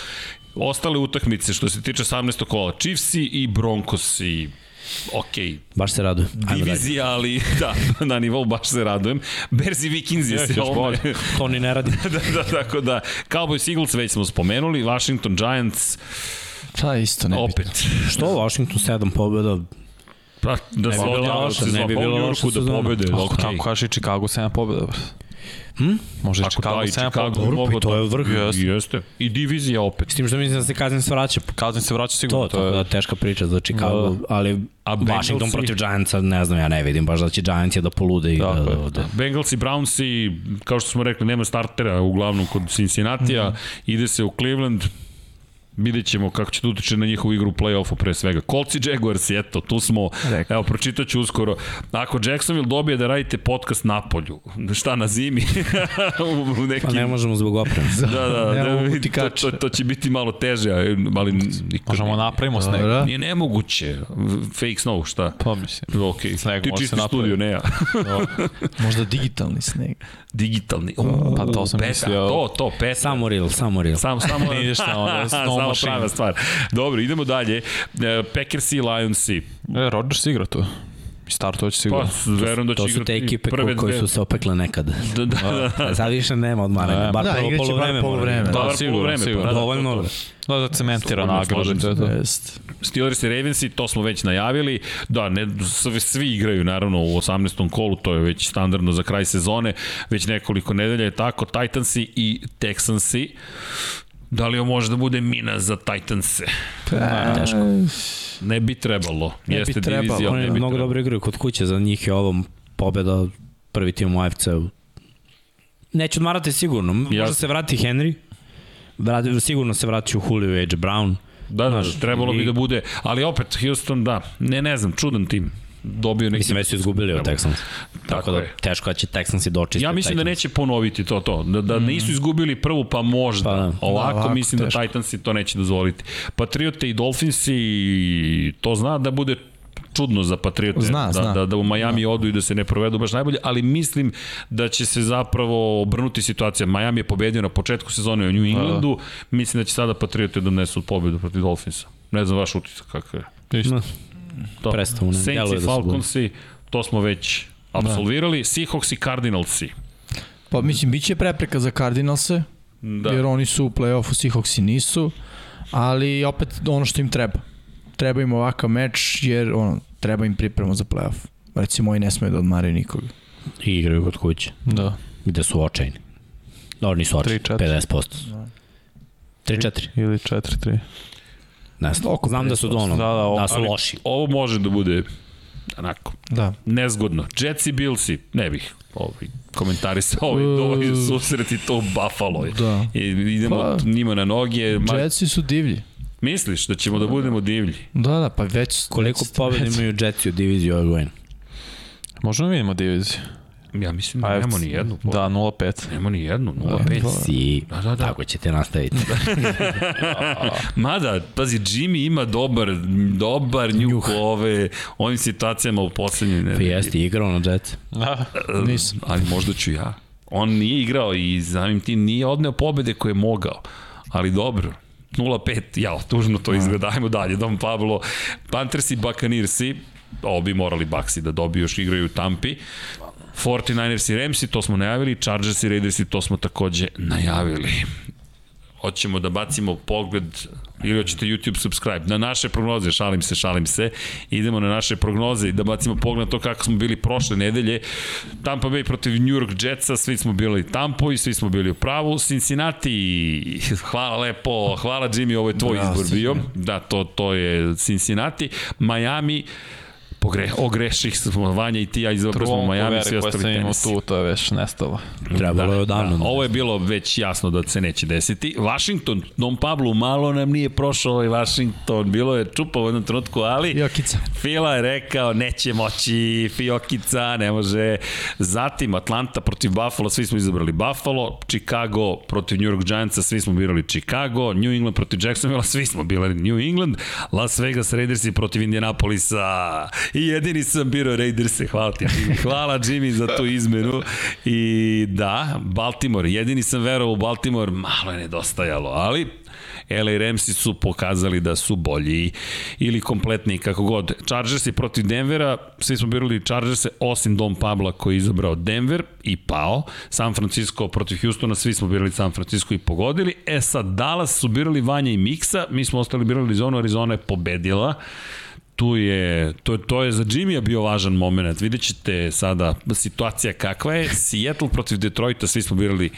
[SPEAKER 5] Ostale utakmice što se tiče 18. kola, Chiefsi i Broncosi, ok,
[SPEAKER 2] Baš se radujem. Ajmo dalje.
[SPEAKER 5] divizija, ali da, na nivou baš se radujem. Berzi Vikings
[SPEAKER 2] E,
[SPEAKER 5] je se ovome,
[SPEAKER 2] To ni ne radi.
[SPEAKER 5] da, da, tako da, Cowboys Eagles već smo spomenuli, Washington Giants,
[SPEAKER 4] Ta isto ne bitno.
[SPEAKER 5] opet,
[SPEAKER 2] Što Washington 7 pobjeda?
[SPEAKER 5] Pa, da se
[SPEAKER 2] bi bilo
[SPEAKER 5] odjave
[SPEAKER 2] loše,
[SPEAKER 5] od sezona.
[SPEAKER 2] ne bi
[SPEAKER 5] Pa u
[SPEAKER 2] bilo
[SPEAKER 5] Njujorku
[SPEAKER 2] loše
[SPEAKER 5] da
[SPEAKER 2] sezona.
[SPEAKER 5] pobede.
[SPEAKER 3] Ako
[SPEAKER 5] okej.
[SPEAKER 3] tako kaže Chicago 7 pobjeda. Hm? Može i
[SPEAKER 5] Ako
[SPEAKER 3] Chicago
[SPEAKER 5] da, i
[SPEAKER 3] 7
[SPEAKER 5] Chicago
[SPEAKER 3] pobjeda.
[SPEAKER 5] mogu
[SPEAKER 2] pa to je
[SPEAKER 5] da-
[SPEAKER 2] vrh.
[SPEAKER 5] Jeste. Jeste. I divizija opet.
[SPEAKER 2] S tim što mislim da se kaznim svraća
[SPEAKER 3] Kazan se vraća sigurno.
[SPEAKER 2] To, to, da, teška priča za Chicago,
[SPEAKER 3] Da.
[SPEAKER 2] ali
[SPEAKER 5] A
[SPEAKER 2] Washington
[SPEAKER 5] Bengalsi?
[SPEAKER 2] protiv Giantsa, ne znam, ja ne vidim baš da će Giants je da polude i da,
[SPEAKER 3] Tako je,
[SPEAKER 2] da, da.
[SPEAKER 5] Bengals i Browns i, kao što smo rekli, nema startera uglavnom kod Cincinnati-a.
[SPEAKER 2] Mhm.
[SPEAKER 5] Ide se u Cleveland, vidjet ćemo kako će to utiče na njihovu igru u play-offu pre svega. Colts i Jaguars, eto, tu smo,
[SPEAKER 2] Da.
[SPEAKER 4] Rekao.
[SPEAKER 5] evo, pročitat ću uskoro. Ako Jacksonville dobije da radite podcast na polju, šta, na zimi? u u nekim
[SPEAKER 2] Pa ne možemo zbog opreme.
[SPEAKER 5] Da, da,
[SPEAKER 4] Nemamo
[SPEAKER 5] da, vidi, to,
[SPEAKER 4] utikače.
[SPEAKER 5] to, to će biti malo teže, ali niko
[SPEAKER 3] Možemo
[SPEAKER 2] Da,
[SPEAKER 3] napravimo sneg.
[SPEAKER 4] Dobro.
[SPEAKER 5] Nije nemoguće. Fake snow, šta?
[SPEAKER 3] Pa mislim.
[SPEAKER 5] Ok,
[SPEAKER 3] Sneg
[SPEAKER 5] ti
[SPEAKER 3] može
[SPEAKER 5] čisti
[SPEAKER 3] se napraviti.
[SPEAKER 5] studio, ne ja.
[SPEAKER 4] Možda digitalni sneg.
[SPEAKER 5] Digitalni. Uuu,
[SPEAKER 3] Pa to sam
[SPEAKER 5] peta,
[SPEAKER 3] mislio.
[SPEAKER 5] To, to, peta.
[SPEAKER 2] Samo real, samo real.
[SPEAKER 5] Samo, samo,
[SPEAKER 3] Ne ideš tamo, da je snow
[SPEAKER 5] samo
[SPEAKER 3] machine.
[SPEAKER 5] prava stvar. Dobro, idemo dalje. E, Packers i Lionsi.
[SPEAKER 3] E, Rodgers igra tu. I startovat će
[SPEAKER 5] Pa,
[SPEAKER 3] sigurno.
[SPEAKER 5] verujem da će
[SPEAKER 2] To su te
[SPEAKER 5] igrati
[SPEAKER 2] ekipe ko,
[SPEAKER 5] prve
[SPEAKER 2] koje
[SPEAKER 5] dve-
[SPEAKER 2] su se opekle nekada.
[SPEAKER 5] Da, da, da.
[SPEAKER 2] Sad više nema odmaranja, bar
[SPEAKER 4] Da,
[SPEAKER 2] prvo
[SPEAKER 4] igraće bar
[SPEAKER 2] polovreme.
[SPEAKER 4] polovreme,
[SPEAKER 2] mora.
[SPEAKER 4] da.
[SPEAKER 5] Dobar
[SPEAKER 3] sigurno,
[SPEAKER 5] polovreme,
[SPEAKER 3] sigurno.
[SPEAKER 5] pa da,
[SPEAKER 2] Dovoljno.
[SPEAKER 5] to- to-
[SPEAKER 3] Da, da cementira
[SPEAKER 5] Slobodno,
[SPEAKER 3] nagradu.
[SPEAKER 5] slažem
[SPEAKER 3] To je to.
[SPEAKER 4] Jest.
[SPEAKER 5] Steelers i Ravensi, to smo već najavili. Da, ne, svi, svi igraju naravno u 18. kolu, to je već standardno za kraj sezone, već nekoliko nedelja je tako. Titansi i Texansi. Da li ovo može da bude mina za Titanse? Da.
[SPEAKER 2] Teško.
[SPEAKER 5] Ne bi trebalo. Ne
[SPEAKER 4] bi
[SPEAKER 5] Jeste
[SPEAKER 4] trebalo.
[SPEAKER 5] divizija,
[SPEAKER 2] Oni
[SPEAKER 5] ne bi
[SPEAKER 2] mnogo
[SPEAKER 5] trebalo.
[SPEAKER 2] dobro igraju kod kuće, za njih je ovo pobjeda prvi tim u AFC-u. Neće odmarati sigurno. Možda
[SPEAKER 5] Jasno.
[SPEAKER 2] se vrati Henry, vrati, sigurno se vrati u Julio Edge Brown.
[SPEAKER 5] Da, da,
[SPEAKER 2] Znaš,
[SPEAKER 5] trebalo bi
[SPEAKER 2] i-
[SPEAKER 5] da bude. Ali opet, Houston, da. Ne, ne znam, čudan tim. Dobio neki...
[SPEAKER 2] Mislim, već su izgubili od Texans. Tako,
[SPEAKER 5] Tako
[SPEAKER 2] da,
[SPEAKER 5] je.
[SPEAKER 2] teško da će Texansi dočistiti.
[SPEAKER 5] Ja mislim da
[SPEAKER 2] Titans.
[SPEAKER 5] neće ponoviti to to, da, da nisu izgubili prvu pa možda,
[SPEAKER 2] Pa da.
[SPEAKER 5] ovako,
[SPEAKER 4] Da, ovako,
[SPEAKER 5] mislim
[SPEAKER 4] teško.
[SPEAKER 5] da Titansi to neće dozvoliti. Patriote i Dolphinsi, to zna da bude čudno za Patriote,
[SPEAKER 4] Zna,
[SPEAKER 5] da,
[SPEAKER 4] zna.
[SPEAKER 5] Da, da u Miami odu i da se ne provedu baš najbolje, ali mislim da će se zapravo obrnuti situacija. Miami je pobedio na početku sezone u New Englandu, mislim da će sada Patriote da donesu pobedu protiv Dolphinsa. Ne znam vaš utisak kakav je.
[SPEAKER 3] Isto.
[SPEAKER 5] To.
[SPEAKER 2] Prestao, ne,
[SPEAKER 5] Saints
[SPEAKER 2] djeluje
[SPEAKER 5] i
[SPEAKER 2] da su
[SPEAKER 5] Falconsi, to smo već absolvirali. Seahawks i Cardinalsi.
[SPEAKER 4] Pa mislim, bit će prepreka za Cardinalse, da. jer oni su u play-offu, Seahawksi nisu, ali opet ono što im treba. Treba im ovakav meč, jer ono, treba im priprema za play-off. Recimo, oni ne smeju da odmaraju nikoga.
[SPEAKER 2] I igraju kod kuće,
[SPEAKER 3] Da.
[SPEAKER 2] gde su očajni. Dobro, nisu očajni,
[SPEAKER 3] 3-4.
[SPEAKER 2] 50%. 3-4,
[SPEAKER 3] Ili 4-3.
[SPEAKER 2] ne znam.
[SPEAKER 4] Oko
[SPEAKER 2] Znam da su, ono,
[SPEAKER 3] Da, da, o-
[SPEAKER 2] da su
[SPEAKER 3] ali-
[SPEAKER 2] loši.
[SPEAKER 5] Ovo može da bude onako,
[SPEAKER 4] Da.
[SPEAKER 5] nezgodno. Jetsi Billsi, ne bih ovaj, komentarisao ovaj, ovaj susret i to u Buffalo.
[SPEAKER 4] Da.
[SPEAKER 5] I, idemo
[SPEAKER 4] Pa-
[SPEAKER 5] njima na noge. Ma,
[SPEAKER 4] Jetsi su divlji.
[SPEAKER 5] misliš da ćemo da budemo divlji?
[SPEAKER 4] Da, da, pa već...
[SPEAKER 2] Koliko pobjede imaju Jetsi u diviziji ove godine?
[SPEAKER 3] Možemo da vidimo diviziju.
[SPEAKER 5] Ja mislim da nemamo ni jednu.
[SPEAKER 3] Da, 0-5.
[SPEAKER 5] Nemamo ni jednu, 0-5.
[SPEAKER 2] Si,
[SPEAKER 5] Da, da, da.
[SPEAKER 2] tako ćete nastaviti.
[SPEAKER 5] Mada, pazi, Jimmy ima dobar, dobar njuh u ove, ovim situacijama u poslednjoj
[SPEAKER 2] Pa
[SPEAKER 5] nedelji.
[SPEAKER 2] jeste, igrao na Jetsi.
[SPEAKER 3] Da.
[SPEAKER 5] Nisam. Ali možda ću ja. On nije igrao i samim tim nije odneo pobede koje je mogao. Ali dobro, 0-5, jao, tužno to izgleda. Ajmo dalje, Dom Pablo. Panthers i Buccaneersi, ovo bi morali Baxi da dobiju, još igraju u Tampi. 49ers i Ramsi, to smo najavili, Chargers i Raidersi, to smo takođe najavili. Hoćemo da bacimo pogled ili hoćete YouTube subscribe. Na naše prognoze, šalim se, šalim se. Idemo na naše prognoze i da bacimo pogled na to kako smo bili prošle nedelje. Tampa Bay protiv New York Jetsa, svi smo bili Tampo i svi smo bili u pravu. Cincinnati, hvala lepo, hvala Jimmy, ovo je tvoj
[SPEAKER 4] Bravo,
[SPEAKER 5] izbor bio. Da, to, to je Cincinnati. Miami, Pogre, ogreših smo Vanja i ti, ja izabrao smo Miami, svi ostali tenisi.
[SPEAKER 3] tu, to je već nestalo.
[SPEAKER 2] Trebalo je odavno.
[SPEAKER 5] Da, ovo je bilo već jasno da se neće desiti. Washington, Don Pablo, malo nam nije prošao ovaj Washington, bilo je čupa u jednom trenutku, ali...
[SPEAKER 4] Jokica.
[SPEAKER 5] Fila je rekao, neće moći, Fiokica, ne može. Zatim, Atlanta protiv Buffalo, svi smo izabrali Buffalo, Chicago protiv New York Giantsa, svi smo birali Chicago, New England protiv Jacksonville, svi smo birali New England, Las Vegas Raidersi protiv Indianapolisa i jedini sam birao Raidersi, hvala ti. Jimmy. Hvala Jimmy za tu izmenu i da, Baltimore, jedini sam verovao u Baltimore, malo je nedostajalo, ali LA Ramsi su pokazali da su bolji ili kompletni kako god. Chargersi protiv Denvera, svi smo birali Chargerse osim Don Pabla koji je izabrao Denver i pao. San Francisco protiv Houstona, svi smo birali San Francisco i pogodili. E sad Dallas su birali Vanja i Miksa, mi smo ostali birali Arizonu, Arizona je pobedila tu je, to, to je za Jimmya bio važan moment. Vidjet ćete sada situacija kakva je. Seattle protiv Detroita, svi smo birali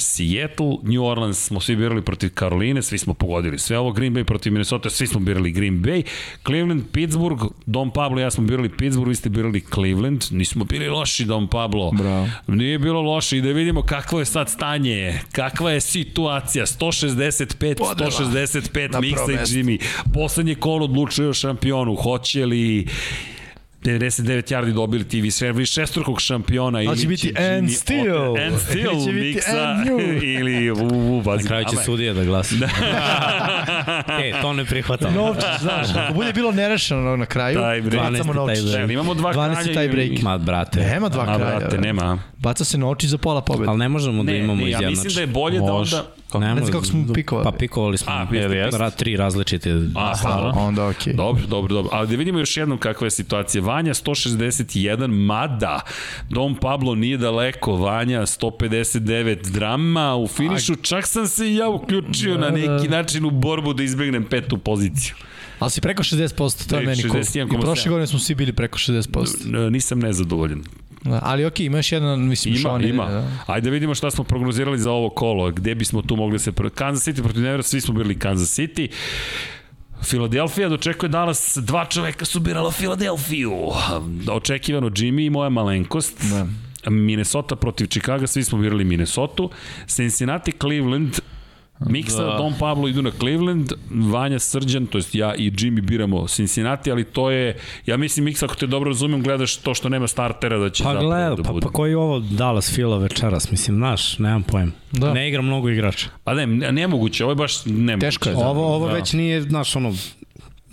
[SPEAKER 5] Seattle, New Orleans smo svi birali protiv Karoline, svi smo pogodili sve ovo, Green Bay protiv Minnesota, svi smo birali Green Bay, Cleveland, Pittsburgh, Don Pablo i ja smo birali Pittsburgh, vi ste birali Cleveland, nismo bili loši Don Pablo.
[SPEAKER 4] Bravo.
[SPEAKER 5] Nije bilo loše i da vidimo kakvo je sad stanje, kakva je situacija, 165, 165, Miksa i Jimmy. Poslednje kolo odlučuje o šampionu, hoće li 99 yardi dobili TV servi šestrukog šampiona ili
[SPEAKER 4] će biti
[SPEAKER 5] Jimmy
[SPEAKER 4] and
[SPEAKER 5] opet-
[SPEAKER 4] still.
[SPEAKER 5] and
[SPEAKER 4] Ili
[SPEAKER 5] still
[SPEAKER 4] će biti
[SPEAKER 5] miksa
[SPEAKER 4] and new.
[SPEAKER 5] ili u, u,
[SPEAKER 2] Na
[SPEAKER 5] bazi.
[SPEAKER 2] kraju će
[SPEAKER 5] Ama-
[SPEAKER 2] sudija da glasa. Da.
[SPEAKER 5] Da.
[SPEAKER 2] e, to ne prihvatam.
[SPEAKER 4] Novčić, znaš, ako bude bilo nerešeno na kraju,
[SPEAKER 5] Taj bre.
[SPEAKER 4] bacamo
[SPEAKER 2] 12.
[SPEAKER 4] novčić.
[SPEAKER 2] taj
[SPEAKER 5] Jel, imamo dva
[SPEAKER 4] 12
[SPEAKER 5] kralja.
[SPEAKER 4] taj
[SPEAKER 5] i-
[SPEAKER 4] break.
[SPEAKER 2] Ma, brate.
[SPEAKER 4] Nema dva
[SPEAKER 5] A,
[SPEAKER 4] kralja. da.
[SPEAKER 5] brate,
[SPEAKER 2] da.
[SPEAKER 5] nema.
[SPEAKER 4] Baca se novčić za pola pobjede.
[SPEAKER 2] Ali ne možemo da
[SPEAKER 5] Ne,
[SPEAKER 2] imamo
[SPEAKER 5] ne, ja
[SPEAKER 2] izjednačenje.
[SPEAKER 5] mislim da je bolje da
[SPEAKER 3] Može.
[SPEAKER 5] onda...
[SPEAKER 2] Ne
[SPEAKER 4] Ne
[SPEAKER 2] može.
[SPEAKER 4] znam kako smo pikovali.
[SPEAKER 2] Pa pikovali smo.
[SPEAKER 5] A,
[SPEAKER 2] A,
[SPEAKER 5] jeste,
[SPEAKER 2] Ra, tri različite. Pa
[SPEAKER 5] A, stvarno?
[SPEAKER 4] Onda okej. Okay.
[SPEAKER 5] Dobro, dobro, dobro. Ali da vidimo još jednom kakva je situacija. Vanja 161, mada Don Pablo nije daleko, Vanja 159 drama u finišu. Čak sam se i ja uključio na neki način u borbu da izbjegnem petu poziciju.
[SPEAKER 4] Ali si preko 60%, to je
[SPEAKER 5] Da,
[SPEAKER 4] meni cool.
[SPEAKER 5] 61,7.
[SPEAKER 4] I prošle godine smo svi bili preko 60%.
[SPEAKER 5] N- Nisam nezadovoljen.
[SPEAKER 4] Da, ali okej, okay, ima još jedan, mislim,
[SPEAKER 5] Ima,
[SPEAKER 4] Sean Lee,
[SPEAKER 5] ima.
[SPEAKER 4] Da.
[SPEAKER 5] Ajde da vidimo šta smo prognozirali za ovo kolo. Gde bismo tu mogli da se... pro- Kansas City protiv Denvera, svi smo bili Kansas City. Filadelfija dočekuje danas, dva čoveka su birala Filadelfiju. Očekivano Jimmy i moja malenkost. Ne. Minnesota protiv Chicaga, svi smo birali Minnesota. Cincinnati, Cleveland, Miksa, da. Don Pablo idu na Cleveland, Vanja Srđan, to jest ja i Jimmy biramo Cincinnati, ali to je, ja mislim Miksa, ako te dobro razumem, gledaš to što nema startera da će
[SPEAKER 2] Pa
[SPEAKER 5] zapravo
[SPEAKER 2] gleda,
[SPEAKER 5] da
[SPEAKER 2] pa,
[SPEAKER 5] bude.
[SPEAKER 2] pa koji je ovo Dallas Fila večeras, mislim, znaš, nemam pojma.
[SPEAKER 4] Da.
[SPEAKER 2] Ne igra mnogo igrača.
[SPEAKER 5] Pa ne, ne- nemoguće, ovo Pa je baš nemoguće.
[SPEAKER 4] Teško je. Da.
[SPEAKER 2] Ovo, ovo već nije, znaš, ono,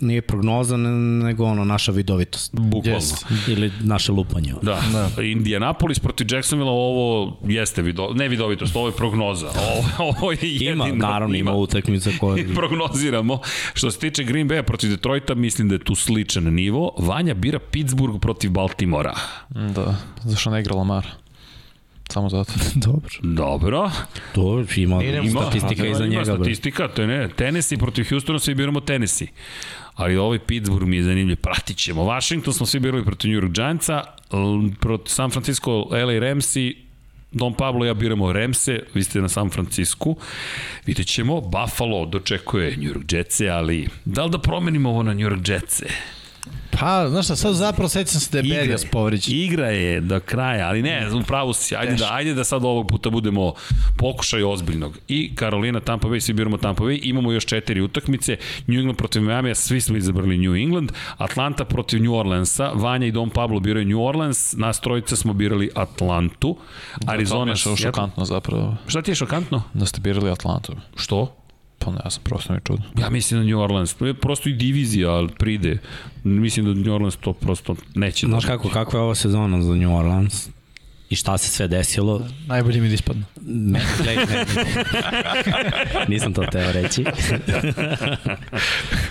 [SPEAKER 2] nije prognoza, ne- nego ono, naša vidovitost.
[SPEAKER 5] Bukvalno.
[SPEAKER 4] Yes.
[SPEAKER 2] Ili naše lupanje.
[SPEAKER 5] Da. da. Indianapolis protiv Jacksonville, ovo jeste vido, ne vidovitost, ovo je prognoza. Ovo, ovo je jedino.
[SPEAKER 2] Ima, naravno, ima utakmica koja...
[SPEAKER 5] prognoziramo. Što se tiče Green Bay protiv Detroita, mislim da je tu sličan nivo. Vanja bira Pittsburgh protiv Baltimora.
[SPEAKER 3] Da. Zašto ne igra Lamar? samo zato.
[SPEAKER 4] Dobro.
[SPEAKER 5] Dobro.
[SPEAKER 2] To ima,
[SPEAKER 4] Idemo.
[SPEAKER 2] ima statistika
[SPEAKER 5] Ima
[SPEAKER 2] iza njega. Bre.
[SPEAKER 5] statistika, to je ne. Tennessee protiv Houstona svi biramo Tennessee. Ali ovaj Pittsburgh mi je zanimljiv, pratit ćemo. Washington smo svi birali protiv New York Giantsa, l- protiv San Francisco, LA Ramsi, Don Pablo i ja biramo Remse, vi ste na San Francisku. Vidjet ćemo, Buffalo dočekuje New York Jetse, ali da li da promenimo ovo na New York Jetse?
[SPEAKER 4] Pa, znaš šta, sad zapravo sećam se da je Berrios povređen.
[SPEAKER 5] igra je do kraja, ali ne, u pravu si, ajde da, ajde da sad ovog puta budemo pokušaj ozbiljnog. I Karolina, Tampa Bay, svi biramo Tampa Bay, imamo još četiri utakmice, New England protiv Miami, svi smo izabrali New England, Atlanta protiv New Orleansa, Vanja i Don Pablo biraju New Orleans, nas trojica smo birali Atlantu,
[SPEAKER 3] Arizona
[SPEAKER 5] Arizona...
[SPEAKER 3] je šo- šokantno zapravo.
[SPEAKER 5] Šta ti je šokantno?
[SPEAKER 3] Da ste birali Atlantu.
[SPEAKER 5] Što?
[SPEAKER 3] Pa ne znam, prosto mi je čudno.
[SPEAKER 5] Ja mislim da New Orleans, prosto i divizija, ali pride. Mislim da New Orleans to prosto neće
[SPEAKER 2] Znaš
[SPEAKER 5] da...
[SPEAKER 2] kako, kakva je ova sezona za New Orleans? I šta se sve desilo?
[SPEAKER 4] Najbolje mi da ispadne.
[SPEAKER 2] Ne, ne, ne. Nisam to teo reći.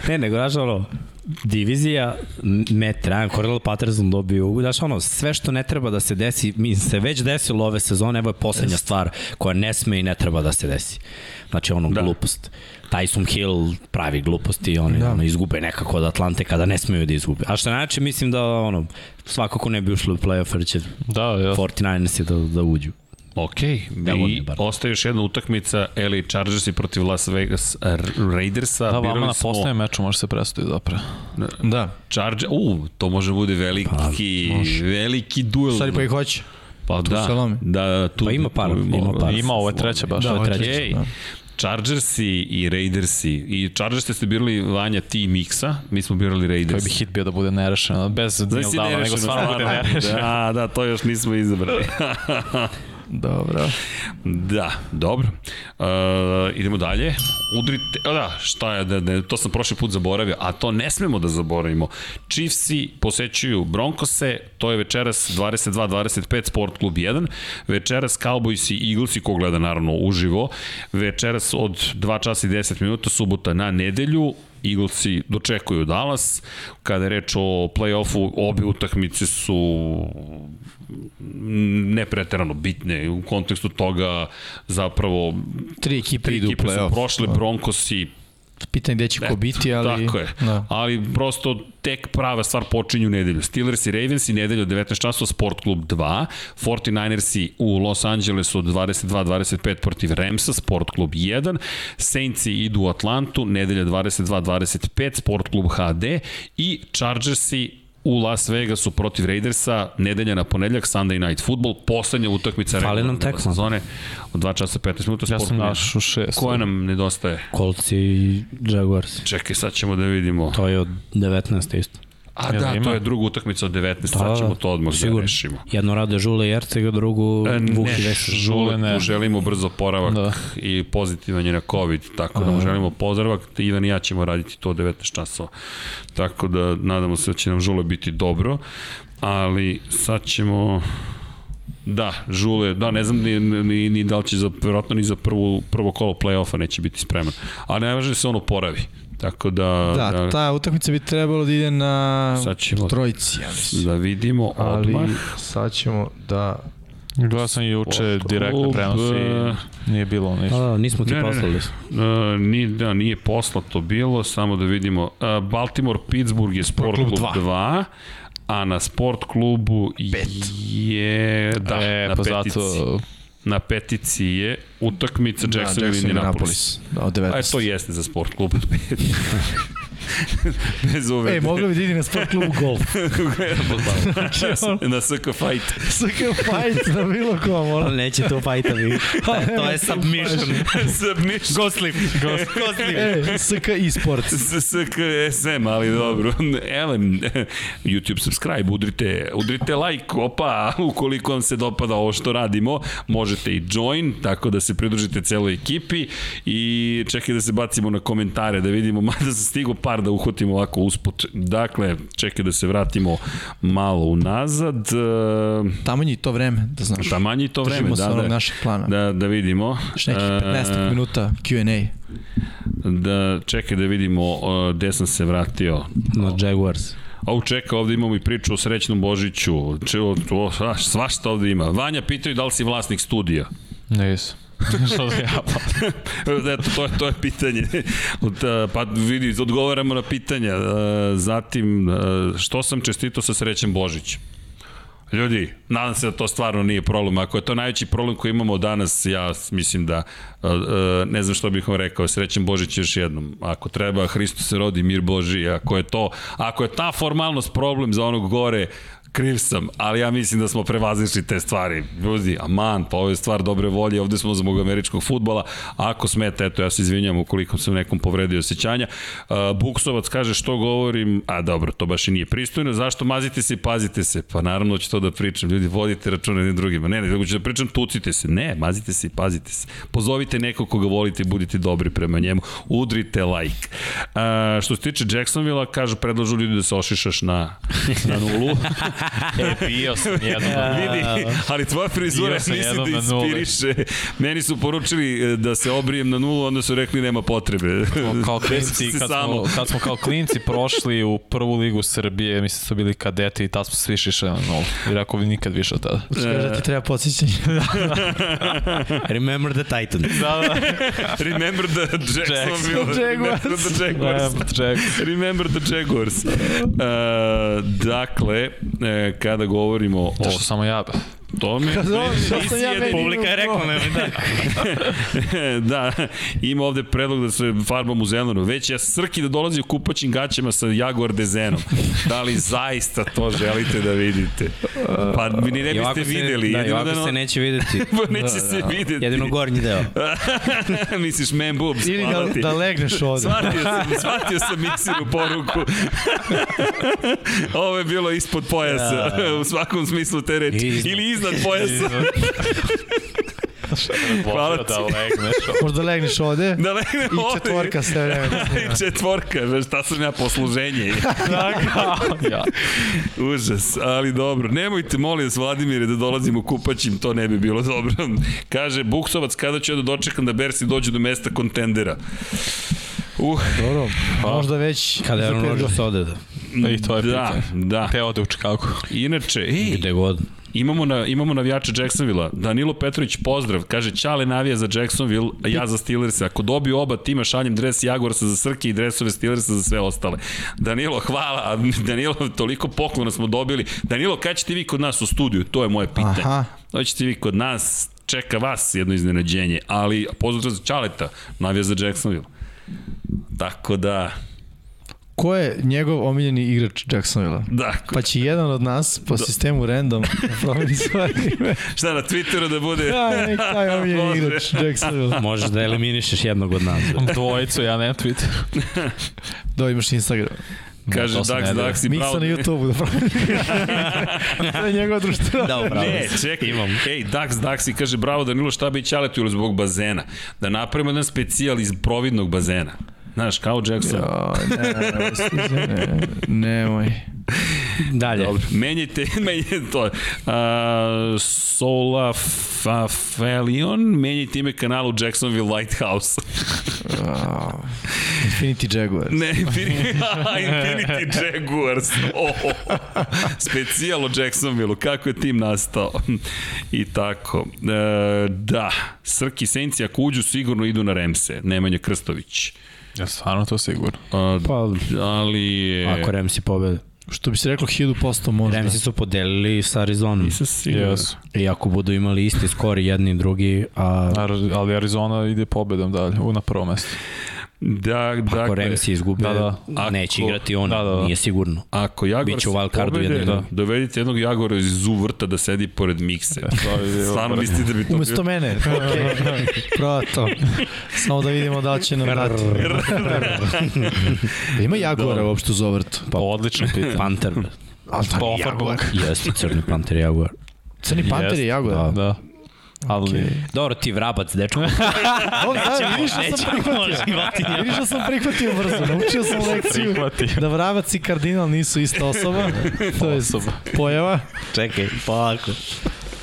[SPEAKER 2] ne, nego, znaš, ono, divizija, met, Ryan Cordell Patterson dobio ugu, znaš, ono, sve što ne treba da se desi, mi se već desilo ove sezone, evo je poslednja stvar koja ne sme i ne treba da se desi. Znači, ono, da. glupost. Tyson Hill pravi gluposti i oni da. ono, izgube nekako od Atlante kada ne smeju da izgube. A što znači, mislim da, ono, svakako ne bi ušlo u play-off, jer će
[SPEAKER 3] Da, ja.
[SPEAKER 2] 49 da, da uđu.
[SPEAKER 5] Ok,
[SPEAKER 2] Devil
[SPEAKER 5] i
[SPEAKER 2] Debar.
[SPEAKER 5] ostaje još jedna utakmica LA Chargersi protiv Las Vegas R- Raidersa.
[SPEAKER 3] Da, vama
[SPEAKER 5] Birali
[SPEAKER 3] na
[SPEAKER 5] smo
[SPEAKER 3] poslednjem meču može se presudi zapravo.
[SPEAKER 4] Da.
[SPEAKER 5] Charger, u, to može bude
[SPEAKER 3] Pa,
[SPEAKER 5] veliki, veliki duel.
[SPEAKER 4] Stvari pa ih hoće.
[SPEAKER 5] pa
[SPEAKER 4] tu se
[SPEAKER 5] da,
[SPEAKER 4] lomi.
[SPEAKER 5] da, tu,
[SPEAKER 2] Pa ima par, ima par.
[SPEAKER 3] Ima ovo je treća baš.
[SPEAKER 4] Da,
[SPEAKER 3] Da,
[SPEAKER 4] ovo je
[SPEAKER 5] treća.
[SPEAKER 4] treća, da.
[SPEAKER 5] Chargersi i Raidersi. I Chargersi ste birali Vanja ti Miksa, mi smo birali
[SPEAKER 3] Koji bi
[SPEAKER 5] Raidersi.
[SPEAKER 3] hit bio da bude nerešeno, bez Neil
[SPEAKER 5] Znaš si
[SPEAKER 3] Downa, nego
[SPEAKER 5] nerešeno,
[SPEAKER 3] stvarno bude
[SPEAKER 5] stvarno.
[SPEAKER 3] nerešeno.
[SPEAKER 5] Da, da, to još nismo izabrali.
[SPEAKER 4] Dobro.
[SPEAKER 5] Da, dobro. Uh, idemo dalje. Udrite, a da, šta je, da, da, to sam prošli put zaboravio, a to ne smemo da zaboravimo. Chiefsi posećuju Broncose, to je večeras 22-25 Sport klub 1, večeras Cowboys i Eaglesi, ko gleda naravno uživo, večeras od 2 časa i 10 minuta, subota na nedelju, Eaglesi dočekuju Dallas. Kada je reč o play-offu, obe utakmice su ne preterano bitne u kontekstu toga zapravo
[SPEAKER 4] Tri ekipe
[SPEAKER 5] tri
[SPEAKER 4] idu u
[SPEAKER 5] ekipe su
[SPEAKER 4] play-off.
[SPEAKER 5] prošle, Broncosi
[SPEAKER 4] Pitanje gde će ko biti, ali...
[SPEAKER 5] Tako je.
[SPEAKER 4] Da.
[SPEAKER 5] Ali prosto tek prava stvar počinju u nedelju. Steelers i Ravens i nedelju od 19 časova Sport klub 2, 49ersi u Los Angelesu od 22-25 protiv Ramsa, Sport klub 1, Saintsi idu u Atlantu, nedelja 22-25, Sport klub HD i Chargersi u Las Vegasu protiv Raidersa, nedelja na ponedeljak, Sunday Night Football, poslednja utakmica
[SPEAKER 2] Fali nam
[SPEAKER 5] regularne
[SPEAKER 2] tekma.
[SPEAKER 5] sezone od 2 časa 15 minuta.
[SPEAKER 3] Ja
[SPEAKER 5] Sport
[SPEAKER 3] sam
[SPEAKER 5] klub 1.
[SPEAKER 3] našu šest.
[SPEAKER 5] Koja nam nedostaje?
[SPEAKER 2] Colts i Jaguars.
[SPEAKER 5] Čekaj, sad ćemo da vidimo.
[SPEAKER 2] To je od 19. isto.
[SPEAKER 5] A
[SPEAKER 3] Jel
[SPEAKER 5] da,
[SPEAKER 3] ima?
[SPEAKER 5] to je druga utakmica od 19, da, sad ćemo to odmah da
[SPEAKER 2] sigurno.
[SPEAKER 5] rešimo.
[SPEAKER 2] Jedno rade Žule i Ercega, drugu
[SPEAKER 5] E,
[SPEAKER 2] e,
[SPEAKER 5] Ne,
[SPEAKER 2] Vuki Vesiš.
[SPEAKER 5] žule,
[SPEAKER 3] ne.
[SPEAKER 5] ne. želimo brzo poravak da.
[SPEAKER 3] Da.
[SPEAKER 5] i pozitivan je na COVID, tako da mu želimo pozdravak. Ivan i ja ćemo raditi to od 19 časova. Tako da nadamo se da će nam žule biti dobro, ali sad ćemo... Da, Žule, da, ne znam ni, ni, ni da li će za, verovatno ni za prvu, prvo kolo play-offa neće biti spreman. Ali najvažnije je da se ono poravi. Tako da...
[SPEAKER 4] Da, ta utakmica bi trebalo da ide na
[SPEAKER 5] Sad ćemo-
[SPEAKER 4] trojici, ja mislim.
[SPEAKER 5] da vidimo odmah.
[SPEAKER 6] ali sad ćemo da
[SPEAKER 3] Gledao sam juče direktno prenos i nije bilo ništa.
[SPEAKER 2] A, Pa da, nismo ti
[SPEAKER 5] Ne, ne, ne.
[SPEAKER 2] poslali.
[SPEAKER 5] E, ni, da, nije poslato bilo, samo da vidimo. E, Baltimore, Pittsburgh je Sport Klub 2, a na Sport Klubu je... Da,
[SPEAKER 3] e,
[SPEAKER 5] na,
[SPEAKER 3] pa
[SPEAKER 5] petici,
[SPEAKER 3] zato
[SPEAKER 5] na petici je utakmica Jacksonville da, Indianapolis.
[SPEAKER 6] Da, od 19.
[SPEAKER 5] A to jeste za Sport Klub. Bez
[SPEAKER 4] E,
[SPEAKER 5] uvede.
[SPEAKER 4] mogli bi da ide na sport klubu golf.
[SPEAKER 5] na SK Fight.
[SPEAKER 4] Saka fight na bilo kom, ono.
[SPEAKER 2] Neće to fajta biti. to je submission.
[SPEAKER 5] Submission. Gosling.
[SPEAKER 4] E, SK e-sports.
[SPEAKER 5] SK SM, ali dobro. Elem, YouTube subscribe, udrite, udrite like, opa, ukoliko vam se dopada ovo što radimo, možete i join, tako da se pridružite celoj ekipi i čekaj da se bacimo na komentare, da vidimo, mada se stigo par da uhvatimo ovako usput. Dakle, čekaj da se vratimo malo unazad. E,
[SPEAKER 4] Tamo je i to vreme, da znaš.
[SPEAKER 5] Tamanji to vreme,
[SPEAKER 4] Držimo se
[SPEAKER 5] da,
[SPEAKER 4] onog
[SPEAKER 5] da,
[SPEAKER 4] našeg plana.
[SPEAKER 5] da, da vidimo.
[SPEAKER 4] Još nekih 15
[SPEAKER 5] E,
[SPEAKER 4] minuta Q&A.
[SPEAKER 5] Da, čekaj da vidimo e, gde sam se vratio.
[SPEAKER 2] Na Jaguars.
[SPEAKER 5] Au, čeka, ovde imamo i priču o srećnom Božiću. Če, o, o, a, svašta ovde ima. Vanja pitaju da li si vlasnik studija. E,
[SPEAKER 3] Ne jesu. Što da ja pa?
[SPEAKER 5] Eto, to je, to je pitanje. Od, a, pa vidi, odgovaramo na pitanja. A, Zatim, a, što sam čestito sa srećem Božićem? Ljudi, nadam se da to stvarno nije problem. Ako je to najveći problem koji imamo danas, ja mislim da, e, e, ne znam što bih vam rekao, srećen Božić još jednom. Ako treba, Hristos se rodi, mir Boži. Ako je to, ako je ta formalnost problem za onog gore, kriv sam, ali ja mislim da smo prevazišli te stvari. Ljudi, aman, pa ovo je stvar dobre volje, ovde smo zbog američkog futbala, ako smeta, eto, ja se izvinjam ukoliko sam nekom povredio osjećanja. E, Buksovac kaže što govorim, a dobro, to baš i nije pristojno, zašto mazite se i pazite se? Pa naravno ću to da pričam, ljudi, vodite računa jednim drugima. Ne, ne, nego ću da pričam, tucite se. Ne, mazite se i pazite se. Pozovite nekog koga volite i budite dobri prema njemu. Udrite like. E, što se tiče Jacksonville-a, kažu, predlažu ljudi da se ošišaš na, na nulu.
[SPEAKER 3] E, bio sam jednom.
[SPEAKER 5] vidi, ali tvoja frizura
[SPEAKER 3] Bio sam
[SPEAKER 5] mislim
[SPEAKER 3] jednom
[SPEAKER 5] da
[SPEAKER 3] na nuli.
[SPEAKER 5] inspiriše. Meni su poručili e, da se obrijem na nulu, onda su rekli nema potrebe.
[SPEAKER 3] kao
[SPEAKER 5] Desilo
[SPEAKER 3] klinci,
[SPEAKER 5] se
[SPEAKER 3] kad
[SPEAKER 5] samo.
[SPEAKER 3] smo, kad smo kao klinci prošli u prvu ligu Srbije, mislim da su bili kadeti i tad smo svi šišali na nulu. I rekao bi nikad više od tada.
[SPEAKER 4] Kažeš da ti treba podsjećanje.
[SPEAKER 2] Remember the Titans.
[SPEAKER 3] Da, da.
[SPEAKER 5] Remember the Jacksonville. Remember the Jaguars.
[SPEAKER 3] Jack.
[SPEAKER 5] Remember the Jaguars. E, dakle, e, kada govorimo o
[SPEAKER 3] Zašto samo ja?
[SPEAKER 5] tome...
[SPEAKER 4] što sam ja meni
[SPEAKER 2] Publika je rekla me, da.
[SPEAKER 5] da, ima ovde predlog da se farbam u zelenu. Već ja srki da dolazi u kupaćim gaćama sa Jaguar dezenom. Da li zaista to želite da vidite? Pa mi ni ne
[SPEAKER 2] I
[SPEAKER 5] biste
[SPEAKER 2] ovako se-
[SPEAKER 5] videli.
[SPEAKER 2] Da, i
[SPEAKER 5] jedino
[SPEAKER 2] ovako
[SPEAKER 5] da
[SPEAKER 2] se
[SPEAKER 5] no-
[SPEAKER 2] neće videti.
[SPEAKER 5] Pa neće se videti.
[SPEAKER 2] da. Jedino gornji deo.
[SPEAKER 5] Misliš man boobs,
[SPEAKER 4] Ili
[SPEAKER 5] hvala ti.
[SPEAKER 4] da, da legneš ovde.
[SPEAKER 5] Shvatio sam, shvatio sam miksinu poruku. Ovo je bilo ispod pojasa, u svakom smislu te reči.
[SPEAKER 2] Iznad.
[SPEAKER 5] Ili iznad pojasa. Hvala ti.
[SPEAKER 3] Da legneš.
[SPEAKER 4] Možda legneš ovde.
[SPEAKER 5] Da legne
[SPEAKER 4] I
[SPEAKER 5] ovde.
[SPEAKER 4] četvorka sve vreme.
[SPEAKER 5] I četvorka, znaš, šta sam ja posluženje.
[SPEAKER 3] Ja.
[SPEAKER 5] Užas, ali dobro. Nemojte, molim vas, Vladimire, da dolazim u kupaćim, to ne bi bilo dobro. Kaže, Buksovac, kada ću ja da dočekam da Bersi dođe do mesta kontendera? Uh,
[SPEAKER 4] Dobro, možda već
[SPEAKER 2] Kada
[SPEAKER 4] za
[SPEAKER 2] je
[SPEAKER 4] pet
[SPEAKER 2] Aaron Rodgers
[SPEAKER 4] godina.
[SPEAKER 2] ode da.
[SPEAKER 3] I to je
[SPEAKER 5] da,
[SPEAKER 3] pitanje.
[SPEAKER 5] da.
[SPEAKER 3] Te ode u Čikagu.
[SPEAKER 5] Inače, ej,
[SPEAKER 2] Gde god.
[SPEAKER 5] Imamo, na, imamo navijača Jacksonville-a. Danilo Petrović, pozdrav. Kaže, Ćale navija za Jacksonville, a ja za Steelers. Ako dobiju oba tima, šaljem dres Jaguarsa za Srke i dresove Steelersa za sve ostale. Danilo, hvala. A Danilo, toliko poklona smo dobili. Danilo, kada ćete vi kod nas u studiju? To je moje pitanje. Aha.
[SPEAKER 4] Aha.
[SPEAKER 5] Doćete vi kod nas, čeka vas jedno iznenađenje, ali pozdrav za Ćaleta, navija za Jacksonville. Tako da,
[SPEAKER 4] Ko je njegov omiljeni igrač Jacksonville?
[SPEAKER 5] da,
[SPEAKER 4] Pa će jedan od nas po sistemu random da promeni svoje ime.
[SPEAKER 5] šta na Twitteru da bude?
[SPEAKER 4] Da, nek taj omiljeni
[SPEAKER 5] Može.
[SPEAKER 4] igrač Jacksonville.
[SPEAKER 2] Možeš da eliminišeš jednog od nas. da. bre.
[SPEAKER 3] Dvojicu, ja nemam Twitter.
[SPEAKER 4] Da, imaš Instagram.
[SPEAKER 5] Kaže,
[SPEAKER 3] to se
[SPEAKER 5] Dax,
[SPEAKER 3] ne dira.
[SPEAKER 5] Dax i
[SPEAKER 4] Miksa
[SPEAKER 5] pravo...
[SPEAKER 4] na YouTube da promeni. To je njegova društvena.
[SPEAKER 2] Da, upravo.
[SPEAKER 5] Ne, čekaj, imam. Ej, Dax, Dax i kaže, bravo Danilo, šta bi ćaletu ili zbog bazena? Da napravimo jedan specijal iz providnog bazena. Znaš, kao Jackson. Ja,
[SPEAKER 4] Joj, ne, ne, ne, ne, nemoj.
[SPEAKER 2] Dalje.
[SPEAKER 5] Dobro. Menjajte, menjajte to. A, Sola Fafelion, menjajte ime kanalu Jacksonville Lighthouse.
[SPEAKER 4] Infinity Jaguar.
[SPEAKER 5] Ne, Infinity, Infinity Jaguars. Oh, oh, oh. Specijal o Jacksonville-u, kako je tim nastao. I tako. E, da, Srki Senci, ako uđu, sigurno idu na Remse. Nemanja Krstović.
[SPEAKER 3] Ja stvarno to sigurno.
[SPEAKER 5] A,
[SPEAKER 2] Pa,
[SPEAKER 5] ali je...
[SPEAKER 2] ako Remsi pobede.
[SPEAKER 4] Što bi se reklo 1000% možda.
[SPEAKER 2] Remsi su podelili sa Arizonom.
[SPEAKER 3] Jesu.
[SPEAKER 2] I ako budu imali isti skor i jedni i drugi, a
[SPEAKER 3] Ar, ali Arizona ide pobedom dalje, u na prvo mesto.
[SPEAKER 5] Da,
[SPEAKER 2] pa ako
[SPEAKER 5] dakle,
[SPEAKER 2] Remsi izgube,
[SPEAKER 3] da, da.
[SPEAKER 5] Ako-
[SPEAKER 2] neće igrati on,
[SPEAKER 3] da, da, da.
[SPEAKER 2] nije sigurno.
[SPEAKER 5] Ako Jaguar
[SPEAKER 2] Biće u wild cardu jedno i
[SPEAKER 5] da,
[SPEAKER 2] drugo.
[SPEAKER 5] dovedite jednog Jaguara iz uvrta da sedi pored mikse.
[SPEAKER 2] Da.
[SPEAKER 3] To bi bilo
[SPEAKER 5] Stvarno
[SPEAKER 3] vrh.
[SPEAKER 5] mislite da bi to
[SPEAKER 4] Umesto mene. Okay. Prava to. Samo da vidimo da li će nam dati. Da. Ima Jaguara uopšte uz ovrt.
[SPEAKER 2] Pa-
[SPEAKER 3] Da. Odlično pitanje.
[SPEAKER 2] Panter, bre.
[SPEAKER 4] Ali to nije Jaguar.
[SPEAKER 2] jeste crni panter Jaguar.
[SPEAKER 4] Crni panter je
[SPEAKER 3] Jeste,
[SPEAKER 4] Jaguar.
[SPEAKER 2] da.
[SPEAKER 3] Da. Ali okay.
[SPEAKER 2] Dobro, ti vrabac, dečko.
[SPEAKER 4] O, da, vidiš da sam prihvatio. Vidiš da sam prihvatio brzo. Naučio sam lekciju
[SPEAKER 3] prihvati.
[SPEAKER 4] da vravac i
[SPEAKER 5] Da.
[SPEAKER 4] kardinal nisu ista osoba. To je pojava.
[SPEAKER 2] Čekaj, polako.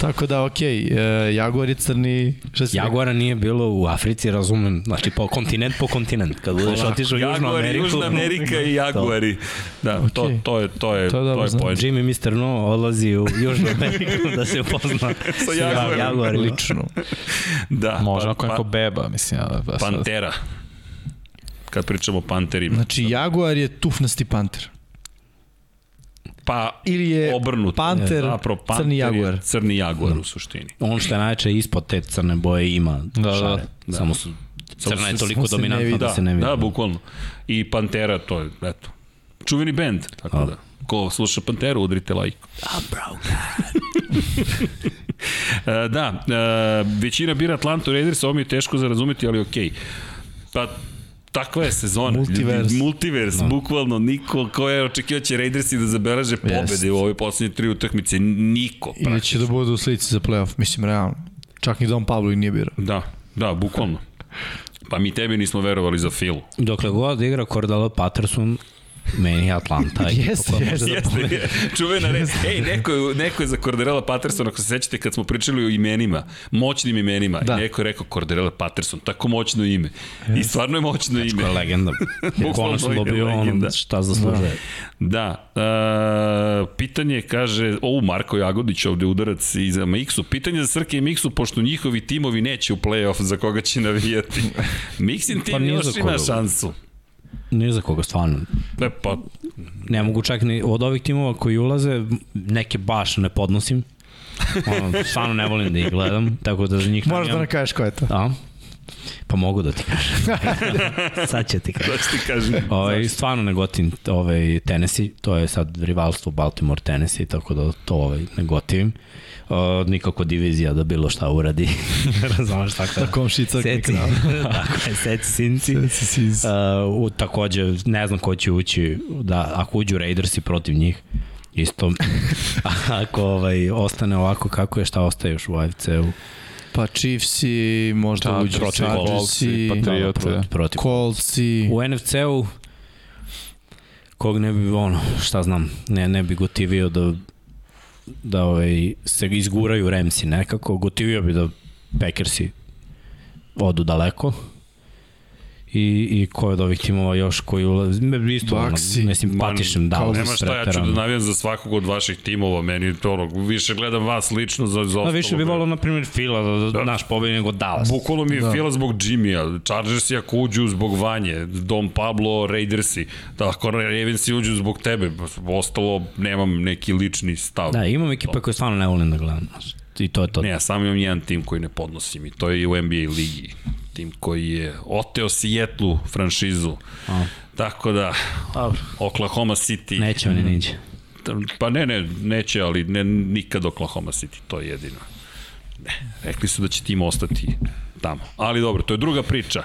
[SPEAKER 4] Tako da, okej, okay, Jaguar je crni... Šta si rekao?
[SPEAKER 2] Jaguara nije bilo u Africi, razumem, znači po kontinent po kontinent. Kad budeš otišao u Južnu
[SPEAKER 5] Jaguari,
[SPEAKER 2] Ameriku...
[SPEAKER 5] Južna Amerika i Jaguari. Da, to,
[SPEAKER 4] Okej.
[SPEAKER 5] to je, to je,
[SPEAKER 4] To je dobro znači,
[SPEAKER 5] to je
[SPEAKER 4] znati.
[SPEAKER 5] point.
[SPEAKER 2] Jimmy Mr. No odlazi u Južnu Ameriku da se upozna sa
[SPEAKER 5] Jaguarima.
[SPEAKER 2] Jaguarima.
[SPEAKER 4] Lično.
[SPEAKER 5] Da,
[SPEAKER 3] Može,
[SPEAKER 5] pa-
[SPEAKER 3] ako je
[SPEAKER 5] pa-
[SPEAKER 3] neko beba, mislim. Ja, da, sad-
[SPEAKER 5] Pantera. Kad pričamo o panterima.
[SPEAKER 4] Znači, Jaguar je tufnasti panter.
[SPEAKER 5] Pa
[SPEAKER 4] Ili je
[SPEAKER 5] obrnuto.
[SPEAKER 4] panter,
[SPEAKER 5] E, Zapravo, panter
[SPEAKER 4] crni
[SPEAKER 5] je
[SPEAKER 4] jaguar.
[SPEAKER 5] Crni jaguar u suštini.
[SPEAKER 2] On što je najče ispod te crne boje ima da,
[SPEAKER 3] da,
[SPEAKER 2] šare. Da, Samo su, crna je
[SPEAKER 5] se-
[SPEAKER 2] toliko
[SPEAKER 4] se ne
[SPEAKER 2] dominantna
[SPEAKER 4] vidi.
[SPEAKER 2] da, se ne vidi.
[SPEAKER 5] Da, bukvalno. I Pantera, to je, eto, čuveni bend, tako da. Ko sluša Panteru, udrite like. E, da, e, većina bira Atlantu Raiders, ovo mi je teško za razumeti, ali okej. Pa, takva je sezona.
[SPEAKER 4] Multivers.
[SPEAKER 5] Ljudi, multivers,
[SPEAKER 2] Da.
[SPEAKER 5] no. bukvalno. Niko ko je očekio će Raidersi da zabeleže pobede u ove poslednje tri utakmice. Niko.
[SPEAKER 4] Ili će da budu u slici za playoff, mislim, realno. Čak ni Don Pablo i nije birao.
[SPEAKER 5] Da, da, bukvalno. Pa mi tebi nismo verovali za Filu.
[SPEAKER 2] Dokle god igra Cordalo Patterson, meni je Atlanta.
[SPEAKER 4] Jeste,
[SPEAKER 2] ekipa koja
[SPEAKER 4] jeste.
[SPEAKER 5] Jeste, čuvena res. Ej, neko je, neko je za Corderella Patterson, ako se sećate kad smo pričali o imenima, moćnim imenima, da.
[SPEAKER 4] Da.
[SPEAKER 5] neko je rekao Corderella Patterson, tako moćno ime. I stvarno je moćno ime.
[SPEAKER 2] Koja je legenda. Konačno
[SPEAKER 5] je
[SPEAKER 2] dobio
[SPEAKER 5] legenda.
[SPEAKER 2] ono šta zaslužuje.
[SPEAKER 5] Da, e, pitanje kaže, o Marko Jagodić ovde udarac iz Mixu, pitanje za Srke i Mixu, pošto njihovi timovi neće u play-off za koga će navijati. Mixin tim
[SPEAKER 2] ni
[SPEAKER 5] još
[SPEAKER 2] Pa za
[SPEAKER 5] ima
[SPEAKER 2] koga.
[SPEAKER 5] šansu.
[SPEAKER 2] Nije za koga, stvarno.
[SPEAKER 5] E, pa,
[SPEAKER 2] Ne mogu čak ni od ovih timova koji ulaze, neke baš ne podnosim. Ono, stvarno ne volim da ih gledam, tako da za njih
[SPEAKER 4] Moraš da
[SPEAKER 2] navijam.
[SPEAKER 4] nam kažeš ko je to.
[SPEAKER 2] A? Pa mogu da ti kažem. sad će ti kažem.
[SPEAKER 5] da ću ti kažem.
[SPEAKER 2] Ovaj, stvarno ne gotivim ovaj, Tennessee, to je sad rivalstvo Baltimore-Tennessee, tako da to ovaj, ne gotivim. O, nikako divizija da bilo šta uradi. Razumeš tako da.
[SPEAKER 4] Na komšica
[SPEAKER 2] Seci, tako je, seci sinci.
[SPEAKER 4] Seci.
[SPEAKER 2] Uh, u, takođe, ne znam ko će ući, da, ako uđu Raidersi protiv njih, isto, ako ovaj, ostane ovako kako je, šta ostaje još u AFC-u?
[SPEAKER 4] Pa Chiefsi, možda uđu
[SPEAKER 3] protiv Coltsi,
[SPEAKER 4] Chargersi,
[SPEAKER 3] Patriote.
[SPEAKER 2] protiv, protiv.
[SPEAKER 4] Coltsi.
[SPEAKER 2] U NFC-u, kog ne bi, ono, šta znam, ne, ne bi gotivio da, da ovaj, se izguraju Remsi nekako, gotivio bi da Packersi odu daleko. I, i ko je od ovih timova još koji ulazi, me- isto, ono,
[SPEAKER 4] Baxi,
[SPEAKER 2] mislim, patišem Dallas.
[SPEAKER 5] Nema šta, ja ću da
[SPEAKER 2] preterano.
[SPEAKER 5] navijam za svakog od vaših timova, meni to ono, više gledam vas lično za, za
[SPEAKER 2] Da,
[SPEAKER 5] ostalo.
[SPEAKER 2] više bi
[SPEAKER 5] bre.
[SPEAKER 2] volao, na primjer, Fila da, da,
[SPEAKER 5] Da.
[SPEAKER 2] da. naš pobedi nego Dallas.
[SPEAKER 5] Bukvalno mi je da. fila zbog Jimmya, Chargersi ako uđu zbog Vanje, Dom Pablo, Raidersi, da ako Ravensi uđu zog tebe, ostalo nemam neki lični stav.
[SPEAKER 2] Da, imam ekipe koje stvarno ne volim da gledam. znaš. I to je to.
[SPEAKER 5] Ne, ja samo imam jedan tim koji ne podnosim i to je i u NBA ligi. Tim koji je oteo Sijetlu franšizu.
[SPEAKER 2] A.
[SPEAKER 5] Tako da, Oklahoma City.
[SPEAKER 2] Neće oni niđe.
[SPEAKER 5] Pa ne, ne, neće, ali ne, nikad Oklahoma City, to je jedino. Ne, rekli su da će tim ostati tamo. Ali dobro, to je druga priča.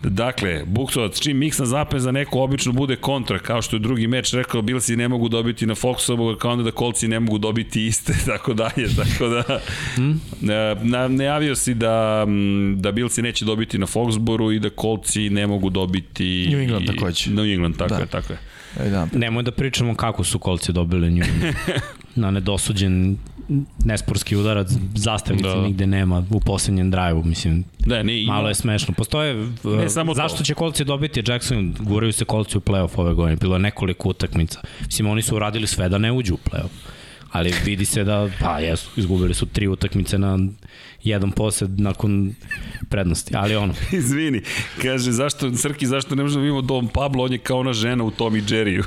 [SPEAKER 5] Dakle, Buksovac, čim Miksa zapne za neko obično bude kontra, kao što je drugi meč rekao, Bilsi ne mogu dobiti na Foxovu, kao onda da Kolci ne mogu dobiti iste, tako dalje, tako da...
[SPEAKER 4] Mhm.
[SPEAKER 5] E, Na, najavio si da, mm, da Bilsi neće dobiti na Foxboru i da Kolci ne mogu dobiti...
[SPEAKER 4] New England takođe.
[SPEAKER 5] New England, tako da.
[SPEAKER 4] Da.
[SPEAKER 5] je, tako je.
[SPEAKER 4] Ajde, da.
[SPEAKER 2] Nemoj da pričamo kako su kolci dobili nju. Na nedosuđen nesporski udarac, zastavice
[SPEAKER 5] Da.
[SPEAKER 2] da. nigde nema u poslednjem drive-u, mislim,
[SPEAKER 5] Da, ne, ima,
[SPEAKER 2] malo je smešno. Postoje,
[SPEAKER 5] Ne,
[SPEAKER 2] uh,
[SPEAKER 5] samo to.
[SPEAKER 2] zašto će kolci dobiti Jackson, guraju se kolci u playoff ove godine, bilo je nekoliko utakmica. Mislim, oni su uradili sve da ne uđu u playoff. Ali vidi se da, pa jesu, izgubili su tri utakmice na jedan posed nakon prednosti. Ali ono,
[SPEAKER 5] Izvini, kaže, zašto, Srki, zašto ne možemo da vidimo Dom Pablo, on je kao ona žena u Tom i Jerryu.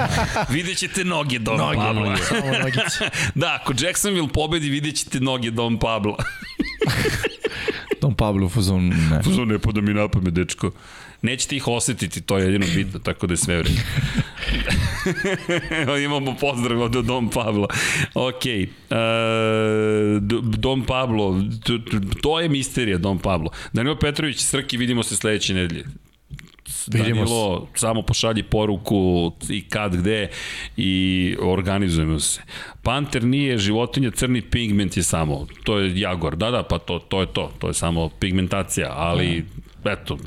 [SPEAKER 5] vidjet ćete noge Dom noge, Pabla. Noge.
[SPEAKER 4] Samo nogice.
[SPEAKER 5] Da, ako Jacksonville pobedi, vidjet ćete noge Dom Pabla.
[SPEAKER 4] Don Pablo u fazonu, ne.
[SPEAKER 5] Pozor, ne pada mi napame, dečko. Nećete ih osetiti, to je jedino bitno, tako da je sve vreme. Imamo pozdrav od Dom Pabla. Ok, e, D- Dom Pablo, t- t- to je misterija Dom Pablo. Danilo Petrović, Srki, vidimo se sledeće nedelje.
[SPEAKER 4] Vidimo se.
[SPEAKER 5] Da, Danilo, samo pošalji poruku i kad, gde i organizujemo se. Panter nije životinja, crni pigment je samo. To
[SPEAKER 4] Da.
[SPEAKER 5] je jagor. Da, da, pa to, to je to. To je samo pigmentacija, ali eto,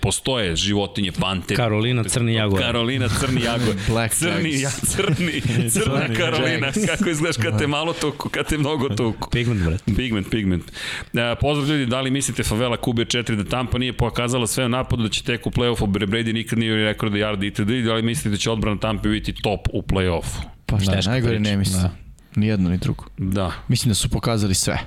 [SPEAKER 5] postoje životinje, panteri.
[SPEAKER 2] Karolina Crni Jagor.
[SPEAKER 5] Karolina Crni Jagor.
[SPEAKER 4] Black
[SPEAKER 5] crni,
[SPEAKER 4] Jags.
[SPEAKER 5] ja, crni, crna Karolina. Kako izgledaš kad
[SPEAKER 4] Da.
[SPEAKER 5] te malo tuku, kad te mnogo tuku.
[SPEAKER 2] Pigment, brate.
[SPEAKER 5] Pigment, pigment. E, pozdrav ljudi, da li mislite favela Kube 4 da Tampa nije pokazala sve u napadu da će tek u play-offu, Bre- Brady nikad nije rekao da Jarda itd. Da li mislite da će odbrana Tampa biti top u play-offu?
[SPEAKER 4] Pa šta,
[SPEAKER 3] Teška
[SPEAKER 4] najgore
[SPEAKER 3] priča,
[SPEAKER 4] ne mislim.
[SPEAKER 3] da.
[SPEAKER 4] Ni jedno, ni drugo.
[SPEAKER 5] Da.
[SPEAKER 4] Mislim da su pokazali sve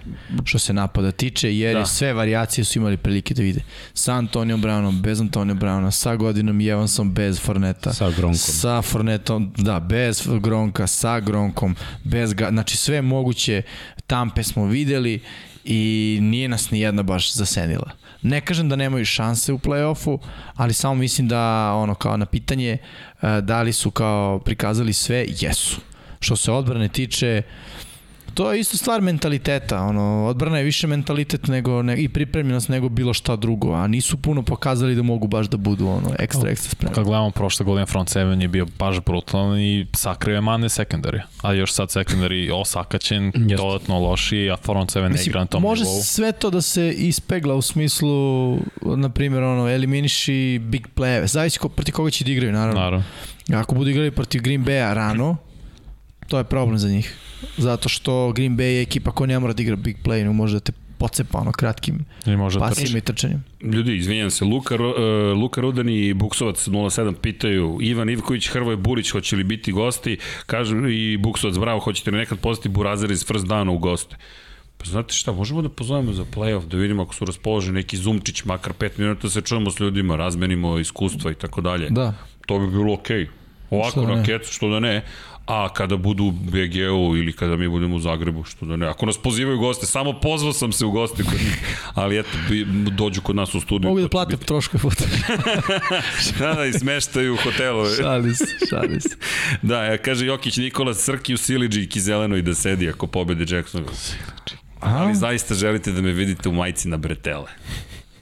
[SPEAKER 4] što se napada tiče, jer
[SPEAKER 5] Da.
[SPEAKER 4] da. sve variacije su imali prilike da vide. Sa Antonijom Brownom, bez Antonija Browna, sa Godinom i Evansom, bez Forneta.
[SPEAKER 2] Sa Gronkom.
[SPEAKER 4] Sa Fornetom, da, bez Gronka, sa Gronkom, bez ga, znači sve moguće tampe smo videli i nije nas ni jedna baš zasenila. Ne kažem da nemaju šanse u play-offu, ali samo mislim da ono kao na pitanje e, da li su kao prikazali sve, jesu. Što se odbrane tiče, To je isto stvar mentaliteta, ono, odbrana je više mentalitet nego, ne, i pripremljenost nego bilo šta drugo, a nisu puno pokazali da mogu baš da budu ono, ekstra, ekstra spremni.
[SPEAKER 3] Kad gledamo prošle godine front seven je bio baš brutalan i sakrio je mane secondary. A još sad secondary osakaćen, dodatno loši, a front seven ne igra na tom
[SPEAKER 4] može
[SPEAKER 3] nivou.
[SPEAKER 4] sve to da se ispegla u smislu, na primjer, ono, eliminiši big play-eve, zavisi ko, proti koga će da igraju, naravno.
[SPEAKER 3] Naravno. Da.
[SPEAKER 4] Ako budu igrali protiv Green Bay-a rano, to je problem za njih. Zato što Green Bay je ekipa koja ne mora da igra big play, nego može da te pocepa ono, kratkim
[SPEAKER 3] I može da trči.
[SPEAKER 4] pasima i trčanjem.
[SPEAKER 5] Ljudi, izvinjam se, Luka, Ro- e, Luka Rudan i Buksovac 07 pitaju Ivan Ivković, Hrvoje Burić, hoće li biti gosti? Kažu i Buksovac, bravo, hoćete li nekad pozvati Burazar iz First Downa u goste? Pa znate šta, možemo da pozovemo za playoff, da vidimo ako su raspoloženi neki zumčić, makar 5 minuta da se čujemo s ljudima, razmenimo iskustva i tako dalje.
[SPEAKER 4] Da.
[SPEAKER 5] To bi bilo okej. Okay. Ovako
[SPEAKER 4] Što da ne?
[SPEAKER 5] raketu, što da ne. A kada budu u BG-u ili kada mi budemo u Zagrebu, što da ne. Ako nas pozivaju goste, samo pozvao sam se u goste kod njih, ali eto, bi, dođu kod nas u studiju.
[SPEAKER 4] Mogu da
[SPEAKER 5] to će
[SPEAKER 4] plate
[SPEAKER 5] biti-
[SPEAKER 4] troškove puta.
[SPEAKER 5] Da, da, i smeštaju u hotelu.
[SPEAKER 4] šalim se, šalim se.
[SPEAKER 5] da, ja, kaže Jokić Nikola, Srki u Siliđi i zelenoj da sedi ako pobede Jackson. Ali zaista želite da me vidite u majici na bretele.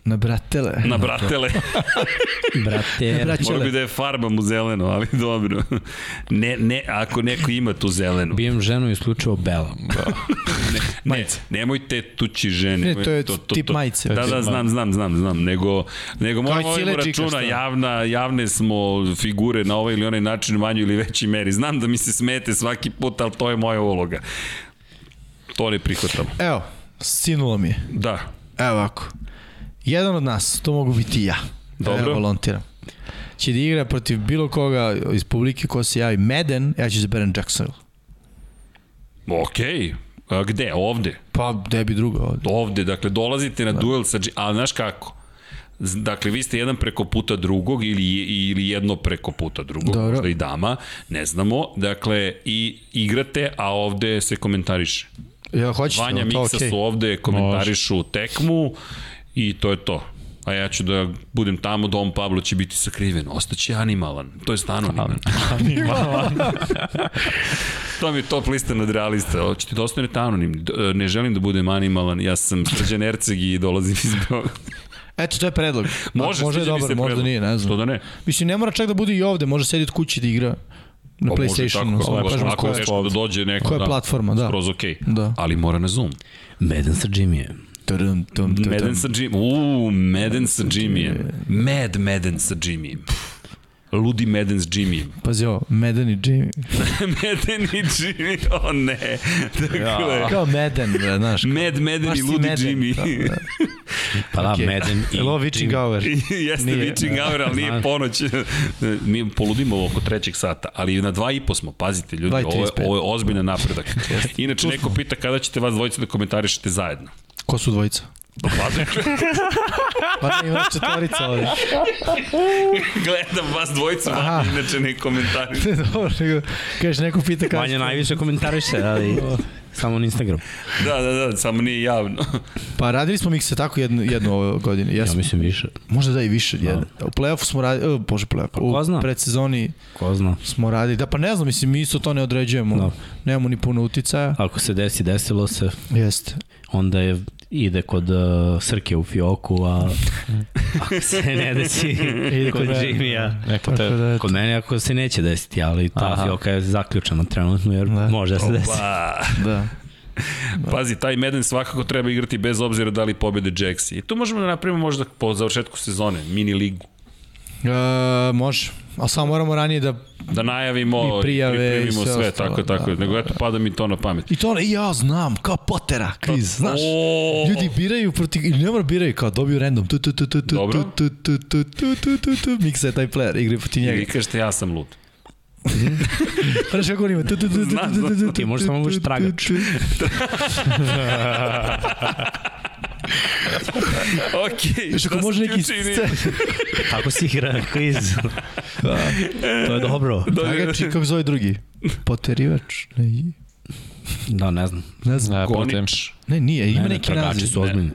[SPEAKER 4] Na bratele.
[SPEAKER 5] Na bratele.
[SPEAKER 4] Da,
[SPEAKER 2] Brate,
[SPEAKER 5] Mora bi da je farbam u zeleno, ali dobro. Ne, ne, ako neko ima tu zelenu.
[SPEAKER 2] bijem ženu isključivo bela.
[SPEAKER 5] Ne, nemojte tući žene.
[SPEAKER 4] Ne, to je tip majice.
[SPEAKER 5] Da, da, znam, znam, znam, znam. Nego, nego moramo
[SPEAKER 4] i
[SPEAKER 5] ovim
[SPEAKER 4] siledžika,
[SPEAKER 5] računa,
[SPEAKER 4] šta?
[SPEAKER 5] javna, javne smo figure na ovaj ili onaj način u manjoj ili veći meri. Znam da mi se smete svaki put, ali to je moja uloga. To ne prihvatam.
[SPEAKER 4] Evo, sinulo mi je.
[SPEAKER 5] Da,
[SPEAKER 4] Evo ovako. Jedan od nas, to mogu biti i ja. da
[SPEAKER 5] Dobro.
[SPEAKER 4] Ja volontiram. Će da igra protiv bilo koga iz publike ko se javi Meden, ja ću izaberem Jacksonville.
[SPEAKER 5] okej. A Gde? Ovde?
[SPEAKER 4] Pa, gde bi drugo ovde?
[SPEAKER 5] ovde, dakle dolazite na da. duel sa, G- ali znaš kako? Z- Dakle, vi ste jedan preko puta drugog ili, ili jedno preko puta drugog,
[SPEAKER 4] Dobro.
[SPEAKER 5] možda i dama, ne znamo. Dakle, i igrate, a ovde se komentariše.
[SPEAKER 4] Ja hoćete,
[SPEAKER 5] Vanja
[SPEAKER 4] to
[SPEAKER 5] Miksa
[SPEAKER 4] okej.
[SPEAKER 5] su ovde, komentarišu Može. tekmu i to je to. A ja ću da budem tamo, Dom Pablo će biti sakriven, ostaće animalan, to je anoniman. to mi je top lista nad realista, hoćete da ostanete anonim, D- e, ne želim da budem animalan, ja sam Srđan Erceg i dolazim iz Beograda.
[SPEAKER 4] Eto, to je predlog.
[SPEAKER 5] Može,
[SPEAKER 4] možda je
[SPEAKER 5] sviđa mi
[SPEAKER 4] dobar,
[SPEAKER 5] se
[SPEAKER 4] možda
[SPEAKER 5] predlog.
[SPEAKER 4] nije, ne
[SPEAKER 5] Što
[SPEAKER 4] znam.
[SPEAKER 5] da ne?
[SPEAKER 4] Mislim, ne mora čak da bude i ovde, može sediti kući da igra na
[SPEAKER 5] Pa može tako,
[SPEAKER 4] PlayStationu.
[SPEAKER 5] kako
[SPEAKER 4] samo
[SPEAKER 5] je,
[SPEAKER 4] kažemo
[SPEAKER 5] ako
[SPEAKER 4] koja
[SPEAKER 5] je
[SPEAKER 4] je.
[SPEAKER 5] teško da dođe neko,
[SPEAKER 4] koja je
[SPEAKER 5] da,
[SPEAKER 4] platforma, da.
[SPEAKER 5] Skroz okej,
[SPEAKER 4] Da.
[SPEAKER 5] ali mora na Zoom.
[SPEAKER 2] Meden sa Jimmy.
[SPEAKER 4] Tudum, tum, tum,
[SPEAKER 5] Meden
[SPEAKER 4] tum.
[SPEAKER 5] sa Jimmy. Uuu, Meden sa Jimmy. Mad Meden sa Jimmy. Ludi Meden s Jimmy.
[SPEAKER 4] Pazi ovo, Meden i Jimmy.
[SPEAKER 5] Meden i Jimmy, o ne. Dakle, ja.
[SPEAKER 4] Kao Meden, bre, znaš.
[SPEAKER 5] Mad Meden
[SPEAKER 4] Baš
[SPEAKER 5] i
[SPEAKER 4] si
[SPEAKER 5] Ludi
[SPEAKER 4] Meden,
[SPEAKER 5] Jimmy.
[SPEAKER 4] tako da.
[SPEAKER 2] Pa da,
[SPEAKER 4] Okej.
[SPEAKER 2] Meden i
[SPEAKER 4] Jel ovo
[SPEAKER 2] Jimmy.
[SPEAKER 4] Vičing Hour?
[SPEAKER 5] Jeste
[SPEAKER 4] Nije.
[SPEAKER 5] Witching Hour, ali nije ponoć. Mi poludimo oko trećeg sata, ali na dva i po smo, pazite ljudi,
[SPEAKER 4] Dva i
[SPEAKER 5] ovo je,
[SPEAKER 4] 35.
[SPEAKER 5] ovo je ozbiljan napredak. Inače, neko pita kada ćete vas dvojice da komentarišete zajedno.
[SPEAKER 4] Ko su dvojica? Pa ne, ima četvorica ovde.
[SPEAKER 5] Gledam vas dvojicu,
[SPEAKER 4] Aha.
[SPEAKER 5] vam inače ne komentarišete.
[SPEAKER 2] Da.
[SPEAKER 4] Dobro, nego, kažeš, neko pita kada
[SPEAKER 2] Vanja najviše komentariše, ali samo na Instagram.
[SPEAKER 5] Da, da, da, samo nije javno.
[SPEAKER 4] Pa radili smo mikse tako jednu, jednu ove godine,
[SPEAKER 2] Ja
[SPEAKER 4] jesmo.
[SPEAKER 2] mislim više.
[SPEAKER 4] Možda da i više od jedne. U play-offu smo radili, uh, bože play-off,
[SPEAKER 2] Pa ko zna?
[SPEAKER 4] u predsezoni
[SPEAKER 2] Ko zna.
[SPEAKER 4] smo radili, da pa ne znam, mislim, mi isto to ne određujemo,
[SPEAKER 2] Da.
[SPEAKER 4] nemamo ni puno uticaja.
[SPEAKER 2] Ako se desi, desilo se,
[SPEAKER 4] Jeste.
[SPEAKER 2] onda je ide kod uh, Srke u fioku, a ako se ne desi, ide kod
[SPEAKER 4] mene.
[SPEAKER 2] Jimmy-a.
[SPEAKER 3] Neko te...
[SPEAKER 4] Tako da, eto.
[SPEAKER 2] Kod mene ako se neće desiti, ali ta
[SPEAKER 3] Aha.
[SPEAKER 2] fioka je zaključena trenutno, jer
[SPEAKER 4] Da.
[SPEAKER 2] može da se desi.
[SPEAKER 5] Pa,
[SPEAKER 4] da.
[SPEAKER 5] Pazi, taj Meden svakako treba igrati bez obzira da li pobede Jaxi. I tu možemo da napravimo možda po završetku sezone, mini ligu.
[SPEAKER 4] E, može. A samo moramo ranije da...
[SPEAKER 5] Da najavimo
[SPEAKER 4] I prijave
[SPEAKER 5] i
[SPEAKER 4] i
[SPEAKER 5] pripremimo
[SPEAKER 4] sve
[SPEAKER 5] sve,
[SPEAKER 4] ostalo,
[SPEAKER 5] tako, tako.
[SPEAKER 4] da,
[SPEAKER 5] Nego eto, pada mi to na pamet.
[SPEAKER 4] I to ono, i ja znam, kao potera, kriz, znaš.
[SPEAKER 5] Pa, O,
[SPEAKER 4] Ljudi biraju protiv, ili ne mora biraju, kao dobiju random. Tu, tu, tu, tu, tu,
[SPEAKER 5] Dobro.
[SPEAKER 4] tu, tu, tu, tu, tu, tu, tu, tu, miksa je taj player, igri protiv
[SPEAKER 5] I
[SPEAKER 4] njega.
[SPEAKER 5] vi kažete ja sam lud.
[SPEAKER 4] Znaš kako on ima? Tu, tu, tu, tu,
[SPEAKER 5] Znam,
[SPEAKER 4] tu, tu, tu, tu,
[SPEAKER 2] Ti možeš samo
[SPEAKER 4] tu,
[SPEAKER 2] budeš
[SPEAKER 4] tu,
[SPEAKER 2] tragač.
[SPEAKER 4] tu.
[SPEAKER 5] Okej.
[SPEAKER 4] Još ako
[SPEAKER 5] šta
[SPEAKER 4] može
[SPEAKER 5] sam ti
[SPEAKER 4] neki
[SPEAKER 5] učinio?
[SPEAKER 4] scen-
[SPEAKER 2] Tako si igra kviz. Da. to je dobro.
[SPEAKER 5] Da,
[SPEAKER 4] tragač i kako zove drugi? Poterivač? Ne, i-
[SPEAKER 2] Da, ne znam.
[SPEAKER 4] ne znam.
[SPEAKER 3] Ne,
[SPEAKER 5] Gonič.
[SPEAKER 3] protiv.
[SPEAKER 4] Ne, nije, ima
[SPEAKER 2] Ne, ne,
[SPEAKER 4] neki
[SPEAKER 2] tragači
[SPEAKER 4] naziv.
[SPEAKER 2] su ozbiljni.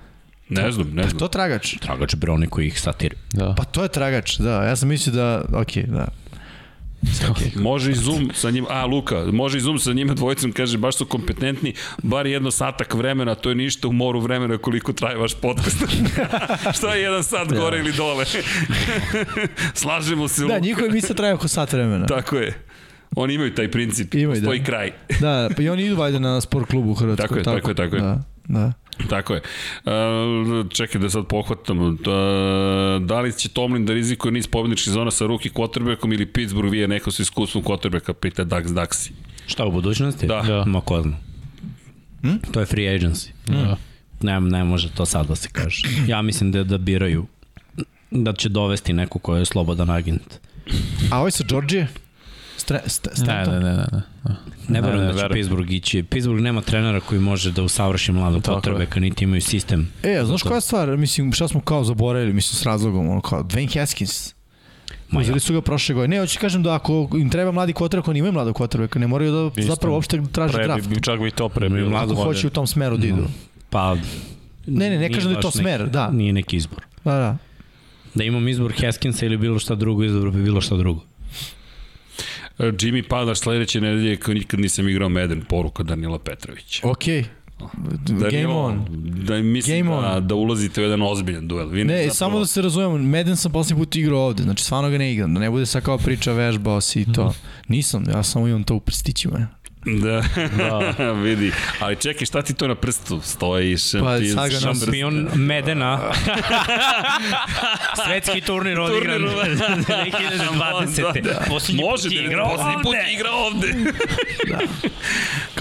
[SPEAKER 5] Ne znam, ne
[SPEAKER 4] Pa
[SPEAKER 5] znam.
[SPEAKER 4] to tragač.
[SPEAKER 2] Tragač bre, oni koji ih satiri.
[SPEAKER 3] Da.
[SPEAKER 4] Pa to je tragač, da. Ja sam mislio da, okej, da. pa
[SPEAKER 5] Može i Zoom sa njima, a Luka, može i Zoom sa njima dvojicom, kaže, baš su kompetentni, bar jedno satak vremena, to je ništa u moru vremena koliko traje vaš podcast. Šta je jedan
[SPEAKER 4] Da.
[SPEAKER 5] sat gore ili dole? Slažemo se, Luka. Da.
[SPEAKER 4] Da, njihove misle traju oko sat vremena.
[SPEAKER 5] Tako je. Oni imaju taj princip,
[SPEAKER 4] Imaju,
[SPEAKER 5] imaju, postoji
[SPEAKER 4] da.
[SPEAKER 5] da. kraj.
[SPEAKER 4] Da, pa i oni idu valjda na sport klubu u Hrvatskoj.
[SPEAKER 5] Tako je, tako je, tako je.
[SPEAKER 4] Da, da.
[SPEAKER 5] Tako je. E, čekaj da sad pohvatam. E, da li će Tomlin da rizikuje niz pobedničkih zona sa ruki quarterbackom ili Pittsburgh vije neko sa iskustvom quarterbacka, pita Dax Daxi.
[SPEAKER 2] Šta u budućnosti?
[SPEAKER 5] Da.
[SPEAKER 3] Da.
[SPEAKER 2] Ma ko zna.
[SPEAKER 4] Hm?
[SPEAKER 2] To je free agency.
[SPEAKER 3] Da.
[SPEAKER 2] Ne, ne može to sad da se kaže. Ja mislim da, da biraju da će dovesti neko ko je slobodan agent.
[SPEAKER 4] A ovaj sa Đorđije? Stre, st,
[SPEAKER 2] Da,
[SPEAKER 3] Ne,
[SPEAKER 4] Stanton?
[SPEAKER 3] ne, ne, ne, ne.
[SPEAKER 2] Ne
[SPEAKER 3] Ne,
[SPEAKER 2] verujem
[SPEAKER 3] ne,
[SPEAKER 2] da će
[SPEAKER 3] verujem.
[SPEAKER 2] Pittsburgh ići. Pittsburgh nema trenera koji može da usavrši mladog
[SPEAKER 3] Tako je.
[SPEAKER 2] potrebeka, niti imaju sistem.
[SPEAKER 4] E, a znaš koja je stvar? Mislim, šta smo kao zaboravili, mislim, s razlogom, ono kao, Dwayne Haskins.
[SPEAKER 2] Ma ja,
[SPEAKER 4] Uzeli su ga prošle godine. Ne, hoću ti kažem da ako im treba mladi kotrbek, oni imaju mladog kotrbeka, ne moraju da zapravo uopšte traže
[SPEAKER 3] Pre
[SPEAKER 4] draft.
[SPEAKER 3] bi, čak bi i to pre
[SPEAKER 2] Mi
[SPEAKER 3] bilo.
[SPEAKER 4] Ako
[SPEAKER 2] mlado
[SPEAKER 4] hoće u tom smeru da idu.
[SPEAKER 2] pa...
[SPEAKER 4] Ne, ne, ne
[SPEAKER 2] nije
[SPEAKER 4] kažem da je
[SPEAKER 2] baš
[SPEAKER 4] to smer,
[SPEAKER 2] neki,
[SPEAKER 4] da.
[SPEAKER 2] Nije neki izbor.
[SPEAKER 4] Da, da.
[SPEAKER 2] Da imam izbor Heskinsa ili bilo šta drugo, izbor bi bilo šta drugo.
[SPEAKER 5] E, Jimmy Padaš sledeće nedelje kao nikad nisam igrao Meden, poruka Danila Petrovića.
[SPEAKER 4] Okej. Game
[SPEAKER 5] Danilo,
[SPEAKER 4] on.
[SPEAKER 5] Da, mislim
[SPEAKER 4] Game
[SPEAKER 5] da, da ulazite u jedan ozbiljan duel. Vi
[SPEAKER 4] Ne,
[SPEAKER 5] zapravo-
[SPEAKER 4] samo da se razumemo, Madden sam poslednji put igrao ovde, znači stvarno ga ne igram, da ne bude sad kao priča vežbao si i to. Nisam, ja samo imam to u prstićima.
[SPEAKER 5] Da, da. vidi. Ali čekaj, šta ti to na prstu stoji? šampion-
[SPEAKER 4] Pa, sad ga
[SPEAKER 5] šampion-
[SPEAKER 2] Šampion Medena. Svetski turnir odigran 2020.
[SPEAKER 5] Da, da.
[SPEAKER 2] Posljednji
[SPEAKER 5] Može
[SPEAKER 2] put
[SPEAKER 5] da
[SPEAKER 2] je
[SPEAKER 5] ne-
[SPEAKER 2] igrao
[SPEAKER 5] Posljednji put je
[SPEAKER 2] ovde.
[SPEAKER 5] igrao ovde. da.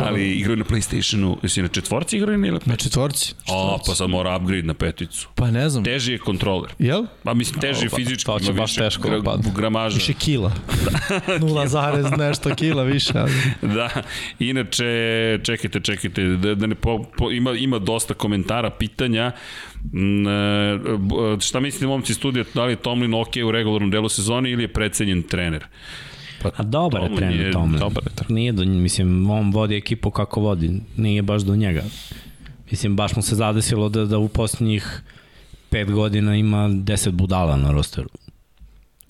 [SPEAKER 5] Ali igrao je na Playstationu, jesi na četvorci igrao ili na
[SPEAKER 4] Na četvorci.
[SPEAKER 5] A, pa sad mora upgrade na peticu.
[SPEAKER 4] Pa ne znam.
[SPEAKER 5] Teži je kontroler.
[SPEAKER 4] Jel?
[SPEAKER 5] Pa mislim, teži je fizički.
[SPEAKER 2] pa
[SPEAKER 3] to će
[SPEAKER 5] ima
[SPEAKER 3] baš
[SPEAKER 5] više
[SPEAKER 3] teško
[SPEAKER 5] gra-
[SPEAKER 3] upadne.
[SPEAKER 5] gramaža.
[SPEAKER 2] Da.
[SPEAKER 4] Više kila. 0, Da. zarez nešto kila više. ali-
[SPEAKER 5] Da, inače, čekajte, čekajte, da, da ne po, po, ima, ima dosta komentara, pitanja. Mm, e, b- šta mislite, momci iz studija, da li je Tomlin ok u regularnom delu sezoni ili je precenjen trener?
[SPEAKER 2] A dobar je
[SPEAKER 5] Tomlin je-
[SPEAKER 2] trener Tomlin.
[SPEAKER 3] dobar je trener.
[SPEAKER 2] Nije do, mislim, on vodi ekipu kako vodi. Nije baš do njega. Mislim, baš mu se zadesilo da, da u posljednjih pet godina ima 10 budala na rosteru.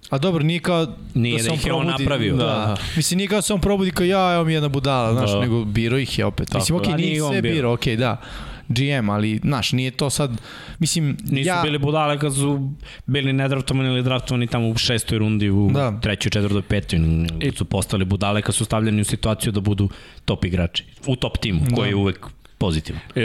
[SPEAKER 4] A dobro, nije kao
[SPEAKER 2] Nije
[SPEAKER 4] se
[SPEAKER 2] da ih je on napravio.
[SPEAKER 4] Da.
[SPEAKER 2] Da.
[SPEAKER 4] Mislim, nije kao da se on probudi kao ja, evo mi jedna budala, znaš,
[SPEAKER 3] Da.
[SPEAKER 4] nego biro ih je opet. Mislim,
[SPEAKER 2] je.
[SPEAKER 4] okej,
[SPEAKER 2] A
[SPEAKER 4] nije
[SPEAKER 2] nije
[SPEAKER 4] ih
[SPEAKER 2] on
[SPEAKER 4] sve
[SPEAKER 2] birao.
[SPEAKER 4] biro, okej, da. GM, ali, znaš, nije to sad, mislim,
[SPEAKER 2] Nisu
[SPEAKER 4] ja...
[SPEAKER 2] ja. bili budale kad su bili nedraftovani ili draftovani tamo u šestoj rundi u
[SPEAKER 4] Da.
[SPEAKER 2] da. trećoj, četvrtoj, petoj. I su postali budale kad su stavljeni u situaciju da budu top igrači. U top timu, koji je uvek pozitivan.
[SPEAKER 5] E,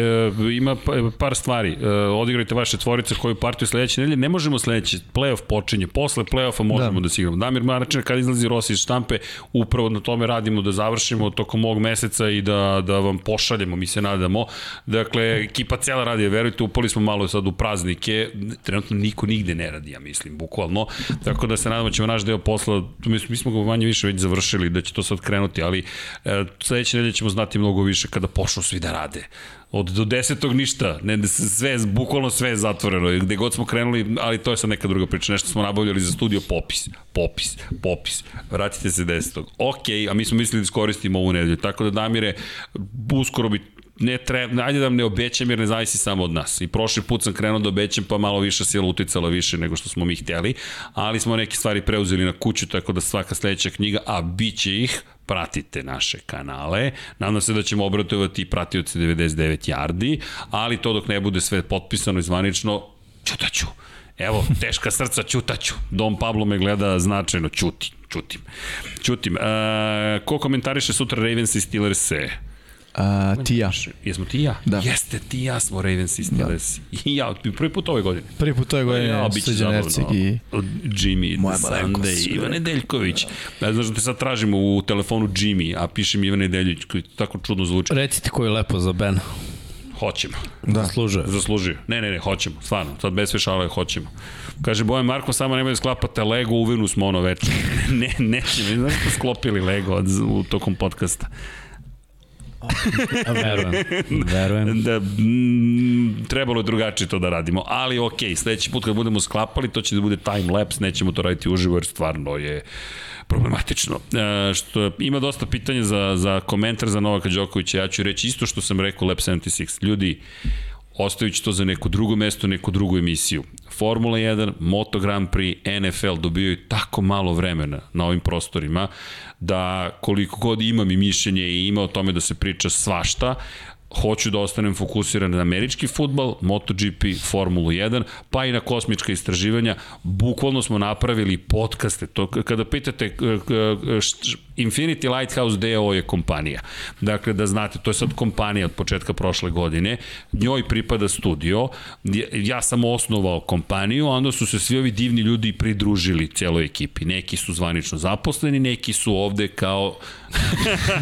[SPEAKER 5] ima pa- par stvari. E, odigrajte vaše tvorice koju partiju sledeće nedelje. Ne možemo sledeće. Playoff počinje. Posle playoffa možemo da, da se igramo. Damir Maračan kad izlazi Rossi iz štampe, upravo na tome radimo da završimo tokom ovog meseca i da, da vam pošaljemo, mi se nadamo. Dakle, ekipa cela radi, verujte, upali smo malo sad u praznike. Trenutno niko nigde ne radi, ja mislim, bukvalno. Tako da se nadamo da ćemo naš deo posla, mi, smo- mi smo ga manje više već završili, da će to sad krenuti, ali e, sledeće nedelje ćemo znati mnogo više kada počnu svi da rade od do 10. ništa, ne, da se sve, bukvalno sve je zatvoreno, gde god smo krenuli, ali to je sad neka druga priča, nešto smo nabavljali za studio, popis, popis, popis, vratite se 10. Ok, a mi smo mislili da iskoristimo ovu nedelju, tako da Damire, uskoro bi ne treba, ajde da vam ne obećam jer ne zavisi samo od nas. I prošli put sam krenuo da obećam pa malo više sila uticala više nego što smo mi hteli, ali smo neke stvari preuzeli na kuću tako da svaka sledeća knjiga, a bit će ih, pratite naše kanale. Nadam se da ćemo obratovati i pratioci 99 yardi, ali to dok ne bude sve potpisano i zvanično, ćutaću. Evo, teška srca, ćutaću. Dom Pablo me gleda značajno, ćuti, ćutim. Ćutim. E, ko komentariše sutra Ravens i Steelers-e?
[SPEAKER 4] a, ti i ja.
[SPEAKER 5] Jesmo ti i ja?
[SPEAKER 4] Da.
[SPEAKER 5] Jeste, ti i ja smo Ravens isti da. I ja, prvi put ove godine.
[SPEAKER 4] Prvi put
[SPEAKER 2] Pa
[SPEAKER 4] ove godine
[SPEAKER 5] Ja,
[SPEAKER 4] ja,
[SPEAKER 5] bit će
[SPEAKER 4] Srđan
[SPEAKER 5] zabavno.
[SPEAKER 4] Ercik E,
[SPEAKER 2] da.
[SPEAKER 4] i...
[SPEAKER 5] Jimmy,
[SPEAKER 4] Moja
[SPEAKER 5] Moja
[SPEAKER 4] malenkost,
[SPEAKER 5] Sunday,
[SPEAKER 4] sve.
[SPEAKER 5] Ivan Nedeljković. Da. znaš da te sad tražimo u telefonu Jimmy, a piše mi Ivan Nedeljković, koji tako čudno zvuči.
[SPEAKER 2] Recite koji je lepo za Ben.
[SPEAKER 5] Hoćemo.
[SPEAKER 2] Da. Služuje.
[SPEAKER 5] Zaslužio. Ne, ne, ne, hoćemo, stvarno. Sad bez sve šale hoćemo. Kaže, Bojan Marko, samo nemoj da sklapate Lego, u Vinu smo ono večer. ne, nećemo, ne znam smo sklopili Lego od, u tokom podcasta.
[SPEAKER 2] Verujem. Verujem.
[SPEAKER 5] Da, mm, trebalo je drugačije to da radimo, ali ok, sledeći put kad budemo sklapali, to će da bude time lapse, nećemo to raditi uživo jer stvarno je problematično. E, što, ima dosta pitanja za, za komentar za Novaka Đokovića, ja ću reći isto što sam rekao Lab 76. Ljudi, ostavit ću to za neko drugo mesto, neku drugu emisiju. Formula 1, Moto Grand Prix, NFL dobijaju tako malo vremena na ovim prostorima da koliko god imam i mišljenje i ima o tome da se priča svašta, hoću da ostanem fokusiran na američki futbal, MotoGP, Formulu 1, pa i na kosmička istraživanja. Bukvalno smo napravili podcaste. To, k- kada pitate, k- k- št- Infinity Lighthouse DO je kompanija. Dakle, da znate, to je sad kompanija od početka prošle godine. Njoj pripada studio. Ja- Ja sam osnovao kompaniju, a onda su se svi ovi divni ljudi pridružili celoj ekipi. Neki su zvanično zaposleni, neki su ovde kao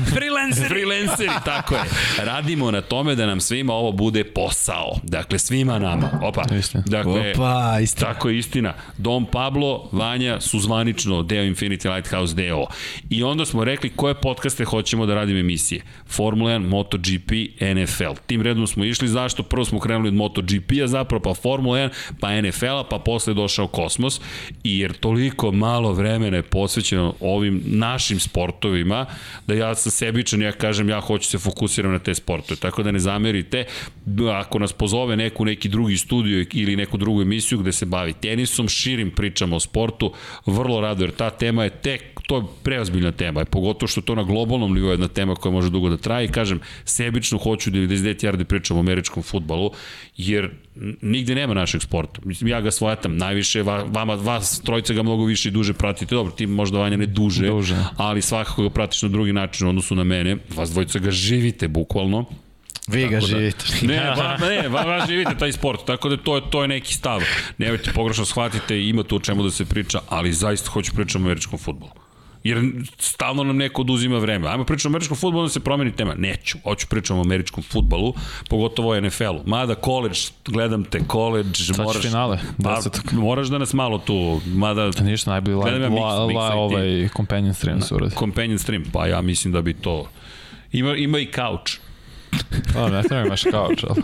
[SPEAKER 5] Freelanceri. Freelanceri, tako je. Radimo na tome da nam svima ovo bude posao. Dakle, svima nama. Opa.
[SPEAKER 3] Istina.
[SPEAKER 5] Dakle,
[SPEAKER 2] Pa,
[SPEAKER 4] Opa, isto.
[SPEAKER 5] Tako je istina. Dom Pablo, Vanja su zvanično deo Infinity Lighthouse deo. I onda smo rekli koje podcaste hoćemo da radimo emisije. Formula 1, MotoGP, NFL. Tim redom smo išli. Zašto? Prvo smo krenuli od MotoGP-a zapravo, pa Formula 1, pa NFL-a, pa posle je došao Kosmos. I jer toliko malo vremena je posvećeno ovim našim sportovima, da ja sam sebičan, ja kažem, ja hoću se fokusiram na te sportove. Tako da ne zamerite, ako nas pozove neku, neki drugi studio ili neku drugu emisiju gde se bavi tenisom, širim pričama o sportu, vrlo rado, jer ta tema je tek to je preozbiljna tema, pogotovo što to na globalnom nivou je jedna tema koja može dugo da traje i kažem, sebično hoću da 99 yardi pričam o američkom futbalu, jer n- nigde nema našeg sporta. Mislim, ja ga svajatam najviše, va- vama, vas trojica ga mnogo više i duže pratite, dobro, ti možda Vanja ne duže,
[SPEAKER 3] Duže.
[SPEAKER 5] ali svakako ga pratiš na drugi način u odnosu na mene, vas dvojica ga živite bukvalno,
[SPEAKER 4] Vi ga živite.
[SPEAKER 5] Ne, ba, ne, ba, ba, živite taj sport, tako da to je, to je neki stav. Nemojte pogrešno da shvatite, ima tu o čemu da se priča, ali zaista hoću pričati o američkom futbolu. Jer stalno nam neko oduzima vreme. Ajmo pričati o američkom futbolu, onda se promeni tema. Neću, hoću pričati o američkom futbolu, pogotovo o NFL-u. Mada koleđ, gledam te, koleđ,
[SPEAKER 3] Sad
[SPEAKER 5] moraš...
[SPEAKER 3] će finale,
[SPEAKER 5] Pa,
[SPEAKER 3] 10.
[SPEAKER 5] moraš da nas malo tu, mada...
[SPEAKER 3] Ništa, najbolji la,
[SPEAKER 5] Gledam ja mix-
[SPEAKER 3] la,
[SPEAKER 5] mix i
[SPEAKER 3] la,
[SPEAKER 5] ti.
[SPEAKER 3] ovaj companion stream se uradi.
[SPEAKER 5] Companion stream, pa ja mislim da bi to... Ima, ima i couch.
[SPEAKER 3] Pa, ne treba imaš kauč, ali...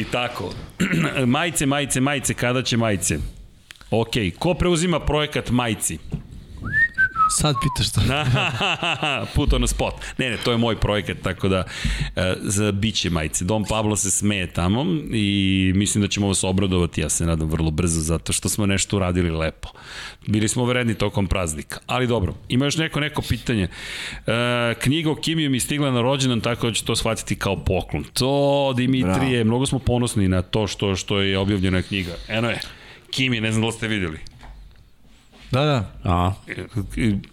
[SPEAKER 5] I tako. majice, majice, majice, kada će majice? Ok, ko preuzima projekat majci?
[SPEAKER 4] Sad pitaš to.
[SPEAKER 2] Da.
[SPEAKER 5] Put on spot. Ne, ne, to je moj projekat, tako da e, za biće majice. Dom Pablo se smeje tamo i mislim da ćemo vas obradovati, ja se nadam, vrlo brzo, zato što smo nešto uradili lepo. Bili smo vredni tokom praznika. Ali dobro, ima još neko, neko pitanje. E, knjiga o Kimiju mi je stigla na rođendan, tako da ću to shvatiti kao poklon. To, Dimitrije, Bravo. mnogo smo ponosni na to što, što je objavljena knjiga. Eno je, Kimi, ne znam da li ste videli
[SPEAKER 4] Da, da.
[SPEAKER 2] A,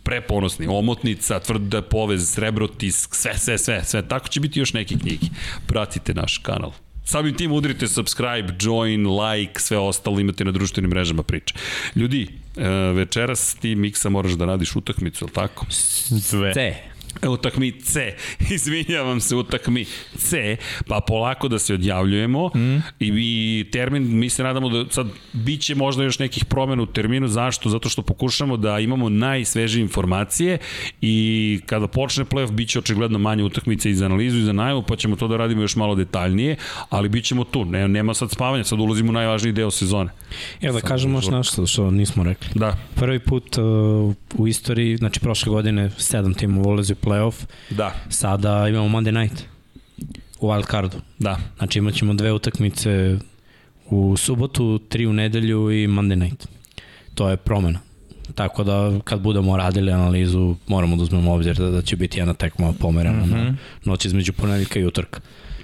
[SPEAKER 5] preponosni, omotnica, tvrda povez, srebrotisk, sve, sve, sve, sve. Tako će biti još neke knjige. Pratite naš kanal. Samim tim udrite subscribe, join, like, sve ostalo imate na društvenim mrežama priče. Ljudi, e, večeras ti Miksa moraš da radiš utakmicu, je tako?
[SPEAKER 2] da. sve. C.
[SPEAKER 5] E, utakmi C, izvinjavam se, utakmi C, pa polako da se odjavljujemo mm. I, i termin, mi se nadamo da sad bit će možda još nekih promena u terminu, zašto? Zato što pokušamo da imamo najsvežije informacije i kada počne playoff bit će očigledno manje utakmice i za analizu i za najavu, pa ćemo to da radimo još malo detaljnije, ali bit ćemo tu, ne, nema sad spavanja, sad ulazimo u najvažniji deo sezone.
[SPEAKER 2] Evo da kažem još nešto što nismo rekli.
[SPEAKER 5] Da,
[SPEAKER 2] Prvi put uh, u istoriji, znači prošle godine sedam timova ulazi u playoff,
[SPEAKER 5] da,
[SPEAKER 2] sada imamo Monday night u wild cardu.
[SPEAKER 5] da.
[SPEAKER 2] Znači imat ćemo dve utakmice u subotu, tri u nedelju i Monday night. To je promena. Tako da kad budemo radili analizu moramo da uzmemo obzir da, da će biti jedna tekma pomerena mm -hmm. na noć između ponedjeljka i utorka.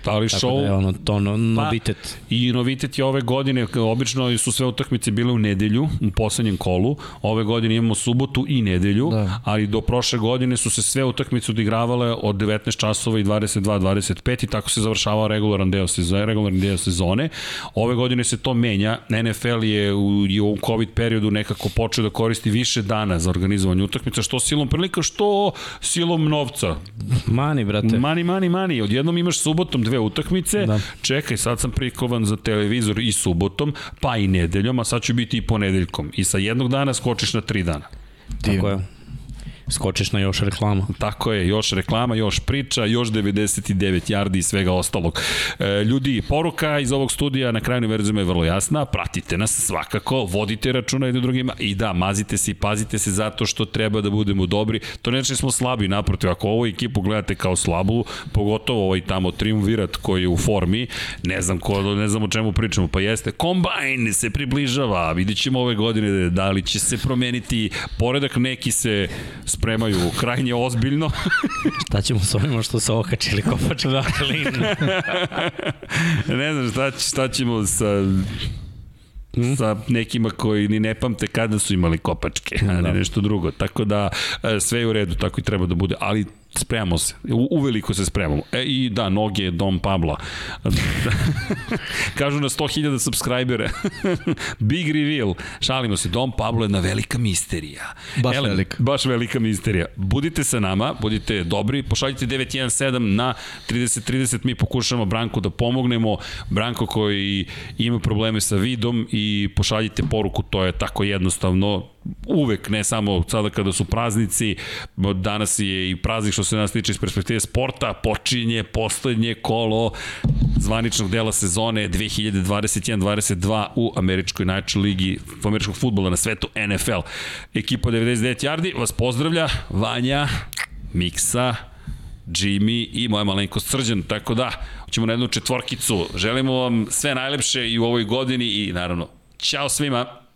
[SPEAKER 5] ali
[SPEAKER 2] Tako
[SPEAKER 5] Mhm. show Pa,
[SPEAKER 2] da je ono to no, novitet.
[SPEAKER 5] I novitet je ove godine, k- obično su sve utakmice bile u nedelju, u poslednjem kolu. Ove godine imamo subotu i nedelju, da. ali do prošle godine su se sve utakmice odigravale od 19 časova i 22-25 i tako se završavao regularan deo sezone, regularni deo sezone. Ove godine se to menja. NFL je u, je u COVID periodu nekako počeo da koristi više dana za organizovanje utakmica, što silom prilika, što silom novca.
[SPEAKER 2] Mani, brate.
[SPEAKER 5] Mani, mani, mani. Odjednom imaš subotom dve utakmice. Da. Čekaj, sad sam prikovan za televizor i subotom, pa i nedeljom, a sad ću biti i ponedeljkom. I sa jednog dana skočiš na tri dana.
[SPEAKER 2] Tako je. Skočiš na još reklama.
[SPEAKER 5] Tako je, još reklama, još priča, još 99 yardi i svega ostalog. E, ljudi, poruka iz ovog studija na kraju univerzuma je vrlo jasna. Pratite nas svakako, vodite računa jednim drugima i da, mazite se i pazite se zato što treba da budemo dobri. To ne znači da smo slabi, naprotiv. Ako ovu ekipu gledate kao slabu, pogotovo ovaj tamo triumvirat koji je u formi, ne znam, ko, ne znam o čemu pričamo, pa jeste. Kombajn se približava, vidit ćemo ove godine da li će se promeniti poredak, neki se spremaju krajnje ozbiljno.
[SPEAKER 2] Šta ćemo s ovima što se okačili kopače da klinu?
[SPEAKER 5] ne znam šta, će- šta ćemo sa
[SPEAKER 4] Hm?
[SPEAKER 5] sa nekima koji ni ne pamte kada su imali kopačke, a ne nešto drugo. Tako da e, sve je u redu, tako i treba da bude, ali spremamo se, U, uveliko se spremamo. E, I da, noge Dom Pabla. Kažu na 100.000 subscribera. Big reveal. Šalimo se, Dom Pablo je jedna velika misterija.
[SPEAKER 4] Baš velika.
[SPEAKER 5] Baš velika misterija. Budite sa nama, budite dobri, pošaljite 917 na 3030, mi pokušamo Branku da pomognemo, Branko koji ima probleme sa vidom i pošaljite poruku, to je tako jednostavno, uvek, ne samo sada kada su praznici, danas je i praznik što se nas tiče iz perspektive sporta, počinje poslednje kolo zvaničnog dela sezone 2021-22 u američkoj najče ligi američkog futbola na svetu NFL. Ekipa 99 Yardi vas pozdravlja, Vanja, Miksa, Jimmy i moja malenkost srđan, tako da, ćemo na jednu četvorkicu. Želimo vam sve najlepše i u ovoj godini i naravno, ćao svima!